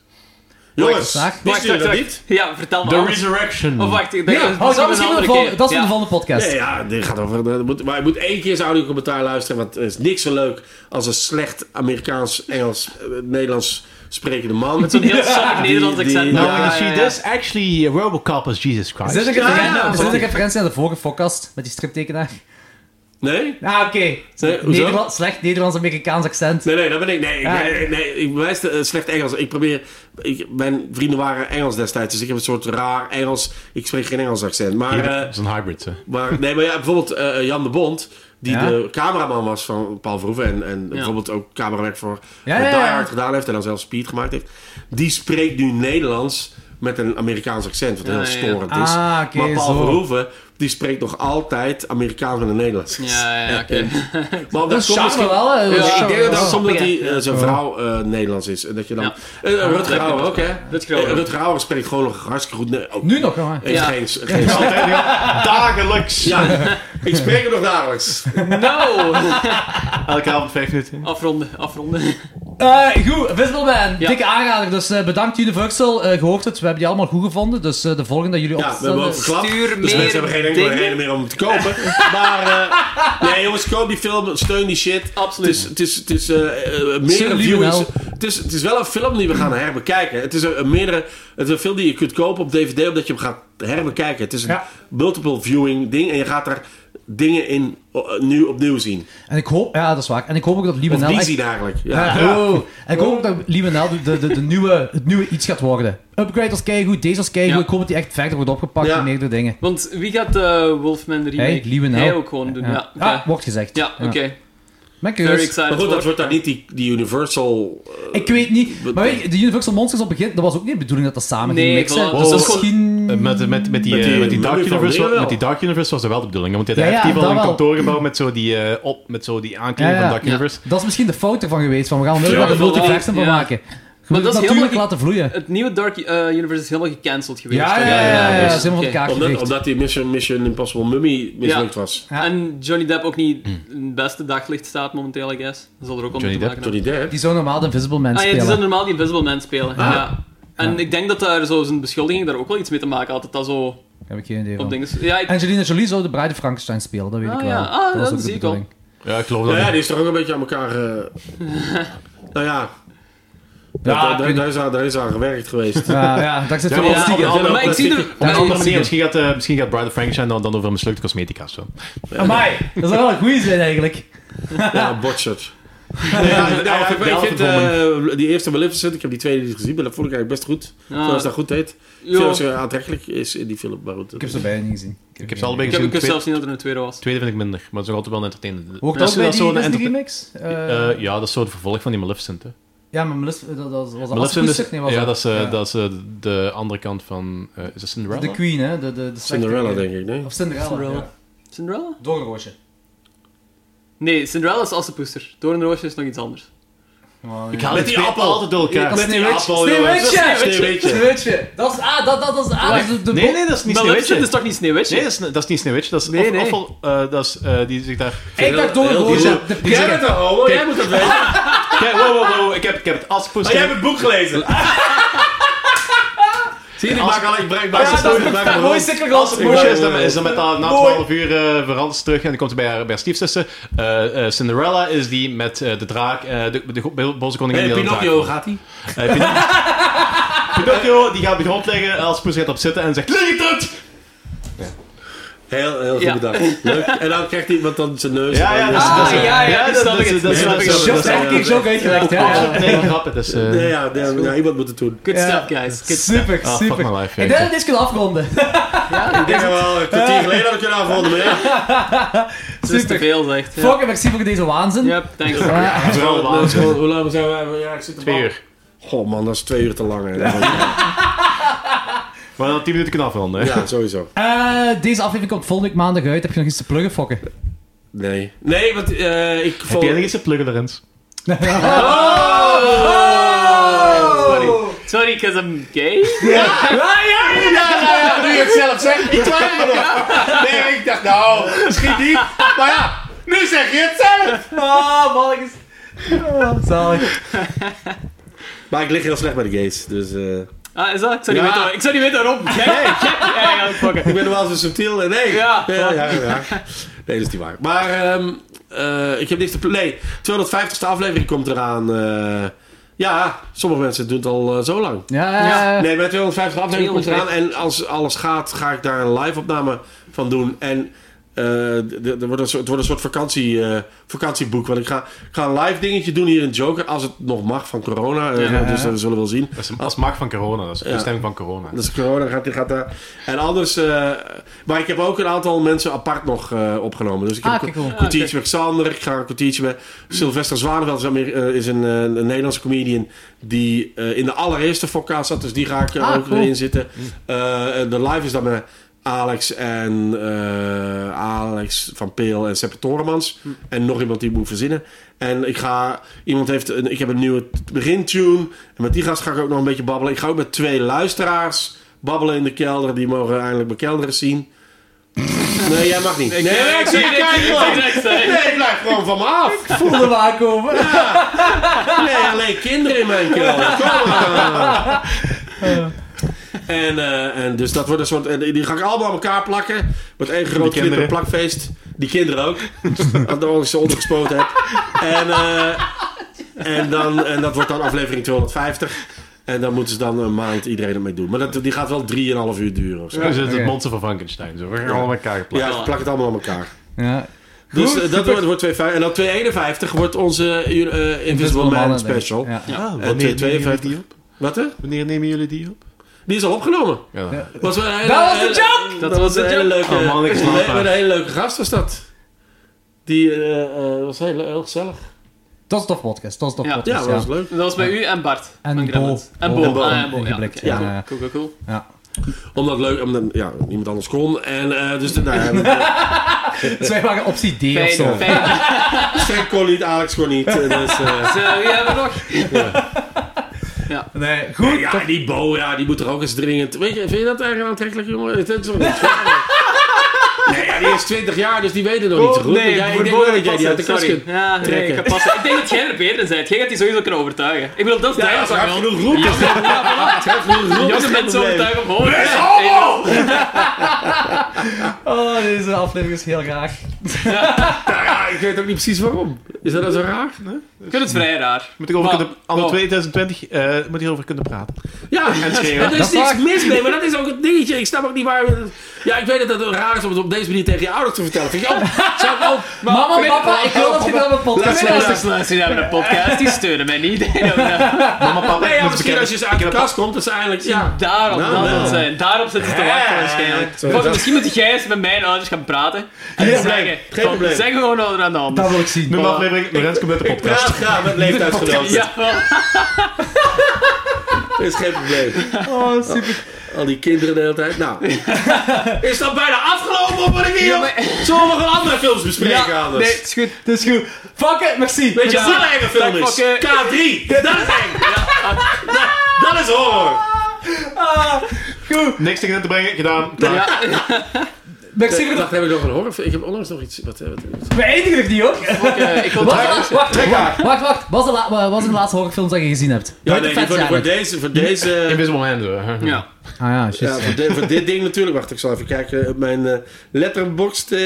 S3: Jongens,
S2: wacht,
S3: wisten jullie dat
S1: wacht.
S3: niet?
S1: Ja, vertel me
S4: The
S1: alles.
S4: Resurrection.
S1: Of wacht, ik denk-
S2: Ja,
S1: dat
S2: oh, dat is
S1: een
S2: misschien
S1: andere
S2: een vol-
S1: keer.
S2: dat is
S1: Ja.
S2: een volgende podcast.
S3: Nee, ja, dit gaat over. dat moet- maar je moet één keer zijn audio-commentaar luisteren. Want er is niks zo leuk als een slecht Amerikaans, Engels, eh, Nederlands sprekende man.
S1: Met zo'n heel sappig
S3: Die-
S1: Nederlands
S3: die-
S1: accent.
S2: Nou,
S4: No,
S1: Ja,
S4: when you see
S1: ja, ja.
S4: this, actually, uh, Robocop is Jesus
S2: Is
S4: Christ.
S2: dit een
S3: ja,
S2: referen- is dit
S3: sorry.
S2: een referentie naar de vorige podcast met die striptekenaar?
S3: Nee?
S2: Ah, oké.
S3: Nee, hoezo?
S2: Nederland- Slecht Nederlands-Amerikaans accent.
S3: Nee, nee, dat ben ik. Nee, ik-
S2: Ah.
S3: nee, nee, ik bewijs de, eh, slecht Engels. Ik probeer. Ik, mijn vrienden waren Engels destijds, dus ik heb een soort raar Engels. Ik spreek geen Engels accent. Maar,
S4: Hier,
S3: eh,
S4: dat is een hybrid, hè.
S3: maar, nee, maar ja, bijvoorbeeld eh, Jan de Bond, die
S2: Ja.
S3: de cameraman was van Paul Verhoeven. En, en bijvoorbeeld ook camerawerk voor
S2: Ja,
S3: voor
S2: ja,
S3: Die
S2: ja.
S3: Hard gedaan heeft en dan zelfs Speed gemaakt heeft. Die spreekt nu Nederlands met een Amerikaans accent, wat
S1: Ja,
S3: heel
S1: ja, ja.
S3: storend is.
S2: Ah, oké,
S3: maar Paul
S2: zo.
S3: Verhoeven, die spreekt nog altijd Amerikaans met een Nederlands accent.
S1: Ja, ja, oké.
S3: Maar
S2: Dat
S3: dat, komt
S2: is
S3: misschien-
S2: wel, hè?
S3: ja, ik denk dat dat
S1: wel.
S3: omdat hij
S1: Ja.
S3: eh, zijn vrouw eh, Nederlands is. En dat je dan...
S1: Ja.
S3: Eh,
S1: dat-
S3: Rutger Hauer ook, hè?
S1: Rutger Hauer.
S3: Eh, Rutger Hauer spreekt gewoon nog hartstikke goed... Nee, ook-
S2: Nu nog, jongen.
S3: Heeft
S1: Ja.
S3: geen... geen
S4: Dagelijks!
S3: ja, ik spreek hem nog dagelijks.
S1: No!
S4: Elke avond vijf
S1: Oh.
S4: minuten.
S1: Afronden, afronden.
S2: Eh, goed, Visselman,
S1: Ja.
S2: dikke aanrader. Dus eh, bedankt Universal, eh gehoord het. We hebben die allemaal goed gevonden. Dus eh, de volgende dat jullie
S3: Ja, we hebben ook
S2: opstellen...
S3: geklapt.
S1: Stuur
S3: Dus
S1: meer
S3: mensen hebben geen enkele
S1: dingen.
S3: reden meer om hem te kopen. Maar eh, nee, jongens, koop die film. Steun die shit.
S1: Absoluut.
S3: Het is, het is, het is eh, eh, meerdere
S2: Steun die
S3: viewings.
S2: wel.
S3: Het is, het is wel een film die we gaan herbekijken. Het is een, een meerdere... Het is een film die je kunt kopen op DVD omdat je hem gaat herbekijken. Het is een
S2: Ja.
S3: multiple viewing ding. En je gaat daar dingen in eh, nu opnieuw zien.
S2: En ik hoop... Ja, dat is waar. En ik hoop ook dat
S3: Of
S2: Liebenel...
S3: die
S2: echt-
S3: zien eigenlijk. Ja.
S2: Ja, oh. En ik hoop ook dat Liebenel de, de, de, de nieuwe, het nieuwe iets gaat worden. Upgrade als keigoed, deze als keigoed.
S1: Ja.
S2: Ik hoop dat die echt verder wordt opgepakt
S3: Ja.
S2: en meerdere dingen.
S1: Want wie gaat de Wolfman remake?
S2: Hey, Liebenel.
S1: Hij ook gewoon doen, ja.
S2: Ja.
S1: Ja,
S2: Ah, wordt gezegd.
S1: Ja, oké.
S2: Ben
S1: Very
S2: curieus.
S1: excited
S3: Maar goed,
S1: for.
S3: dat wordt daar niet die, die Universal... eh,
S2: Ik weet niet. Maar weet je, de Universal Monsters op het begin, dat was ook niet de bedoeling dat dat samen
S1: Nee,
S2: ging mixen.
S1: voilà.
S2: Dus
S1: Dus dat is
S2: misschien...
S4: Met, met, met, die,
S3: Met
S4: eh,
S3: die
S4: met, die Dark
S3: menu van
S4: Universe,
S3: dingen wel.
S4: met die Dark Universe was dat wel de bedoeling. hè, Want
S2: Ja,
S4: hij heeft
S2: ja,
S4: die wel
S2: dat
S4: een
S2: wel.
S4: kantoorgebouw met zo die, eh, op, met zo die aankleding
S2: Ja,
S4: van
S2: ja.
S4: Dark
S1: Ja.
S4: Universe.
S2: Dat is misschien de fout ervan geweest, van we gaan er
S1: Ja,
S2: wel een
S1: voilà.
S2: multiversum van
S1: Ja.
S2: maken. Je moet
S1: dat
S2: het
S1: is
S2: natuurlijk
S1: helemaal-
S2: laten vloeien.
S1: Het nieuwe Dark eh, Universe is helemaal gecanceld geweest.
S2: Ja, ja,
S1: toch?
S2: ja, ja,
S1: dus-
S2: ja, dat is helemaal
S1: oké.
S2: van elkaar
S3: omdat,
S2: gericht.
S3: omdat die Mission, Mission Impossible Mummy mislukt was.
S2: Ja. Hm.
S1: En Johnny Depp ook niet in het beste daglicht staat momenteel, I guess. Dat zal er ook onder
S4: Johnny
S1: te maken
S3: Johnny Depp.
S2: Die zou normaal de Invisible Man
S1: hebben. Ah ja, die
S2: spelen. Ah.
S1: zou normaal die Invisible Man spelen. Ja. En ik denk dat daar zo zijn beschuldiging daar ook wel iets mee te maken had. Dat dat zo op
S2: Daar heb ik geen idee van.
S1: dingen... Ja, ik...
S2: Angelina Jolie zou de Bride of Frankenstein spelen, dat weet
S1: Ah,
S2: ik wel.
S1: ja. Ah,
S2: was
S1: dat
S2: ook de
S1: zie ik wel.
S2: bedoeling.
S4: Ja, ik geloof dat
S3: Nou ja,
S4: niet.
S3: die is toch ook een beetje aan elkaar. eh, nou ja.
S2: Ja,
S3: Daar-
S2: ik
S3: daar,
S2: weet
S3: daar, is aan, daar is aan gewerkt geweest.
S2: Ja, ja, dat zit
S4: Ja,
S2: wel
S4: maar-
S2: wat
S1: ja,
S2: stiekem.
S3: dat-
S1: op- op- maar ik
S3: dat-
S1: zie
S3: dat-
S1: er...
S4: Op een
S1: maar
S4: andere
S1: ik-
S4: manier. Misschien gaat, eh, misschien gaat Bride of Frankenstein dan, dan over een mislukte cosmetica of zo.
S2: Amai, dat zou wel een goeie zijn eigenlijk.
S3: ja, botchert. Nee, ja, nou ja, ik- ik vind eh, die eerste Maleficent, ik heb die tweede niet gezien, maar dat vond ik eigenlijk best goed.
S1: Ja.
S3: Zoals dat goed heet.
S1: Jo.
S3: Zoals eh, aantrekkelijk is in die film. Maar goed,
S2: Ik heb ze bijna niet gezien.
S4: Ik heb ze allebei
S1: Ik heb,
S4: gezien.
S1: ik wist
S4: Tweede,
S1: zelfs niet dat er een tweede was.
S4: tweede vind ik minder, maar het is nog altijd wel een entertainende.
S2: Hoort
S4: Dat
S2: dat
S4: is-
S2: bij
S4: dat is
S2: die
S4: zo'n
S2: Disney
S4: entertain-
S2: remix? Eh,
S4: Eh, ja, dat is zo het vervolg van die Maleficent. Hè.
S2: Ja, maar Melis, dat, dat was een
S4: Maleficent is,
S2: afspeelstuk, nee, was
S4: ja,
S2: dat?
S4: dat is, eh, dat is eh, de andere kant van... eh, is dat Cinderella?
S2: De Queen, hè? De, de, de slechte-
S3: Cinderella, denk ik. Nee?
S2: Of Cinderella,
S1: Cinderella.
S2: ja.
S1: Cinderella?
S2: Doornroosje.
S1: Nee, Cinderella is Assepoester. Doornroosje is nog iets anders.
S2: Maar-
S4: Ik haal
S3: Met
S4: die twee
S3: appel.
S4: altijd door elkaar.
S2: Dat is Sneeuwwitje.
S3: jongens.
S2: Sneeuwwitje.
S3: Dat is Sneeuwwitje.
S2: Sneeuwwitje. Dat is ah, dat, dat, dat is ah, dat is de, de
S4: Nee,
S2: bo-
S4: nee, dat is niet
S1: Maleficent is
S4: Sneeuwwitje.
S1: toch niet Sneeuwwitje?
S4: Nee, dat is, dat is niet Sneeuwwitje. Dat is,
S1: Nee,
S4: of-
S1: nee.
S4: ofwel, eh, dat is eh, die zich daar...
S2: Ik dacht
S3: heel-
S2: Doornroosje. De
S3: Jij bent
S2: pre-
S3: een homo, jij moet dat weten. Ah,
S4: Kijk, wow, wow, wow. Ik heb, ik heb het aspoes...
S3: jij hebt het boek gelezen. Zie je, ik maak al ik breng bij
S2: Ja, dat is een mooi cirkelglas.
S4: Moesje is dan, is dan met haar na 12 uur eh veranderd terug en dan komt ze bij haar, bij haar stiefzussen. Eh, eh, Cinderella is die met eh, de draak, eh, de, de, go- boze koningin. die aan de draak
S3: Pinocchio
S4: komt.
S3: gaat hij?
S4: Eh, Pin- Pinocchio die gaat op de grond liggen, als Poes gaat op zitten en zegt: Lig het uit!
S3: Heel, heel goed
S1: Ja.
S3: bedacht. Leuk. En dan krijgt iemand dan zijn neus.
S4: Ja, ja, dat is
S3: Ah,
S4: dat is-
S1: ja, ja, die
S4: dat-
S1: snap
S4: dat-
S1: ik.
S4: dat-
S1: Die
S4: dat-
S1: snap
S4: dat-
S1: ik.
S4: dat-
S2: Chef
S4: dat-
S2: Frank is ook uitgelegd, hè.
S4: Absoluut geen grap, het is. eh,
S3: Ja, ja, ja, ja, iemand moet het doen.
S1: Good
S2: Ja.
S1: stuff, guys. Good stuff.
S2: Super,
S4: Ah, fuck my
S2: super.
S4: life.
S2: Ik denk
S4: ja,
S2: dat we deze kunnen afronden.
S3: Ik denk dat we al een kwartier geleden hadden kunnen afronden, maar ja.
S1: Het is te
S2: Super.
S1: veel, zegt. Ja.
S2: Fuck, en merci voor deze waanzin.
S1: Yep, thanks.
S2: Ah,
S4: ik- Vooral
S3: Dat is
S4: waanzin.
S3: gewoon- Hoe lang zijn we? Ja, ik zit te
S4: Twee uur.
S3: Goh man, dat is twee uur te lang. Hè. Ja,
S4: Maar dan 10 minuten kunnen afronden. hè.
S3: ja, sowieso.
S2: eh, Deze aflevering komt volgende week maandag uit. Heb je nog iets te pluggen, fokken?
S3: Nee. Nee, want eh, ik
S4: Heb
S3: val...
S4: jij nog iets te pluggen, Lorenz?
S1: Sorry. Sorry, because I'm gay.
S3: Ja, nu je het zelf zegt. Ik twijfel nog. Nee, ik dacht nou, misschien niet. Maar ja, nu zeg je het zelf.
S2: Ah, mannetjes. Ah, Zalig.
S3: Maar ik lig heel slecht bij de gays, dus... eh,
S1: Ah, is dat? Ik zou niet
S3: Ja.
S1: weten, waar- ik zou niet weten waarom. Gek, gek. Ja, ja, fuck
S3: Ik
S1: it.
S3: ben wel zo subtiel. eh, Nee.
S1: Ja.
S3: ja, ja. ja. Nee, dat is niet waar. Maar ehm, eh, ik heb niks te... pl- Nee, 250ste aflevering komt eraan. eh. ja, sommige mensen doen het al eh, zo lang.
S2: Ja,
S3: Nee, bij 250 aflevering komt eraan. En als alles gaat, ga ik daar een live opname van doen. En eh, d- d- er wordt een soort, het wordt een soort vakantie, eh, vakantieboek. Want ik ga, ik ga een live dingetje doen hier in Joker. Als het nog mag van corona. Eh, Dus dat zullen we wel zien.
S4: Dat is, dat is macht van corona. Dat is de
S3: Ja.
S4: bestemming van corona.
S3: Dat is corona, gaat, die gaat daar. En anders... eh, maar ik heb ook een aantal mensen apart nog eh, opgenomen. Dus ik heb
S2: Ah,
S3: een
S2: kijk, cool.
S3: een kwartiertje met Xander. Ik ga een kwartiertje met... Sylvester Zwaneveld is, Amer- eh, is een, eh, een Nederlandse comedian... die eh, in de allereerste Fokka zat. Dus die ga ik er
S2: Ah,
S3: ook
S2: cool.
S3: weer in zitten. Eh, en de live is dan met... Alex en eh, Alex van Peel en Seppe Toremans. En nog iemand die ik moet verzinnen. En ik ga... Iemand heeft... Een, ik heb een nieuwe t- begintune. En met die gast ga ik ook nog een beetje babbelen. Ik ga ook met twee luisteraars babbelen in de kelder. Die mogen eindelijk mijn kelder zien. Nee, jij mag niet. Nee, nee, ik zie je kijken. Nee, ik blijf gewoon van me af.
S2: Voelde we aankomen.
S3: Nee, alleen kinderen in mijn kelder. Kom maar. En, eh, en dus dat wordt een soort... en die ga ik allemaal aan elkaar plakken. Met één groot
S4: kinderen.
S3: knipperplakfeest. Die kinderen ook. Als ik ze ondergespoten heb. En, eh, en, dan, en dat wordt dan aflevering 250. En dan moeten ze dan een maand iedereen ermee doen. Maar dat, die gaat wel 3,5 uur duren of zo.
S4: Dat is het
S2: Oké.
S4: monster van Frankenstein. Zo. We gaan allemaal elkaar geplaatst.
S3: Ja, ik plak het allemaal aan elkaar.
S2: Ja.
S3: Dus eh, dat wordt, wordt 2,50. En dan 2,51 wordt onze eh, eh, Invisible
S2: denk
S3: Man
S2: ik.
S3: special.
S2: Ja.
S4: Ah,
S3: En
S4: wanneer, nemen jullie
S3: 2,52.
S4: die op?
S3: Wat hè?
S4: wanneer nemen jullie die op?
S3: Die is al opgenomen.
S4: Ja.
S3: Was wel een hele,
S2: Dat was de
S3: joke! Dat, was een hele leuke,
S4: Oh man, ik slaap
S3: een,
S4: uit.
S3: een hele leuke gast was dat. Die eh, eh, was heel, heel gezellig.
S2: Dat is een tof podcast. Dat is een tof
S1: Ja.
S3: Ja,
S2: podcast.
S3: dat
S2: Ja,
S3: was leuk.
S1: Dat was bij u en Bart.
S2: En
S1: van
S2: Bo.
S1: Gremlins. En Bo.
S2: Bo.
S1: En Bo. Ah, en Bo. Ja,
S2: Ingeblikt,
S1: oké,
S2: ja.
S1: cool, cool, cool, cool.
S3: Omdat leuk, omdat ja, niemand anders kon. En eh, dus de, nou, ja, eh,
S2: Dus wij waren optie D of zo.
S1: Fijn, fijn.
S3: Frank kon niet, Alex kon niet. eh, Dus, eh,
S1: Dus, eh, wie hebben we nog?
S2: Nee, goed.
S3: Oh, ja, die Bo, ja, die moet er ook eens dringend. Weet je, vind je dat eigenlijk aantrekkelijk, jongen? Het is toch niet Nee, ja, die is 20 jaar, dus die weten nog niet zo goed. Maar jij- ik
S1: voor
S3: denk
S1: Bo
S3: wel dat
S1: moet
S3: jij die uit de
S1: passen,
S3: kast
S1: sorry.
S3: kunt.
S1: Ja, nee,
S3: trekken.
S1: ik kan passen. Ik denk dat jij er beter bent. Jij gaat die sowieso kunnen overtuigen. Ik bedoel, dat is
S3: Ja,
S1: duidelijk.
S3: als je
S1: wat
S3: hard
S1: je
S3: genoeg roept, is dat- als je hard genoeg roept,
S1: wil.
S3: is
S1: Jonge
S3: dat
S1: mensen
S3: probleem.
S1: overtuigen om hoor.
S2: Oh, deze aflevering is heel raar.
S3: Ja, ik weet ook niet precies waarom. Is dat dan zo raar?
S1: Ik vind het vrij raar.
S4: Moet ik over
S1: Maar-
S4: kunnen... Anno
S1: Wow.
S4: 2020 eh, moet ik over kunnen praten.
S3: Ja, en schreeuwen. Er is
S2: Dat
S3: niks
S2: vaak.
S3: mis mee, maar dat is ook het dingetje. Ik snap ook niet waar... Ja, ik weet dat het raar is om het op deze manier tegen je ouders te vertellen. Vind je, oh, zou ik ook...
S2: Mama, papa, ik wil dat je naar mijn podcast
S1: Luister,
S2: luistert.
S1: luister, luister, die hebben een podcast. Die steunen mij niet.
S4: Mama, papa,
S3: Nee,
S4: ik
S3: ja, misschien
S4: moet bekennen-
S3: als je eens uit de kast komt, dat is eigenlijk... Ja,
S1: Daarop,
S3: Nou,
S1: dat
S3: nou.
S1: het zijn. Daarop zitten ze te wachten
S3: Ja,
S1: waarschijnlijk.
S3: zo is
S1: Of
S3: dat.
S1: misschien moet jij eens met mijn ouders gaan praten. En
S3: Geen probleem,
S1: zeggen,
S3: geen
S1: van,
S3: probleem.
S1: zeg gewoon wat er aan de hand is.
S2: Dat wil ik zien.
S4: Nummer aflevering, Lorenz komt met de podcast.
S3: praat graag met leeftijdsgenoten.
S1: Ja, wel.
S3: Dat is geen probleem.
S2: Oh, super.
S3: Al die kinderen de hele tijd. Nou, is dat bijna afgelopen of wat ik hier nog... Zullen we nog een andere films bespreken anders?
S2: nee, het is goed. Het is goed. Fuck it, merci.
S3: Weet je wat
S1: Ja.
S3: een eigen film
S1: Dank,
S3: is?
S1: oké.
S3: K3. Dat is eng. Dat- Dat is horror.
S4: Niks tegen in te brengen, gedaan. Klaar.
S1: Ja.
S2: Merci voor
S3: Wacht,
S2: de...
S3: heb ik nog een horror? Ik heb onlangs nog iets... Wat, wat,
S2: We eindigen nog niet, hoor.
S1: Oké, Ik wil
S2: Wacht, wacht,
S3: Trek haar.
S2: wacht, wacht, wacht. Wat is de la- wat was de laatste horrorfilm dat je gezien hebt?
S3: Ja,
S2: Buiten
S3: nee, voor,
S2: Fat
S3: voor
S2: Jack.
S3: deze, voor deze,
S4: Invisible Man. zo.
S1: Ja.
S2: Ah ja, shit.
S3: ja, voor, di- voor dit ding natuurlijk. Wacht, ik zal even kijken op mijn eh, letterboxd. eh,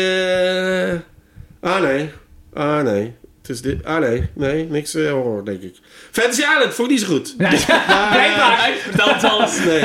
S3: ah nee, ah nee, het is dit. Ah nee, nee, niks eh, horror denk ik. Fantasy Island, vond ik niet zo goed. Maar, eh,
S1: Blijkbaar, vertel het alles.
S3: nee.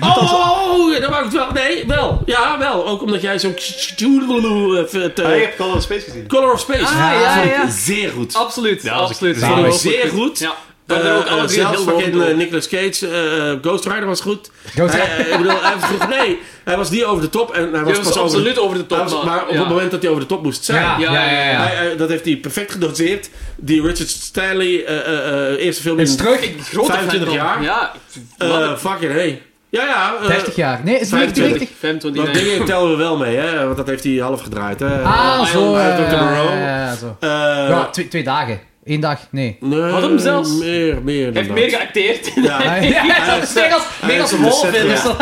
S3: Oh, oh, oh, dat mag ik wel. Nee, wel. Ja, wel. Ook omdat jij zo'n... eh,
S4: Ah, je hebt Call of Space gezien.
S3: Color of Space.
S1: Ah, ja,
S3: Vond ik
S1: ja.
S3: Zeer goed.
S1: Absoluut, absoluut.
S3: Vond ik
S1: Ja,
S3: zeer goed.
S1: Ja.
S3: Eh,
S1: Worden er ook alle
S3: eh,
S1: drie heel
S3: zelfs fucking
S1: hoog
S3: eh, Nicolas Cage, eh, eh, Ghost Rider was goed.
S2: Ghost
S3: Hij, eh, ik bedoel, hij was goed. Nee, hij was niet over de top. En hij was,
S1: Hij was
S3: pas
S1: absoluut over de top,
S3: hij
S1: maar-
S3: was- maar op
S1: ja.
S3: het moment dat hij over de top moest zijn.
S2: Ja, ja, ja. ja,
S3: Hij, eh, dat heeft hij perfect gedoseerd. Die Richard Stanley eh, eh, eh, eerste film in
S2: Is terug.
S1: Ik grote
S3: 25
S1: fan van-
S3: jaar?
S1: Ja,
S3: eh, fucking hey. Ja, ja. eh,
S2: 30 jaar. Nee, is het
S3: 25.
S2: 90?
S3: dat
S1: 25
S3: dingen tellen we wel mee, hè? Want dat heeft hij half gedraaid. Hè?
S2: Ah,
S1: Island
S2: zo.
S3: uit
S2: eh,
S3: Dr. Moreau.
S2: ja, ja, zo.
S3: Eh,
S2: Ja, twee, twee dagen. Eén dag, nee.
S3: nee,
S1: Had hem zelfs.
S3: Meer,
S1: Hij
S3: meer. dan
S1: heeft
S3: dat.
S1: meer geacteerd.
S3: Ja.
S2: Ah, Ja, ja, dat is meer als, meer als
S3: Hij is op de
S2: half,
S3: set,
S2: hè,
S3: ja.
S2: dus dat-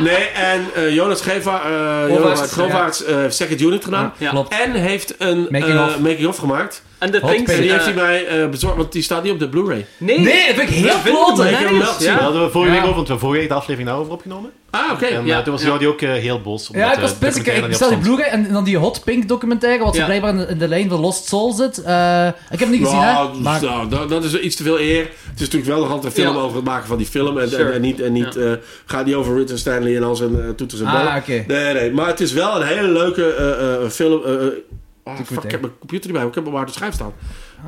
S3: Nee, en eh, Jonas Geva, eh Jonas Govaerts, eh, heeft Second Unit gedaan.
S1: Ja.
S2: Klopt.
S3: En heeft een
S2: Making
S3: eh,
S2: of.
S3: making of gemaakt.
S1: En de
S2: Hot
S1: Things...
S2: Pink.
S3: En
S1: eh,
S3: die heeft hij mij eh, bezorgd, want die staat niet op de Blu-ray.
S1: nee,
S2: Nee, dat vind ik heel
S1: dat vind ik
S2: klote,
S1: nergens.
S3: hè? Ik heb hem wel gezien.
S1: Ja.
S4: Dat hadden we vorige
S2: Ja.
S4: week over, want we hebben vorige week de aflevering daarover opgenomen.
S3: Ah, oké.
S4: En
S1: Ja,
S4: eh, toen was
S1: ja.
S4: Jordi ook eh, heel boos. omdat,
S2: Ja, ik
S4: eh,
S2: was
S4: de
S2: pissig.
S4: documentaire
S2: Ik
S4: niet
S2: bestel die
S4: opstond.
S2: Blu-ray en en dan die Hot Pink documentaire, wat ze
S1: Ja.
S2: blijkbaar in de- in de lijn van Lost Soul zit. Eh, ik heb hem niet gezien,
S3: Ja,
S2: hè?
S3: dus
S2: Maar
S3: nou, dat, dat is iets te veel eer. Het is natuurlijk wel nog altijd een film
S1: Ja.
S3: over het maken van die film. En, en-
S1: Sure.
S3: en, niet, en niet eh, gaat niet over Richard Stanley en al zijn eh, toeters en bellen.
S2: Ah, oké.
S3: Nee, nee. Maar het is wel een hele leuke eh, eh, film. eh, eh, oh,
S2: goed,
S3: fuck,
S2: hè?
S3: ik heb mijn computer niet bij me. Ik heb hem maar op de schijf staan.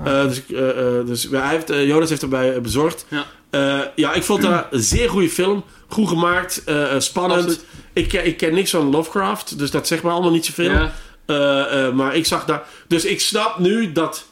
S2: Ah.
S3: Eh, dus ik, eh, eh, dus hij heeft, eh, Jonas heeft erbij bezorgd.
S1: Ja.
S3: Eh, ja, ik vond dat een zeer goede film. Goed gemaakt, eh, eh, spannend.
S1: Absoluut.
S3: Ik, ken- ik ken niks van Lovecraft, dus dat zegt me allemaal niet zoveel.
S1: Ja.
S3: Eh, eh, maar ik zag daar. Dus ik snap nu dat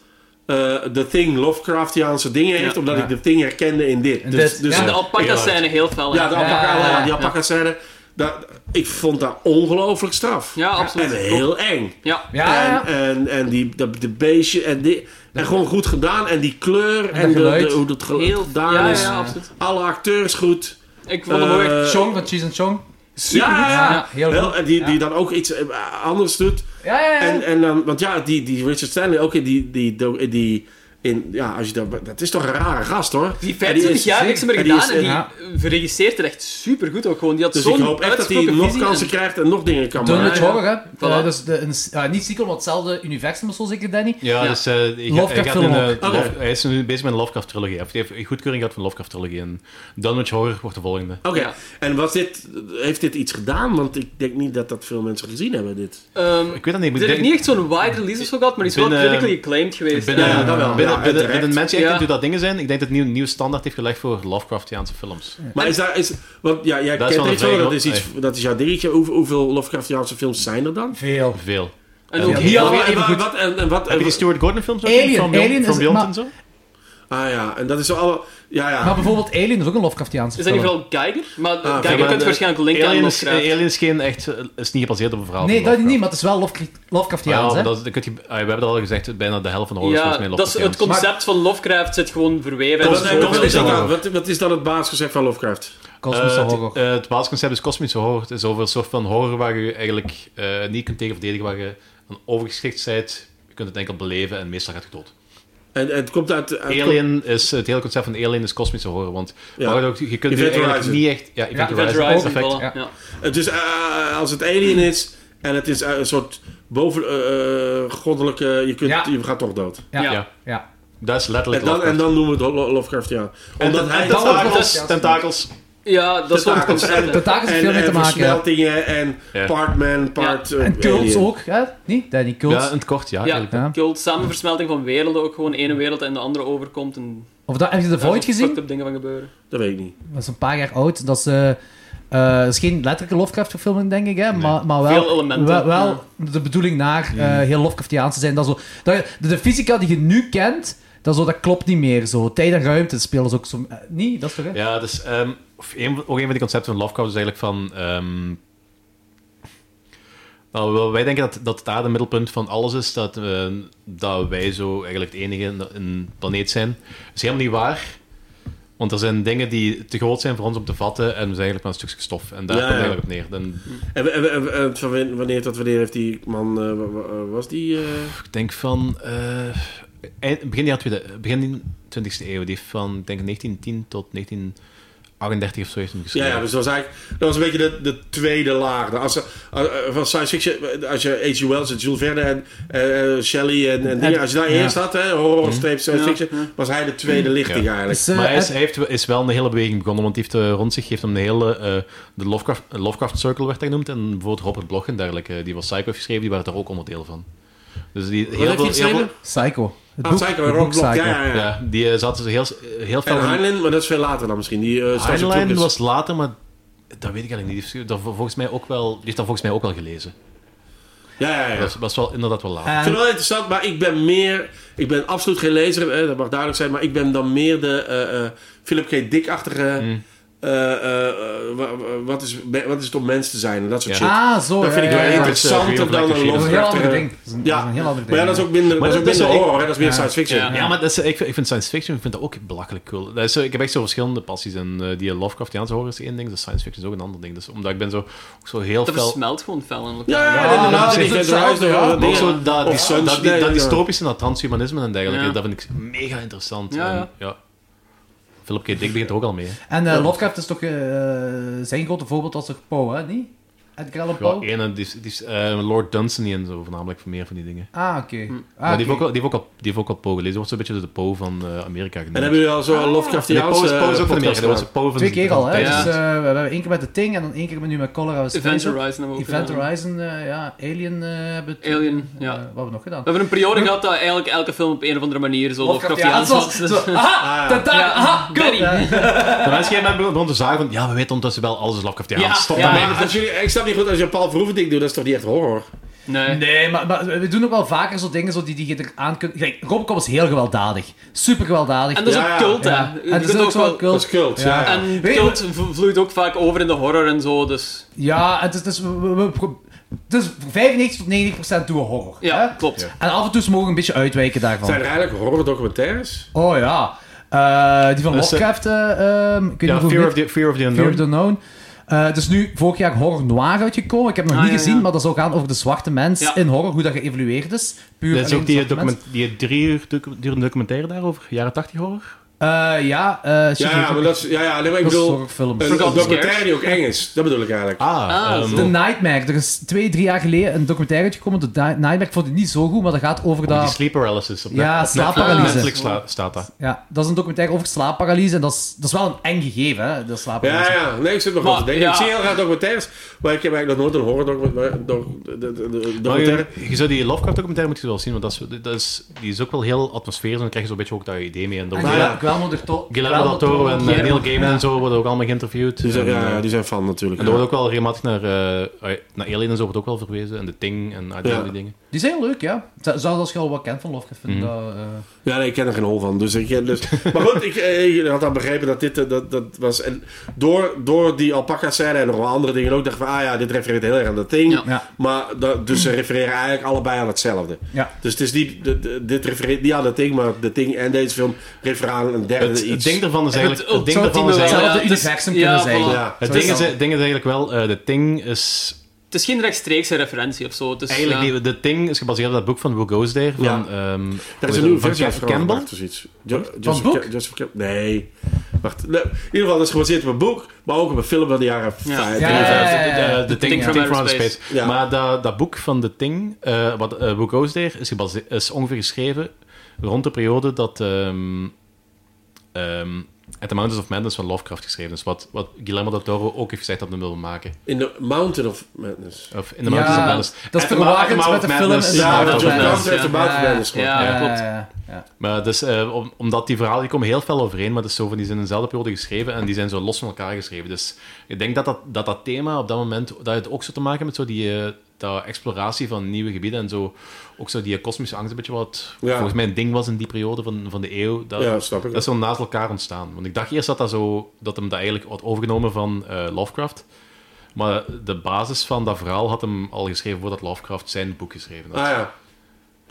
S3: eh The Thing Lovecraftiaanse dingen heeft,
S1: Ja.
S3: omdat
S2: Ja.
S3: ik The Thing herkende in dit.
S2: In
S3: dus,
S2: dit,
S3: dus
S2: ja.
S1: En de alpaca-scène heel fel. hè?
S3: ja, de
S2: Ja,
S3: alpaca,
S2: ja,
S3: ja,
S2: ja.
S3: die alpaca scène. dat- ik vond dat ongelooflijk straf.
S1: Ja, absoluut.
S3: En heel eng.
S1: Ja.
S2: ja, ja.
S3: En, en, en die, de, de beestje en die. En gewoon goed gedaan. En die kleur en, de,
S2: geluid.
S3: de- hoe dat geluid
S1: Heel,
S3: gedaan
S1: ja, ja,
S3: is.
S1: ja, absoluut.
S3: Alle acteurs goed.
S1: Ik vond hem ook echt...
S3: Eh,
S2: Chong van Cheese and Chong.
S3: ja, ja,
S2: Ja, heel
S3: Wel,
S2: goed.
S3: en die, die dan ook iets eh, anders doet.
S2: Ja, ja, ja.
S3: En, en dan, want ja, die, die Richard Stanley ook in die. die, die, die- in, ja, als je dat, dat is toch een rare gast hoor.
S1: Die
S3: En die
S1: 25
S3: is-
S1: jaar niks meer
S3: en die is-
S1: gedaan en die
S2: ja.
S1: regisseert er echt supergoed ook gewoon. Die had
S3: Dus ik
S1: zo'n
S3: hoop echt dat hij
S1: uitsproken
S3: nog
S1: visie
S3: kansen
S1: en-
S3: krijgt en nog dingen kan
S2: Doen we
S3: maken.
S2: het horror, hè?
S1: Voilà.
S2: Eh, dus de, een, ja, niet sequel, maar hetzelfde universum of zo zeker, Danny.
S4: Ja,
S1: Ja.
S4: dus eh, hij gaat- hij,
S2: Lovecraft
S4: gaat
S2: film
S4: in, eh,
S2: ook.
S3: Oké.
S4: Love- hij is nu bezig met een Lovecraft-trilogie. Hij heeft een goedkeuring gehad van Lovecraft-trilogie. En Dunwich Horror wordt de volgende.
S3: Oké,
S1: Ja.
S3: en was dit, heeft dit iets gedaan? Want ik denk niet dat dat veel mensen gezien hebben. Dit.
S1: Ehm,
S4: Ik weet dat niet.
S1: Er
S4: Ik
S1: heeft
S4: denk-
S1: niet echt zo'n wide release of zo gehad, maar die is wel
S3: eh,
S4: Binnen-
S1: critically acclaimed geweest.
S4: Binnen,
S1: Eh,
S3: Ja, dat wel.
S4: binnen,
S3: Ja,
S4: binnen,
S3: uiteract.
S4: binnen mensen die
S1: Ja.
S4: echt dat dingen zijn, ik denk dat het een nieuw, nieuw standaard heeft gelegd voor Lovecraftiaanse films.
S3: Maar is daar. Is, want ja, jij
S4: Dat
S3: kent
S4: is wel
S3: er
S4: een
S3: iets van,
S4: vraag,
S3: dat is,
S4: hoor.
S3: iets, dat is jouw dingetje. Hoe, hoeveel Lovecraftiaanse films zijn er dan?
S2: Veel.
S4: Veel.
S1: En ook
S2: Ja.
S1: heel...
S2: Ja.
S3: en,
S2: even
S3: wa-
S2: goed.
S3: wat, en, en wat,
S4: Heb je
S3: en
S4: die
S3: wa-
S4: Stuart Gordon films ook
S2: Alien,
S4: gezien? Van Beyond,
S2: Alien
S4: from
S2: is-
S4: Beyond
S2: maar-
S4: en zo?
S3: ah ja, en dat is zo alle. Ja, ja.
S2: Maar bijvoorbeeld Alien is ook een Lovecraftiaanse
S1: Is dat niet
S2: film.
S1: vooral Geiger? Maar eh,
S3: oké,
S1: Geiger
S3: Ah, maar
S1: kunt
S3: de-
S1: waarschijnlijk linken aan
S4: Alien is,
S1: Lovecraft.
S4: Alien is geen echt, eh, is niet gebaseerd op een verhaal
S2: Nee,
S4: van
S2: dat niet,
S4: Lovecraft.
S2: maar het is wel Lovecraft-
S4: Ja,
S2: Lovecraftiaans, hè?
S4: maar dat is- dat kun je- ah, we hebben dat al gezegd, bijna de helft van de horror
S1: Ja,
S4: films
S1: dat is, het concept van Lovecraft zit gewoon verweven.
S3: En
S1: in
S3: wat, en
S1: zo'n
S3: wat, is
S1: film.
S3: dan, wat, wat is dan het basisgezegd van Lovecraft?
S2: Kosmische
S3: Eh,
S2: horror.
S4: Eh, het, basisconcept is kosmische horror. Het is over een soort van horror waar je eigenlijk eh, niet kunt tegen verdedigen, waar je aan overgeschikt bent. Je kunt het enkel beleven en meestal gaat je dood.
S3: En, en het komt uit. uit
S4: Alien is, het hele concept van Alien is kosmische horror, want
S3: Ja.
S4: waar ook, je kunt nu
S3: Event
S4: eigenlijk
S3: Horizon.
S4: niet echt... Ja, Event
S2: Ja,
S1: Event
S4: Horizon,
S1: Horizon,
S4: perfect.
S1: voilà,
S2: ja.
S1: ja.
S3: Het is, eh, als het alien is en het is eh, een soort boven, eh, eh, goddelijke, je, kunt,
S2: Ja.
S3: je gaat toch dood.
S2: Ja.
S4: ja.
S2: Ja.
S4: Dat is
S3: En
S4: letterlijk
S3: dan, en
S4: Lovecraft.
S3: dan noemen we het Lo- Lovecraftiaan. Omdat hij
S2: dat-
S3: dat-
S4: tentakels, tentakels.
S1: Ja, dat is wel het
S3: tentakels en-
S1: concept. hè.
S2: De taak is er
S3: en,
S2: veel mee te
S3: en
S2: maken.
S3: versmeltingen en
S4: Ja.
S3: part man, part eh,
S2: En cults
S3: alien.
S2: ook, hè? Niet? Danny, cults.
S4: Ja, in het kort, ja.
S1: Ja,
S4: eigenlijk.
S2: Ja.
S1: cult, samenversmelting van werelden, ook gewoon ene wereld en de andere overkomt. En
S2: Of dat, heb je The
S1: daar
S2: Void
S1: zo'n
S2: gezien?
S1: fucked up dingen van gebeuren.
S3: Dat weet ik niet.
S2: Dat is een paar jaar oud. Dat is, eh, eh, dat is geen letterlijke Lovecraft-verfilming, denk ik, hè? Maar, maar wel,
S1: Veel elementen,
S2: wel, wel de bedoeling naar eh, heel Lovecraftiaans te zijn. Dat is zo, dat, de, de fysica die je nu kent, dat, is zo, dat klopt niet meer. Zo. Tijd en ruimte spelen ze ook zo... eh, niet, dat is toch... hè?
S4: Ja, dus ehm, of een, ook een van de concepten van Lovecraft is eigenlijk van... ehm, nou, wel, wij denken dat, dat daar het middelpunt van alles is, dat, eh, dat wij zo eigenlijk het enige in, in planeet zijn. Dat is helemaal niet waar. Want er zijn dingen die te groot zijn voor ons om te vatten en we zijn eigenlijk maar een stukje stof. En daar
S3: Ja,
S4: komt het
S3: ja.
S4: eigenlijk op neer. Dan,
S3: En, we- en, we- en, we- en van wen- wanneer tot wanneer heeft die man, eh, wa- wa- was die? eh,
S4: ik denk van... eh, eind- begin, jaar tweede, begin 20e eeuw. Die heeft van, ik denk 1910 tot 1938 of zo heeft hem
S3: ja,
S4: geschreven.
S3: ja, dus dat was eigenlijk, dat was een beetje de, de tweede laag. Als, eh, eh, van science fiction, eh, als je H.G. Wells en Jules Verne en eh, eh, Shelley en, en dingen, als je daar
S2: ja.
S3: eerst had, hè, horror, streep, science
S1: Ja,
S3: fiction, was hij de tweede lichting
S4: Ja.
S3: eigenlijk.
S2: Dus, eh,
S4: Maar hij is,
S2: het-
S4: hij heeft, is wel een hele beweging begonnen, want die heeft eh, rond zich heeft hem de hele eh, de Lovecraft, Lovecraft Circle werd hij genoemd en bijvoorbeeld Robert Bloch en dergelijke, eh, die was Psycho heeft geschreven, die waren daar ook onderdeel van. Dus die heel
S3: heeft
S4: veel-
S3: hij
S4: heel
S3: geschreven?
S4: veel-
S2: Psycho. Het
S3: Ah, Psycho,
S2: het
S3: Rock Block, ja,
S2: Psycho.
S3: ja, ja.
S4: ja, die eh, zaten ze heel, heel veel.
S3: En Heinlein, maar dat is veel later dan misschien. Die, eh, Starship
S4: Heinlein
S3: Troopers.
S4: was later, maar dat weet ik eigenlijk niet. Die heeft dat volgens mij ook wel, die heeft dat volgens mij ook wel gelezen.
S3: Ja, ja, ja.
S4: Dat was, was wel inderdaad wel later.
S3: Ik vind het wel interessant, maar ik ben meer... Ik ben absoluut geen lezer, eh, dat mag duidelijk zijn. Maar ik ben dan meer de eh, eh, Philip K. Dick-achtige... eh, eh, eh, wa- wa- wat, is, wat is het om mens te zijn en dat soort
S4: Ja.
S3: shit.
S2: Ah, zo.
S3: Dat vind
S2: ja,
S3: ik
S2: ja,
S3: wel
S2: ja.
S4: interessant.
S3: interessanter dan een
S2: Dat is een heel ander
S3: Lovecraft.
S2: ding. Dat is een, dat is een heel ander
S3: Maar
S2: ding.
S3: ja, dat is ook minder, dat is ook
S4: dat is
S3: minder
S4: wel- ik-
S3: horror, hè, dat is meer
S2: Ja.
S3: science fiction.
S1: Ja.
S4: Ja, maar dat is, ik, vind- ik vind science fiction ik vind dat ook belachelijk cool. Dat is, zo- ik heb echt zo verschillende passies. En eh, die Lovecraftiaanse horror is één ding, de science fiction is ook een ander ding. Dus omdat ik ben zo, ook zo heel
S1: Dat
S4: fel...
S1: versmelt gewoon fel in elkaar.
S3: Ja,
S2: dat
S3: inderdaad.
S2: is
S3: die
S2: echt
S3: Dead
S2: hetzelfde,
S3: Rising,
S2: ja.
S3: dat
S4: Maar ook
S3: ding,
S4: zo
S3: ja.
S4: dat, die,
S3: Of
S4: dat, die-
S3: Sunshine,
S4: dat
S3: ja.
S4: dystopische en dat transhumanisme en dergelijke,
S1: Ja.
S4: dat vind ik mega interessant.
S1: Ja,
S4: En,
S1: ja.
S4: ja. Philip K. Dick begint er ook al mee. hè.
S2: En eh, Lovecraft is toch... eh, zijn grote voorbeeld was toch Poe, hè? Niet? Edgar Allan
S4: Ja,
S3: Oh.
S2: Poe?
S4: ene, die, is- die is eh, Lord Dunsany en zo, voornamelijk voor meer van die dingen.
S2: Ah, oké. Ah,
S4: maar die
S2: oké.
S4: heeft, ook, wel- die, heeft ook al, die heeft ook al Poe gelezen. Wordt zo'n beetje de Poe van eh, Amerika genoemd.
S3: En hebben jullie al zo'n
S4: Die Poe is-
S3: Lovecraftiaanse
S4: Poe is ook van
S3: podcast
S4: Amerika. Dat was
S3: gemaakt?
S4: de Poe van
S2: Twee keer al, hè?
S4: Ja.
S2: Dus, eh, we hebben één keer met de Thing en dan één keer met nu met Cholera.
S1: Event Horizon hebben we ook
S2: Event
S1: gedaan.
S2: Horizon, eh, ja. Alien eh, hebben we...
S1: Alien,
S2: eh,
S1: ja.
S2: wat hebben we nog gedaan?
S1: We hebben een periode gehad dat eigenlijk elke film op een of andere manier zo
S2: ja,
S1: Lovecraftiaans
S2: zo,
S1: was.
S2: zo, Ah, aha, tentakel,
S1: Ja.
S2: aha, go!
S1: Daddy.
S2: Ja.
S4: De mensen gaan begonnen te zagen van, ja, we weten ondertussen wel alles is Lovecraftiaans.
S1: Ja,
S4: Stop
S1: ja.
S4: daarmee.
S3: Maar als jullie, ik snap niet goed, als je een Paul Verhoeven-ding doet, dat is toch niet echt horror?
S1: Nee.
S2: Nee, maar, maar we doen ook wel vaker zo dingen zo die, die je er aan kunt... Kijk, Robocop is heel gewelddadig. Super gewelddadig.
S1: En dat is
S3: Ja,
S1: ook
S3: ja,
S1: cult,
S2: ja.
S1: hè. Je
S2: En dat
S1: kunt
S2: is ook zo
S3: Dat
S2: cult.
S3: is cult, ja.
S2: Ja.
S1: En
S2: Weet je
S1: cult v- vloeit ook vaak over in de horror en zo, dus...
S2: Ja, en het is... Het is, we, we- we- het is 95 tot 90 procent doen we horror.
S1: Ja,
S2: hè?
S1: klopt.
S2: En af en toe mogen we een beetje uitwijken daarvan.
S3: Zijn er eigenlijk horror-documentaires?
S2: Oh ja. Eh, die van
S4: Dus, eh,
S2: Lovecraft, eh, ehm, ik weet
S4: Ja,
S2: niet
S4: Fear of
S2: hoeveel...
S4: the, Fear of the
S2: Fear of
S4: Unknown.
S2: the Unknown. Eh, het is nu vorig jaar Horror Noir uitgekomen. Ik heb het nog
S1: Ah,
S2: niet
S1: ja,
S2: gezien,
S1: ja.
S2: maar dat zou gaan over de zwarte mens
S1: Ja.
S2: in horror, hoe dat geëvolueerd is. Puur
S4: Dat is
S2: alleen
S4: ook
S2: de
S4: die,
S2: zwarte mens.
S4: document, die drie uur docu- durende documentaire daarover, jaren 80 horror.
S2: Eh, ja, eh
S3: Ja, ja, maar dat is... Ja, ja, nee, maar ik
S2: dat is
S3: bedoel...
S2: horrorfilm.
S3: Een, een
S1: Forgotten
S3: documentaire
S1: Scares.
S3: die ook eng is. Dat bedoel ik eigenlijk.
S1: Ah,
S4: ehm,
S1: zo.
S2: The Nightmare. Er is twee, drie jaar geleden een documentaire uitgekomen. De Di- Nightmare ik vond het niet zo goed, maar dat gaat over
S4: die
S2: dat...
S4: sleep paralysis. Op
S2: Oh. Ja,
S4: net- op
S2: slaapparalyse.
S4: Netflix, Netflix sla- staat dat.
S2: Ja, dat is een documentaire over slaapparalyse. En dat is, dat is wel een eng gegeven, hè, de slaapparalyse.
S3: Ja, ja. Nee, ik zit nog
S1: Maar,
S3: aan te denken. Ik
S1: ja.
S3: zie heel graag documentaires, maar ik heb eigenlijk nog nooit een horror-documentaire...
S4: Maar je, je zou die Lovecraft documentaire moeten wel zien, want dat is, dat is, die is ook wel heel atmosferisch en dan krijg je zo'n beetje ook dat idee mee. En dan
S2: En
S3: Maar
S4: wordt-
S3: ja.
S2: Guillermo- Guillermo del To-
S4: Guillermo del Toro en eh, Neil Gaiman en zo worden ook allemaal geïnterviewd.
S3: Die zijn,
S4: En,
S3: ja,
S4: eh,
S3: ja, die zijn fan natuurlijk.
S4: En er wordt ook wel regelmatig naar, eh, ai, naar Alien en zo wordt ook wel verwezen. En de Ting en al die
S3: Ja.
S4: dingen.
S2: Die zijn heel leuk, ja. Z- Zelfs als je al wat kent van Lovecraft. vind ik
S4: Mhm.
S2: dat, eh,
S3: Ja, nee, ik ken er geen hol van. Dus ik, dus, maar goed, ik, eh, je had al begrepen dat dit eh, dat, dat was. En door, door die alpaca-scène en nog wel andere dingen ook, dacht ik van, ah ja, dit refereert heel erg aan dat ding.
S1: Ja.
S2: Ja.
S3: Maar dat, dus ze refereren eigenlijk allebei aan hetzelfde.
S2: Ja.
S3: Dus het is niet, de- de- dit refereert niet aan dat ding, maar dat ding en deze film refereren aan een derde
S4: Het, het
S3: iets.
S4: ding daarvan is eigenlijk... Het,
S1: het
S4: ding
S1: zou
S4: daarvan
S1: het
S4: is
S1: me wel-
S4: eigenlijk...
S2: Hetzelfde
S1: ja, het is-
S2: universum
S1: ja,
S2: kunnen
S1: voilà.
S2: zijn.
S3: ja.
S4: Het ding, is,
S2: Zo is
S4: het ding is eigenlijk wel... eh, de Ting is...
S1: Het is geen rechtstreekse referentie of zo. Het is,
S4: Eigenlijk,
S1: ja.
S4: die, de Ting is gebaseerd op dat boek van Will Goes There. Van,
S3: Ja.
S4: ehm,
S3: Er is
S4: hoe
S3: een
S4: heet
S3: nieuwe
S4: dat?
S3: versie
S4: van
S3: van
S4: Campbell.
S3: of zoiets. Jo- Joseph
S2: boek?
S3: Ca- Joseph Campbell. Nee. Wacht. nee. In ieder geval, dat is gebaseerd op een boek, maar ook op een film van de jaren
S1: Ja.
S3: 50.
S2: Ja,
S4: Ja,
S2: ja, ja.
S4: eh, de- de- de
S1: Thing
S4: Thing
S1: from
S4: Thing from Outer
S1: Outer
S4: Space.
S1: Space.
S3: Ja.
S4: Maar dat, dat boek van de Thing, eh, wat eh, Will Goes There, is, gebase- is ongeveer geschreven rond de periode dat ehm, ehm, At the Mountains of Madness van Lovecraft geschreven is. Wat, wat Guillermo del Toro ook heeft gezegd dat hij wilde maken.
S3: In the Mountain of Madness.
S4: Of In the Mountains of Madness.
S2: dat is
S4: At the Mount- At the
S2: verwarrend
S4: Mount
S2: met de
S4: of
S2: film.
S4: Madness.
S2: en
S3: Ja,
S2: de
S3: dat
S2: Mountain
S3: John
S2: of
S3: Carpenter heeft de Mountain of Madness
S1: Ja,
S2: Ja,
S1: ja, klopt.
S2: ja, ja.
S4: Maar dus, eh, om- omdat die verhalen die komen heel fel overeen, maar dus zo van, die zijn in dezelfde periode geschreven en die zijn zo los van elkaar geschreven. Dus ik denk dat dat, dat, dat thema op dat moment, dat het ook zo te maken met zo die eh, dat exploratie van nieuwe gebieden en zo, ook zo die kosmische angst een beetje wat
S3: Ja.
S4: volgens mij een ding was in die periode van, van de eeuw. Dat,
S3: Ja, snap ik.
S4: dat is zo naast elkaar ontstaan. Want ik dacht eerst dat dat zo, dat hem dat eigenlijk had overgenomen van eh, Lovecraft. Maar de basis van dat verhaal had hem al geschreven voordat Lovecraft zijn boek geschreven had.
S3: Ah ja.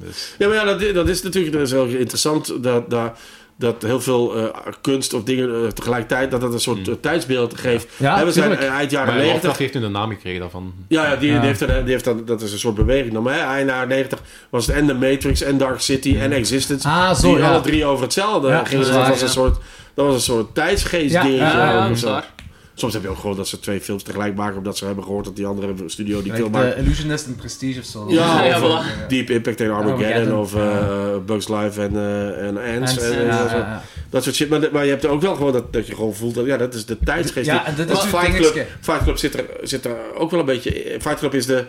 S4: Dus-
S3: Ja, maar ja, dat, dat is natuurlijk dat is heel interessant dat, dat, dat heel veel eh, kunst of dingen eh, tegelijkertijd, dat dat een soort eh, tijdsbeeld geeft.
S2: Ja,
S3: Hè, we zijn
S2: tuurlijk.
S3: eh, eind
S4: Maar
S3: jaren
S4: Lovecraft
S3: 90.
S4: heeft nu de naam gekregen daarvan.
S3: Ja, ja, die,
S2: Ja.
S3: die heeft, er- die heeft dat, dat is een soort beweging dan. Maar hè, eind jaren 90 was het en The Matrix en Dark City en Existence.
S2: Ah, zo,
S3: die
S2: ja.
S3: alle drie over hetzelfde
S2: Ja,
S3: gingen.
S2: dat
S3: Dus
S2: is
S3: Dat was,
S1: waar,
S3: een
S1: ja.
S3: soort, dat was een soort tijdsgeest
S2: Ja,
S3: ding.
S2: ja,
S3: zo.
S1: ja, ja,
S3: Of
S1: dat is
S3: zo.
S1: waar.
S3: Soms heb je ook gehoord dat ze twee films tegelijk maken omdat ze hebben gehoord dat die andere studio die
S2: Like
S3: film
S2: The
S3: maakt
S2: Illusionist en Prestige of zo.
S3: ja,
S1: Ja,
S3: of,
S1: voilà.
S3: eh, Deep Impact en Armageddon
S2: Armageddon.
S3: of eh, Bugs Life en, eh en Ants.
S2: En-
S3: en, eh,
S2: ja, ja,
S3: dat, soort-
S2: ja.
S3: dat soort shit. Maar, maar je hebt ook wel gewoon dat, dat je gewoon voelt dat ja, dat is de tijdsgeest.
S2: Ja,
S3: die-
S2: en dit is
S3: Want
S2: het
S3: Fight
S2: dingetje.
S3: Club, Fight Club zit, er, zit er ook wel een beetje... in. Fight Club is de...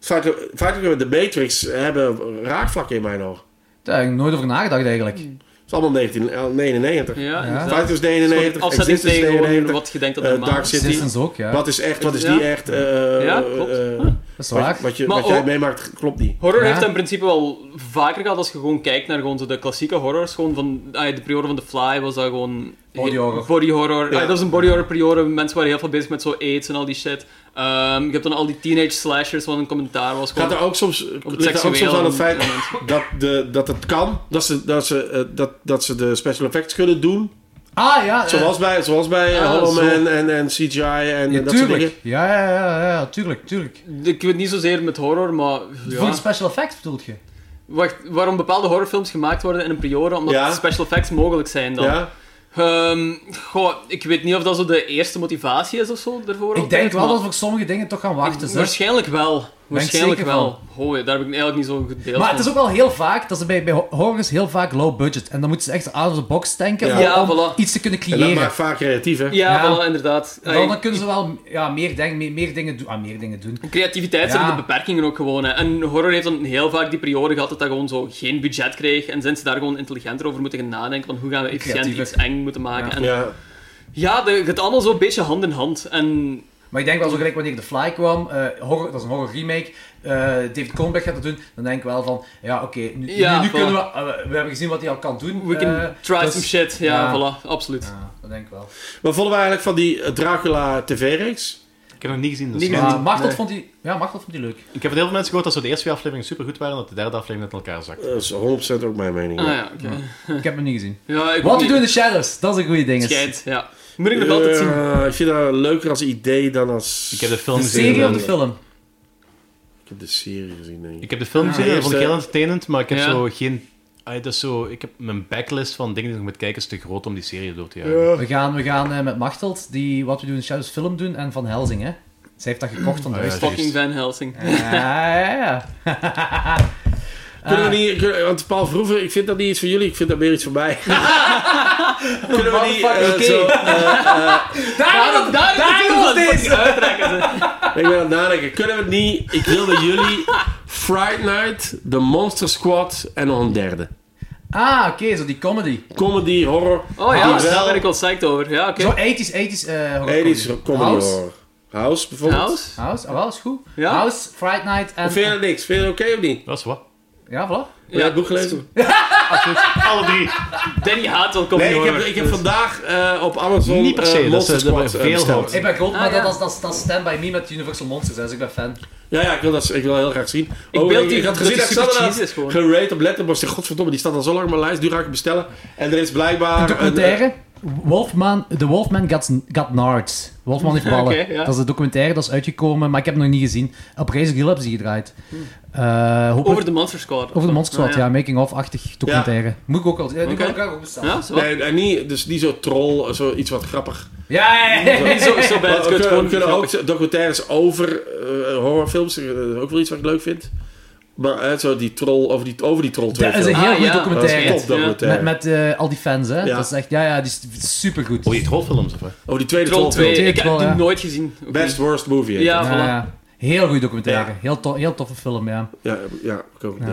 S3: Fight Club, Fight Club en de Matrix hebben raakvlakken in mijn oog.
S2: Daar heb ik nooit over nagedacht eigenlijk.
S3: Het is allemaal eh, 1999.
S1: Ja,
S2: Ja.
S1: inderdaad.
S3: Fight Club is
S1: Een soort
S3: 99,
S1: afzetting
S3: Existence is
S1: tegen gewoon
S3: 99.
S1: dus wat je denkt dat
S3: eh,
S1: normaal
S3: Dark
S1: is.
S3: City.
S2: Existence ook, ja.
S3: Wat is echt, wat is
S1: Ja.
S3: niet echt? eh,
S1: Ja, klopt.
S3: eh,
S1: Ja.
S2: is waar.
S3: Wat, wat, je,
S1: Maar
S3: wat jij
S1: ook-
S3: meemaakt klopt niet.
S1: Horror
S2: Ja.
S1: heeft dat in principe wel vaker gehad als je gewoon kijkt naar gewoon zo de klassieke horrors. Gewoon van ah, de periode van The Fly was dat gewoon.
S2: Body horror.
S1: Body horror. Ah, dat was een body horror periode. Mensen waren heel veel bezig met zo AIDS en al die shit. Ehm, je hebt dan al die teenage slashers, wat een commentaar was.
S3: Gaat
S1: Gewoon-
S3: er ook soms,
S1: het
S3: ligt er ook soms
S1: seksuele
S3: aan het feit
S1: moment.
S3: dat, de, dat het kan, dat ze, dat, ze, eh, dat, dat ze de special effects kunnen doen.
S2: Ah ja, eh,
S3: Zoals bij, zoals bij
S1: Ah,
S3: Hollow
S1: zo.
S3: Man en, en CGI en,
S2: ja,
S3: en dat soort dingen.
S2: tuurlijk. Ja, ja, ja, ja, ja, tuurlijk, tuurlijk.
S1: Ik weet niet zozeer met horror, maar. ja.
S2: Voor de special effects bedoelt je?
S1: Wacht, waarom bepaalde horrorfilms gemaakt worden in een periode? Omdat
S3: Ja.
S1: special effects mogelijk zijn dan.
S3: Ja?
S1: Ehm, goh, ik weet niet of dat zo de eerste motivatie is of zo daarvoor.
S2: Ik denk wel
S1: maar-
S2: dat we voor sommige dingen toch gaan wachten. zeg.
S1: Waarschijnlijk wel. Waarschijnlijk
S2: zeker
S1: wel. Hoi, daar heb ik eigenlijk niet zo'n goed beeld
S2: Maar
S1: van.
S2: het is ook wel heel vaak, dat ze bij, bij horror is heel vaak low budget. En dan moeten ze echt out of the box denken
S3: Ja.
S2: om-
S1: Ja,
S2: om
S1: voilà.
S2: iets te kunnen
S3: En dat
S2: creëren.
S3: maakt vaak creatief, hè?
S1: Ja,
S2: Ja.
S1: voilà, inderdaad.
S2: En
S1: Ey,
S2: Dan, dan kunnen ze wel ja, meer, denk, meer, meer dingen doen. Ah, meer dingen doen.
S1: Creativiteit zijn
S2: Ja.
S1: de beperkingen ook gewoon. Hè. En horror heeft dan heel vaak die periode gehad dat dat gewoon zo geen budget kreeg. En sinds ze daar gewoon intelligenter over moeten gaan nadenken. Van hoe gaan we efficiënt
S2: Creatiever.
S1: iets eng moeten maken. En
S3: Ja.
S1: ja de, het gaat allemaal zo'n beetje hand in hand. En
S2: Maar ik denk wel zo gelijk wanneer The Fly kwam, eh, horror, dat is een horror remake, eh, David Cronenberg gaat dat doen, dan denk ik wel van, ja oké, nu,
S1: Ja,
S2: nu, nu
S1: voilà.
S2: kunnen we, eh, we hebben gezien wat hij al kan doen.
S1: we can
S2: eh,
S1: try
S2: dus-
S1: some shit. Ja,
S2: ja.
S1: voilà, absoluut.
S2: Ja, dat denk ik wel.
S3: Wat vonden we eigenlijk van die eh, Dracula TV-reeks?
S7: Ik heb nog niet gezien. Dus
S3: Niet
S7: maar-
S2: Maar
S3: nee.
S2: Martel vond die, ja, Martel vond die leuk.
S7: Ik heb van heel veel mensen gehoord dat zo de eerste twee afleveringen supergoed waren en dat de derde aflevering net in elkaar zakte.
S3: Dat is 100% ook mijn mening.
S1: Ah
S3: ja.
S1: ja, oké.
S2: Ik heb hem niet gezien.
S1: Ja, ik
S2: What
S1: ook
S2: We
S1: niet.
S2: Do in the Shadows, dat is een goede ding.
S1: Schijnt, ja. Moet ik nog altijd zien.
S3: Eh, ik vind dat leuker als idee dan als...
S7: Ik heb de film
S2: De
S7: gezien.
S2: serie
S7: en-
S2: of de film?
S3: Ik heb de serie gezien, denk ik.
S7: Ik heb de film gezien en dat vond ik
S3: eerste-
S7: heel entertainend, maar ik heb
S1: Ja.
S7: zo geen... Ah, dat is zo, ik heb mijn backlist van dingen die ik moet kijken is te groot om die serie door te jagen.
S2: We gaan, we gaan eh, met Martelt die What We Do in the Shadows film doen en Van Helsing, hè. Zij heeft dat gekocht van huis.
S7: ja,
S1: Fucking Van Helsing.
S2: Oh, Ja, ja, ja.
S3: Kunnen we niet... kunnen- Want Paul Vroeven, ik vind dat niet iets voor jullie, ik vind dat meer iets voor mij. Kunnen we niet... eh,
S2: Motherfucker,
S3: zo,
S2: oké.
S3: eh,
S1: Daarom, daarom, daarom
S2: was
S1: deze! Uitrekken ze.
S3: ik ben aan het nadenken. Kunnen we het niet... Ik wil dat jullie Fright Night, The Monster Squad en nog een derde.
S2: Ah, oké, zo die comedy.
S3: Comedy, horror.
S1: Oh ja,
S3: die
S1: dus daar
S3: wel-
S1: ben ik wel psyched over. Ja, oké.
S2: Zo 80s, 80s eh, horror
S3: Nee, die is
S2: comedy.
S3: comedy
S2: House?
S3: horror. House, bijvoorbeeld.
S1: House?
S2: House, ah, wel, is goed.
S1: Ja.
S2: House, Fright Night en...
S3: Of Vind je dat niks? Vind je dat oké of niet? Heb
S7: Dat is wat.
S2: Ja, voilà.
S3: jij het boek gelezen?
S7: Alle drie.
S1: Danny haat wel comedy
S3: Nee, ik heb,
S1: horror.
S3: ik heb vandaag eh, op Amazon
S7: Niet per se,
S3: eh,
S7: dat
S3: Monster
S7: is- dat
S3: Squad,
S7: we
S3: eh,
S7: veel
S3: besteld.
S7: houden.
S2: Ik ben groot, maar
S1: Ah, ja.
S2: dat, is, dat, is, dat is Stand By Me met Universal Monsters, hè, dus ik ben fan.
S3: Ja, ja, ik wil, dat, ik wil heel graag zien. Ik
S1: beeld
S3: ik,
S1: die-
S3: ik had
S1: dat
S3: gezien
S1: die
S3: dat
S1: super
S3: Sander
S1: cheesy is gewoon.
S3: gerate op Letterboxd. Ik dacht, Godverdomme, die staat al zo lang op mijn lijst. Nu ga ik het bestellen. En er is blijkbaar... een-
S2: Documentaire. eh, Wolfman, The Wolfman Got, got Nards. Wolfman heeft ballen.
S1: Oké, ja.
S2: Dat is een documentaire, dat is uitgekomen, maar ik heb het nog niet gezien. Op Reis Grill hebben ze die gedraaid. Eh, hopelijk-
S1: Hmm. Over de Monster Squad.
S2: over de Monster Squad,
S1: Ah,
S2: ja. Making of-achtig documentaire. Moet ik ook al... Ja, die
S1: Oké.
S2: kan ik ook bestellen.
S1: Ja, zo.
S3: eh, nee, en niet, dus niet zo troll, zo iets wat grappig.
S2: Ja, ja, ja.
S1: Niet zo, zo bij
S3: Maar
S1: het
S3: we
S1: kut
S3: kunnen,
S1: gewoon.
S3: we kunnen
S1: grappig.
S3: ook documentaires over eh, horrorfilms. eh, ook wel iets wat ik leuk vind. Maar eh, zo die troll, over die, over die troll twee
S2: Dat is een
S3: films.
S2: heel
S1: Ah,
S2: goede
S1: ja.
S3: Dat is
S2: documentaire.
S3: een top documentaire.
S2: Met, met eh, al die fans, hè?
S3: Ja.
S2: Dat is echt, ja, ja, die is supergoed.
S7: Oh, die trollfilms of wat?
S3: Over die tweede
S1: Troll
S3: troll
S1: 2.
S2: Troll
S1: Ik heb
S2: wel,
S1: die
S2: ja.
S1: nooit gezien. Ook
S3: Best
S1: niet.
S3: worst movie. heet
S1: Ja,
S3: dat.
S2: Ja,
S1: voilà.
S2: ja. Heel goede documentaire.
S3: Ja.
S2: Heel, to- heel toffe film, ja.
S3: Ja, ja, ik ook niet.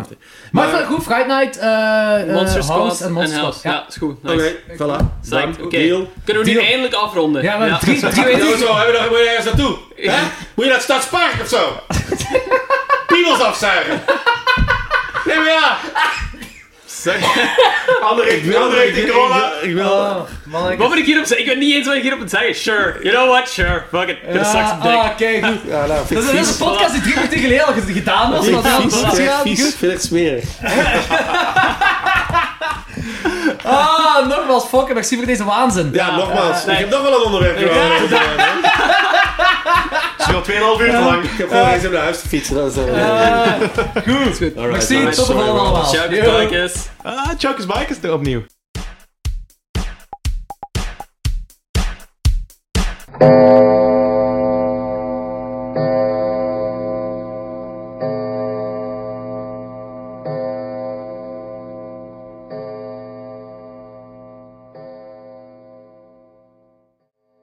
S2: Maar,
S3: Maar-
S2: goed, Friday Night, eh, eh,
S1: Monster Squad
S2: House en
S1: en
S2: Monster
S1: House.
S2: Squad.
S1: Ja, is goed.
S3: Oké,
S1: Nice.
S3: voilà.
S1: Psyched.
S3: Dan,
S1: Oké.
S3: Deal.
S1: Kunnen we nu
S2: Deal.
S1: eindelijk afronden?
S2: Ja, we hebben drie- drie
S3: Doe
S2: weken-
S3: het zo, hebben we nog, moet je ergens naartoe? Hè? Moet je naar het Stadspark of zo? Piemels afzuigen. Nee, maar ja. André, ik wil André, die corona. Ik wil...
S2: Oh, man, ik-
S1: Wat moet ik hierop zeggen? Ik weet niet eens wat ik hierop moet zeggen. Sure. You know what? Sure. Fuck it. Gonna suck
S2: Ja,
S1: some dick.
S2: ah, kijk, goed.
S3: Ja, nou,
S2: Dat
S3: vind ik
S2: is dat is een podcast die drie minuten geleden al ge- gedaan was.
S3: vies.
S2: maar dat
S3: Vies,
S2: was
S3: vind ik
S2: gedaan.
S3: vies,
S2: Goed.
S3: vind ik smerig.
S2: Ah, nogmaals, fuck, merci voor deze waanzin.
S3: Ja, nogmaals.
S1: nee.
S3: Ik heb nog wel een onderwerp. eh, Ja,
S7: Het is al 2,5 uur te lang.
S3: Ik heb gewoon eens naar huis te fietsen. Dat is eh, dan...
S2: Goed,
S3: Alright,
S2: merci, tot
S3: alright,
S2: de
S3: sorry,
S2: volgende
S3: man.
S2: allemaal.
S1: Ciao,
S2: Yo.
S1: kijkers.
S7: Ah, Chuck's Bike is er opnieuw.
S9: Thank